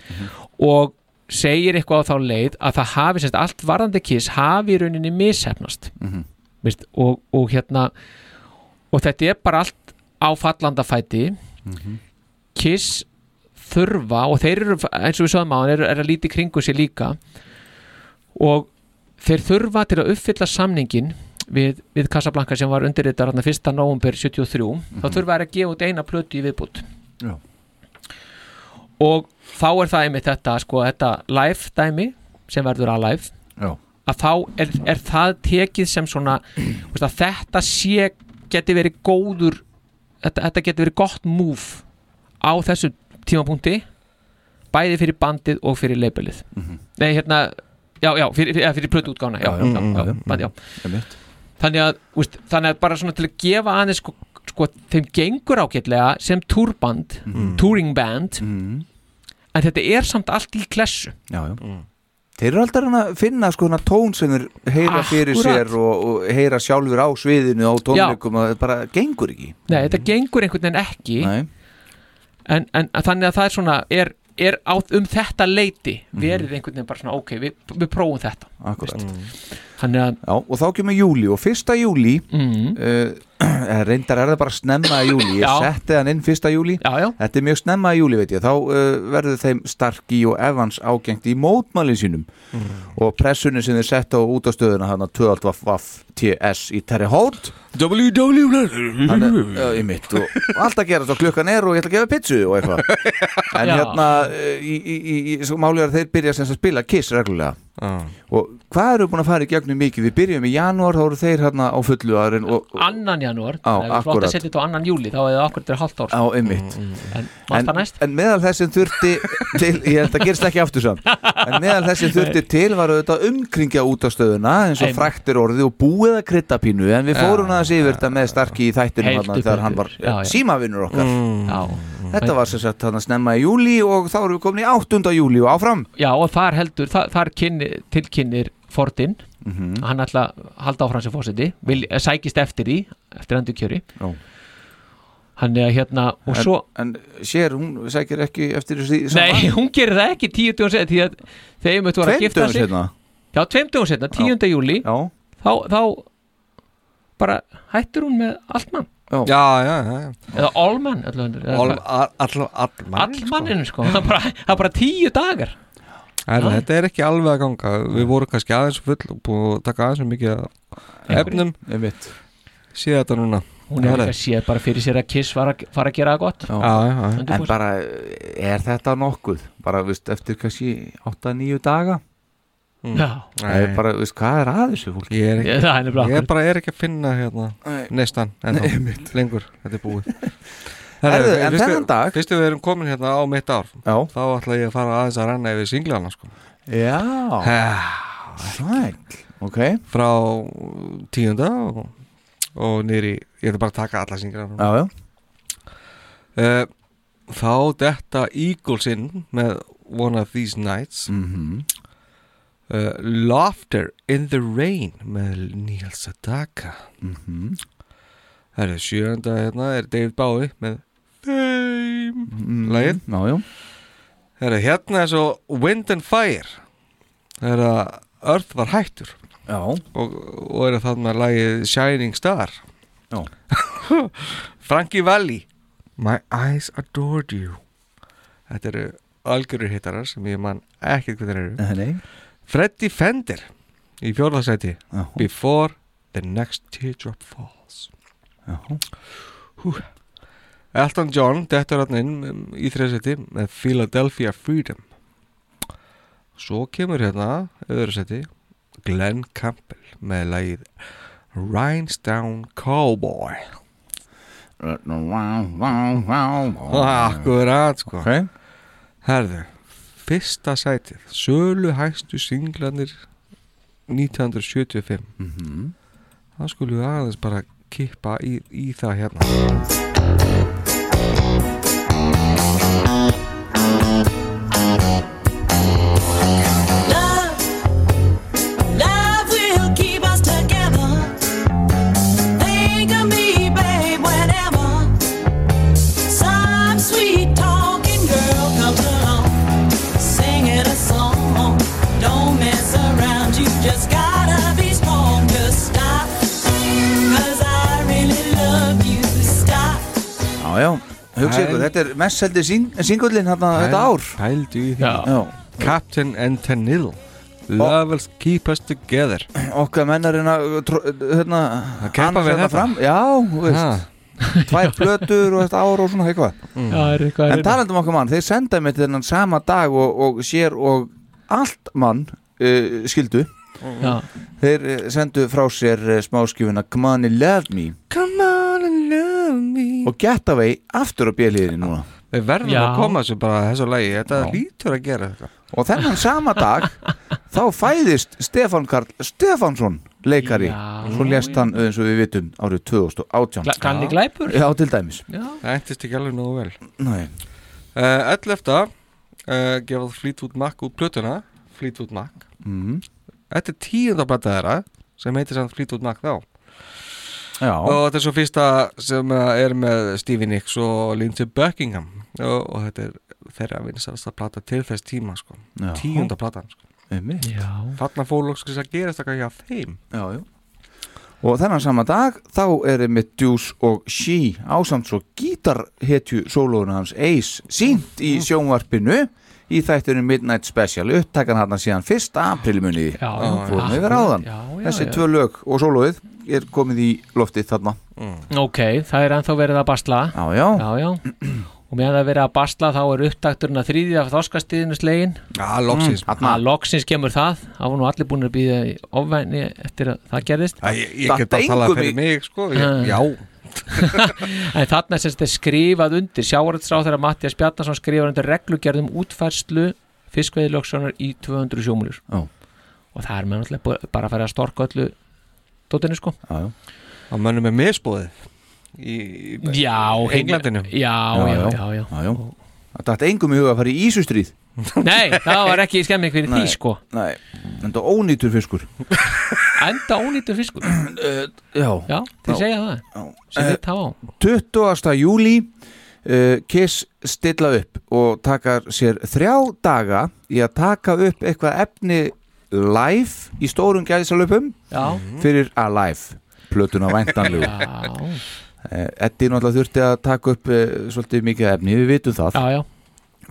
[SPEAKER 4] og segir eitthvað á þá leið að það hafi sem sagt, allt varðandi kiss hafi í rauninni mishefnast
[SPEAKER 2] Mhm.
[SPEAKER 4] Veist, og, og hérna og þetta er bara allt á fallandafæti
[SPEAKER 2] Mhm.
[SPEAKER 4] Kiss þurfa og þeir eru eins og við sögum á hann er, er að líti kringu sér líka og þeir þurfa til að uppfylla samningin við, við Casablanca sem var undirritar hann 1. november 73 þá
[SPEAKER 2] Mhm.
[SPEAKER 4] þurfa þeir að gefa út eina plötu í viðbútt
[SPEAKER 2] Já.
[SPEAKER 4] og þá er það einmitt þetta sko, þetta live dæmi sem verður að live
[SPEAKER 3] Já.
[SPEAKER 4] að þá er, er það tekið sem svona veist, að þetta sé geti verið góður þetta, þetta geti verið gott move á þessu tímapunkti bæði fyrir bandið og fyrir labelið
[SPEAKER 3] Mhm.
[SPEAKER 4] nei hérna já, já, fyrir, fyrir, eða fyrir plötu útgána já, já, já,
[SPEAKER 3] Mhm,
[SPEAKER 4] já, já, band, já.
[SPEAKER 3] Einmitt.
[SPEAKER 4] þannig að veist, þannig að bara svona til að gefa aðeins sko, sko þeim gengur ágætlega sem túrband,
[SPEAKER 3] Mhm.
[SPEAKER 4] touring band en þetta er samt allt í klessu
[SPEAKER 3] Já, já Þeir eru alltaf að finna sko hana tón sem þeir heyra fyrir
[SPEAKER 4] Akkúrat.
[SPEAKER 3] sér og, og heyra sjálfur á sviðinu á tónleikum að það bara gengur ekki
[SPEAKER 4] Nei, þetta gengur einhvern veginn ekki
[SPEAKER 3] Mhm. Nei.
[SPEAKER 4] en, en að þannig að það er svona er, er á, um þetta leiti
[SPEAKER 3] Mhm.
[SPEAKER 4] verið einhvern veginn bara svona ok, við, við prófum þetta
[SPEAKER 3] Akkurat
[SPEAKER 4] Þannig að
[SPEAKER 3] Já, og þá kemur júli og fyrsta júli
[SPEAKER 4] mm.
[SPEAKER 3] reyndar er það bara snemma í júli ég
[SPEAKER 4] Já.
[SPEAKER 3] setti hann inn fyrsta júli
[SPEAKER 4] já, já.
[SPEAKER 3] þetta er mjög snemma í júli veit ég þá uh, verður þeim Starkey og Evans ágengt í mótmælin sínum og pressunni sem þeir settu á útastöðuna hann að 12 Vaff TS í Terry Holt
[SPEAKER 2] WW
[SPEAKER 3] í mitt og og allt að gera svo klukkan er og ég ætla að gefa pizzu og eitthvað en
[SPEAKER 2] Já.
[SPEAKER 3] hérna eh, í, í, í, í, svo málið er að þeir byrja sem sagt að spila kiss reglulega og hvað eru búin að fara í gegnum mikið við byrjum í janúar þá eru þeir hérna á fullu aðurinn og, og
[SPEAKER 4] annan janúar
[SPEAKER 3] Já,
[SPEAKER 4] þannig að við flott
[SPEAKER 3] akkúrat.
[SPEAKER 4] að setja þetta á annan júli þá hefði akkurat verið halvt ár
[SPEAKER 3] á einmitt
[SPEAKER 4] en,
[SPEAKER 3] en,
[SPEAKER 4] það næst?
[SPEAKER 3] en meðal þess sem þurfti til, ég held að gerist ekki aftur samt en meðal þess sem þurfti til var auðvitað umkringja út af stöðuna eins og
[SPEAKER 4] Einmitt.
[SPEAKER 3] fræktir orði og búið að krytta pínu en við
[SPEAKER 4] Já,
[SPEAKER 3] fórum aðeins yfir þetta með starki í þættinum
[SPEAKER 4] Heldur
[SPEAKER 3] þarna þegar hann var
[SPEAKER 4] betur, já, Mhm. já.
[SPEAKER 3] símavinnur okkar
[SPEAKER 4] já.
[SPEAKER 3] þetta var sem sagt þarna snemma í júli og þá erum við komin í 8. júli og áfram
[SPEAKER 4] já, og þar heldur, þar, þar kynni, tilkynir Fordin
[SPEAKER 3] Mhm.
[SPEAKER 4] hann ætla að halda áfram sem fórseti vil, eh, sækist eftir í, eftir endurkjöri
[SPEAKER 3] Já.
[SPEAKER 4] hann er hérna og
[SPEAKER 3] En-
[SPEAKER 4] svo
[SPEAKER 3] en sér hún sækir ekki eftir því
[SPEAKER 4] Nei, hún gerir það ekki tíu dögum setna því að þegar möttu var að
[SPEAKER 3] Tveim
[SPEAKER 4] gifta
[SPEAKER 3] dögum
[SPEAKER 4] sig
[SPEAKER 3] seinna?
[SPEAKER 4] Já, tveim dögum setna, 10. júli
[SPEAKER 3] já.
[SPEAKER 4] Þá, þá bara hættur hún með Altmann
[SPEAKER 3] já,
[SPEAKER 5] já, já, já.
[SPEAKER 4] eða Allmann All,
[SPEAKER 5] All- all- all- Allmann
[SPEAKER 4] Allmanninu sko, það er bara, það er bara tíu dagar
[SPEAKER 5] Er,
[SPEAKER 4] Já.
[SPEAKER 5] þetta er ekki alveg að ganga Við vorum kannski aðeins full og búin að taka aðeins of mikið af efnum
[SPEAKER 3] Einmitt.
[SPEAKER 5] Sér þetta núna
[SPEAKER 4] Hún er
[SPEAKER 5] Herra.
[SPEAKER 4] ekki að sé bara fyrir sér að Kiss var að, fara að gera það gott
[SPEAKER 3] en bara er þetta nokkuð bara veist, eftir kannski 8-9 daga
[SPEAKER 5] Mm.
[SPEAKER 4] Já.
[SPEAKER 3] Það er
[SPEAKER 5] Nei.
[SPEAKER 3] bara, veist, hvað er að þessu fólki
[SPEAKER 5] Ég er ekki,
[SPEAKER 4] það er nefnilega
[SPEAKER 5] ég
[SPEAKER 4] akkurat.
[SPEAKER 5] bara er ekki að finna hérna
[SPEAKER 3] Nei.
[SPEAKER 5] neistan en
[SPEAKER 3] Nei,
[SPEAKER 5] lengur, þetta er búið
[SPEAKER 3] Herðu, en
[SPEAKER 5] fyrst við-
[SPEAKER 3] þennan dag-
[SPEAKER 5] Fyrst við erum komin hérna á mitt ár
[SPEAKER 3] Já.
[SPEAKER 5] Þá ætla ég að fara aðeins að ranna yfir singlana sko.
[SPEAKER 3] Já Sæl okay.
[SPEAKER 5] Frá tíunda og, og nýri Ég ætla bara að taka alla singlana
[SPEAKER 3] Já, já
[SPEAKER 5] Eh, Þá detta Eagles inn með One of These Nights
[SPEAKER 3] mm
[SPEAKER 5] Eh, Laughter in the Rain með Neil Sedaka
[SPEAKER 3] Mhm.
[SPEAKER 5] Það eru sjönda hérna er David Bowie með Fame
[SPEAKER 3] Mhm.
[SPEAKER 5] mm, Lægin
[SPEAKER 3] Já, já
[SPEAKER 5] Það eru hérna er svo Wind and Fire Það eru að Earth var hættur
[SPEAKER 3] Já
[SPEAKER 5] Og, og eru þarna lagið Shining Star
[SPEAKER 3] Já
[SPEAKER 5] Frankie Valli My eyes adored you Þetta eru algjörur hittarar sem ég man ekkert hvað þeir eru
[SPEAKER 3] Eh, Nei.
[SPEAKER 5] Freddy Fender í fjórðarsæti
[SPEAKER 3] Já.
[SPEAKER 5] Before the next teardrop falls
[SPEAKER 3] Já.
[SPEAKER 5] Hú. Elton John dettur hann inn um, í þriðarsæti með Philadelphia Freedom Svo kemur hérna öðru seti Glenn Campbell með lagið Rhinestown Cowboy Akkurat sko
[SPEAKER 3] okay.
[SPEAKER 5] Herðu, fyrsta sætið Sölu hæstu singlanir 1975
[SPEAKER 3] Mhm.
[SPEAKER 5] það skulum við aðeins bara kippa í, í það hérna
[SPEAKER 2] Love will keep us together. Think of me, babe, whenever some sweet talking girl comes along, singing a song. Don't mess around, you just gotta be strong. Just stop, 'cause I really love you. Stop.
[SPEAKER 3] Já, já, hugsa ykkur,
[SPEAKER 5] Pæl-
[SPEAKER 3] þetta er mest heldur singullin hérna þetta ár
[SPEAKER 5] Pældu í því Captain and Tennille Love will keep us together
[SPEAKER 3] Okkar mennar hérna tró- hérna,
[SPEAKER 5] Að keppa
[SPEAKER 3] annars
[SPEAKER 5] við
[SPEAKER 3] hérna
[SPEAKER 5] þetta.
[SPEAKER 3] fram Já, þú veist Tvær plötur og þetta ár og svona eitthvað
[SPEAKER 5] Mm. Já, er eitthvað
[SPEAKER 3] En
[SPEAKER 5] hérna.
[SPEAKER 3] talandum okkar mann, þeir senda mér þennan sama dag og, og sér og allt mann uh, skildu
[SPEAKER 4] Já.
[SPEAKER 3] Þeir eh, sendu frá sér eh, smáskjöfuna Come on and love me
[SPEAKER 5] Come on and love me
[SPEAKER 3] og Getaway aftur á bjöliðinni núna
[SPEAKER 5] Við verðum að koma þessu bara þessu lagi Þetta lítur að gera þetta
[SPEAKER 3] og þennan sama dag þá fæðist Stefán Karl Stefánsson leikari, svo lest hann eh, eins og við vitum árið 2018
[SPEAKER 5] Gla- gamli glæpur?
[SPEAKER 3] Já, til dæmis
[SPEAKER 5] Það ættist ekki alveg nógu vel
[SPEAKER 3] Nei.
[SPEAKER 5] uh, Öll eftir uh, gefað Fleetwood Mac út plötuna Fleetwood Mac
[SPEAKER 3] Mhm.
[SPEAKER 5] Þetta er tíundablata þeirra sem heitir samt Fleetwood Mac þá
[SPEAKER 3] Já.
[SPEAKER 5] Og þetta er svo fyrsta sem eh, er með Stevie Nicks og Lindsey Buckingham og, og þetta er þeirra vinsalasta plata til þess tíma sko.
[SPEAKER 3] Já.
[SPEAKER 5] tíunda platan sko.
[SPEAKER 3] Einmitt. Já.
[SPEAKER 5] þarna fólokskis að gerast eitthvað hjá þeim
[SPEAKER 3] já, já. og þennan sama dag þá er þið með Deuce og She ásamt svo gítarhetju sólóðun hans Ace sínt í sjónvarpinu í þættinu Midnight Special upptakan hann síðan 1. aprilmunni
[SPEAKER 4] já.
[SPEAKER 3] fórum yfir áðan
[SPEAKER 4] Já, já,
[SPEAKER 3] þessi
[SPEAKER 4] já.
[SPEAKER 3] tvö lög og sólóðið er komið í loftið þarna
[SPEAKER 4] ok, það er ennþá verið að basla
[SPEAKER 3] já, já,
[SPEAKER 4] já, og meðan það er verið að basla þá er upptakturinn að þrýði af þorskastíðinu slegin
[SPEAKER 5] Já, loksins.
[SPEAKER 4] mm. að loksins kemur það það voru nú allir búin að býða í ofvæni eftir að það gerðist
[SPEAKER 5] Æ, ég- ég get bara Datt talað engum fyrir í- mig, sko, ég-
[SPEAKER 4] Ah.
[SPEAKER 5] já.
[SPEAKER 4] en þarna er sem þetta skrifað undir sjávarðsráð þegar Mattias Bjarnason skrifar undir reglugerðum útfærslu fiskveiðilöksunar í 200 sjómuljur
[SPEAKER 3] oh.
[SPEAKER 4] og það er með náttúrulega bú- bara að fara að storka öllu dótinu sko
[SPEAKER 3] já, já.
[SPEAKER 5] að mönnum er misbúið í, í
[SPEAKER 4] Já,
[SPEAKER 5] í Englandinu
[SPEAKER 4] Já, já, já, já, já.
[SPEAKER 3] já. Það dætti engum í huga að fara í Ísustrýð
[SPEAKER 4] Nei, það var ekki skemming fyrir því sko
[SPEAKER 3] Nei, enda ónýtur fiskur
[SPEAKER 4] Enda ónýttur fiskur
[SPEAKER 3] Já,
[SPEAKER 4] Já, þeir segja það Sem við tá á
[SPEAKER 3] 20. júli uh, Kiss stilla upp og taka sér þrjá daga í að taka upp eitthvað efni live í stórum gæðisalöpum
[SPEAKER 4] Já.
[SPEAKER 3] fyrir Alive plötuna væntanlegu Eh, Eddi náttúrulega þurfti að taka upp uh, svolítið mikið efni, við vitum það
[SPEAKER 4] já,
[SPEAKER 3] já.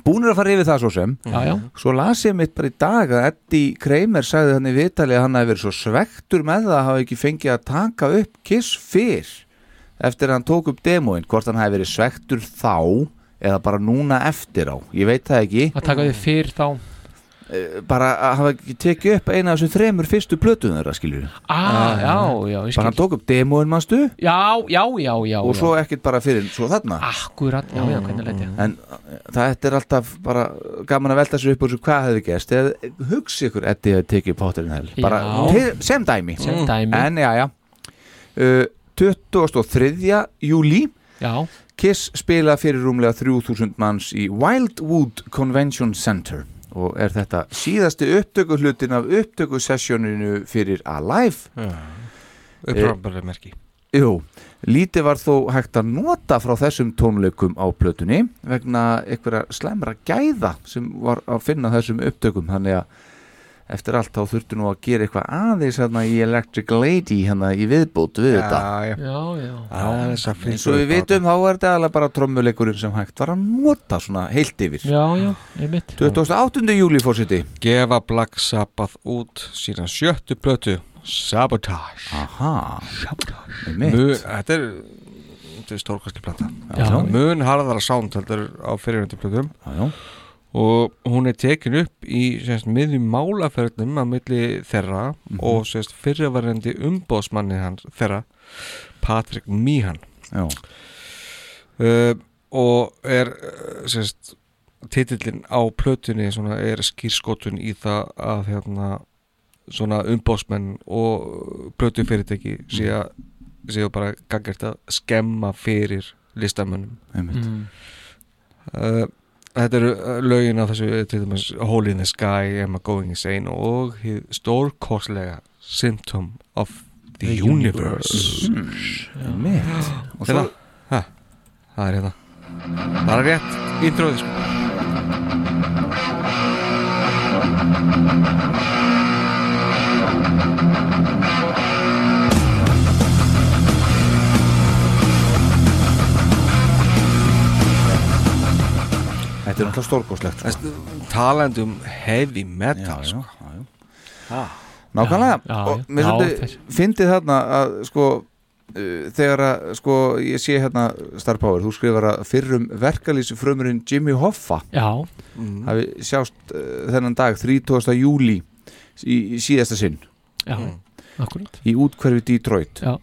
[SPEAKER 3] Búnir að fara yfir það svo sem
[SPEAKER 4] Já, já.
[SPEAKER 3] Svo las ég mitt bara í dag að Eddi Kramer sagði hann í vitali að hann hafi verið svo svektur með það að hafa ekki fengið að taka upp Kiss fyrr eftir að hann tók upp demóin, hvort hann hafi verið svektur þá eða bara núna eftir á ég veit það ekki
[SPEAKER 4] Að taka þið fyrr þá
[SPEAKER 3] Eh, bara að hafa ekki tekið upp eina af þessum þremur fyrstu plötuðum þeirra skilur
[SPEAKER 4] Ah, já, já, ég skil.
[SPEAKER 3] bara hann tók upp demóin mannstu
[SPEAKER 4] Já, já, já, já
[SPEAKER 3] og
[SPEAKER 4] já.
[SPEAKER 3] svo ekkert bara fyrir svo þarna
[SPEAKER 4] Akkurat, já, já, hvernig leit ég
[SPEAKER 3] en uh, þetta er alltaf bara gaman að velta sér upp úr þessu hvað hefði gerst eða hugsi ykkur Eddi hefði tekið potterinn hel bara
[SPEAKER 4] Já.
[SPEAKER 3] til, sem dæmi Mm.
[SPEAKER 4] Sem dæmi.
[SPEAKER 3] en já já uh, 23. júli
[SPEAKER 4] já.
[SPEAKER 3] Kiss spila fyrir rúmlega 3000 manns í Wildwood Convention Center og er þetta síðasti upptöku hlutin af upptöku sessjóninu fyrir Alive
[SPEAKER 5] uppræmbarlega merki
[SPEAKER 3] Jú, lítið var þó hægt að nota frá þessum tónleikum á plötunni vegna einhverja slæmra gæða sem var að finna á þessum upptökum þannig að eftir allt þá þurftu nú að gera eitthvað aðeins hérna í Electric Lady hérna í viðbót við þetta
[SPEAKER 5] já,
[SPEAKER 4] já, já.
[SPEAKER 5] Aðeins að
[SPEAKER 3] eins og við vitum þá er þetta alveg bara trommuleikurinn sem hægt var að nota svona heilt yfir
[SPEAKER 4] Já, já, einmitt
[SPEAKER 3] 28. júli fórsiti
[SPEAKER 5] gefa Black Sabbath út sína sjöttu plötu Sabotage
[SPEAKER 3] Aha, Sabotage einmitt.
[SPEAKER 5] Mu, Þetta er, þetta er stórkastli plata
[SPEAKER 3] Já.
[SPEAKER 5] mun harðara sound heldur á fyrirvendu plötum
[SPEAKER 3] já, já.
[SPEAKER 5] og hún er tekin upp í semst, miðjum málaferðnum að milli þeirra
[SPEAKER 3] Mhm.
[SPEAKER 5] og semst, fyrirvarendi umbóðsmanni hans þeirra Patrick Meehan
[SPEAKER 3] Já.
[SPEAKER 5] uh, og er uh, sérst, titillin á plötunni svona, er skýrskotun í það að hérna, svona umbósmenn og plötu fyrirtæki
[SPEAKER 3] Mhm.
[SPEAKER 5] síðan síðan bara gangert að skemma fyrir listamönnum
[SPEAKER 3] Einmitt.
[SPEAKER 4] Mm.
[SPEAKER 5] uh, Þetta eru uh, lögin af þessu til dæmis Hole in the Sky, Am I Going Insane og hið stórkostlega Symptom of the,
[SPEAKER 3] The
[SPEAKER 5] Universe,
[SPEAKER 3] Universe. Einmitt. Og
[SPEAKER 5] Hérna,
[SPEAKER 3] svo-
[SPEAKER 5] ha, Það er hérna Það er rétt, introði sko
[SPEAKER 3] Þetta er náttúrulega stórkoslegt
[SPEAKER 5] sko. Talandi um heavy metal
[SPEAKER 3] sko.
[SPEAKER 5] já, já,
[SPEAKER 3] já. Nákvæmlega
[SPEAKER 5] Já, já,
[SPEAKER 3] og
[SPEAKER 5] já.
[SPEAKER 3] mér
[SPEAKER 5] Já,
[SPEAKER 3] svolítið fyndið þarna að sko uh, þegar að sko ég sé hérna Star Power, þú skrifar að fyrrum verkalýs frumurinn Jimmy Hoffa
[SPEAKER 4] Já.
[SPEAKER 5] Mm.
[SPEAKER 3] hafi sjást uh, þennan dag 30. júli í, í síðasta sinn
[SPEAKER 4] Já, Mm. akkúrat.
[SPEAKER 3] í útkverfi Detroit
[SPEAKER 4] Já.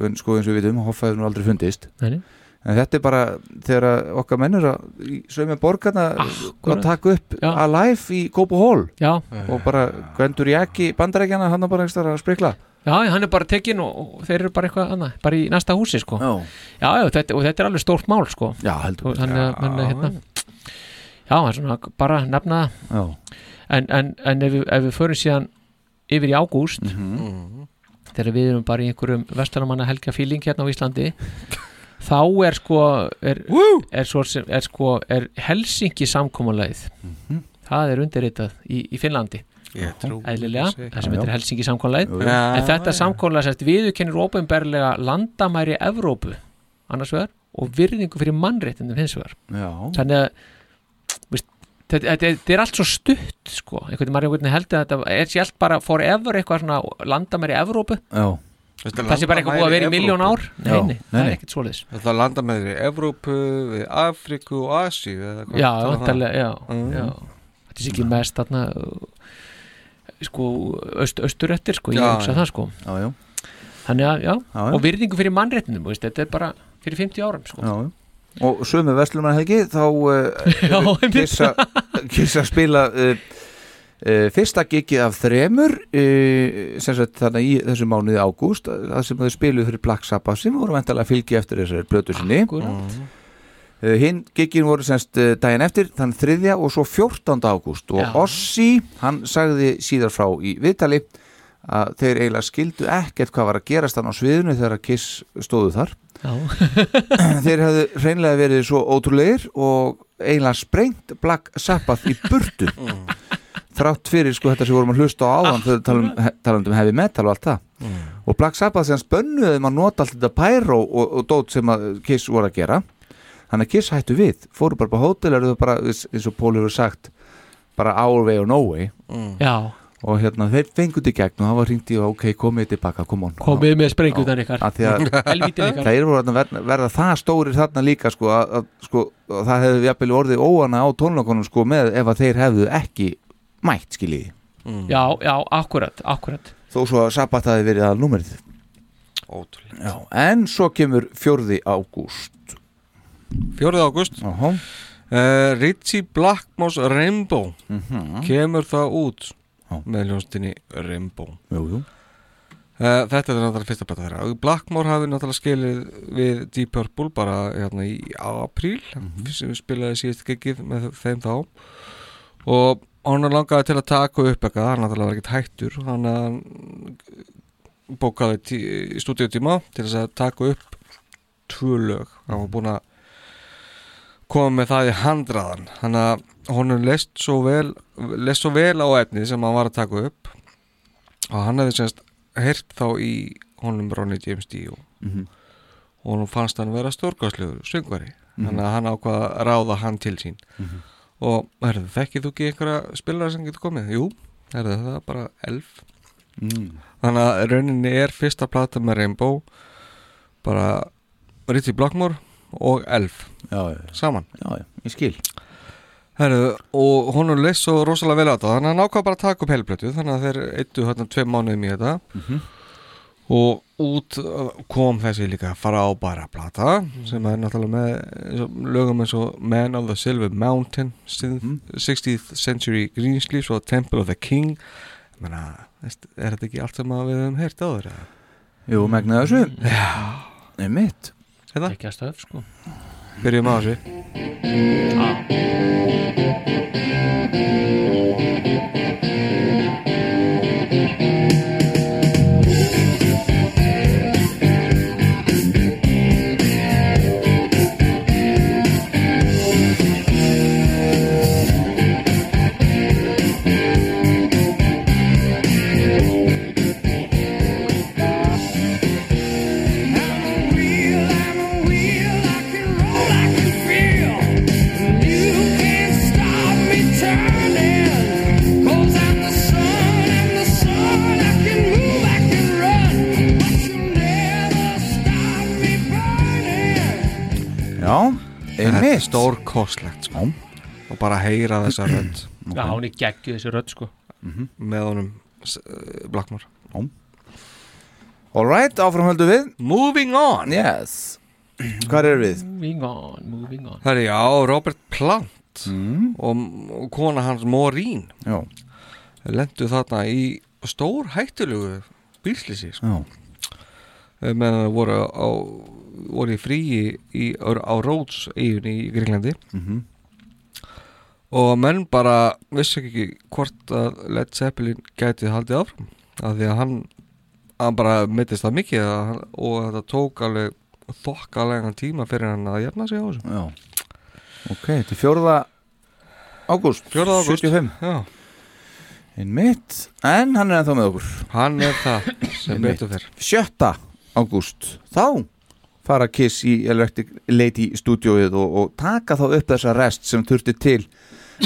[SPEAKER 3] En sko eins og við vitum, Hoffa hefur nú aldrei fundist
[SPEAKER 4] Nei, nei.
[SPEAKER 3] en þetta er bara þegar að okkar mennur að í sömu borgarna að taka upp já. Alive í Gobo Hall
[SPEAKER 4] já.
[SPEAKER 3] og bara Gwendur Jacki bandarækjana hann er bara einhverstað að sprikla
[SPEAKER 4] Já, já, hann er bara tekinn og, og þeir eru bara eitthvað annað, bara í næsta húsi sko.
[SPEAKER 3] Já,
[SPEAKER 4] já, þetta, og þetta er alveg stórt mál sko.
[SPEAKER 3] Já, heldur
[SPEAKER 4] og, hann, já, hann, hérna, já, hann er svona bara að nefna
[SPEAKER 3] Já.
[SPEAKER 4] það en, en, en ef, við, ef við förum síðan yfir í ágúst
[SPEAKER 5] Mhm.
[SPEAKER 4] þegar við erum bara í einhverjum vestlunumanna helga fíling hérna á Íslandi þá er sko er, er, svo, sem- er sko er Helsinki samkomulegið það er undirritað í, í Finnlandi
[SPEAKER 5] Mhm. Ég trúi
[SPEAKER 4] eðlilega,
[SPEAKER 5] þessu.
[SPEAKER 4] það sem
[SPEAKER 5] Já,
[SPEAKER 4] heitir
[SPEAKER 5] já.
[SPEAKER 4] Helsinki samkomulegið
[SPEAKER 5] Jú, jú.
[SPEAKER 4] en
[SPEAKER 5] Já,
[SPEAKER 4] þetta
[SPEAKER 5] já.
[SPEAKER 4] samkomulega sérst viðurkennir ópenbarlega landamæri Evrópu annars vegar og virðingu fyrir mannréttindum hins vegar
[SPEAKER 3] Já.
[SPEAKER 4] þannig að veist, þetta, þetta, er- þetta er allt svo stutt sko, einhvern veginn maður einhvern veginn heldur að þetta er sjálf bara forever eitthvað svona landamæri Evrópu
[SPEAKER 3] Já.
[SPEAKER 5] Þetta
[SPEAKER 4] það sé bara eitthvað búið að vera í miljón ár nei, nei, það er ekkert svoleiðis sko.
[SPEAKER 5] Það landa með þér í Evrópu, við Afríku og Asíu eða hvað
[SPEAKER 4] já,
[SPEAKER 5] það var.
[SPEAKER 4] vantarlega, já,
[SPEAKER 5] Mm.
[SPEAKER 4] já þetta sé ekki mest þarna uh, sko, öst, östurettir sko, ég
[SPEAKER 5] Já,
[SPEAKER 4] hugsa
[SPEAKER 5] já.
[SPEAKER 4] það sko
[SPEAKER 3] já, já.
[SPEAKER 4] þannig að, já,
[SPEAKER 3] Já, já.
[SPEAKER 4] og virðingu fyrir mannréttinum veist, þetta er bara fyrir 50 árum sko.
[SPEAKER 3] já. og sömu verslunar helgi þá uh, kissa, kissa spila uh, uh, fyrsta gigi af þremur uh, sem sagt þannig í þessu mánuði ágúst að að sem þau spiluðu fyrir Black Sabbath sem voru vantalega fylgi eftir þessari blötu sinni
[SPEAKER 4] Akkurat.
[SPEAKER 5] Mm.
[SPEAKER 3] Uh, hinn giggin voru semst uh, daginn eftir þann 3. og svo 14. ágúst og
[SPEAKER 4] Já.
[SPEAKER 3] Ossi, hann sagði síðar frá í viðtali að þeir eiginlega skildu ekkert hvað var að gerast þann á sviðinu þegar að Kiss stóðu þar þeir hefðu hreinlega verið svo ótrúlegir og eiginlega sprengt Black Sabbath í burtu þrátt fyrir sko þetta sem vorum að hlusta á áðan þegar talum, he- talandi um heavy metal og allt það og Black Sabbath sem spönnuði um að nota allt þetta pyro og, og dót sem að Kiss voru að gera þannig að Kiss hættu við fóru bara på hótel eru þau bara eins eins og Pól hefur sagt bara our way or no way
[SPEAKER 5] Mm.
[SPEAKER 4] Já.
[SPEAKER 3] og hérna þeir fenguðu í gegn og það var hringt í ok komið tilbaka, come on
[SPEAKER 4] Komið með sprengjurnar
[SPEAKER 3] Já,
[SPEAKER 4] ykkar.
[SPEAKER 3] af því að
[SPEAKER 4] Helvítið ykkar.
[SPEAKER 3] þeir voru að verða, verða það stórir þarna líka sko, að, að, sko, að það hefðu jafnvel orðið óana á tónleikunum sko, með ef að þeir hefðu ekki mætt skiljiði
[SPEAKER 4] já, já, akkurat, akkurat
[SPEAKER 3] þó svo að Sabbat hafi verið að númerið
[SPEAKER 5] Ótrúlegt.
[SPEAKER 3] Já, en svo kemur 4. ágúst
[SPEAKER 5] 4. ágúst Eh,
[SPEAKER 3] uh,
[SPEAKER 5] Richie Blackmores Rainbow
[SPEAKER 3] Mhm.
[SPEAKER 5] kemur það út með ljónstinni Rainbow
[SPEAKER 3] jú, jú.
[SPEAKER 5] Uh, þetta er náttúrulega fyrsta blata þeirra Blackmore hafi náttúrulega skilið við Deep Purple bara hérna í apríl sem spilaði síðast gegið með þeim þá og hann langaði til að taka upp eitthvað, hann náttúrulega var ekkert hættur þannig að hann bókaði tí, í stúdíutíma til þess að taka upp tvö lög hann var búin að koma með það í handraðan þannig að honum leist svo vel leist svo vel á efnið sem hann var að taka upp og hann hefði semst heyrt þá í honum Ronnie James Dio
[SPEAKER 3] Mhm.
[SPEAKER 5] og honum fannst hann vera stórgáslegur söngvari
[SPEAKER 3] Mhm.
[SPEAKER 5] þannig að hann ákvað að ráða hann til sín
[SPEAKER 3] Mhm.
[SPEAKER 5] og herðu, þekkið þú ekki einhverja spilara sem getur komið? Jú, herðu, það er bara elf
[SPEAKER 3] Mm.
[SPEAKER 5] þannig að rauninni er fyrsta plata með Rainbow bara Ritchie Blackmore og elf
[SPEAKER 3] já, já.
[SPEAKER 5] saman
[SPEAKER 3] já, já. ég skil
[SPEAKER 5] Herru, og hún er leist svo rosalega vel á þetta þannig að hann ákvað bara að taka upp heilblötu þannig að þeir eittu hérna tveim mánuðum í þetta
[SPEAKER 3] Mhm.
[SPEAKER 5] og út uh, kom þessi líka frábæra plata sem er náttúrulega með eins og lögum eins og Man of the Silver Mountain Synth- 60th Century Greensleeves og Temple of the King Ég meina, Veist, er þetta ekki allt sem að við höfum heyrt áður eða?
[SPEAKER 3] Jú, megnaði þessu
[SPEAKER 5] Já,
[SPEAKER 3] er mitt
[SPEAKER 5] Hérna?
[SPEAKER 4] Ekki að stöf, sko
[SPEAKER 5] Byrjum á þessu
[SPEAKER 3] Já,
[SPEAKER 5] Þetta
[SPEAKER 3] einmitt
[SPEAKER 5] er stórkostlegt sko. og bara heyra þessa rödd
[SPEAKER 4] Já,
[SPEAKER 3] Mhm.
[SPEAKER 4] hún er geggjuð þessi rödd, sko
[SPEAKER 5] með honum uh, Blackmore
[SPEAKER 3] Alright, áframhöldu við
[SPEAKER 5] Moving on
[SPEAKER 3] Yes Hvar er við?
[SPEAKER 4] Moving on, moving on
[SPEAKER 5] Það er já, Robert Plant og, og kona hans Maureen
[SPEAKER 3] Já.
[SPEAKER 5] lendu þarna í stór hættulugu bíslýsi sko.
[SPEAKER 3] Já.
[SPEAKER 5] Eh, meðan það voru á voru í fríi í, á Rhodes eigin í Gringlandi
[SPEAKER 3] Mhm.
[SPEAKER 5] og menn bara vissi ekki hvort að Led Zeppelin gæti haldið áfram af því að hann, hann bara meittist það mikið að hann, og þetta tók alveg þokkalega tíma fyrir hann að jafna sig á þessu
[SPEAKER 3] Já. Ok, þetta er fjórða ágúst
[SPEAKER 5] 4. ágúst.
[SPEAKER 3] 75
[SPEAKER 5] Já.
[SPEAKER 3] Einmitt En hann er ennþá með okkur
[SPEAKER 5] Hann er það sem
[SPEAKER 3] Einmitt.
[SPEAKER 5] betur fer
[SPEAKER 3] Sjötta ágúst Þá fara Kiss í Electric Lady stúdíóið og, og taka þá upp þessa rest sem þurfti til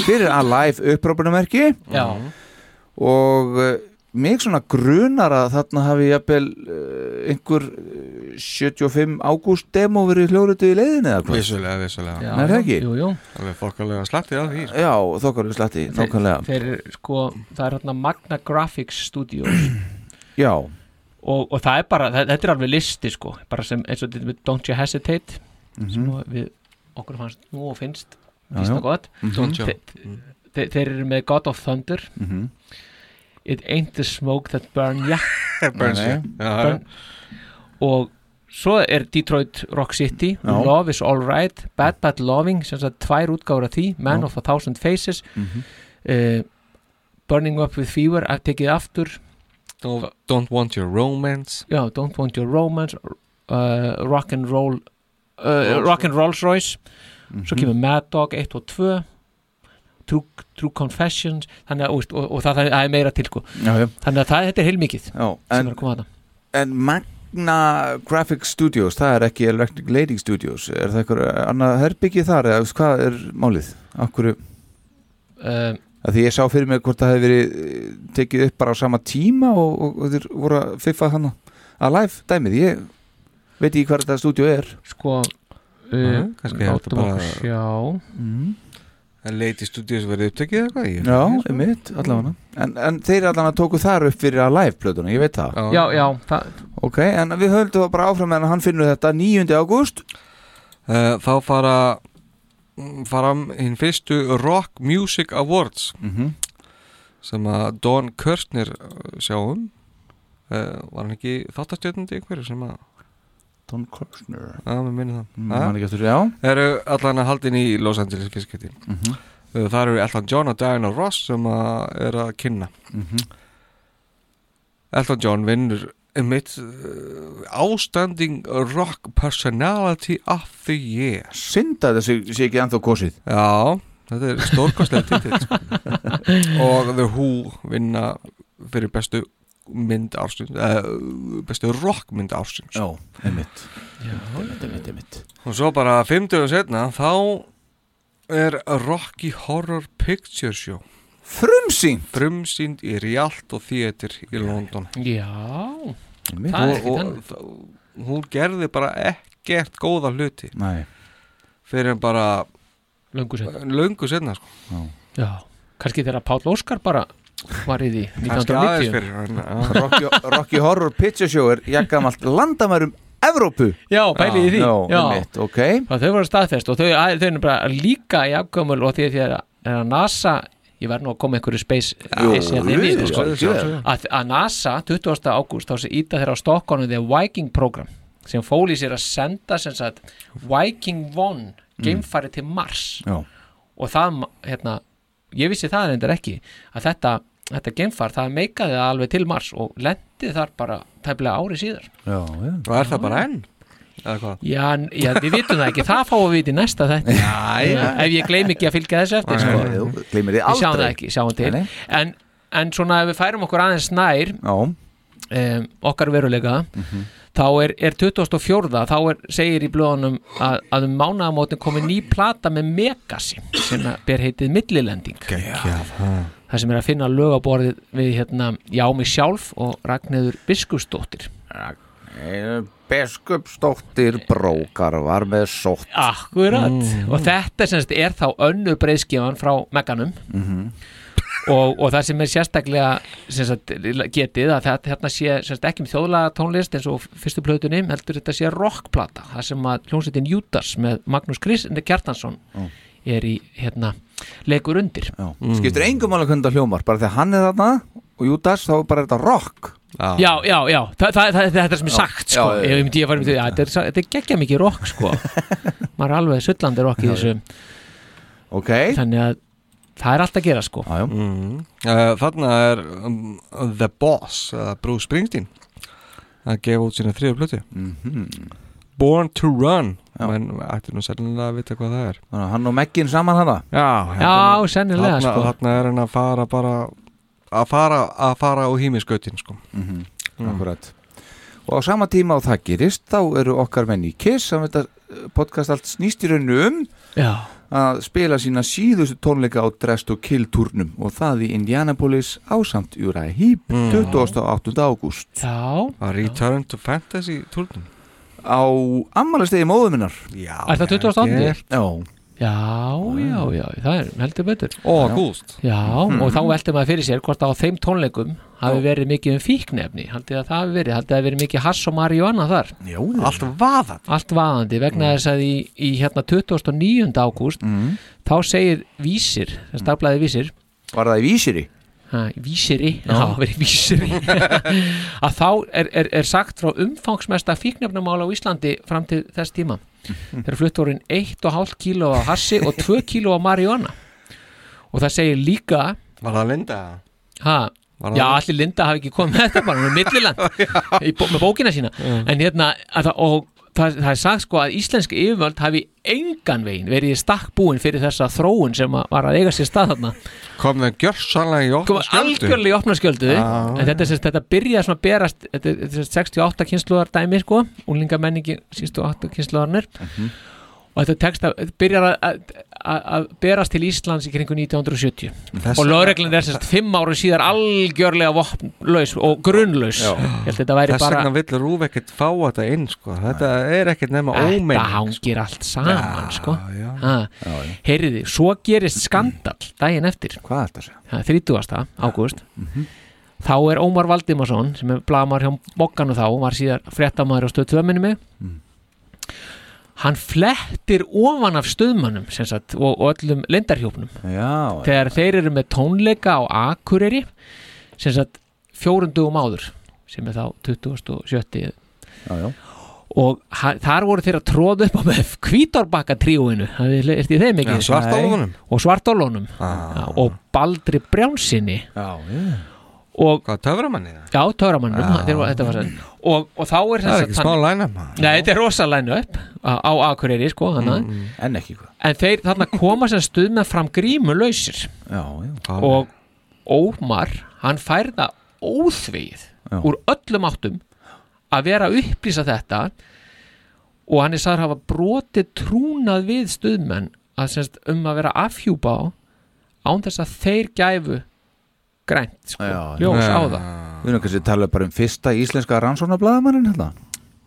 [SPEAKER 3] fyrir að live upprópunumerki
[SPEAKER 4] Já,
[SPEAKER 3] og uh, mig svona grunar að þarna hafi jafnvel uh, einhver uh, 75 ágúst demo verið hljórutu í leiðinni eða hvað?
[SPEAKER 5] Vissulega, vissulega
[SPEAKER 4] já
[SPEAKER 3] Nei, er það ekki?
[SPEAKER 4] Jú, jú
[SPEAKER 5] Alveg fokkalega slatti af því sko.
[SPEAKER 3] Já, þokkar við slatti, nákvæmlega
[SPEAKER 4] Þeir, þeir, sko, það er hérna Magna Graphics Studios
[SPEAKER 3] Já,
[SPEAKER 4] og, og það er bara, það, þetta er alveg listi sko, bara sem eins og þetta með Don't You Hesitate sem nú við okkur fannst nú og finnst
[SPEAKER 3] Mhm. Já,
[SPEAKER 4] finnst
[SPEAKER 3] já.
[SPEAKER 4] það gott
[SPEAKER 5] Don't you?
[SPEAKER 4] Þe- þe- þeir eru með God of Thunder
[SPEAKER 3] Mhm.
[SPEAKER 4] It Ain't the Smoke That Burn ya,
[SPEAKER 5] Burns
[SPEAKER 3] Nei,
[SPEAKER 5] já. Já,
[SPEAKER 4] burn. og svo er Detroit Rock City
[SPEAKER 3] Já.
[SPEAKER 4] Love is Alright, Bad Bad Loving sem sagt tvær útgáfur af því, Man
[SPEAKER 3] Já.
[SPEAKER 4] of a Thousand Faces
[SPEAKER 3] Mhm.
[SPEAKER 4] uh, Burning Up with Fever að tekið aftur
[SPEAKER 5] don't, don't want your romance
[SPEAKER 4] já, Don't Want Your Romance uh, Rock and Roll uh, Rock and Rolls Royce
[SPEAKER 3] Mhm.
[SPEAKER 4] svo kemur Mad Dog 1 og 2 True, True Confessions þannig að, og, og, og það, það er meira til sko.
[SPEAKER 3] já, já,
[SPEAKER 4] þannig að það, þetta er heilmikið
[SPEAKER 3] já.
[SPEAKER 4] sem
[SPEAKER 3] En,
[SPEAKER 4] er að koma að það
[SPEAKER 3] en Magna Graphics Studios, það er ekki Electric Lady Studios, er það eitthvað annað herbyggi þar eða þú veist, hvað er málið? Akkur,
[SPEAKER 4] um,
[SPEAKER 3] að því ég sá fyrir mig hvort það hefði verið eh, tekið upp bara á sama tíma og, og, og þeir voru að fiffa hann að live dæmið, ég veit ekki hvað þetta stúdíu er
[SPEAKER 4] sko
[SPEAKER 5] Jæja, kannski er þetta
[SPEAKER 4] látum
[SPEAKER 5] bara-
[SPEAKER 4] okkur sjá
[SPEAKER 3] mm.
[SPEAKER 5] En Lady Studios verið upptekið eða hvað? Ég- sko.
[SPEAKER 3] Já, einmitt, allavega en, en þeir allavega tóku þar upp fyrir að live plötuna, ég veit það
[SPEAKER 4] já, já, það,
[SPEAKER 3] Ok, en við höldum það bara áfram en hann finnur þetta 9. ágúst
[SPEAKER 5] Eh, Þá fara fram hinn fyrstu Rock Music Awards
[SPEAKER 3] mm -hmm.
[SPEAKER 5] sem að Don eh, Kirstner sjáum uh, um. var hann ekki þáttastjötnandi einhverju sem að,
[SPEAKER 3] Don Kirshner
[SPEAKER 5] að mér minni það
[SPEAKER 3] mm,
[SPEAKER 5] Ah.
[SPEAKER 3] hann ekki eftir, Já,
[SPEAKER 5] Það eru allan að haldin í Los Angeles fiskiti mm
[SPEAKER 3] Mhm.
[SPEAKER 5] það eru Elton John og Diana Ross sem að er að kynna
[SPEAKER 3] mm
[SPEAKER 5] Elton John vinnur mitt ástanding rock personality of the year
[SPEAKER 3] synd að þessi sé ekki ennþá kosið
[SPEAKER 5] já, þetta er stórkostlega titill sko. og The Who vinna fyrir bestu mynd ársins uh, bestu rockmynd ársins
[SPEAKER 3] Já, einmitt,
[SPEAKER 4] já,
[SPEAKER 3] einmitt, einmitt
[SPEAKER 5] Og svo bara fimm dögum setna þá er Rocky Horror Picture Show
[SPEAKER 3] Frumsýn
[SPEAKER 5] frumsýnd í Rialt og Theater í London
[SPEAKER 4] já.
[SPEAKER 3] Einmitt.
[SPEAKER 4] Það er
[SPEAKER 5] og,
[SPEAKER 4] ekki
[SPEAKER 5] og þá- hún gerði bara ekkert góða hluti
[SPEAKER 3] Nei,
[SPEAKER 5] fyrir en bara
[SPEAKER 4] löngu sett
[SPEAKER 5] löngu setna sko.
[SPEAKER 4] já. kannski þegar Páll Óskar bara var í því
[SPEAKER 5] kannski aðeins
[SPEAKER 4] 1990
[SPEAKER 5] fyrir en, að,
[SPEAKER 3] Rocky, Rocky Horror Picture Show er jafngamalt landamærum Evrópu
[SPEAKER 4] já, bæli í því
[SPEAKER 3] Já, einmitt, ok
[SPEAKER 4] Það þau voru staðfest og þau, að- þau eru bara líka í afgömmul og því að því að- að NASA ég verð nú að koma einhverju space
[SPEAKER 3] Jú,
[SPEAKER 4] race hérna inn í
[SPEAKER 3] jú,
[SPEAKER 4] þetta, sko.
[SPEAKER 3] jú, jú.
[SPEAKER 4] að, að NASA 20. ágúst þá sé íta þeirra á Stokkonu The Viking Program sem fól í sér að senda sem sagt, Viking 1 geimfari til Mars
[SPEAKER 3] Já.
[SPEAKER 4] og það hérna, ég vissi það reyndar ekki að þetta, þetta geimfar það meikaði það alveg til Mars og lendi þar bara tæplega ári síðar
[SPEAKER 3] Já, já.
[SPEAKER 5] Og er það bara enn? Eða hvað?
[SPEAKER 4] já, n- já, við vitum það ekki, það fáum við í næsta þetta já,
[SPEAKER 5] já.
[SPEAKER 4] ef ég gleym ekki að fylgja þessu eftir sko.
[SPEAKER 3] Nei, þú gleymir því
[SPEAKER 4] við sjáum það
[SPEAKER 3] aldrei.
[SPEAKER 4] ekki, sjáum til
[SPEAKER 3] Nei, nei.
[SPEAKER 4] en, en svona ef við færum okkur aðeins nær
[SPEAKER 3] Já. Mhm.
[SPEAKER 4] um, okkar veruleika þá er, er 2004 þá er, segir í blöðunum að, að um mánaðamótin komi ný plata með Megasi sem að ber heitið Millilending
[SPEAKER 5] Gekjað
[SPEAKER 4] það sem er að finna lögaborðið við hérna Já mig sjálf og Ragnheður Biskusdóttir
[SPEAKER 3] Biskupsdóttir brókar var með sótt
[SPEAKER 4] Akkurat
[SPEAKER 3] Mm.
[SPEAKER 4] og þetta semst er þá önnur breyðskifan frá Meganum
[SPEAKER 3] Mhm.
[SPEAKER 4] og, og það sem er sérstaklega semst, getið að þetta hérna sé semst, ekki um þjóðlaga tónlist eins og fyrstu plötunni heldur þetta sé rockplata það sem að hljómsveitin Júdas með Magnús Krist Kjartansson
[SPEAKER 3] Já.
[SPEAKER 4] er í hérna leikur undir Já,
[SPEAKER 3] Skiptir engum alveg hvernig það hljómar bara þegar hann er þarna og Júdas þá er bara þetta rock
[SPEAKER 4] já, já, já. Þa, það, það, þetta er sem er
[SPEAKER 3] Já.
[SPEAKER 4] sagt
[SPEAKER 3] Já,
[SPEAKER 4] sko.
[SPEAKER 3] já, já.
[SPEAKER 4] já, já, já. Farin, já, þetta, er, sa- þetta er geggja mikið rock sko. maður er alveg sullandi rock í þessu
[SPEAKER 3] okay.
[SPEAKER 4] þannig að það er allt að gera sko.
[SPEAKER 3] já, já.
[SPEAKER 5] Mm. Þarna er um, The Boss eða Bruce Springsteen að gefa út sína þriðu plötu Born to Run menn ætti nú sennilega að vita hvað það er
[SPEAKER 3] Þannig að Hann og Meggin saman hana
[SPEAKER 5] Já,
[SPEAKER 4] Já, sennilega,
[SPEAKER 5] þarna,
[SPEAKER 4] sko.
[SPEAKER 5] Þarna er hann að fara bara að fara, að fara á hímiskautin sko.
[SPEAKER 3] mm Akkurat Og á sama tíma á það gerist þá eru okkar menn í Kiss sem þetta eh, podcast allt snýst í rauninu um
[SPEAKER 4] Já.
[SPEAKER 3] að spila sína síðustu tónleika á Dressed to Kill turnum og það í Indianapolis ásamt Júra Hýp 28. ágúst
[SPEAKER 4] Já
[SPEAKER 5] A Return to Fantasy turnum
[SPEAKER 3] Á ammalastegi móðuminnar
[SPEAKER 5] Já
[SPEAKER 4] Er það 28.?
[SPEAKER 3] Já
[SPEAKER 4] Já, já, já, það er heldur betur
[SPEAKER 5] Ó, ágúst.
[SPEAKER 4] Já,
[SPEAKER 3] Hmm.
[SPEAKER 5] Mhm.
[SPEAKER 4] og þá veldur maður fyrir sér hvort að á þeim tónleikum hafi verið mikið um fíknefni haldið að það hafi verið, haldið að hafi verið mikið hass og marihuana þar
[SPEAKER 3] Já,
[SPEAKER 5] Allt vaðan
[SPEAKER 4] Allt vaðandi vegna
[SPEAKER 3] Mm.
[SPEAKER 4] þess að í, í hérna 29. ágúst þá segir vísir, það staflaði vísir
[SPEAKER 3] Var það í vísiri?
[SPEAKER 4] Ha, í vísiri,
[SPEAKER 3] Já.
[SPEAKER 4] já, já verið vísiri að þá er, er, er sagt frá umfangsmesta fíknefnumála á Íslandi fram til þess tíma þeir flutt vorin 1,5 kíló af hassi og 2 kíló af marihuana og það segir líka
[SPEAKER 5] Var það Linda?
[SPEAKER 4] ha,
[SPEAKER 5] það
[SPEAKER 4] já,
[SPEAKER 5] Linda?
[SPEAKER 4] allir Linda hafi ekki komið með þetta bara, hún er milliland í bó, með bókina sína en hérna, að, það- og það, það er sagt sko að íslensk yfirvöld hafi engan vegin verið í stakk búin fyrir þessa þróun sem að- var að eiga sér stað þarna
[SPEAKER 5] Kom það gjörsanlega í
[SPEAKER 4] Kom
[SPEAKER 5] opna skjöldu?
[SPEAKER 4] Sko, algjörlega í opna skjöldu
[SPEAKER 5] Já,
[SPEAKER 4] en þetta, er sem sagt- þetta byrjaði svona að berast þetta, er- þetta er 68 kynsluðar dæmi sko úlingamenningi sístu 8 kynsluðarnir
[SPEAKER 5] Mhm.
[SPEAKER 4] og þetta tekst að byrjar að- að að berast til Íslands í kringu 1970
[SPEAKER 5] Þess-
[SPEAKER 4] og lögreglinn er sérst fimm áru síðar algjörlega vopnlaus og grunnlaus
[SPEAKER 5] Já.
[SPEAKER 4] ég held að þetta væri
[SPEAKER 5] Þess
[SPEAKER 4] bara
[SPEAKER 5] vegna vill Rúf ekkert fá þetta inn sko. Þetta er ekkert nema sko.
[SPEAKER 4] Þetta
[SPEAKER 5] ómenn
[SPEAKER 4] hangir allt saman sko. Ha. Heyriði, svo gerist skandal daginn eftir
[SPEAKER 3] Hvað þetta segja?
[SPEAKER 4] 30. ágúst þá er Ómar Valdimarsson sem er blamar hjá Mokkanu þá og var síðar fréttamaður á stöð 2 minni mig hann flettir ofan af stöðmannum sem sagt, og, og öllum lendarhjófnum
[SPEAKER 3] Já,
[SPEAKER 4] þegar þeir eru með tónleika á Akureyri sem sagt fjórundugum áður sem er þá 27.
[SPEAKER 3] já, já.
[SPEAKER 4] og ha- þar voru þeir að tróða upp á með kvítárbakka tríóinu er því þeim ekki
[SPEAKER 5] Já, Svartálfunum.
[SPEAKER 4] og svartálónum ah. og Baldri Brjánsinni
[SPEAKER 3] Já, já.
[SPEAKER 4] og
[SPEAKER 5] Hvað, töframanni?
[SPEAKER 4] Já, töframannum, þeir voru- þetta var sann og, og þá er
[SPEAKER 5] Það er ekki smá læna
[SPEAKER 4] Nei, þetta er rosa læna upp á, á Akureyri sko, mm,
[SPEAKER 3] En ekki hvað
[SPEAKER 4] en þeir þarna koma sem stuð með fram grímulausir
[SPEAKER 3] Já, já
[SPEAKER 4] og Ómar hann færða óþvegið
[SPEAKER 3] Já.
[SPEAKER 4] úr öllum áttum að vera að upplýsa þetta og hann er sagður hafa brotið trúnað við stuðmenn að semst um að vera afhjúpa á án þess að þeir gæfu grænt sko,
[SPEAKER 3] Já, já.
[SPEAKER 4] ljós á
[SPEAKER 3] Já.
[SPEAKER 4] það
[SPEAKER 3] Við erum kannski að tala bara um fyrsta íslenska rannsóknarblaðamannin hérna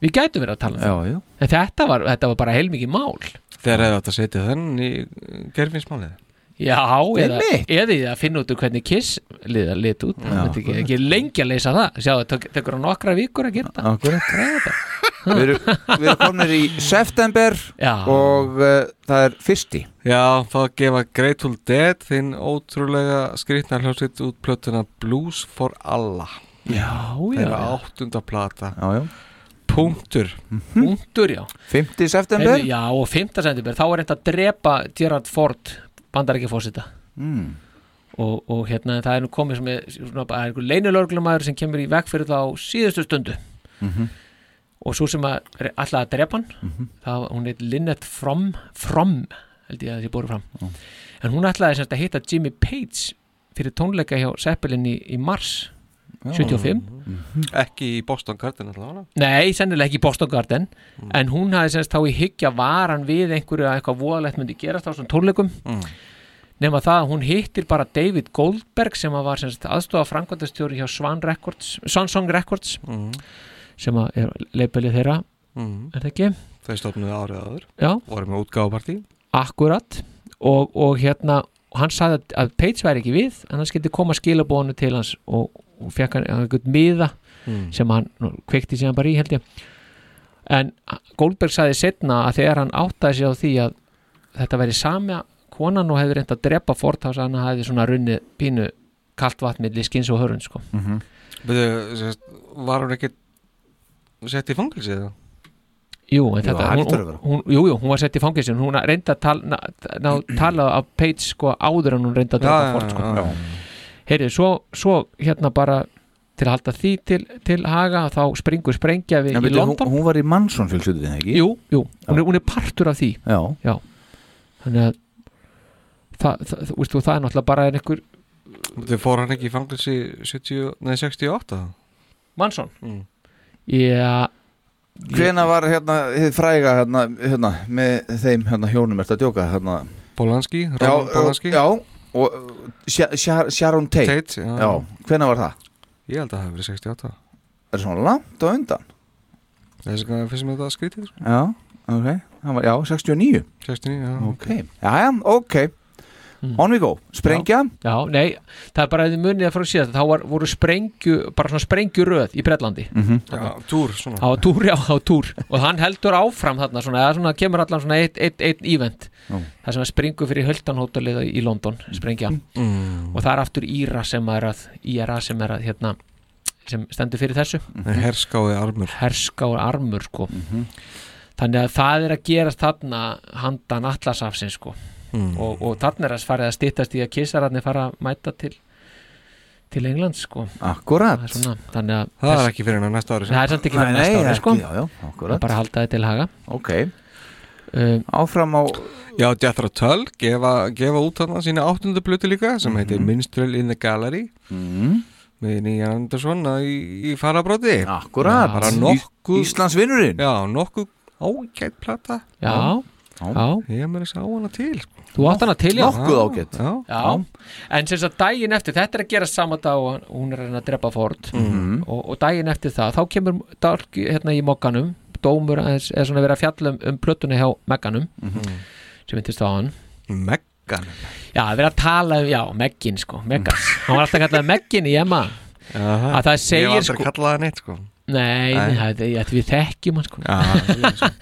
[SPEAKER 4] við gætum verið að tala um
[SPEAKER 3] Já, já
[SPEAKER 4] það en þetta var, þetta var bara heilmikið mál
[SPEAKER 5] Þegar hefði átt að setja þenn í uh, gerfinsmálið
[SPEAKER 4] Já, eða,
[SPEAKER 5] Einmitt.
[SPEAKER 4] eða ég að finna út úr hvernig Kiss liða lit út,
[SPEAKER 5] Já.
[SPEAKER 4] Þetta er ekki, ekki lengi að leysa það sjá, það tek- tekur hann nokkra vikur að gera þetta
[SPEAKER 3] Akkurat
[SPEAKER 4] Græða þetta.
[SPEAKER 3] Við erum, við erum komin í september
[SPEAKER 5] Já.
[SPEAKER 3] og uh, það er fyrsti
[SPEAKER 5] Já, þá gefa Grateful Dead þinn ótrúlega skrýtna hljómsveit út plötuna Blues for Allah
[SPEAKER 4] Já,
[SPEAKER 5] Það er
[SPEAKER 4] já.
[SPEAKER 5] áttunda plata
[SPEAKER 3] Já, já
[SPEAKER 5] Punktur
[SPEAKER 4] Punktur, já
[SPEAKER 3] 5.
[SPEAKER 4] Heyrðu, Já, og 5. september, þá er þetta að drepa Gerard Ford, bandar ekki fórsita
[SPEAKER 3] mm.
[SPEAKER 4] og, og hérna það er nú komið sem er, svona, bara- það er einhver leinulörglumæður sem kemur í veg fyrir það á síðustu stundu
[SPEAKER 3] Mhm.
[SPEAKER 4] og svo sem að er alltaf að drepa hann mm
[SPEAKER 3] Mhm.
[SPEAKER 4] hún heit Lynette From From, held ég að þessi bóru fram
[SPEAKER 3] Já.
[SPEAKER 4] en hún ætlaði semst að hitta Jimmy Page fyrir tónleika hjá Seppelin í, í mars 75
[SPEAKER 5] Ekki í Boston Garden allavega
[SPEAKER 4] Nei, sennilega ekki í Boston Garden
[SPEAKER 5] Mm.
[SPEAKER 4] en hún hafði semst þá í hyggja varan við einhverju að eitthvað voðalegt myndi gerast á svona tónleikum
[SPEAKER 5] Mm.
[SPEAKER 4] nema það að hún hittir bara David Goldberg sem að var semst aðstofa framkvæmdastjóri hjá Swan Records, Swansong Records
[SPEAKER 5] Mm.
[SPEAKER 4] sem að er leipelið þeirra
[SPEAKER 5] Mm.
[SPEAKER 4] er það ekki?
[SPEAKER 5] Þau stofnuðu árið áður
[SPEAKER 4] Já.
[SPEAKER 5] Voru með útgáfapartí
[SPEAKER 4] Akkurat og, og hérna hann sagði að- að Page væri ekki við en hann skildi koma skilabónu til hans og, og fekk hann hann einhvern miða
[SPEAKER 5] Mm.
[SPEAKER 4] sem hann nú, kveikti síðan bara í held ég en Goldberg sagði setna að þegar hann áttaði sig á því að þetta væri sama konan og hefði reynd að drepa Ford þá sagði hann að hann hefði svona runnið pínu kalt vatn milli skins og hörund sko.
[SPEAKER 3] Mhm.
[SPEAKER 5] Byrðu, sérst, Var hún ekki sett í fangilsið það?
[SPEAKER 4] Jú,
[SPEAKER 5] Jú,
[SPEAKER 4] en þetta,
[SPEAKER 5] það
[SPEAKER 4] hún,
[SPEAKER 5] hlýtur
[SPEAKER 4] hún,
[SPEAKER 5] að vera.
[SPEAKER 4] hún, jú, jú, hún var sett í fangelsin hún reyndi að tala, na, ná, tala af Page sko áður en hún reyndi
[SPEAKER 5] Já,
[SPEAKER 4] að drepa
[SPEAKER 5] já,
[SPEAKER 4] Ford
[SPEAKER 3] Ah.
[SPEAKER 4] sko.
[SPEAKER 5] já, já.
[SPEAKER 4] Heyrðu, svo, svo hérna bara til að halda því til, til haga þá springur sprengja við
[SPEAKER 3] En
[SPEAKER 4] í
[SPEAKER 3] byrju, hún,
[SPEAKER 4] London
[SPEAKER 3] hún var í Manson fjölskyldinni, ekki?
[SPEAKER 4] Jú, jú, hún er, hún er partur af því
[SPEAKER 3] Já.
[SPEAKER 4] Já. þannig að það, það, það, veist þú, það er náttúrulega bara en einhver
[SPEAKER 5] Þau fór hann ekki í fangilsi 70, nei, 68 þá?
[SPEAKER 4] Manson
[SPEAKER 5] mm.
[SPEAKER 4] Já
[SPEAKER 3] Hvena var hérna, þið fræga hérna, hérna, með þeim hérna hjónum ert að djóka hérna
[SPEAKER 5] Polanski,
[SPEAKER 3] Já,
[SPEAKER 5] Roman Polanski
[SPEAKER 3] já, og uh, Sha- Sha- Sharon Tate,
[SPEAKER 5] Tate, já.
[SPEAKER 3] hvena var það?
[SPEAKER 5] Ég held að það hafi verið 68
[SPEAKER 3] Er svona langt á undan?
[SPEAKER 5] Þess að finnst mér þetta skrítið sko.
[SPEAKER 3] Já, ok, það var, já, 69
[SPEAKER 5] 69, já
[SPEAKER 3] Ok, já, já, ok On we go, sprengja
[SPEAKER 4] Hmm. Já, nei, það er bara að þið munið að frá síðast þá var, voru sprengju, bara svona sprengjuröð í Bretlandi
[SPEAKER 3] Mhm.
[SPEAKER 5] Já, túr, svona
[SPEAKER 4] á túr, já, á túr og hann heldur áfram þarna svona, eða svona kemur allan svona eitt, eitt, eitt ívent
[SPEAKER 3] Já.
[SPEAKER 4] það sem að springu fyrir höldanhótaliða í London sprengja
[SPEAKER 5] Mm.
[SPEAKER 4] og það er aftur IRA sem er að IRA sem er að hérna sem stendur fyrir þessu
[SPEAKER 3] Mhm.
[SPEAKER 5] Nei, Herskáði armur
[SPEAKER 4] herskáður armur sko
[SPEAKER 5] Mhm.
[SPEAKER 4] þannig að það er að gerast þarna handan allasafsins sko
[SPEAKER 5] Mm.
[SPEAKER 4] og, og þarna er að farið að styttast í að kissararnir fara að mæta til til England sko
[SPEAKER 3] Akkurat
[SPEAKER 4] Það er svona, þannig að
[SPEAKER 5] Það er
[SPEAKER 4] þess-
[SPEAKER 5] ekki fyrir hennar næsta ári
[SPEAKER 4] Nei, það er samt ekki fyrir
[SPEAKER 3] Nei,
[SPEAKER 4] næsta
[SPEAKER 3] nei,
[SPEAKER 4] ári
[SPEAKER 3] ekki,
[SPEAKER 4] sko
[SPEAKER 3] já, já, akkurat.
[SPEAKER 4] Það er bara að halda þið til haga
[SPEAKER 3] Ok,
[SPEAKER 4] um,
[SPEAKER 3] áfram á
[SPEAKER 5] Já, Jethro Tull gefa, gefa út þarna sína áttundu blötu líka
[SPEAKER 3] Mhm.
[SPEAKER 5] sem heitir Minstrel in the Gallery
[SPEAKER 3] mm.
[SPEAKER 5] með Nýjan Andersson að í, í farabróti
[SPEAKER 3] Akkurat.
[SPEAKER 5] Bara
[SPEAKER 3] Ís-
[SPEAKER 5] nokkuð
[SPEAKER 3] Íslands vinnurinn
[SPEAKER 5] Já, nokkuð ágætt plata
[SPEAKER 4] Já, já.
[SPEAKER 5] Ég hef mér að sá hana til
[SPEAKER 4] Þú átt hana til, já.
[SPEAKER 3] Nokkuð ágætt.
[SPEAKER 5] Já,
[SPEAKER 4] Já, en sem sagt daginn eftir þetta er að gera sama dag og hann- hún er að reyna að drepa Ford
[SPEAKER 5] Mhm.
[SPEAKER 4] og, og daginn eftir það, þá kemur dálk hérna í mokkanum, dómur aðeins- eða svona verið að fjalla um, um plötuna hjá Megganum
[SPEAKER 5] Mhm.
[SPEAKER 4] sem myndist á hann
[SPEAKER 5] Meggan
[SPEAKER 4] Já, það er verið að tala um, já, Meggin sko, Meggan Hann var alltaf kallað Meggin í Emma Að
[SPEAKER 5] Ég
[SPEAKER 4] það
[SPEAKER 5] hef
[SPEAKER 4] segir
[SPEAKER 5] aldrei
[SPEAKER 4] sko
[SPEAKER 5] kallað hann eitt sko
[SPEAKER 4] Nei,
[SPEAKER 5] Nei.
[SPEAKER 4] nei. Það, það, við þekkjum hann sko
[SPEAKER 5] Já,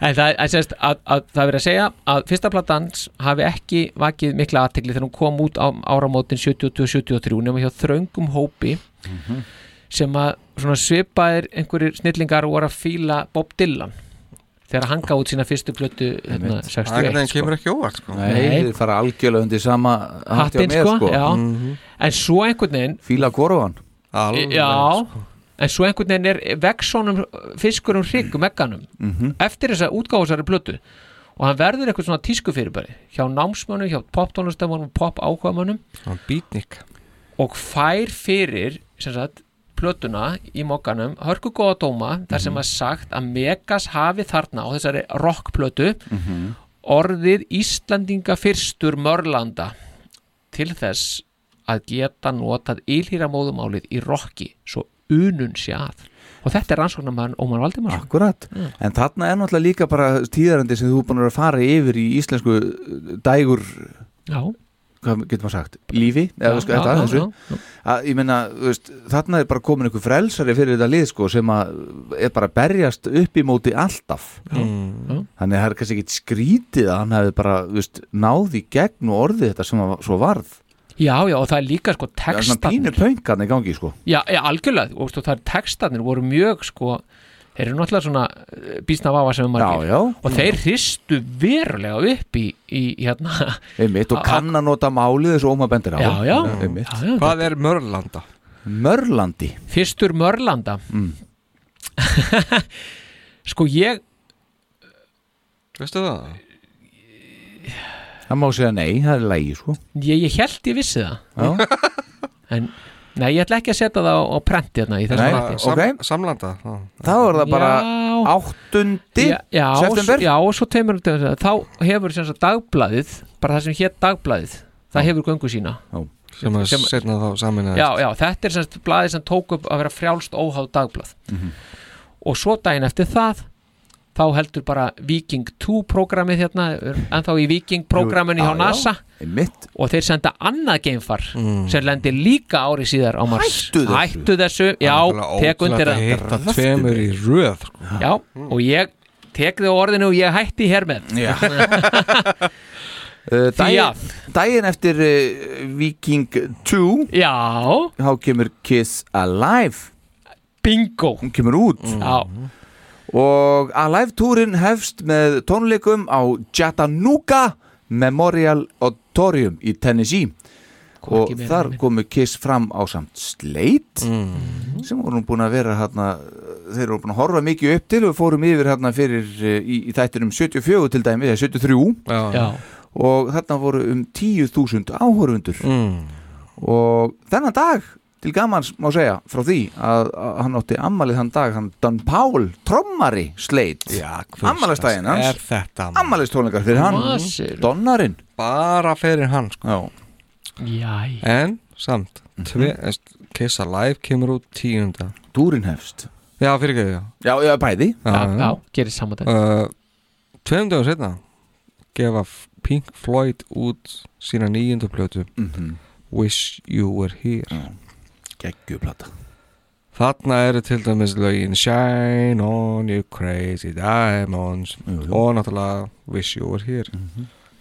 [SPEAKER 4] En það, en sérst, að, að, það er verið að segja að fyrsta platans hafi ekki vakið mikla aðtegli þegar hún kom út á áramótin 72-73 nema hjá þröngum hópi sem að svona svipaðir einhverjir snillingar voru að fíla Bob Dylan þegar hann gaf út sína fyrstu plötu
[SPEAKER 5] það
[SPEAKER 4] hérna,
[SPEAKER 5] er
[SPEAKER 4] 61
[SPEAKER 5] það
[SPEAKER 4] sko.
[SPEAKER 5] kemur ekki óvart sko
[SPEAKER 3] Nei,
[SPEAKER 4] Nei.
[SPEAKER 3] þið fara algjörlega undir sama hatti á
[SPEAKER 4] hattinn
[SPEAKER 3] mér,
[SPEAKER 4] sko,
[SPEAKER 3] sko.
[SPEAKER 4] Já. en svo einhvern veginn
[SPEAKER 3] Fíla korfan
[SPEAKER 5] Alveg, sko.
[SPEAKER 4] já, en svo einhvern veginn er vegsónum fiskurum hryggum egganum
[SPEAKER 3] Mhm.
[SPEAKER 4] eftir þess að útgáfasari blötu og hann verður eitthvað svona tísku fyrirbæri hjá námsmönnum, hjá poptónlustamönnum pop ákvæmönnum
[SPEAKER 5] Hann býtnik
[SPEAKER 4] og fær fyrir sem sagt plötuna í mokkanum hörku góða dóma þar sem að sagt að Megas hafi þarna á þessari rockplötu orðið Íslandinga fyrstur mörlanda til þess að geta notað ylhýra móðumálið í rocki svo unun sé að og þetta er rannsóknarmann Ómar Valdimarsson
[SPEAKER 3] Akkurat, en þarna er náttúrulega líka bara tíðarandi sem þú er búin að vera að fara yfir í íslensku eh, dægur
[SPEAKER 4] Já,
[SPEAKER 3] hvað getur maður sagt, lífi eða,
[SPEAKER 4] Já,
[SPEAKER 3] sko,
[SPEAKER 4] já,
[SPEAKER 3] þetta,
[SPEAKER 4] já,
[SPEAKER 3] þessu,
[SPEAKER 4] já,
[SPEAKER 3] Að, ég meina, þú veist, þarna er bara komin einhver frelsari fyrir þetta lið sko, sem að er bara að berjast upp í móti alltaf
[SPEAKER 5] Mm.
[SPEAKER 4] já.
[SPEAKER 3] þannig að það er kannski ekkit skrítið að hann hefði bara þú veist, náði gegn og orðið þetta sem að, svo varð
[SPEAKER 4] já, já, og það er líka sko
[SPEAKER 3] það er svona
[SPEAKER 4] textarnir
[SPEAKER 3] pínur pöngan í gangi sko.
[SPEAKER 4] Já, já algjörlega, og veistu, það er textarnir voru mjög sko, þeir eru náttúrulega svona bísna vafa sem er margir já, já. og þeir hristu verulega upp í, í hérna
[SPEAKER 3] einmitt, og
[SPEAKER 4] Á-
[SPEAKER 3] kann að nota málið þessu óma bendir á
[SPEAKER 4] Já, já.
[SPEAKER 3] Einmitt.
[SPEAKER 4] Já, já. Hvað
[SPEAKER 5] er Mörlanda?
[SPEAKER 3] Mörlandi
[SPEAKER 4] fyrstur Mörlanda
[SPEAKER 3] mm.
[SPEAKER 4] sko ég
[SPEAKER 5] Veistu það?
[SPEAKER 3] það má segja nei, það er lægi sko.
[SPEAKER 4] ég, ég held ég vissi það
[SPEAKER 3] Já.
[SPEAKER 4] en nei, ég ætla ekki að setja það á, á prenti hérna í
[SPEAKER 3] Nei,
[SPEAKER 4] þessum þætti.
[SPEAKER 3] sam- ok.
[SPEAKER 5] Samlanda já.
[SPEAKER 3] þá er það bara
[SPEAKER 4] Já.
[SPEAKER 3] áttundi
[SPEAKER 4] já, já,
[SPEAKER 3] september
[SPEAKER 4] s- já, og svo tveimur dögum síðar. þá hefur sem sagt dagbladið bara það sem hétt dagbladið það hefur göngu sína
[SPEAKER 3] já,
[SPEAKER 5] sem að setna þá saminnaðist
[SPEAKER 4] já, þetta er sem sagt bladið sem tók upp að vera frjálst óháð dagblað
[SPEAKER 5] Mhm.
[SPEAKER 4] og svo daginn eftir það þá heldur bara Viking 2 programmið hérna, við erum ennþá í Viking programminu hjá
[SPEAKER 3] Já, já.
[SPEAKER 4] NASA
[SPEAKER 3] Einmitt.
[SPEAKER 4] og þeir senda annað geimfar sem lendir líka ári síðar á Mars
[SPEAKER 5] Hættu þessu.
[SPEAKER 4] Hættu þessu, já, tek undir
[SPEAKER 5] að hitta tveimur í röð sko.
[SPEAKER 4] Já, og ég tek þið á orðinu og ég hætti hér með
[SPEAKER 3] Já. Uh, daginn, daginn eftir uh, Viking 2
[SPEAKER 4] Já
[SPEAKER 3] Þá kemur Kiss Alive
[SPEAKER 4] Bingo
[SPEAKER 3] Hún kemur út
[SPEAKER 4] Já
[SPEAKER 3] Og Alive túrin hefst með tónleikum á Chattanooga Memorial Auditorium í Tennessee Og
[SPEAKER 4] meira
[SPEAKER 3] þar komu Kiss fram á samt Slate Sem vorum búin að vera hérna Þeir voru búin að horfa mikið upp til og við fórum yfir hérna fyrir uh, í, í þættinum 74 til dæmi eða 73
[SPEAKER 5] Já. Já.
[SPEAKER 3] og þarna voru um 10.000 áhörfundur
[SPEAKER 5] mm.
[SPEAKER 3] og þennan dag til gamans má segja frá því að, að hann átti ammalið þann dag hann Dan Powell, trommari sleit ammaliðstæðin
[SPEAKER 5] er
[SPEAKER 3] hans
[SPEAKER 5] þetta
[SPEAKER 3] ammaliðstónleikar fyrir hann
[SPEAKER 5] Maður.
[SPEAKER 3] Donnarinn
[SPEAKER 5] bara fyrir hann sko.
[SPEAKER 4] Jæ
[SPEAKER 5] en samt tve, mm -hmm. Kiss Alive kemur út tíunda
[SPEAKER 3] Dúrin hefst
[SPEAKER 5] já fyrir ekki já.
[SPEAKER 3] já, já, bæði
[SPEAKER 4] Já, já, gerir saman þetta
[SPEAKER 5] uh, tveim dögum setna gefa F- Pink Floyd út sína nýjundu plötu
[SPEAKER 3] Mhm.
[SPEAKER 5] Wish You Were Here
[SPEAKER 3] geggjuplata
[SPEAKER 5] Þarna eru til dæmis lögin Shine on you crazy diamonds og náttúrulega Wish You Were Here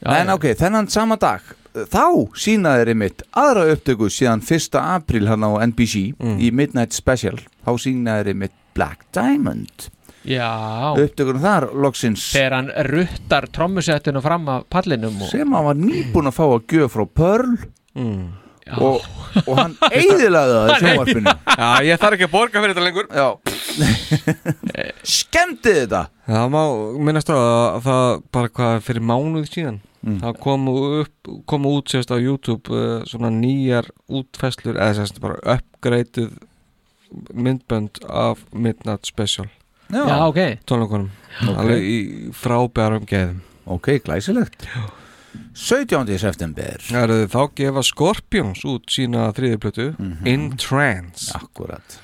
[SPEAKER 3] en ok, þennan sama dag þá sína þeir einmitt aðra upptöku síðan 1. april hann á NBC í Midnight Special þá sína þeir einmitt Black Diamond
[SPEAKER 4] Já
[SPEAKER 3] upptökunum þar loksins
[SPEAKER 4] Þegar hann ruttar trommusettinu fram af pallinum og...
[SPEAKER 3] sem hann var nýbúin að fá að gjöf frá Pearl
[SPEAKER 5] mm.
[SPEAKER 3] og, og hann eiðilaði það í sjónvarpinu
[SPEAKER 5] Já, ég þarf ekki að borga fyrir þetta lengur
[SPEAKER 3] Já Skemmti þetta
[SPEAKER 5] Það má minnast á að það bara hvað fyrir mánuð síðan það komu, upp, komu út sérst á YouTube uh, svona nýjar útfesslur eða sérst bara uppgreituð myndbönd af Midnight Special
[SPEAKER 4] Já. Já, ok.
[SPEAKER 5] tónleikunum
[SPEAKER 3] Ok.
[SPEAKER 5] alveg í frábærum geðum
[SPEAKER 3] Ok, glæsilegt 17. september
[SPEAKER 5] Herðu, þá gefa Scorpions út sína þriðiplötu In Trance
[SPEAKER 3] Akkurat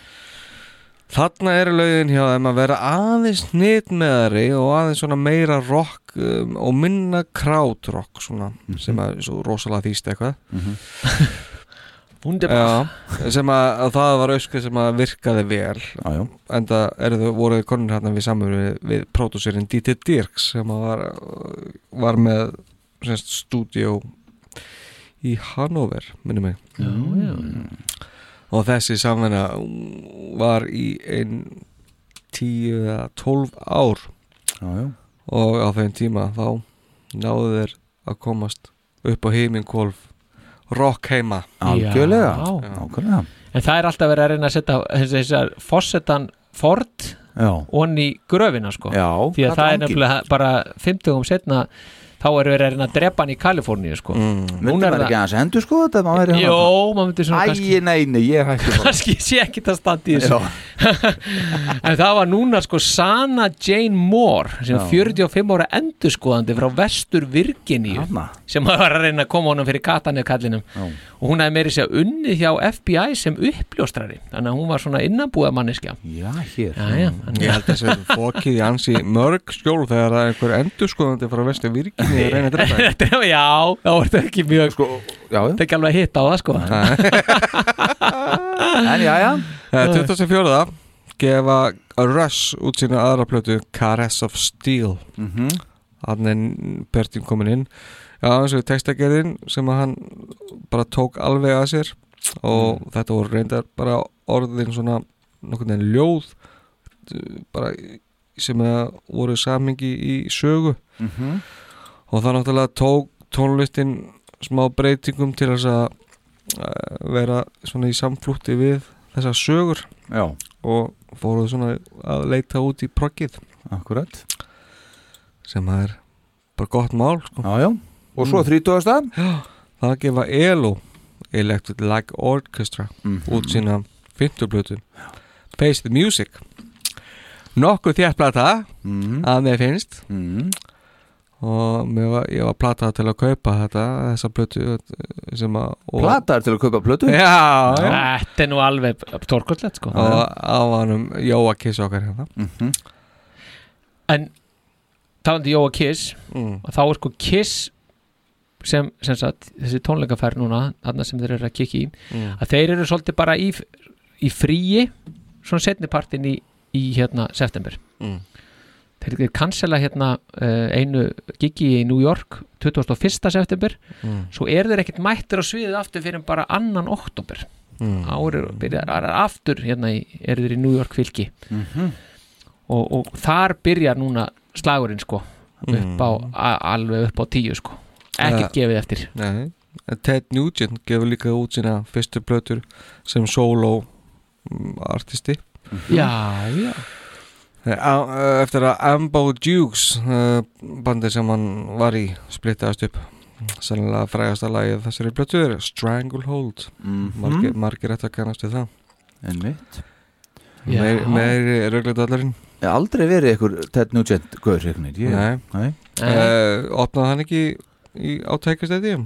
[SPEAKER 5] Þarna eru lögin hjá þeim að vera aðeins nýtmeðari og aðeins svona meira rock um, og minna krautrock svona sem að svo rosalega þýst eitthvað
[SPEAKER 4] Wunderbar.
[SPEAKER 5] Já, sem að, að það var ösku sem að virkaði vel
[SPEAKER 3] Jájá
[SPEAKER 5] Enda eru þau voru þau konur hérna við samur við, við pródúsirinn D.T. Dirks sem að var, var með semst stúdíó í Hannover, minnum mig
[SPEAKER 4] Já, já.
[SPEAKER 5] og þessi samvinna mm, var í ein 10 eða 12 ár
[SPEAKER 3] já, já.
[SPEAKER 5] og á þeim tíma þá náðu þeir að komast upp á heiminkólf rock heima
[SPEAKER 3] Algjörlega, nákvæmlega.
[SPEAKER 4] En það er alltaf verið að reyna að setja þess- þessar fossetan Ford
[SPEAKER 3] Já.
[SPEAKER 4] onni gröfina sko
[SPEAKER 3] Já,
[SPEAKER 4] því að
[SPEAKER 3] þetta
[SPEAKER 4] það er
[SPEAKER 3] hangir.
[SPEAKER 4] nefnilega bara 50 um setna þá er verið að reyna að drepa hann í Kaliforníu sko mm.
[SPEAKER 3] Myndi maður ekki aðeins endur sko þetta maður væri hann
[SPEAKER 4] Jó,
[SPEAKER 3] þarna?
[SPEAKER 4] maður myndi svona
[SPEAKER 3] Æ,
[SPEAKER 4] kannski-
[SPEAKER 3] nei, nei, ég hætti bara.
[SPEAKER 4] kannski sé ekki það standi í þessu en það var núna sko Sana Jane Moore sem
[SPEAKER 3] Já.
[SPEAKER 4] 45 ára endurskoðandi frá vestur Virginíu sem var að reyna að koma honum fyrir katanef kallinum
[SPEAKER 3] Já.
[SPEAKER 4] og hún hefði meiri sér unnið hjá FBI sem uppljóstrari þannig að hún var svona innanbúða manneskja
[SPEAKER 3] Já, hér
[SPEAKER 4] Já, já,
[SPEAKER 5] Ég held að þessi fókið í ansi mörg skjól þegar að einhver endurskoðandi frá vesti virkið í að reyna að drepa þig.
[SPEAKER 4] drepa Já, þá ertu ekki mjög sko,
[SPEAKER 3] já, já.
[SPEAKER 4] ekki alveg að hitta á það sko
[SPEAKER 3] En já, já
[SPEAKER 5] Eh, 2004 gefa Rush út sína aðra plötu Caress of Steel
[SPEAKER 3] Mhm.
[SPEAKER 5] hann er Bertin komin inn já, eins og textagerðin sem að hann bara tók alveg að sér og þetta voru reyndar bara orðin svona nokkurn veginn ljóð eh, bara sem að voru samingi í sögu
[SPEAKER 3] Mhm.
[SPEAKER 5] og það náttúrulega tók tónlistin smá breytingum til þess að eh, vera svona í samflútti við þessar sögur
[SPEAKER 3] Já.
[SPEAKER 5] og fóruð svona að leita út í proggið
[SPEAKER 3] Akkurat
[SPEAKER 5] sem að er bara gott mál sko.
[SPEAKER 3] já, já. Og svo 30.
[SPEAKER 5] það gefa ELO Electric Light Orchestra út sína 50 blötu Face the Music nokkuð þjættplata
[SPEAKER 3] Mhm,
[SPEAKER 5] að mér finnst
[SPEAKER 3] mm.
[SPEAKER 5] og mér var, ég var platað til að kaupa þetta þessa blötu sem að og-
[SPEAKER 3] Plataður til að kaupa plötu?
[SPEAKER 5] Já, já.
[SPEAKER 4] Þetta er nú alveg tórkollett sko
[SPEAKER 5] og á hannum Jóa Kiss okkar hérna
[SPEAKER 4] En talandi Jóa Kiss
[SPEAKER 5] Mm.
[SPEAKER 4] og þá er sko Kiss sem, sem sagt, þessi tónleikaferð núna þarna sem þeir eru að kikki í
[SPEAKER 5] Mm.
[SPEAKER 4] að þeir eru svolítið bara í, í fríi svona setnipartin í, í hérna september
[SPEAKER 5] Mm.
[SPEAKER 4] þeir, þeir cancela hérna uh, einu gigi í New York 21. september
[SPEAKER 5] Mm.
[SPEAKER 4] svo eru þeir ekkert mættir á sviðið aftur fyrir bara annan oktober
[SPEAKER 5] Mm.
[SPEAKER 4] árið byrjar er aftur hérna í, eru þeir í New York fylki
[SPEAKER 3] Mhm.
[SPEAKER 4] og, og þar byrjar núna slagurinn sko upp á, a, alveg upp á tíu sko ekkert
[SPEAKER 5] Ja.
[SPEAKER 4] gefið eftir
[SPEAKER 5] Nei. En Ted Nugent gefur líka út sína fyrstu plötur sem solo mm, artisti
[SPEAKER 4] Já, já
[SPEAKER 5] Eh, á- eh, Eftir að Ambo Dukes eh, bandið sem hann var í splittaðast upp sennilega frægasta lagið þessari plötu er Stranglehold
[SPEAKER 3] Mhm.
[SPEAKER 5] margir, margir eftir að kannast við það
[SPEAKER 3] En mitt
[SPEAKER 5] Já. Meir- meiri rögleitallurinn
[SPEAKER 3] Aldrei verið ykkur Ted Nugent Guður hérna ég-
[SPEAKER 5] Nei,
[SPEAKER 3] Nei.
[SPEAKER 5] Eh, Opnaði hann ekki í átækastæti?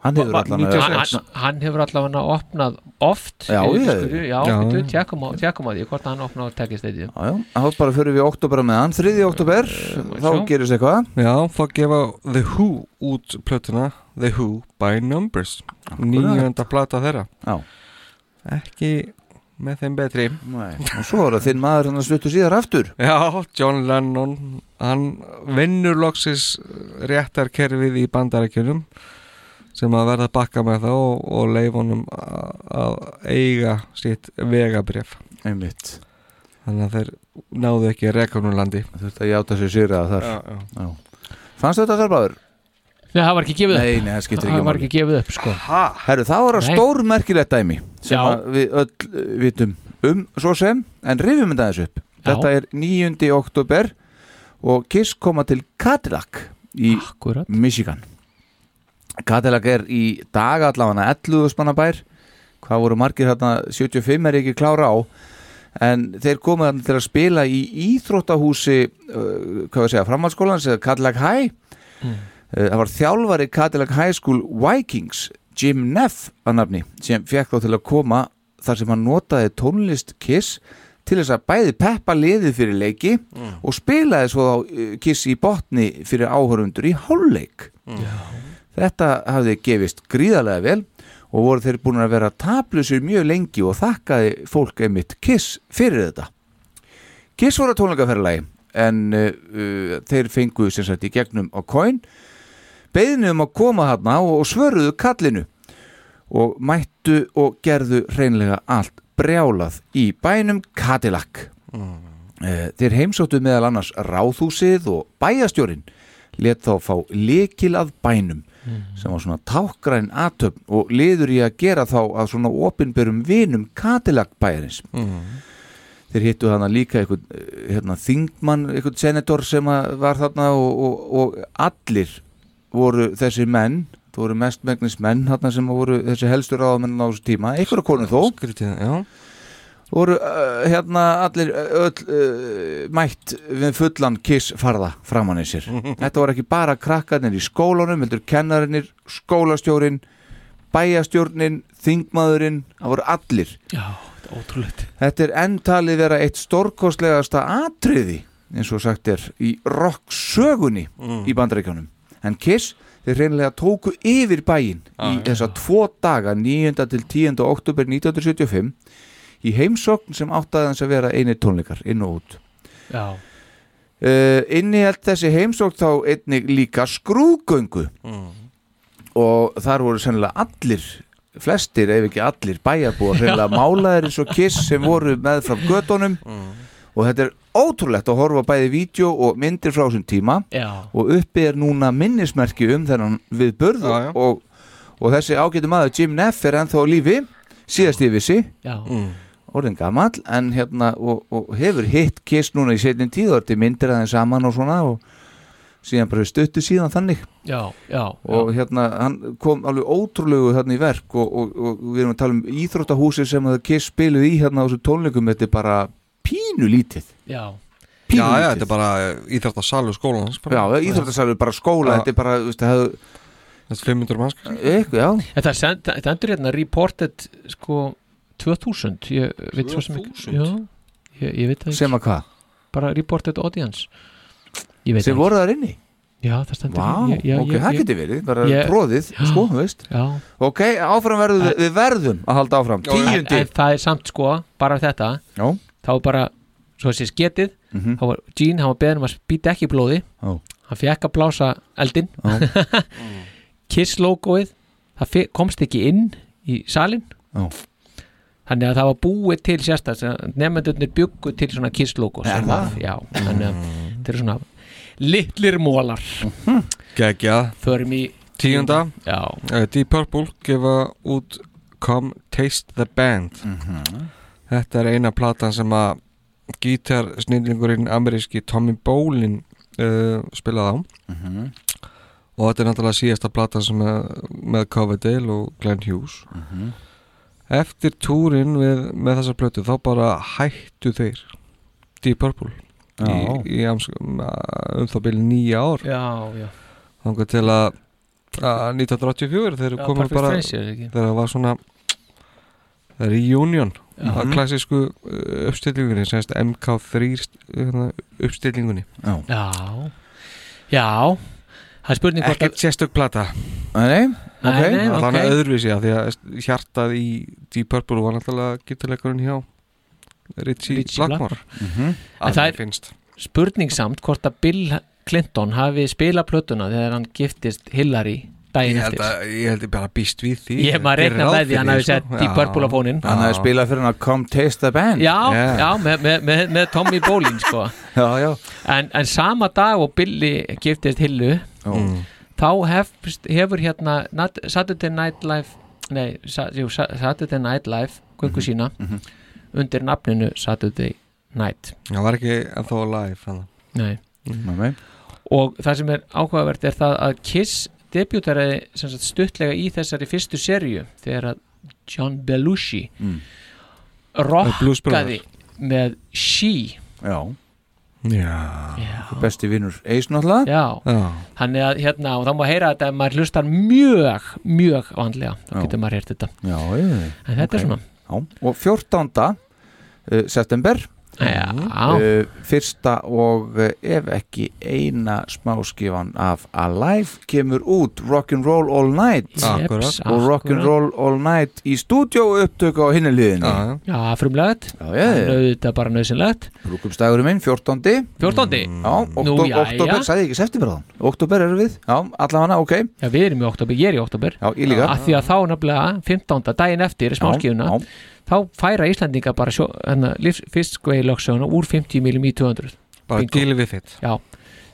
[SPEAKER 3] Hann hefur
[SPEAKER 5] Ma-
[SPEAKER 3] allan að-
[SPEAKER 5] 96.
[SPEAKER 4] hann, hann hefur allavega opnað oft
[SPEAKER 3] Já,
[SPEAKER 4] Við-
[SPEAKER 3] ég-
[SPEAKER 4] sko, já,
[SPEAKER 3] Já.
[SPEAKER 4] já. Tjekkum, á, tjekkum á því hvort hann opnað tekist þetta
[SPEAKER 3] Já, já, þá bara fyrir við oktober með hann, 3. oktober, þá
[SPEAKER 5] sjá.
[SPEAKER 3] gerist eitthvað
[SPEAKER 5] Já, þá gefa The Who út plötuna The Who by Numbers nýjönda plata þeirra
[SPEAKER 3] Já.
[SPEAKER 5] Ekki með þeim betri
[SPEAKER 3] Nei. Og svo er það þinn maður hann að stuttu síðar aftur
[SPEAKER 5] Já, John Lennon hann vinnur loksis réttarkerfið í bandarækjunum sem að verða að bakka með það og, og leif honum a- að eiga sitt vegabref
[SPEAKER 3] Einmitt
[SPEAKER 5] Þannig að þeir náðu ekki að reka hún úr landi
[SPEAKER 3] Þurfti að játa sér sýra þar
[SPEAKER 5] Já, já.
[SPEAKER 3] Fannst þetta þar báður?
[SPEAKER 4] Nei, það var ekki gefið upp.
[SPEAKER 3] Nei, nei, það skiptir ekki
[SPEAKER 4] Það var ekki gefið upp sko
[SPEAKER 3] Herru, það var að
[SPEAKER 4] Nei.
[SPEAKER 3] stór merkilegt dæmi sem
[SPEAKER 4] Já.
[SPEAKER 3] að við öll uh, vitum um svo sem, en rifjum þetta þessu upp Þetta er 9. oktober og Kiss koma til Cadillac í
[SPEAKER 4] Akkurat.
[SPEAKER 3] Michigan Cadillac er í dag allavega 11 spannabær hvað voru margir hérna 75 er ég ekki klára á en þeir komu þarna til að spila í íþróttahúsi uh, hvað við segja, framhaldsskólan sem Cadillac High Uh, Það var þjálfari Cadillac High School Vikings, Jim Neff að nafni, sem fekk þá til að koma þar sem hann notaði tónlist Kiss til þess að bæði peppa liðið fyrir leiki og spilaði svo þá uh, Kiss í botni fyrir áhörundur í hálfleik. Þetta hafði gefist gríðarlega vel og voru þeir búin að vera tablusur mjög lengi og þakkaði fólk einmitt Kiss fyrir þetta. Kiss voru að tónleikaferðalagi en uh, uh, þeir fengu sem sagt í gegnum á coin beðinu um að koma þarna og, og svöruðu kallinu og mættu og gerðu hreinlega allt brjálað í bænum Cadillac mm. þeir heimsóttu meðal annars ráðhúsið og bæjastjórin let þá fá lekil að bænum sem var svona tákgræn atöfn og liður í að gera þá að svona opinberum vinum Cadillac bæjarins
[SPEAKER 5] Mm.
[SPEAKER 3] þeir hittu þarna líka einhvern eh, hérna, þingmann, einhvern senator sem að var þarna og, og, og allir voru þessi menn þú voru mestmengnis menn þarna sem voru þessi helstu ráðamenn á þessu tíma einhverja konu þó
[SPEAKER 5] Skrítið,
[SPEAKER 3] voru uh, hérna allir eh, öll uh, mætt við fullan kiss farða framann í sér þetta voru ekki bara krakkarnir í skólanum heldur kennarinnir, skólastjórin bæjastjórnin, þingmaðurinn það voru allir
[SPEAKER 4] Já, þetta er ótrúlegt
[SPEAKER 3] Þetta er enn talið vera eitt stórkostlegasta atriði eins og sagt er í Rocks sögunni í bandaríkjónum en Kiss, þeir reynilega tóku yfir bæinn í þessa tvo daga 9. til 10. oktober 1975 í heimsókn sem áttaði hans að vera eini tónleikar inn og út
[SPEAKER 4] Já.
[SPEAKER 3] uh, innihelt þessi heimsókn þá einnig líka skrúðgöngu og þar voru sennilega allir flestir ef ekki allir bæjarbúar sennilega málaðir eins og kiss sem voru með frá gödunum og þetta er ótrúlegt að horfa á bæði vídeo og myndir frá þessum tíma
[SPEAKER 4] Já.
[SPEAKER 3] og uppi er núna minnismerki um þennan við börðu og, og þessi ágætu maður Jim Neff er ennþá á lífi síðast yfir sig
[SPEAKER 4] Já.
[SPEAKER 5] Mm.
[SPEAKER 3] orðin gamall en hérna og, og hefur hitt kiss núna í setjum tíð og þetta er myndir aðeins saman og svona og síðan bara stuttu síðan þannig
[SPEAKER 4] Já, já,
[SPEAKER 3] og hérna hann kom alveg ótrúlegu þarna í verk og, og, og við erum að tala um íþróttahúsi sem að kiss spiluð í hérna á þessu tónleikum þetta er bara pínu lítið
[SPEAKER 4] já
[SPEAKER 5] Já, já, þetta er bara íþrættasalur skólan
[SPEAKER 3] Já, íþróttasalur bara skóla, þetta er bara veist, hef,
[SPEAKER 5] Þetta er 500 manns
[SPEAKER 3] Eitthvað, já
[SPEAKER 4] En það er send- þetta endur hérna reported sko 2000 ég veit svo sem ekki já, ég, ég veit það ekki
[SPEAKER 3] Sem að hvað?
[SPEAKER 4] bara reported audience Ég veit
[SPEAKER 3] sem
[SPEAKER 4] ekki.
[SPEAKER 3] voru þar inni
[SPEAKER 4] já, það stendur
[SPEAKER 3] Vá,
[SPEAKER 4] hérna. Já, já,
[SPEAKER 3] ok,
[SPEAKER 4] ég-
[SPEAKER 3] það
[SPEAKER 4] ég-
[SPEAKER 3] geti verið, bara
[SPEAKER 4] Ég-
[SPEAKER 3] tróðið,
[SPEAKER 4] Já.
[SPEAKER 3] sko, þú veist
[SPEAKER 4] Já.
[SPEAKER 3] Ok, áfram verðum við, við verðum að halda áfram
[SPEAKER 4] en,
[SPEAKER 3] Tíundi
[SPEAKER 4] en það er samt sko, bara þetta
[SPEAKER 3] Já.
[SPEAKER 4] þá er bara, svo þessi sketið mm
[SPEAKER 3] Mhm.
[SPEAKER 4] var, Gene, hann var beðin um að býta ekki í blóði
[SPEAKER 3] Já.
[SPEAKER 4] hann fekk að blása eldin Mm. Kiss logoið það fe- komst ekki inn í salin
[SPEAKER 3] Já.
[SPEAKER 4] þannig að það var búið til sérstætt nefndunir byggu til svona Kiss logo
[SPEAKER 5] Er
[SPEAKER 4] sem
[SPEAKER 5] það? Mm.
[SPEAKER 4] já, þannig að þetta er svona litlir mólar
[SPEAKER 5] Gægjað
[SPEAKER 4] Förum í
[SPEAKER 5] Tíunda
[SPEAKER 4] Já
[SPEAKER 5] uh, Deep Purple gefa út Come Taste the Band Þetta er eina platan sem að gítarsnýlingurinn ameríski Tommy Bolin uh, spilaði á
[SPEAKER 3] Mhm.
[SPEAKER 5] og þetta er náttúrulega síðasta platan sem að, með Coverdale og Glenn Hughes
[SPEAKER 3] Mhm.
[SPEAKER 5] Eftir túrin við, með þessa plötu þá bara hættu þeir Deep Purple
[SPEAKER 4] Já.
[SPEAKER 5] í, í Amsk- um þá byrja nýja ár
[SPEAKER 4] Já, já.
[SPEAKER 5] þangað til að að 1984 þeir
[SPEAKER 4] Já,
[SPEAKER 5] komið
[SPEAKER 4] Perfect
[SPEAKER 5] bara
[SPEAKER 4] Friends, er það ekki?
[SPEAKER 5] þegar það var svona reunion
[SPEAKER 3] Mhm.
[SPEAKER 4] Já.
[SPEAKER 5] að klassísku uh, uppstillingunni semst MK3 st- hérna, uppstillingunni
[SPEAKER 3] Já.
[SPEAKER 4] Já Já Það er spurning hvort
[SPEAKER 5] Ekkert sérstök plata
[SPEAKER 3] Nei,
[SPEAKER 4] Nei, ok. nei,
[SPEAKER 5] Þannig
[SPEAKER 4] ok.
[SPEAKER 5] okay. öðruvísi að því að hjartað í Deep Purple var náttúrulega gítarleikurinn hjá Richie,
[SPEAKER 4] Richie
[SPEAKER 5] Blackmore,
[SPEAKER 4] Blackmore. Mhm. En
[SPEAKER 5] Að
[SPEAKER 4] það
[SPEAKER 5] mér
[SPEAKER 4] er-
[SPEAKER 5] finnst
[SPEAKER 4] spurning samt hvort að Bill Clinton hafi spilað plötuna þegar hann giftist Hillary daginn
[SPEAKER 5] Ég held
[SPEAKER 4] eftir
[SPEAKER 5] að- ég held ég bara býst við því
[SPEAKER 4] Ég maður
[SPEAKER 5] Gerir
[SPEAKER 4] reikna
[SPEAKER 5] ráð
[SPEAKER 4] með því
[SPEAKER 5] fyrir
[SPEAKER 4] hann hafi
[SPEAKER 5] sko.
[SPEAKER 4] sett Deep
[SPEAKER 5] Já.
[SPEAKER 4] Purple á fóninn
[SPEAKER 3] Hann hefði spilað fyrir hann að Come Taste the Band
[SPEAKER 4] Já, já, með, með, með, með Tommy Bolin sko.
[SPEAKER 3] já, já.
[SPEAKER 4] En, en sama dag og Billy giftist Hillu
[SPEAKER 3] Mm.
[SPEAKER 4] þá hef, hefur hérna not, Saturday Night Live nei, sa, jú, Sa- Saturday Night Live
[SPEAKER 5] Mhm.
[SPEAKER 4] kvöngu sína undir nafninu Saturday Night
[SPEAKER 5] Það var ekki ennþá live hann.
[SPEAKER 4] Nei.
[SPEAKER 3] Nei.
[SPEAKER 4] og það sem er áhugavert er það að Kiss debutaraði sem sagt, stuttlega í þessari fyrstu serju þegar að John Belushi
[SPEAKER 5] Mm.
[SPEAKER 4] rokkaði
[SPEAKER 3] Blues-bröður.
[SPEAKER 4] með She
[SPEAKER 3] Já,
[SPEAKER 5] Já.
[SPEAKER 3] Besti vinnur Ace náttúrulega
[SPEAKER 4] Já. hann er að hérna og þá má heyra þetta ef maður hlustar mjög, mjög vandlega þá
[SPEAKER 3] Já.
[SPEAKER 4] getur maður heyrt þetta
[SPEAKER 3] Já, ég veit
[SPEAKER 4] En þetta er svona.
[SPEAKER 3] Já, og 14. Uh, september
[SPEAKER 4] Já.
[SPEAKER 3] Uh, Fyrsta og uh, ef ekki eina smáskifan af Alive kemur út Rock'n'Roll All Night
[SPEAKER 4] Ah. Jeps,
[SPEAKER 3] og Rock'n'Roll All Night í stúdíó upptöku á hinni liðinu
[SPEAKER 5] Ah.
[SPEAKER 4] Já, frumlegt
[SPEAKER 3] Já, já, já.
[SPEAKER 4] Nauðvitað bara nöðsynlegt
[SPEAKER 3] Brúkumstæðurinn minn, 14.
[SPEAKER 4] 14.
[SPEAKER 3] Já, oktober, oktober, sagði ég ekki september þann Oktober erum við, já, allavega, ok
[SPEAKER 4] Já, við erum í oktober, ég er í oktober
[SPEAKER 3] Já, ég líka
[SPEAKER 4] Af því að þá nefnilega 15. daginn eftir smáskifuna Þá færa Íslandinga bara sjó, hérna, hana, fiskvei sko lögsöguna úr 50mm í 200
[SPEAKER 5] Bara
[SPEAKER 4] Bingo.
[SPEAKER 5] deal with it
[SPEAKER 4] Já,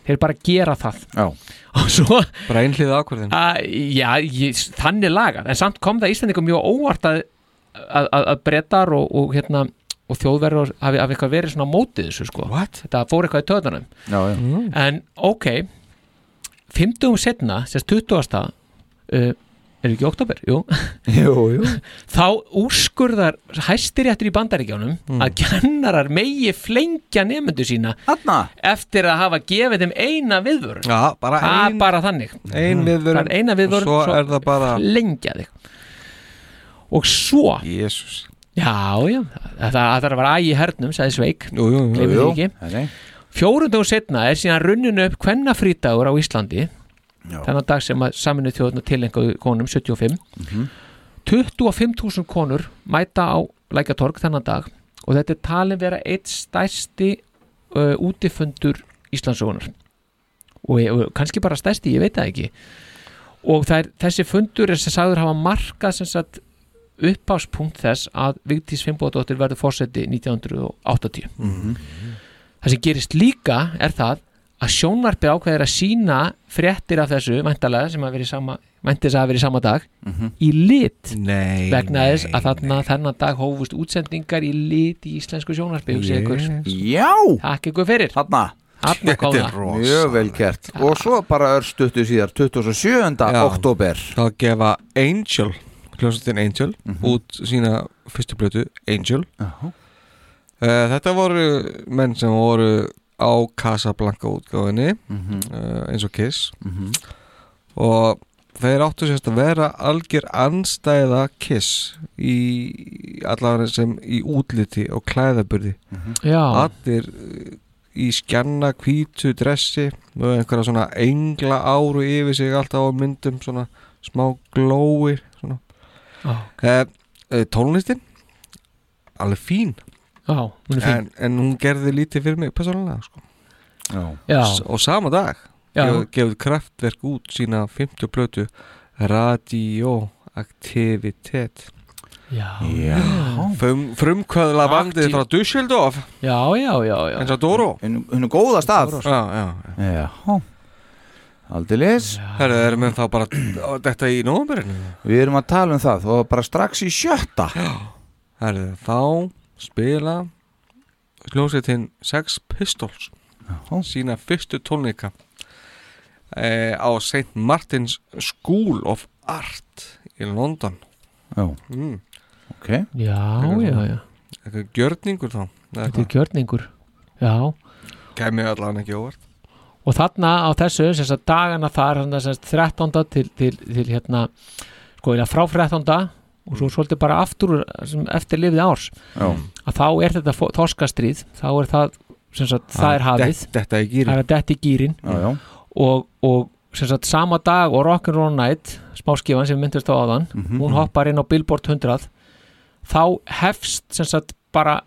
[SPEAKER 4] þeir bara gera það
[SPEAKER 3] Já
[SPEAKER 4] Og svo
[SPEAKER 5] Bara einhliða ákvörðin
[SPEAKER 4] að, Já, ég, þannig lagað En samt kom það Íslandingum mjög óvart að, að, að, að breytar og, og, hérna, og þjóðverður hafi, hafi eitthvað verið svona á mótið þessu sko What? Hmm. Þetta fór eitthvað í töðanum
[SPEAKER 3] Já, já
[SPEAKER 4] En ok 50 setna, sérst 20. Uh, er ekki oktober, jú
[SPEAKER 3] Jú, jú
[SPEAKER 4] þá úrskurðar hæstiréttur í bandaríkjánum
[SPEAKER 5] Mm.
[SPEAKER 4] að kennarar megi flengja nefndu sína
[SPEAKER 3] Hanna.
[SPEAKER 4] eftir að hafa gefið þeim eina viðvörun
[SPEAKER 5] Já, bara
[SPEAKER 4] það
[SPEAKER 5] ein-
[SPEAKER 4] er Ah, bara þannig
[SPEAKER 5] ein viðvörun
[SPEAKER 4] Það er eina viðvörun
[SPEAKER 5] og svo er það bara-
[SPEAKER 4] flengja þig og svo
[SPEAKER 5] Jesus.
[SPEAKER 4] já, já, það, það þarf að vera ægi hernum, sagði Sveik
[SPEAKER 5] jú, jú,
[SPEAKER 4] Gleymum
[SPEAKER 5] jú.
[SPEAKER 4] því ekki.
[SPEAKER 3] Nei, nei.
[SPEAKER 4] Fjórundum setna er síðan runninu upp kvennafrítagur á Íslandi
[SPEAKER 3] Já.
[SPEAKER 4] þennan dag sem að saminu þjóðna tilenguðu konum 75
[SPEAKER 3] Mhm.
[SPEAKER 4] 25.000 konur mæta á Lækjatorg þennan dag og þetta er talin vera eitt stærsti uh, útifundur Íslandsugunar og, eh, og kannski bara stærsti, ég veit það ekki og það er, þessi fundur er sem sagður hafa markað sem sagt uppáspunkt þess að Vigdís Fimboðdóttir verður fórseti 1980
[SPEAKER 2] Mhm.
[SPEAKER 4] það sem gerist líka er það að sjónvarpi ákveðir að sína fréttir af þessu, væntalega sem að verið sama væntis að hafa verið sama dag í lit
[SPEAKER 5] Mhm. nei,
[SPEAKER 4] vegna þess að þarna þennan dag hófust útsendingar í lit í íslensku sjónvarpi hugsið ykkur.
[SPEAKER 3] Já
[SPEAKER 4] Takk ykkur fyrir
[SPEAKER 3] Þarna
[SPEAKER 4] Þarna kom
[SPEAKER 3] Þetta er
[SPEAKER 4] það
[SPEAKER 3] rosa. Mjög vel gert Og svo bara örstuttu síðar 27. oktober
[SPEAKER 5] þá gefa Angel hljómsveitin Angel út sína fyrstu blötu Angel Eh,
[SPEAKER 3] uh
[SPEAKER 5] þetta voru menn sem voru á Casablanca útgáfinni
[SPEAKER 3] Mhm.
[SPEAKER 5] uh, eins og Kiss
[SPEAKER 3] Mhm.
[SPEAKER 5] og þeir áttu sérst að vera algjör anstæða Kiss í allavega sem í útliti og klæðaburði
[SPEAKER 4] Já.
[SPEAKER 5] allir uh, í skjanna hvítu dressi með einhverja svona engla áru yfir sig alltaf á myndum svona smá glóir svona.
[SPEAKER 4] Já.
[SPEAKER 5] Eh, eh, tónlistin alveg fín
[SPEAKER 4] Já, hún er fín.
[SPEAKER 5] En, en hún gerði lítið fyrir mig persónulega sko.
[SPEAKER 4] Já.
[SPEAKER 5] S- og sama dag
[SPEAKER 4] Já.
[SPEAKER 5] gefur- gefur kraftverk út sína 50 plötu radioaktivitet
[SPEAKER 4] Já.
[SPEAKER 5] Já. Frum, frumkvæðla bandið frá Dusseldorf
[SPEAKER 4] já, já, já, já.
[SPEAKER 5] eins og Doro
[SPEAKER 3] hennu góða stað
[SPEAKER 5] já, já,
[SPEAKER 3] Já Aldrei les
[SPEAKER 5] Herðu, erum við þá bara á Þetta í nómurinn
[SPEAKER 3] Við erum að tala um það Og bara strax í sjötta
[SPEAKER 5] Herðu, þá spila hljómsveitin Sex Pistols sína fyrstu tónleika eh, á St. Martins School of Art í London
[SPEAKER 3] Já
[SPEAKER 5] mm.
[SPEAKER 3] Ok
[SPEAKER 4] Já, já, já
[SPEAKER 5] Þetta er gjörningur þá
[SPEAKER 4] Þetta er gjörningur Já
[SPEAKER 5] Kæmi allan ekki óvart
[SPEAKER 4] og þarna á þessu sem sagt, dagana þar þarna, sem sagt, 13. til, til, til hérna sko, eiginlega frá 13. og
[SPEAKER 5] Mm.
[SPEAKER 4] svo svolítið bara aftur úr, sem eftir lifið árs
[SPEAKER 3] Já.
[SPEAKER 4] að þá er þetta fó- þorskastríð þá er það sem sagt, það,
[SPEAKER 5] Það
[SPEAKER 4] er
[SPEAKER 5] er
[SPEAKER 4] hafið
[SPEAKER 5] dett- detta í gírinn.
[SPEAKER 4] það er detta í gýrin
[SPEAKER 3] Já, já.
[SPEAKER 4] og, og sem sagt, sama dag og Rock'n'Roll Night smáskifan sem myndist á áðan
[SPEAKER 3] Mhm.
[SPEAKER 4] hún hoppar inn á Billboard 100 þá hefst sem sagt bara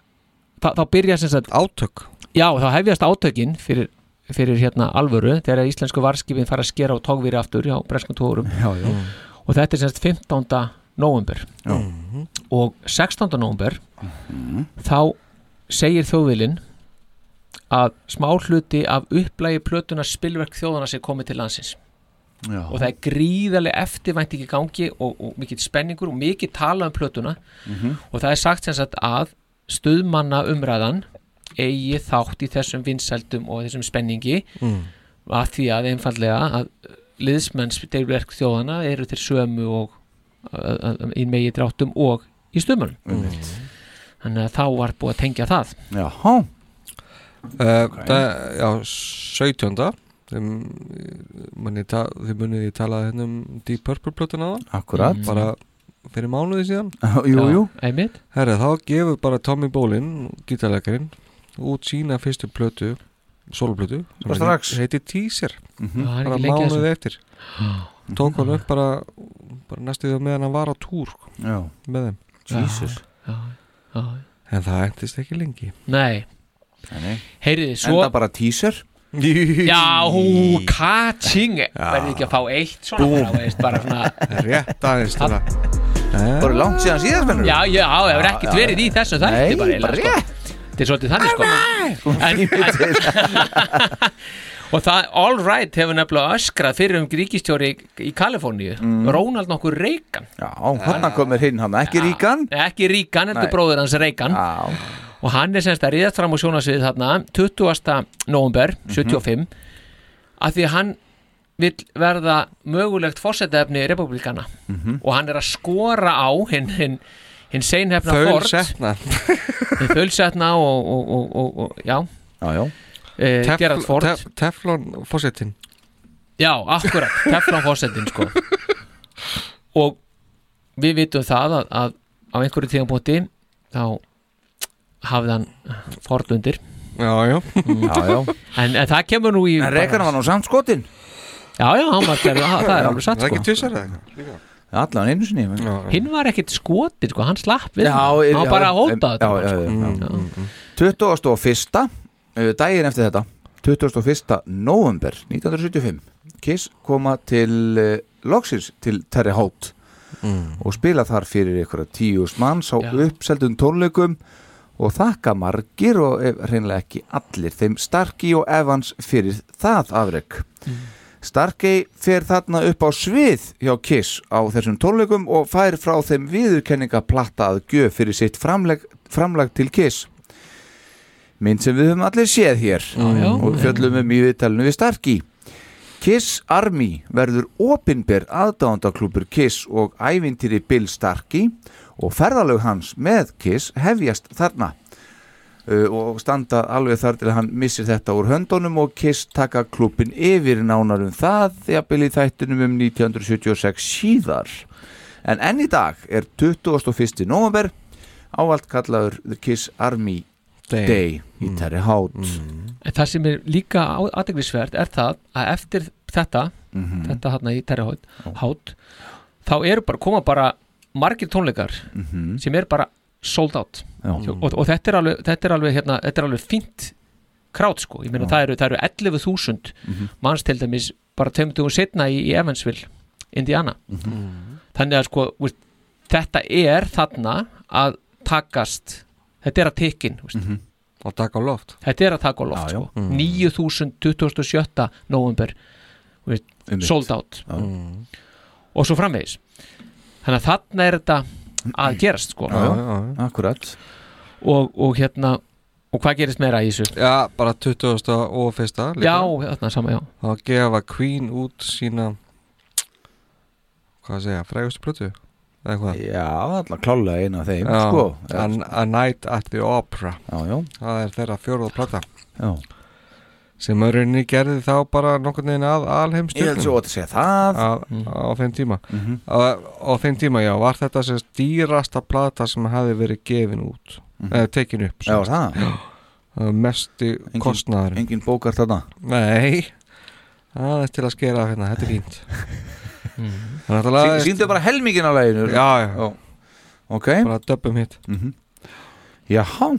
[SPEAKER 4] þá, þá byrja sem sagt
[SPEAKER 5] átök
[SPEAKER 4] já þá hefjast átökin fyrir, fyrir hérna alvöru þegar íslensku varskipin fara að skera á tókvýri aftur hjá breskum tórum
[SPEAKER 3] já, já.
[SPEAKER 4] og þetta er sem sagt 15. november
[SPEAKER 3] Já.
[SPEAKER 4] og 16. november
[SPEAKER 3] Mhm.
[SPEAKER 4] þá segir þjóðvilinn að smá hluti af upplægi plötuna spilverk þjóðana sem komið til landsins
[SPEAKER 3] Já.
[SPEAKER 4] og það er gríðarlega eftirvænt ekki gangi og, og mikið spenningur og mikið tala um plötuna
[SPEAKER 3] Mhm.
[SPEAKER 4] og það er sagt sem sagt að stuðmanna umræðan eigi þátt í þessum vinsældum og þessum spenningi
[SPEAKER 5] Mm.
[SPEAKER 4] að því að einfallega að liðsmenn spilverk þjóðana eru þeir sömu og að- að- að- í megi dráttum og í stuðmann
[SPEAKER 3] Einmitt.
[SPEAKER 4] þannig að þá var búið að tengja það
[SPEAKER 3] Já,
[SPEAKER 5] Uh, það, já, 17. Þeim, manni, ta, þið munið ég tala hérna um Deep Purple plötun aðan
[SPEAKER 3] Akkúrat.
[SPEAKER 5] bara
[SPEAKER 4] Mhm.
[SPEAKER 5] fyrir mánuði síðan
[SPEAKER 3] Jú, jú.
[SPEAKER 4] Mm. einmitt
[SPEAKER 5] Herra, þá gefur bara Tommy Bolin, gítarleikarinn út sína fyrstu plötu soloplötu
[SPEAKER 3] Bara strax.
[SPEAKER 5] heiti Teaser
[SPEAKER 3] Mhm. Já, það er
[SPEAKER 5] bara
[SPEAKER 3] ekki lengi að
[SPEAKER 5] mánuði
[SPEAKER 3] þessu.
[SPEAKER 5] eftir tók hann upp bara, bara næstuðið meðan hann var á túr sko,
[SPEAKER 3] Já.
[SPEAKER 5] með þeim
[SPEAKER 4] Jesus. já, já, já.
[SPEAKER 5] en það endist ekki lengi
[SPEAKER 4] Nei Heyriði, svo
[SPEAKER 3] Enda bara teaser
[SPEAKER 4] Já, hú, kating Verði ekki að fá eitt svona
[SPEAKER 3] Búm.
[SPEAKER 4] bara, veist, bara svona
[SPEAKER 5] Rétt aðeins til það Bara
[SPEAKER 3] langt síðan síðast mennur
[SPEAKER 4] Já, já, það hefur ekkert
[SPEAKER 3] já,
[SPEAKER 4] verið í þessu þætti
[SPEAKER 3] Nei,
[SPEAKER 4] bara, eiginlega,
[SPEAKER 3] bara
[SPEAKER 4] sko. Þetta er svolítið þannig sko en, en, Og það All Right hefur nefnilega öskrað fyrir um ríkistjóri í, í Kaliforníu
[SPEAKER 3] Mm.
[SPEAKER 4] Ronald nokkur Reagan
[SPEAKER 3] Já, hann komir hinn hann, ekki ríkan
[SPEAKER 4] Nei, Ekki Reagan, heldur
[SPEAKER 3] Nei. Ah.
[SPEAKER 4] bróður hans Reagan
[SPEAKER 3] Já
[SPEAKER 4] Og hann er semst að ríðast fram á sjónasvið þarna 20. november
[SPEAKER 3] Mhm.
[SPEAKER 4] 75 að því að hann vil verða mögulegt fórsetaefni republikana
[SPEAKER 5] Mhm.
[SPEAKER 4] og hann er að skora á hinn hin, hin seinhefna Ford
[SPEAKER 5] Þaulsetna.
[SPEAKER 4] Hinn þaulsetna og, og, og, og, og já,
[SPEAKER 3] Já, já
[SPEAKER 4] Eh, Gerald Ford.
[SPEAKER 5] tef, Teflon fósettin
[SPEAKER 4] já, akkurat teflon fórsetin sko og við vitum það að, að á einhverju tíðanbúti þá hafði hann Ford undir
[SPEAKER 5] Já, já,
[SPEAKER 3] já, já.
[SPEAKER 4] En, en það kemur nú í
[SPEAKER 3] En Reagan var nú samt skotin
[SPEAKER 4] Já, já, hann var gerð, það, það er alveg satt sko.
[SPEAKER 5] eitthvað?
[SPEAKER 3] Allan einu sinni já,
[SPEAKER 4] Hinn var ekkit skotin, sko, hann slapp við
[SPEAKER 3] Já,
[SPEAKER 4] hann
[SPEAKER 3] já,
[SPEAKER 4] var bara að sko. hóta
[SPEAKER 3] já, já, já, já. 21. uh, daginn eftir þetta 21. november 1975 Kiss koma til uh, loksins til Terry Holt og spila þar fyrir ykkur tíust manns á uppseldum tónleikum og þakka margir og ef, hreinlega ekki allir þeim Starkey og Evans fyrir það afreg Starkey fer þarna upp á svið hjá Kiss á þessum tónleikum og fær frá þeim viðurkenninga platta að gjöf fyrir sitt framleg, framlag til Kiss mynd sem við höfum allir séð hér
[SPEAKER 4] já.
[SPEAKER 3] og fjöllum um í viðtalinu við Starkey Kiss Army verður opinber aðdándaklúpur Kiss og ævintýri Bill Starkey og ferðalög hans með Kiss hefjast þarna Uh, og standa alveg þar til hann missir þetta úr höndunum og Kiss taka klúpin yfir nánar um það jafnvel í þættunum um 1976 síðar en enn í dag er 21. november ávalt kallaður The Kiss Army Day, Mm. í Terry Hout
[SPEAKER 5] Mm.
[SPEAKER 4] En það sem er líka aðeglisvert er það að eftir þetta
[SPEAKER 3] Mhm.
[SPEAKER 5] Mm.
[SPEAKER 4] þetta hérna í Terra Hout, Hout þá eru bara, koma bara margir tónleikar
[SPEAKER 5] Mm.
[SPEAKER 3] Mhm.
[SPEAKER 4] sem er bara sold out
[SPEAKER 3] Já.
[SPEAKER 4] og, og þetta er alveg, þetta er alveg, hérna, þetta er alveg fínt krát sko, ég meina
[SPEAKER 3] Já.
[SPEAKER 4] það eru, það eru 11.000
[SPEAKER 3] Mhm.
[SPEAKER 4] manns til dæmis bara tömdugum setna í, í Evansville Indiana
[SPEAKER 5] Mhm.
[SPEAKER 4] þannig að sko, veist, þetta er þarna að takast þetta er að tekin
[SPEAKER 5] Mhm. Og taka á loft
[SPEAKER 4] Þetta er að taka á
[SPEAKER 5] Já,
[SPEAKER 4] loft
[SPEAKER 5] já.
[SPEAKER 4] sko.
[SPEAKER 5] Mm.
[SPEAKER 4] 9.027. november þú veist,
[SPEAKER 3] Einmitt.
[SPEAKER 4] sold out
[SPEAKER 3] Já. Mm.
[SPEAKER 4] og svo framvegis þannig að þarna er þetta að gerast sko.
[SPEAKER 3] Já, já, já. akkurat
[SPEAKER 4] og, og hérna og hvað gerist meira í þessu?
[SPEAKER 5] Já, bara 20. og fyrsta líka.
[SPEAKER 4] Já, þarna sama, já.
[SPEAKER 5] Þá gefa Queen út sína hvað að segja, frægustu plötu eða hvað
[SPEAKER 3] Já, alltaf klálega eina af þeim
[SPEAKER 5] Já,
[SPEAKER 3] sko.
[SPEAKER 5] a, a Night at the Opera
[SPEAKER 3] Já, já.
[SPEAKER 5] Það er þeirra fjóruða plata
[SPEAKER 3] Já.
[SPEAKER 5] sem öruninni gerði þá bara nokkurn veginn að alheimstjörnum
[SPEAKER 3] Ég held svo að segja það
[SPEAKER 5] að, á þeim tíma
[SPEAKER 3] Mm-hmm.
[SPEAKER 5] á, á þeim tíma, já, var þetta sem sagt dýrasta plata sem hafi verið gefin út mm
[SPEAKER 3] Mhm.
[SPEAKER 5] tekin upp sem
[SPEAKER 3] Já,
[SPEAKER 5] sagt.
[SPEAKER 3] það.
[SPEAKER 5] Já, það var mesti kostnaður
[SPEAKER 3] Engin bókar þarna
[SPEAKER 5] nei, það er til að skera af hérna, þetta er fínt Þannig að
[SPEAKER 3] Sýn-
[SPEAKER 5] það
[SPEAKER 3] Sýndu bara helmingin á læginu
[SPEAKER 5] Já, já.
[SPEAKER 3] Ok
[SPEAKER 5] Bara döbbum hitt
[SPEAKER 3] mm Jaha,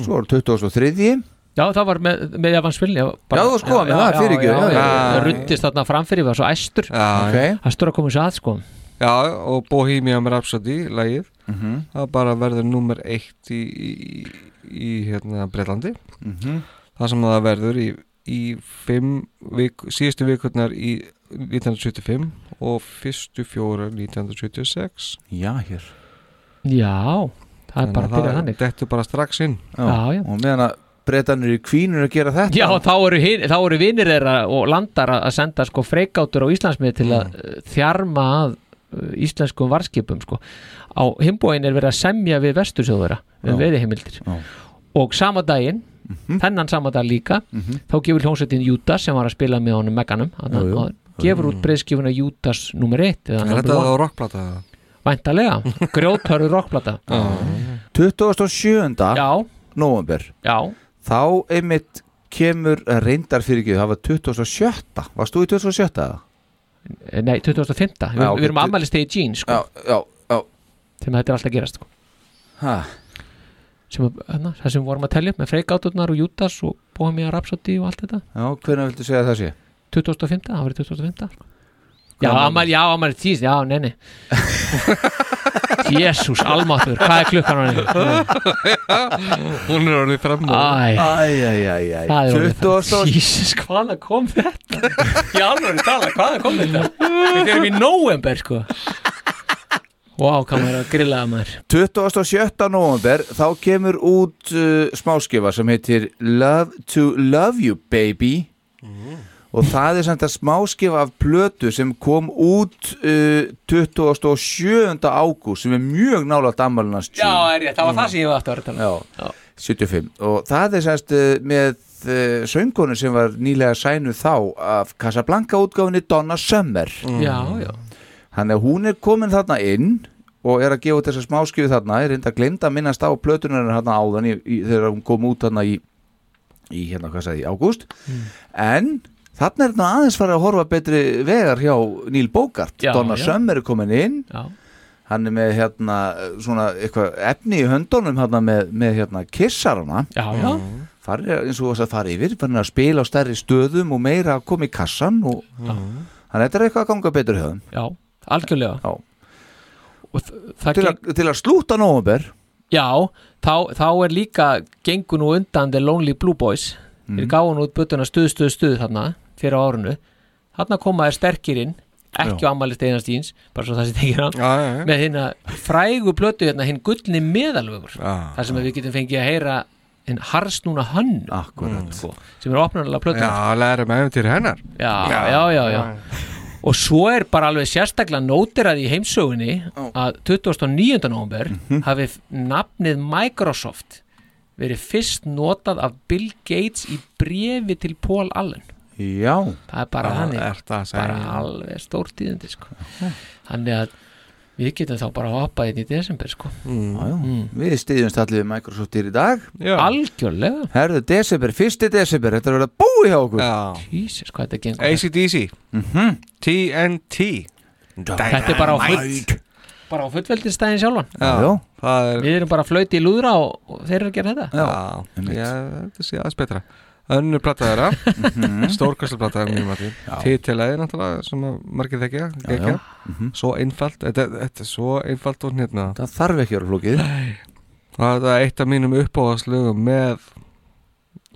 [SPEAKER 3] svo er 2003
[SPEAKER 4] Já, það var með, með Evansville já, bara-
[SPEAKER 3] Já, þú skoðar með það, fyrirgefðu,
[SPEAKER 4] já,
[SPEAKER 3] já, já,
[SPEAKER 4] já, já.
[SPEAKER 3] já.
[SPEAKER 4] Það ruttist þarna framfyrir, var svo æstur
[SPEAKER 5] Já,
[SPEAKER 3] Ok.
[SPEAKER 4] æstur að koma sér að sko
[SPEAKER 5] já, og Bohemian Rhapsody lagið,
[SPEAKER 3] Mhm.
[SPEAKER 5] það bara verður nummer eitt í, í, í hérna Breitlandi
[SPEAKER 3] Mhm.
[SPEAKER 5] það sem það verður í, í fimm vik, síðustu vikurnar í 1975 og fyrstu fjóra 1976
[SPEAKER 3] Já, hér
[SPEAKER 4] Já, það er bara að byrja þannig
[SPEAKER 5] Þetta er bara strax inn
[SPEAKER 3] Já,
[SPEAKER 4] Já, já.
[SPEAKER 3] Og meðan að breytanir í kvínur að gera þetta
[SPEAKER 4] Já, þá eru, hin, þá eru vinir þeirra og landar að að senda sko freikátur á Íslandsmið til að mm. þjarma að uh, íslenskum varskipum sko. á himbóin er verið að semja við vestursjóðura um
[SPEAKER 3] Já.
[SPEAKER 4] veiðihimildir
[SPEAKER 3] Já.
[SPEAKER 4] og sama daginn þennan sama dag líka þá gefur hljómsveitin Júdas sem var að spila með honum Meganum
[SPEAKER 5] Jú, jú.
[SPEAKER 4] gefur út breyðskifuna Júdas nummer 1
[SPEAKER 5] Er þetta þá rockplata?
[SPEAKER 4] Væntalega, grjóthörðu rockplata
[SPEAKER 3] 2007.
[SPEAKER 4] Já.
[SPEAKER 3] november
[SPEAKER 4] Já.
[SPEAKER 3] Þá einmitt kemur reyndar fyrir ekki, það var 27. Varst þú í 27. eða?
[SPEAKER 4] Eh, Nei, 2005 Við,
[SPEAKER 3] Já, ok,
[SPEAKER 4] við erum
[SPEAKER 3] tu-
[SPEAKER 4] afmælistegi Jean sko.
[SPEAKER 3] já, já, já.
[SPEAKER 4] Þegar þetta er alltaf að gerast sko.
[SPEAKER 3] Ha.
[SPEAKER 4] sem, að- hana, Það sem við vorum að telja upp með freikáturnar og Júdas og Bohemia Rhapsody og allt þetta
[SPEAKER 3] Já, hvernig viltu segja að það sé?
[SPEAKER 4] 2005, það var 2005 sko. Já,
[SPEAKER 3] Hvað
[SPEAKER 4] afmæli, já, afmæli tíð, já, nei, nei Jésús, almáttur, hvað er klukkan á henni?
[SPEAKER 5] Hún er orðið fram
[SPEAKER 4] Æ.
[SPEAKER 3] Æ, æ, æ, æ
[SPEAKER 4] Það er orðið
[SPEAKER 3] 20.
[SPEAKER 4] Jesus, hvaðan kom þetta? Í alveg tala, hvaðan kom þetta? Við erum í november, sko Vá, hvað maður er að grillaða maður
[SPEAKER 3] 27. november þá kemur út uh, smáskifa sem heitir Love to Love You Baby og það er samt að smáskifa af plötu sem kom út uh, 27. ágúst sem er mjög nála dammalunars
[SPEAKER 4] Já, er ég, það var það sem ég var aftur að tala
[SPEAKER 3] Já. 75 og það er semst uh, með uh, söngonu sem var nýlega sænu þá af Casablanca útgáfinni Donna Summer
[SPEAKER 4] Já, já.
[SPEAKER 3] Þannig að hún er komin þarna inn og er að gefa út þessa smáskjöfu þarna er reynda að glemda að minnast á plötunar þarna áðan í, í, þegar hún kom út þarna í í hérna, hvað sagði, ég, ágúst
[SPEAKER 4] Mm.
[SPEAKER 3] en þarna er þetta aðeins farið að horfa betri vegar hjá Neil Bogart
[SPEAKER 4] Já,
[SPEAKER 3] Donna
[SPEAKER 4] já.
[SPEAKER 3] Summer er komin inn
[SPEAKER 4] Já.
[SPEAKER 3] hann er með hérna svona eitthvað efni í höndunum hérna með, með hérna kissarana
[SPEAKER 4] já, já.
[SPEAKER 3] Farið, er, eins og þess að fara yfir, farin að spila á stærri stöðum og meira að koma í kassan og
[SPEAKER 4] Já.
[SPEAKER 3] hann þetta er eitthvað að ganga betur hjá þeim
[SPEAKER 4] Já, algjörlega
[SPEAKER 3] Já.
[SPEAKER 4] það
[SPEAKER 3] til, að, til að slúta nóvumber
[SPEAKER 4] Já, þá, þá er líka gengur nú undan The Lonely Blue Boys
[SPEAKER 3] Mhm.
[SPEAKER 4] þeir gáðu nú út bötuna stuð, stuð, stuð þarna, fyrir á árinu þarna koma þær sterkir inn ekki
[SPEAKER 3] Já.
[SPEAKER 4] á ammælist einast íns, bara svo það sem tekir hann
[SPEAKER 5] já, já.
[SPEAKER 4] með hérna frægu blötu hérna hinn gullni meðalvegur
[SPEAKER 5] Já,
[SPEAKER 4] þar sem við getum fengið að heyra hinn harsnúna hönn
[SPEAKER 3] Akkurat. sko.
[SPEAKER 4] sem er opnarlega blötu
[SPEAKER 5] Já, lærum eftir til hennar
[SPEAKER 4] já, já, já, já, og svo er bara alveg sérstaklega nótirað í heimsögunni að 29. november hafi f- nafnið Microsoft verið fyrst notað af Bill Gates í brefi til Paul Allen
[SPEAKER 3] já,
[SPEAKER 4] það er bara
[SPEAKER 5] Það
[SPEAKER 4] hann
[SPEAKER 5] ertu að segja.
[SPEAKER 4] bara alveg stórtíðandi sko. þannig að við getum þá bara hoppað inn í desember sko.
[SPEAKER 3] já, já. við stiðjumst allir við Microsoft í dag
[SPEAKER 4] algjörlega
[SPEAKER 3] Herðu, desember, fyrsti desember, þetta er verið að búi hjá okkur
[SPEAKER 4] Jesus, hvað þetta gengur
[SPEAKER 5] ACDC Mhm. TNT
[SPEAKER 4] þetta er bara á, full, bara á fullveldinstæðin sjálfan
[SPEAKER 5] Já, það er
[SPEAKER 4] við erum bara að flöyti í lúðra og, og þeir eru að gera þetta
[SPEAKER 5] Já, já þetta sé aðeins betra Önnu plata
[SPEAKER 3] Mhm.
[SPEAKER 5] þeirra Stórkastlu plata þeirra mjög mati Titilæði náttúrulega sem að margir þekkja
[SPEAKER 3] já. Mhm.
[SPEAKER 5] Gekja, svo einfalt Þetta, þetta er svo einfalt og hérna
[SPEAKER 3] Það þarf ekki að vera flókið
[SPEAKER 5] Það er eitt af mínum uppáðaslögum með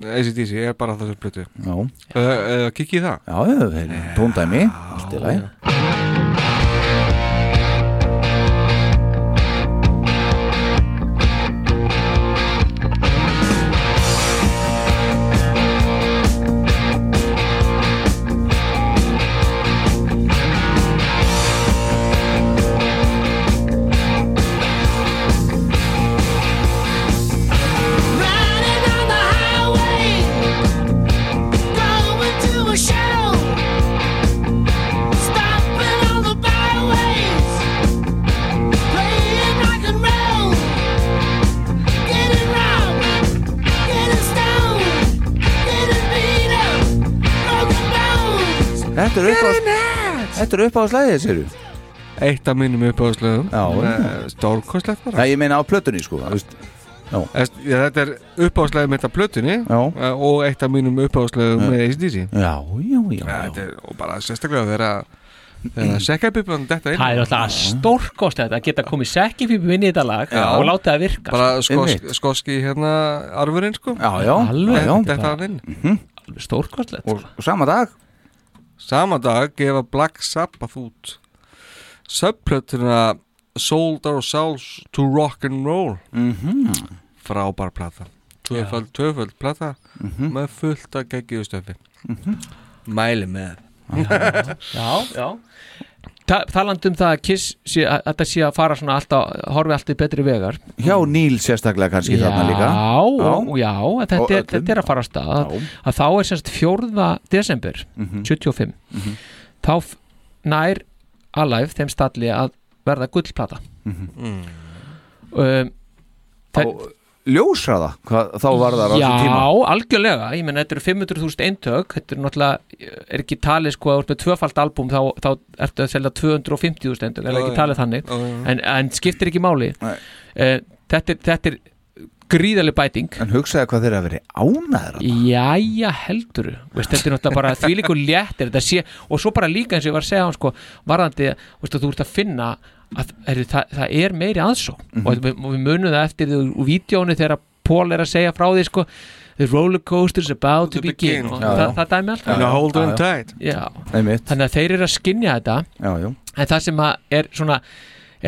[SPEAKER 5] ACDC er bara þessu plötu
[SPEAKER 3] Já,
[SPEAKER 5] uh, uh, Kikki í það
[SPEAKER 3] já, já, þeir eru tóndæmi, allt í lagi Þetta er uppáðs Þetta er uppáðslæðið, sér þú?
[SPEAKER 5] Eitt af mínum uppáðslögum
[SPEAKER 3] Já,
[SPEAKER 5] Stórkastlegt bara
[SPEAKER 3] Nei, ég meina á plötunni, sko þú veist.
[SPEAKER 5] Þess- Já, þetta er uppáðslegið mitt af plötunni eh, og eitt af mínum uppáðslegið með ACDC
[SPEAKER 3] Já, já, já,
[SPEAKER 5] Þetta er og bara sérstaklega þegar að- þegar sekkabiblan detta inn
[SPEAKER 4] Það er alltaf stórkostlega að geta komið sekkifípum inn í þetta lag
[SPEAKER 5] Já.
[SPEAKER 4] og láta það virka
[SPEAKER 5] bara
[SPEAKER 4] sko.
[SPEAKER 5] skoski, skoski hérna arfurinn sko
[SPEAKER 3] Já, já,
[SPEAKER 4] Alveg,
[SPEAKER 3] já, já.
[SPEAKER 5] detta hann inn
[SPEAKER 4] Alveg stórkostlegt
[SPEAKER 3] Og sama dag
[SPEAKER 5] sama dag gefa Black Sabbath út subplötuna Sold Our Souls to Rock and Roll Mhm. frábær plata tvöföld, tvöföld plata með fullt að geggiðu stöfi Mhm. mæli með
[SPEAKER 4] Já, já Ta Talandi um það að Kiss sé, að að þetta sé að fara svona alltaf horfi alltaf í betri vegar
[SPEAKER 3] Hjá Níl sérstaklega kannski
[SPEAKER 4] Já,
[SPEAKER 3] þarna líka
[SPEAKER 4] já, já að
[SPEAKER 3] Og
[SPEAKER 4] þetta, er,
[SPEAKER 3] öllum.
[SPEAKER 4] þetta er að fara af stað að,
[SPEAKER 3] Já. Mhm.
[SPEAKER 4] að þá er semst 4. desember 75 þá f- nær Alive þeim stalli að verða gullplata
[SPEAKER 3] Mhm.
[SPEAKER 4] um,
[SPEAKER 3] Á ljósraða, hvað þá var það á
[SPEAKER 4] Já,
[SPEAKER 3] þessum tíma
[SPEAKER 4] algjörlega, ég menn þetta eru 500.000 eintök, þetta eru náttúrulega er ekki talið sko, ef þú ert með tvöfalt albúm þá, þá ertu að selja 250.000 eintök er
[SPEAKER 5] Já,
[SPEAKER 4] ekki
[SPEAKER 5] já.
[SPEAKER 4] talið þannig,
[SPEAKER 5] Já, já, já.
[SPEAKER 4] En, en skiptir ekki máli
[SPEAKER 3] Nei.
[SPEAKER 4] Eh, þetta, er, þetta er gríðaleg bæting
[SPEAKER 3] En hugsaði hvað þeir að veri ánæður
[SPEAKER 4] Jæja heldur veist, þetta er náttúrulega bara þvílíku léttir þetta sé, og svo bara líka eins og ég var að segja hann sko, varðandi veist, að þú ert að finna að er, það, það er meiri aðsó
[SPEAKER 3] Mhm.
[SPEAKER 4] og við, og við munum það eftir því úr vídjónu þegar Paul er að segja frá því sko, the roller coaster is about to
[SPEAKER 5] To
[SPEAKER 4] begin,
[SPEAKER 5] begin.
[SPEAKER 4] Og
[SPEAKER 3] Já,
[SPEAKER 4] það,
[SPEAKER 3] já.
[SPEAKER 4] það dæmi alltaf
[SPEAKER 5] Now hold
[SPEAKER 3] Já,
[SPEAKER 5] on
[SPEAKER 3] já.
[SPEAKER 5] tight
[SPEAKER 4] Já.
[SPEAKER 3] Einmitt,
[SPEAKER 4] þannig að þeir eru að skinja þetta
[SPEAKER 3] já, já
[SPEAKER 4] en það sem að er svona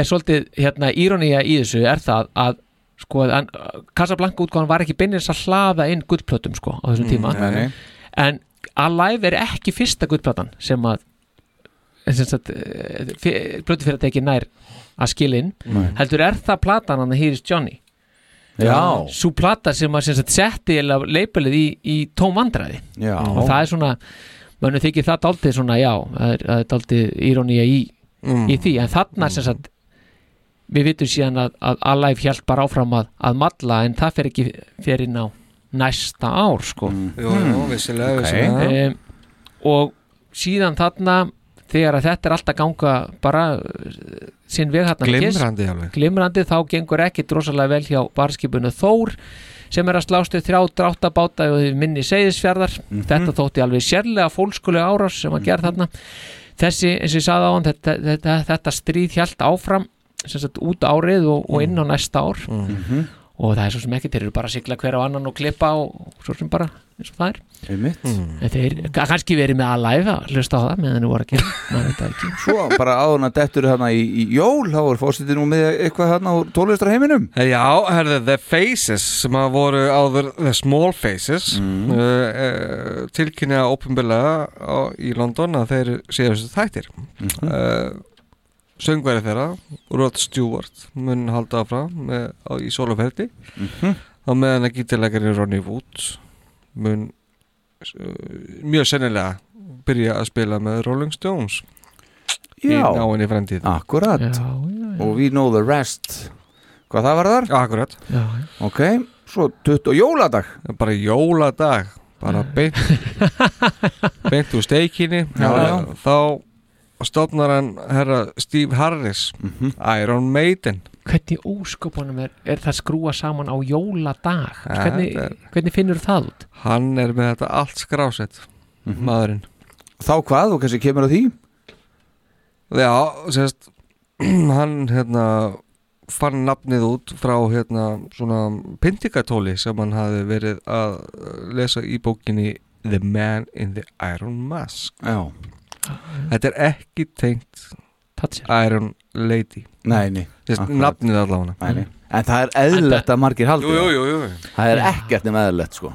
[SPEAKER 4] er svolítið hérna írónía í þessu er það að sko að hann- Casablanca útgáðan var ekki beinir að hlaða inn gullplötum sko á þessum tíma
[SPEAKER 3] Mm, nei, nei.
[SPEAKER 4] en Alive er ekki fyrsta gullplatan sem að eh, sem sagt, plötu fyrir að teki nær að skilin
[SPEAKER 3] Nei.
[SPEAKER 4] heldur er það platan hann að hýrist Johnny
[SPEAKER 3] Já,
[SPEAKER 4] svo plata sem að sem sagt, setti leipelið í, í tóm vandræði
[SPEAKER 3] já
[SPEAKER 4] og það er svona mönnum þykir það daldið svona já það er, það er daldið írónía í,
[SPEAKER 5] Mm.
[SPEAKER 4] í því en þarna sem sagt við vitum síðan að, að Alive hjælt bara áfram að, að matla en það fer ekki fer inn á næsta ár sko.
[SPEAKER 5] Jú, jú,
[SPEAKER 4] Hmm.
[SPEAKER 5] vissulega, vissulega.
[SPEAKER 4] Em, og síðan þarna þegar að þetta er alltaf ganga bara eh, sinn veg þarna með Kiss,
[SPEAKER 5] Glimrandi alveg.
[SPEAKER 4] glimrandi þá gengur ekki drosalega vel hjá barskipinu Þór sem er að slástu þrjá dráttabáta og minni seyðisfjarðar þetta þótti alveg sérlega fólkskulega árás sem að gera þarna þessi, eins og ég sagði á hann þetta, þetta, þetta stríð hjælt áfram sem sagt út árið og, og inn á næsta ár
[SPEAKER 3] Mhm.
[SPEAKER 4] og það er svo sem ekki þeir eru bara að sigla hver á annan og klippa og, og svo sem bara eins og það er
[SPEAKER 3] Einmitt. Mhm.
[SPEAKER 4] en þeir ga- kannski verið með að læfa hlusta á það meðan þau voru að gera maður veit það ekki
[SPEAKER 3] Svo bara áðurna dettur þarna í, í jól þá er fórsetið nú með eitthvað þarna úr tólistra heiminum
[SPEAKER 5] Eh, Já, herðu, The Faces sem að voru áður The Small Faces
[SPEAKER 3] Mhm.
[SPEAKER 5] mm. uh, uh, tilkynna ópenbilega á, í London að þeir séu þessu þættir
[SPEAKER 3] Mhm.
[SPEAKER 5] mm. uh, Söngveri þeirra, Rod Stewart mun halda áfram með, á, í soloferdi
[SPEAKER 3] Mhm.
[SPEAKER 5] á meðan að gítilegari Ronnie Wood mun uh, mjög sennilega byrja að spila með Rolling Stones í
[SPEAKER 3] Já.
[SPEAKER 5] náinni fremdíð
[SPEAKER 3] Akkurat Og we know the rest Hvað það var þar?
[SPEAKER 5] Akkurat
[SPEAKER 4] Já,
[SPEAKER 3] Ok, svo 20 og jóladag
[SPEAKER 5] Bara jóladag Bara beint Beint úr steikinni
[SPEAKER 3] Já, já.
[SPEAKER 5] Þá stofnar hann herra Steve Harris
[SPEAKER 3] Mhm.
[SPEAKER 5] Iron Maiden
[SPEAKER 4] hvernig ósköpunum er, er það skrúa saman á jóladag
[SPEAKER 5] Ja,
[SPEAKER 4] hvernig,
[SPEAKER 5] þetta er-
[SPEAKER 4] hvernig finnur það út
[SPEAKER 5] Hann er með þetta allt skrásett
[SPEAKER 3] Mhm.
[SPEAKER 5] Maðurinn
[SPEAKER 3] Þá hvað og kannski kemur að því?
[SPEAKER 5] Já, sérst Hann hérna fann nafnið út frá hérna svona pindikatóli sem hann hafi verið að eh, lesa í bókinni The Man in the Iron Mask
[SPEAKER 3] Já
[SPEAKER 5] Þetta er ekki tengt Iron Lady
[SPEAKER 3] Nei, nei
[SPEAKER 5] Sérst,
[SPEAKER 3] akkurat.
[SPEAKER 5] Nafnið allavega
[SPEAKER 3] Nei, nei. En það er eðlilegt að margir haldi
[SPEAKER 5] Jú, jú, jú, jú.
[SPEAKER 3] Það er
[SPEAKER 4] Já.
[SPEAKER 3] ekkert nema eðlilegt sko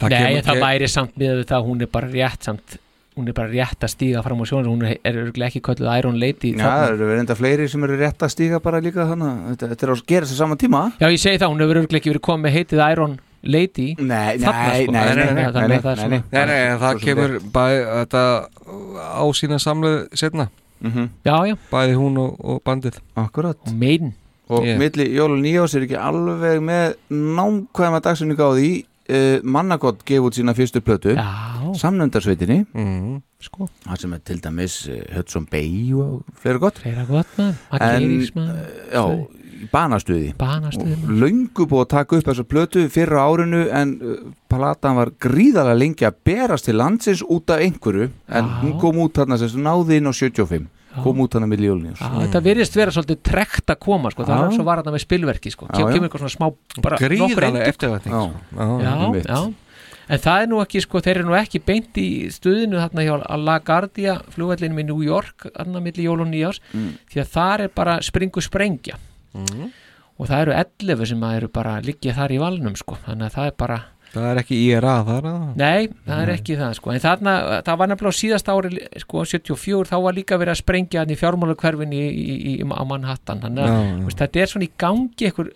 [SPEAKER 4] Nei, það væri samt með það hún er bara rétt samt, hún er bara rétt að stíga fram á sjónu hún er, er örugglega ekki kölluð Iron Lady
[SPEAKER 3] Já, það
[SPEAKER 4] þarna.
[SPEAKER 3] eru reynda fleiri sem eru rétt að stíga bara líka þannig Þetta, þetta er að gera þess að sama tíma
[SPEAKER 4] Já, ég segi það, hún hefur örugglega ekki verið komið með heitið Iron Lady
[SPEAKER 3] Nei, nei,
[SPEAKER 4] sko.
[SPEAKER 3] nei, nei, nei,
[SPEAKER 4] Þannig
[SPEAKER 3] nei,
[SPEAKER 4] að það er
[SPEAKER 3] nei,
[SPEAKER 4] svona-
[SPEAKER 5] Nei, nei, en það
[SPEAKER 3] Svo sem
[SPEAKER 5] kemur bæ, þetta á sína samlið setna
[SPEAKER 3] Mhm.
[SPEAKER 4] Já, já
[SPEAKER 5] Bæði hún og, og bandið
[SPEAKER 3] Akkurat
[SPEAKER 4] Og mein
[SPEAKER 3] Og
[SPEAKER 5] Yeah.
[SPEAKER 3] milli jól og nýjás er ekki alveg með nákvæma dagsunningu á því uh, Mannakott gef út sína fyrstu plötu Samnöndarsveitinni
[SPEAKER 5] mm,
[SPEAKER 4] sko.
[SPEAKER 3] Það sem er til dæmis uh, Hudson Bay og fleira gott
[SPEAKER 4] Fleira gott maður, Maggi Eiríks, maður.
[SPEAKER 3] eh, Já, í banastuði
[SPEAKER 4] Banastuði,
[SPEAKER 3] Og Löngu búið að taka upp þessa plötu fyrra árinu En uh, palatan var gríðalega lengi að berast til landsins út af einhverju En hún kom út þarna sem sagt, náði inn á 75 Kom út þarna milli jól og nýjás
[SPEAKER 4] Já, Þetta virðist vera svolítið trekt að koma sko. það
[SPEAKER 3] Já.
[SPEAKER 4] er svo varðan með spilverki sko.
[SPEAKER 3] Já,
[SPEAKER 4] Kem,
[SPEAKER 3] já.
[SPEAKER 4] kemur eitthvað svona smá bara
[SPEAKER 5] Gríðarleg
[SPEAKER 4] nokkur eintök.
[SPEAKER 5] eftirvænting, sko. Já. Já,
[SPEAKER 4] já,
[SPEAKER 5] einmitt.
[SPEAKER 4] já. En það er nú ekki, sko, þeir eru nú ekki beint í stuðinu þarna hjá LaGuardia flugvellinum í New York, þarna milli jól og nýjás,
[SPEAKER 2] Mm.
[SPEAKER 4] því að þar er bara springu sprengja
[SPEAKER 2] Mhm.
[SPEAKER 4] og það eru 11 sem að eru bara liggja þar í valnum, sko, þannig að það er bara
[SPEAKER 5] Það er ekki IRA þar að
[SPEAKER 4] Nei, það er
[SPEAKER 5] Nei.
[SPEAKER 4] ekki það sko en þarna, það var nefnilega á síðasta ári sko 74, þá var líka verið að sprengja hann í fjármálakverfin í, í, í, á Manhattan þannig að
[SPEAKER 5] Já, já.
[SPEAKER 4] þú veist, þetta er svona í gangi einhver,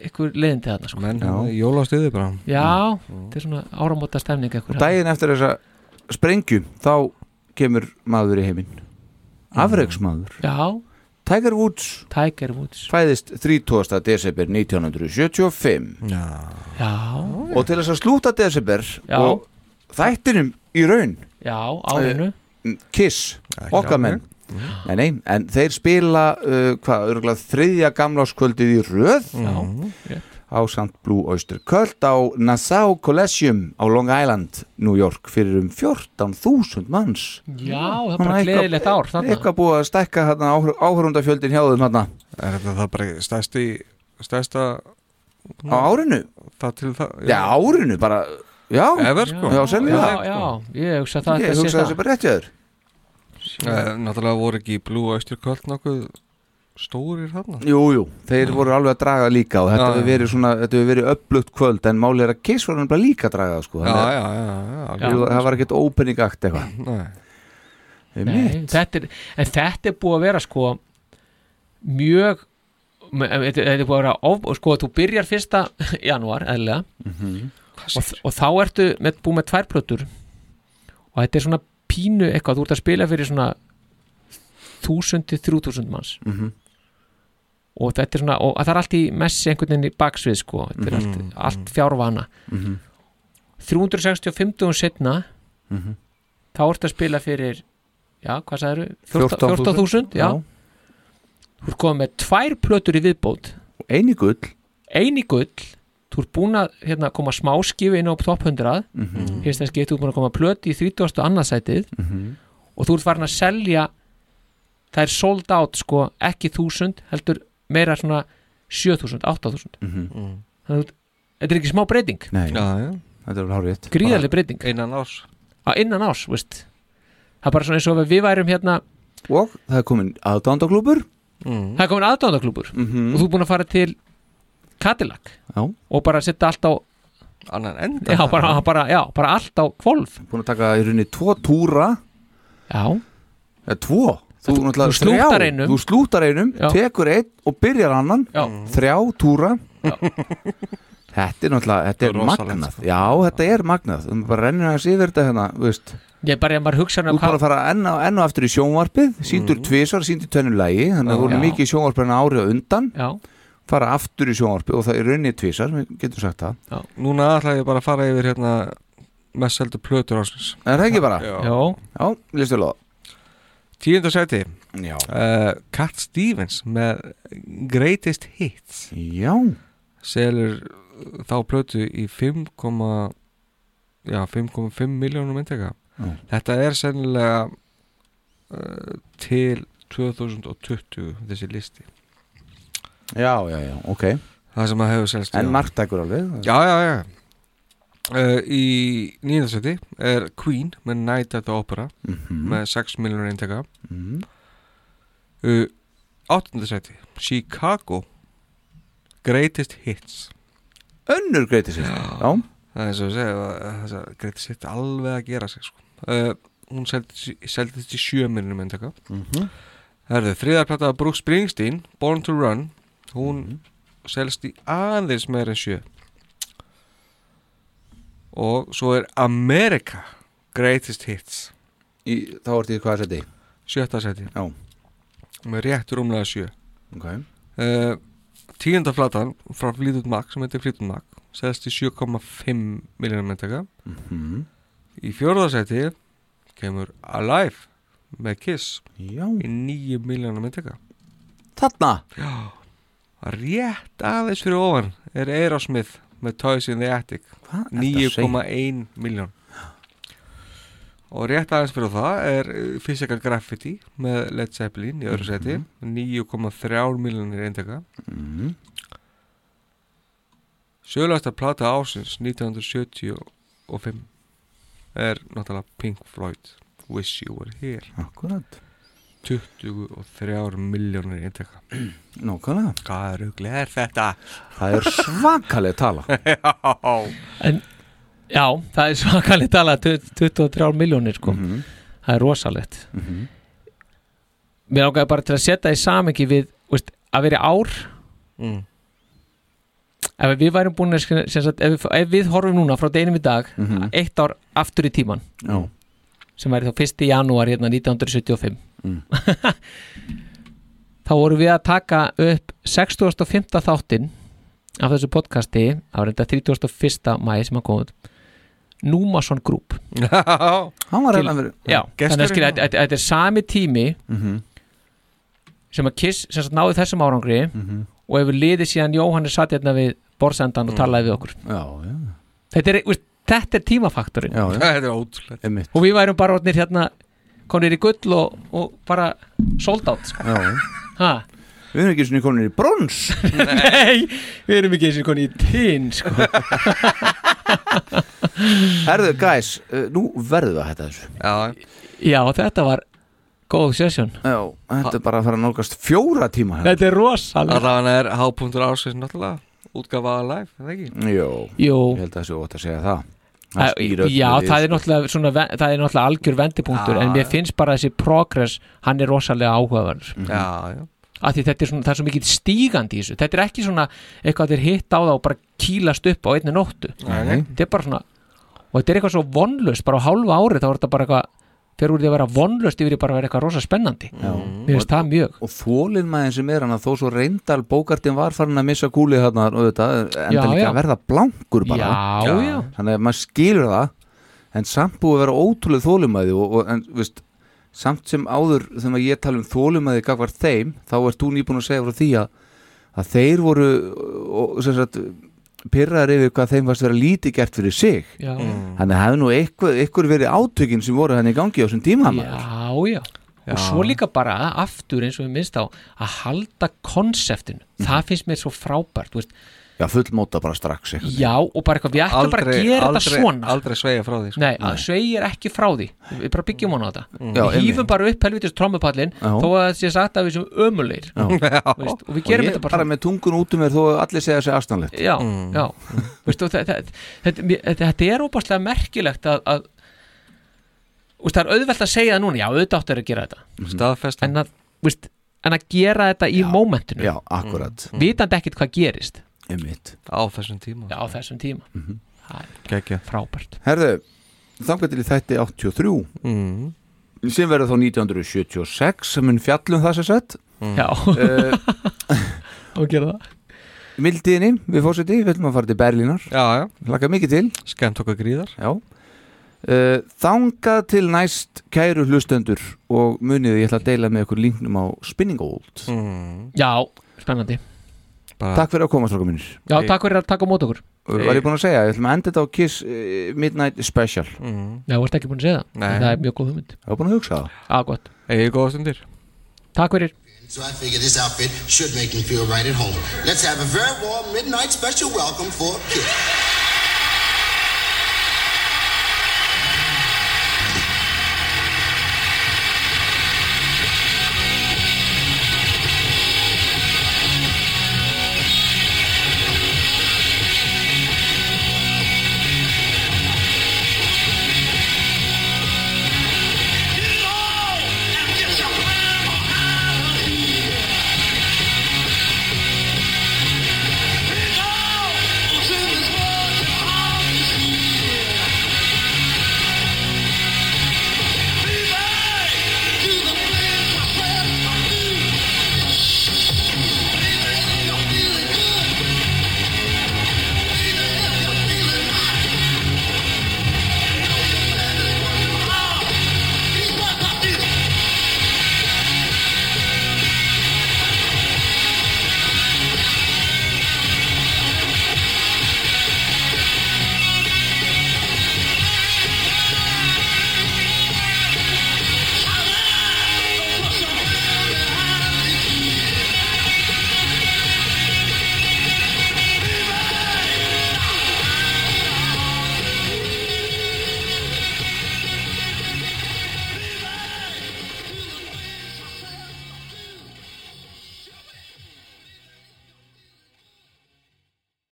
[SPEAKER 4] einhver leiðindi þarna sko
[SPEAKER 5] Menn hafa jólastuði bara
[SPEAKER 4] Já, þetta er svona áramóta
[SPEAKER 3] og
[SPEAKER 4] stemning einhver
[SPEAKER 3] daginn eftir þessa sprengju þá kemur maður í heiminn afreiksmaður
[SPEAKER 4] Já. sko.
[SPEAKER 3] Tiger Woods
[SPEAKER 4] Tiger Woods
[SPEAKER 3] fæðist 30. desember 1975
[SPEAKER 5] Já.
[SPEAKER 4] Já.
[SPEAKER 3] og til þess að slúta desember
[SPEAKER 4] Já.
[SPEAKER 3] og þættinum í raun
[SPEAKER 4] Já, árinu.
[SPEAKER 3] Eh, Kiss,
[SPEAKER 4] Ekki
[SPEAKER 3] okkar menn Nei, nei, en þeir spila uh, hvað, örgulega þriðja gamláskvöldið í röð
[SPEAKER 4] Mm. Já, rétt.
[SPEAKER 3] á St. Blue Oyster Cult á Nassau Coliseum á Long Island, New York fyrir um 14.000 manns
[SPEAKER 4] Já, það er
[SPEAKER 3] Þannig
[SPEAKER 4] bara
[SPEAKER 3] að eitthvað-
[SPEAKER 4] gleðilegt ár þarna
[SPEAKER 3] eitthvað búið að stækka hérna áhörundafjöldin hjá þeim hérna
[SPEAKER 5] Er þetta það bara stærsti stærsta
[SPEAKER 3] á árinu
[SPEAKER 5] það til það
[SPEAKER 3] já, árinu bara, já,
[SPEAKER 5] Ever, sko.
[SPEAKER 3] já, sennilega.
[SPEAKER 4] Já, já, ég hugsa það
[SPEAKER 3] Ég
[SPEAKER 4] þetta sé
[SPEAKER 3] hugsa
[SPEAKER 4] það.
[SPEAKER 3] þessi bara rétt hjá þér.
[SPEAKER 5] Eh, Náttúrulega voru ekki Blue Oyster Cult nokkuð stórir þarna
[SPEAKER 3] jú, jú, þeir voru alveg að draga líka og þetta
[SPEAKER 5] Já,
[SPEAKER 3] hefur
[SPEAKER 5] já.
[SPEAKER 3] verið svona, þetta hefur verið upplutt kvöld en málið er að Kiss var hann bara líka að draga það, sko,
[SPEAKER 5] Já,
[SPEAKER 3] Þannig
[SPEAKER 5] já,
[SPEAKER 3] að-
[SPEAKER 5] já, já,
[SPEAKER 3] Jú,
[SPEAKER 5] alveg.
[SPEAKER 3] það var ekkert opening act eitthvað
[SPEAKER 5] Nei.
[SPEAKER 4] Nei, þetta er, en þetta er búið að vera sko mjög me- þetta þetta er búið að vera of, og sko þú byrjar fyrsta janúar eðlilega
[SPEAKER 2] Mhm.
[SPEAKER 4] og, og þá ertu með, búið með tvær plötur og þetta er svona pínu eitthvað, þú ert að spila fyrir svona 1000 til 3000 manns
[SPEAKER 3] Mhm.
[SPEAKER 4] og þetta er svona, og það er allt í messi einhvern veginn í baksvið sko þetta er allt,
[SPEAKER 12] Mhm.
[SPEAKER 4] allt fjárvana
[SPEAKER 12] Mhm.
[SPEAKER 4] 365 dugum setna
[SPEAKER 12] Mhm.
[SPEAKER 4] þá ertu að spila fyrir já, hvað sagðiru?
[SPEAKER 3] 14.000,
[SPEAKER 4] 14.000, já
[SPEAKER 3] já.
[SPEAKER 4] Þú ert komið með tvær plötur í viðbót
[SPEAKER 3] Einu gull
[SPEAKER 4] Einu gull Þú ert búin að hérna, koma smáskifi inn á top 100
[SPEAKER 3] Mhm.
[SPEAKER 4] Fyrst þess getur þú ert búin að koma plötu í 30. annarsætið
[SPEAKER 3] Mhm.
[SPEAKER 4] og þú ert farin að selja það er sold out sko ekki 1000 heldur meira svona 7000, 8000
[SPEAKER 3] Mhm.
[SPEAKER 5] Mm.
[SPEAKER 4] Þannig að þú- Þetta er ekki smá breyting
[SPEAKER 3] Nei, þetta er hárið
[SPEAKER 4] gríðarlega breyting
[SPEAKER 5] innan árs
[SPEAKER 4] á innan ás, veist það er bara svona eins og við værum hérna
[SPEAKER 3] og það er komin aðdándaglúpur
[SPEAKER 4] það er komin aðdándaklúpur
[SPEAKER 3] Mhm.
[SPEAKER 4] og þú er búin að fara til Cadillac
[SPEAKER 3] Já.
[SPEAKER 4] og bara setja allt á
[SPEAKER 5] annan enda
[SPEAKER 4] já, bara, bara, já, bara allt á kvolf
[SPEAKER 3] búin að taka í rauninni tvo túra
[SPEAKER 4] já
[SPEAKER 3] eða Eh, tvo þú, þú,
[SPEAKER 4] þú slútar einum.
[SPEAKER 3] þú slútar einum,
[SPEAKER 4] Já.
[SPEAKER 3] tekur einn og byrjar annan
[SPEAKER 4] Já.
[SPEAKER 3] þrjá túra þetta er náttúrulega þetta er sko.
[SPEAKER 4] Rosalegt,
[SPEAKER 3] magnað, já þetta er magnað þú bara rennir aðeins yfir þetta hérna þú veist.
[SPEAKER 4] ég bara ég maður hugsa um
[SPEAKER 3] þú
[SPEAKER 4] hann
[SPEAKER 3] ert bara að fara enn og, enn og aftur í sjónvarpið síndur mm. tvisar, síndur tönnu lægi þannig að
[SPEAKER 4] Já.
[SPEAKER 3] þú erum mikið í sjónvarpið en árið á undan
[SPEAKER 4] já.
[SPEAKER 3] fara aftur í sjónvarpið og það er rauninni tvisar, við getum sagt það
[SPEAKER 4] já.
[SPEAKER 5] Núna ætla ég bara að fara yfir hérna mest heldur plötur ásins
[SPEAKER 3] Er það ekki bara?
[SPEAKER 5] Já,
[SPEAKER 4] Já,
[SPEAKER 3] já listu loða
[SPEAKER 5] Tíunda seti
[SPEAKER 3] Já.
[SPEAKER 5] uh, Cat Stevens með Greatest Hits
[SPEAKER 3] Já
[SPEAKER 5] Selur þá plötu í 5, já, 5,5 miljónum myndega
[SPEAKER 3] Já.
[SPEAKER 5] Þetta er sennilega uh, til 2020 þessi listi
[SPEAKER 3] já, já, já, ok
[SPEAKER 5] það sem að hefur selst
[SPEAKER 3] en
[SPEAKER 5] já.
[SPEAKER 3] marktækur alveg
[SPEAKER 5] Já, já, já uh, Í nýðarsæti er Queen með Night at the Opera
[SPEAKER 3] Mhm.
[SPEAKER 5] með 6 miljonar eintaka Mm-hmm.
[SPEAKER 3] Mhm.
[SPEAKER 5] uh, Áttundarsæti Chicago Greatest Hits
[SPEAKER 3] Önnur Greatest Hits, já
[SPEAKER 5] Það er eins og við segja, þess að Greatest Hits alveg að gera sig sko. uh, Hún seldi- seldist í 7 miljonar eintaka
[SPEAKER 3] Mhm.
[SPEAKER 5] Mm-hmm. Það eru þriðarplata Brooks Springsteen, Born to Run Hún selst í aðeins meira en 7 og svo er America Greatest Hits
[SPEAKER 3] í, þá ertu í hvaða seti?
[SPEAKER 5] sjötta seti
[SPEAKER 3] Já.
[SPEAKER 5] með rétt rúmlega sjö
[SPEAKER 3] okay.
[SPEAKER 5] uh, tíunda flatan frá Fleetwood Mac sem heitir Fleetwood Mac selst í 7,5 miljonar myndaka
[SPEAKER 3] Mhm.
[SPEAKER 5] í fjórða seti kemur Alive með Kiss
[SPEAKER 3] Já.
[SPEAKER 5] í 9 miljonar myndaka
[SPEAKER 3] Þarna?
[SPEAKER 5] Já Rétt aðeins fyrir ofan er Aerosmith með Toys in the Attic
[SPEAKER 3] Hvað ertu að segja?
[SPEAKER 5] 9,1 miljón og rétt aðeins fyrir það er eh, Physical Graffiti með Led Zeppelin í öðru seti 9,3 miljónir eintaka Mhm.
[SPEAKER 3] mm.
[SPEAKER 5] Sjölaðasta plata ásins 1975 er náttúrulega Pink Floyd Wish You Were Here
[SPEAKER 3] Akkurat
[SPEAKER 5] 23 miljónir eintaka
[SPEAKER 3] Nókvæmlega
[SPEAKER 5] Hvað rugl er þetta?
[SPEAKER 3] það er svakalega tala
[SPEAKER 5] Já
[SPEAKER 4] en, já, það er svakalega tala 23 miljónir sko það er rosalegt
[SPEAKER 3] Mhm.
[SPEAKER 4] mér ákveði bara til að setja í samengi við veist, að vera í ár
[SPEAKER 5] Mm.
[SPEAKER 4] ef við værum búin að sem sagt, ef, við- ef við horfum núna frá deginum í dag
[SPEAKER 3] Mhm.
[SPEAKER 4] eitt ár aftur í tíman
[SPEAKER 3] Já.
[SPEAKER 4] sem væri þá 1. janúar hérna 1975
[SPEAKER 3] Mm.
[SPEAKER 4] þá vorum við að taka upp 65. þáttin af þessu podcasti á reynda 31. mæði sem að koma út Númason Group
[SPEAKER 3] Hann var reyna fyrir
[SPEAKER 4] Já, þannig að skilja, þetta- þetta þetta er sami tími
[SPEAKER 3] Mhm.
[SPEAKER 4] sem að Kiss sem sagt, náði þessum árangri
[SPEAKER 3] Mhm.
[SPEAKER 4] og hefur liðið síðan Jóhannes satt hérna við borsendan og talaði við okkur
[SPEAKER 3] Já, já,
[SPEAKER 4] Þetta er, veist, þetta er tímafaktorinn
[SPEAKER 3] já, já.
[SPEAKER 5] Þetta er ótrúlega
[SPEAKER 3] Einmitt.
[SPEAKER 4] og við værum bara orðnir hérna konir í gull og, og bara sold out sko.
[SPEAKER 3] já.
[SPEAKER 4] Ha?
[SPEAKER 3] Við erum ekki svona komin í brons
[SPEAKER 4] Nei, við erum ekki eins og konir í tín sko.
[SPEAKER 3] Herðu, guys, uh, nú verðum við að hætta þessu
[SPEAKER 5] Já,
[SPEAKER 4] Já, þetta var góð sesjón
[SPEAKER 3] já Þetta er bara að fara að nálgast fjóra tíma hérna.
[SPEAKER 4] Þetta er rosalega
[SPEAKER 5] Allavega er hápunktur ásins náttúrulega útgafa að live, er það ekki?
[SPEAKER 3] Jó,
[SPEAKER 4] Jú,
[SPEAKER 3] ég held að þessu ótt að segja það
[SPEAKER 4] Æ, Já, það er náttúrulega svona, ve- það er náttúrulega algjör vendipunktur
[SPEAKER 5] Já,
[SPEAKER 4] en mér
[SPEAKER 5] já.
[SPEAKER 4] finnst bara þessi progress hann er rosalega áhugaverð
[SPEAKER 5] Já, já
[SPEAKER 4] af því þetta er svona, það er svo mikið stígandi í þessu þetta er ekki svona eitthvað þeir hitt á það og bara kýlast upp á einni nóttu
[SPEAKER 3] Mm.
[SPEAKER 5] Nei, nei.
[SPEAKER 4] þetta er bara svona og þetta er eitthvað svo vonlust, bara á hálfa ári þá er þetta bara eitthvað fer úr því að vera vonlöst yfir í bara að vera eitthvað rosa spennandi
[SPEAKER 3] Mm.
[SPEAKER 4] mér finnst það mjög
[SPEAKER 3] og þólinmaðin sem er hann að þó svo reyndal bókartin var farin að missa kúli hann en
[SPEAKER 4] Já,
[SPEAKER 3] það
[SPEAKER 4] já.
[SPEAKER 3] líka að verða blankur bara
[SPEAKER 4] Já, Já. já.
[SPEAKER 3] þannig að maður skilur það en samt búið að vera ótrúlega þólinmaði og, og en, veist, samt sem áður þegar ég tala um þólinmaði gagvar þeim þá ert þú nýbúin að segja frá því að, að þeir voru og, sem sagt, pyrraðar yfir hvað þeim varst að vera lítið gert fyrir sig
[SPEAKER 4] Já. Mm.
[SPEAKER 3] þannig að hefði nú eitthvað, eitthvað verið átökin sem voru hann í gangi á þessum tíma maður.
[SPEAKER 4] já, já.
[SPEAKER 3] Já.
[SPEAKER 4] og svo líka bara aftur eins og við minnst á að halda konseptinu það finnst mér svo frábært þú veist.
[SPEAKER 3] Já, fullmóta bara strax eitthvað.
[SPEAKER 4] já og bara eitthvað við ætlum bara að
[SPEAKER 5] Aldrei-
[SPEAKER 4] gera þetta
[SPEAKER 5] aldrei-
[SPEAKER 4] svona
[SPEAKER 5] aldrei sveigja frá því sko.
[SPEAKER 4] nei, nei. sveigir ekki frá því við bara byggjum hana á þetta
[SPEAKER 5] Já,
[SPEAKER 4] við
[SPEAKER 5] einmitt.
[SPEAKER 4] hýfum bara upp helvitist trommupallin
[SPEAKER 3] Já.
[SPEAKER 4] þó að það sé sagt að við sem ömulegir Veist, og við gerum
[SPEAKER 3] ég
[SPEAKER 4] þetta
[SPEAKER 3] bara með tungun út um mér þó að allir segja sig afstanlegt
[SPEAKER 4] já, já Veistu, og þa- þa- þetta, mér- þetta, þetta er óbáslega merkilegt að, að úst, það er auðvelt að segja það núna já, auðvitað áttu þeir að gera þetta
[SPEAKER 5] staðfesta
[SPEAKER 4] Mhm. en að, úst, en að gera þetta í mómentinu
[SPEAKER 3] já, Mm. akkurat
[SPEAKER 4] vitandi ekkit hvað gerist
[SPEAKER 3] Einmitt.
[SPEAKER 5] á þessum tíma
[SPEAKER 4] já, á þessum tíma Það er
[SPEAKER 5] Kekja.
[SPEAKER 4] frábært
[SPEAKER 3] herðu, þangar til í þætti 83
[SPEAKER 5] mm.
[SPEAKER 3] sem verður þá 1976 sem mun fjallum það sem sett
[SPEAKER 5] Mm.
[SPEAKER 4] Já.
[SPEAKER 3] uh,
[SPEAKER 4] og gera það
[SPEAKER 3] mildiðinni, við fórseti, við ætlum að fara til Berlínar
[SPEAKER 5] já, já.
[SPEAKER 3] laka mikið til
[SPEAKER 5] skemmt okkur gríðar
[SPEAKER 3] já Uh, þangað til næst kæru hlustendur og munið ég ætla að deila með ykkur linknum á Spinning Old
[SPEAKER 5] mm.
[SPEAKER 4] já, spennandi
[SPEAKER 5] Ah.
[SPEAKER 3] Takk fyrir að koma stráka mínir
[SPEAKER 4] já, takk fyrir að taka á mót okkur
[SPEAKER 3] Var ég búin að segja, við ætlum að enda þetta á Kiss eh, Midnight Special
[SPEAKER 5] mm.
[SPEAKER 4] Nei, þú ert ekki búin að segja það
[SPEAKER 5] Nei.
[SPEAKER 4] En Það er mjög góð hugmynd
[SPEAKER 3] Það er búin að hugsa það
[SPEAKER 4] ah, gott.
[SPEAKER 5] Egið góða stundir
[SPEAKER 4] Takk fyrir
[SPEAKER 12] So I figure this outfit should make me feel right at home. Let's have a very warm midnight special welcome for Kid.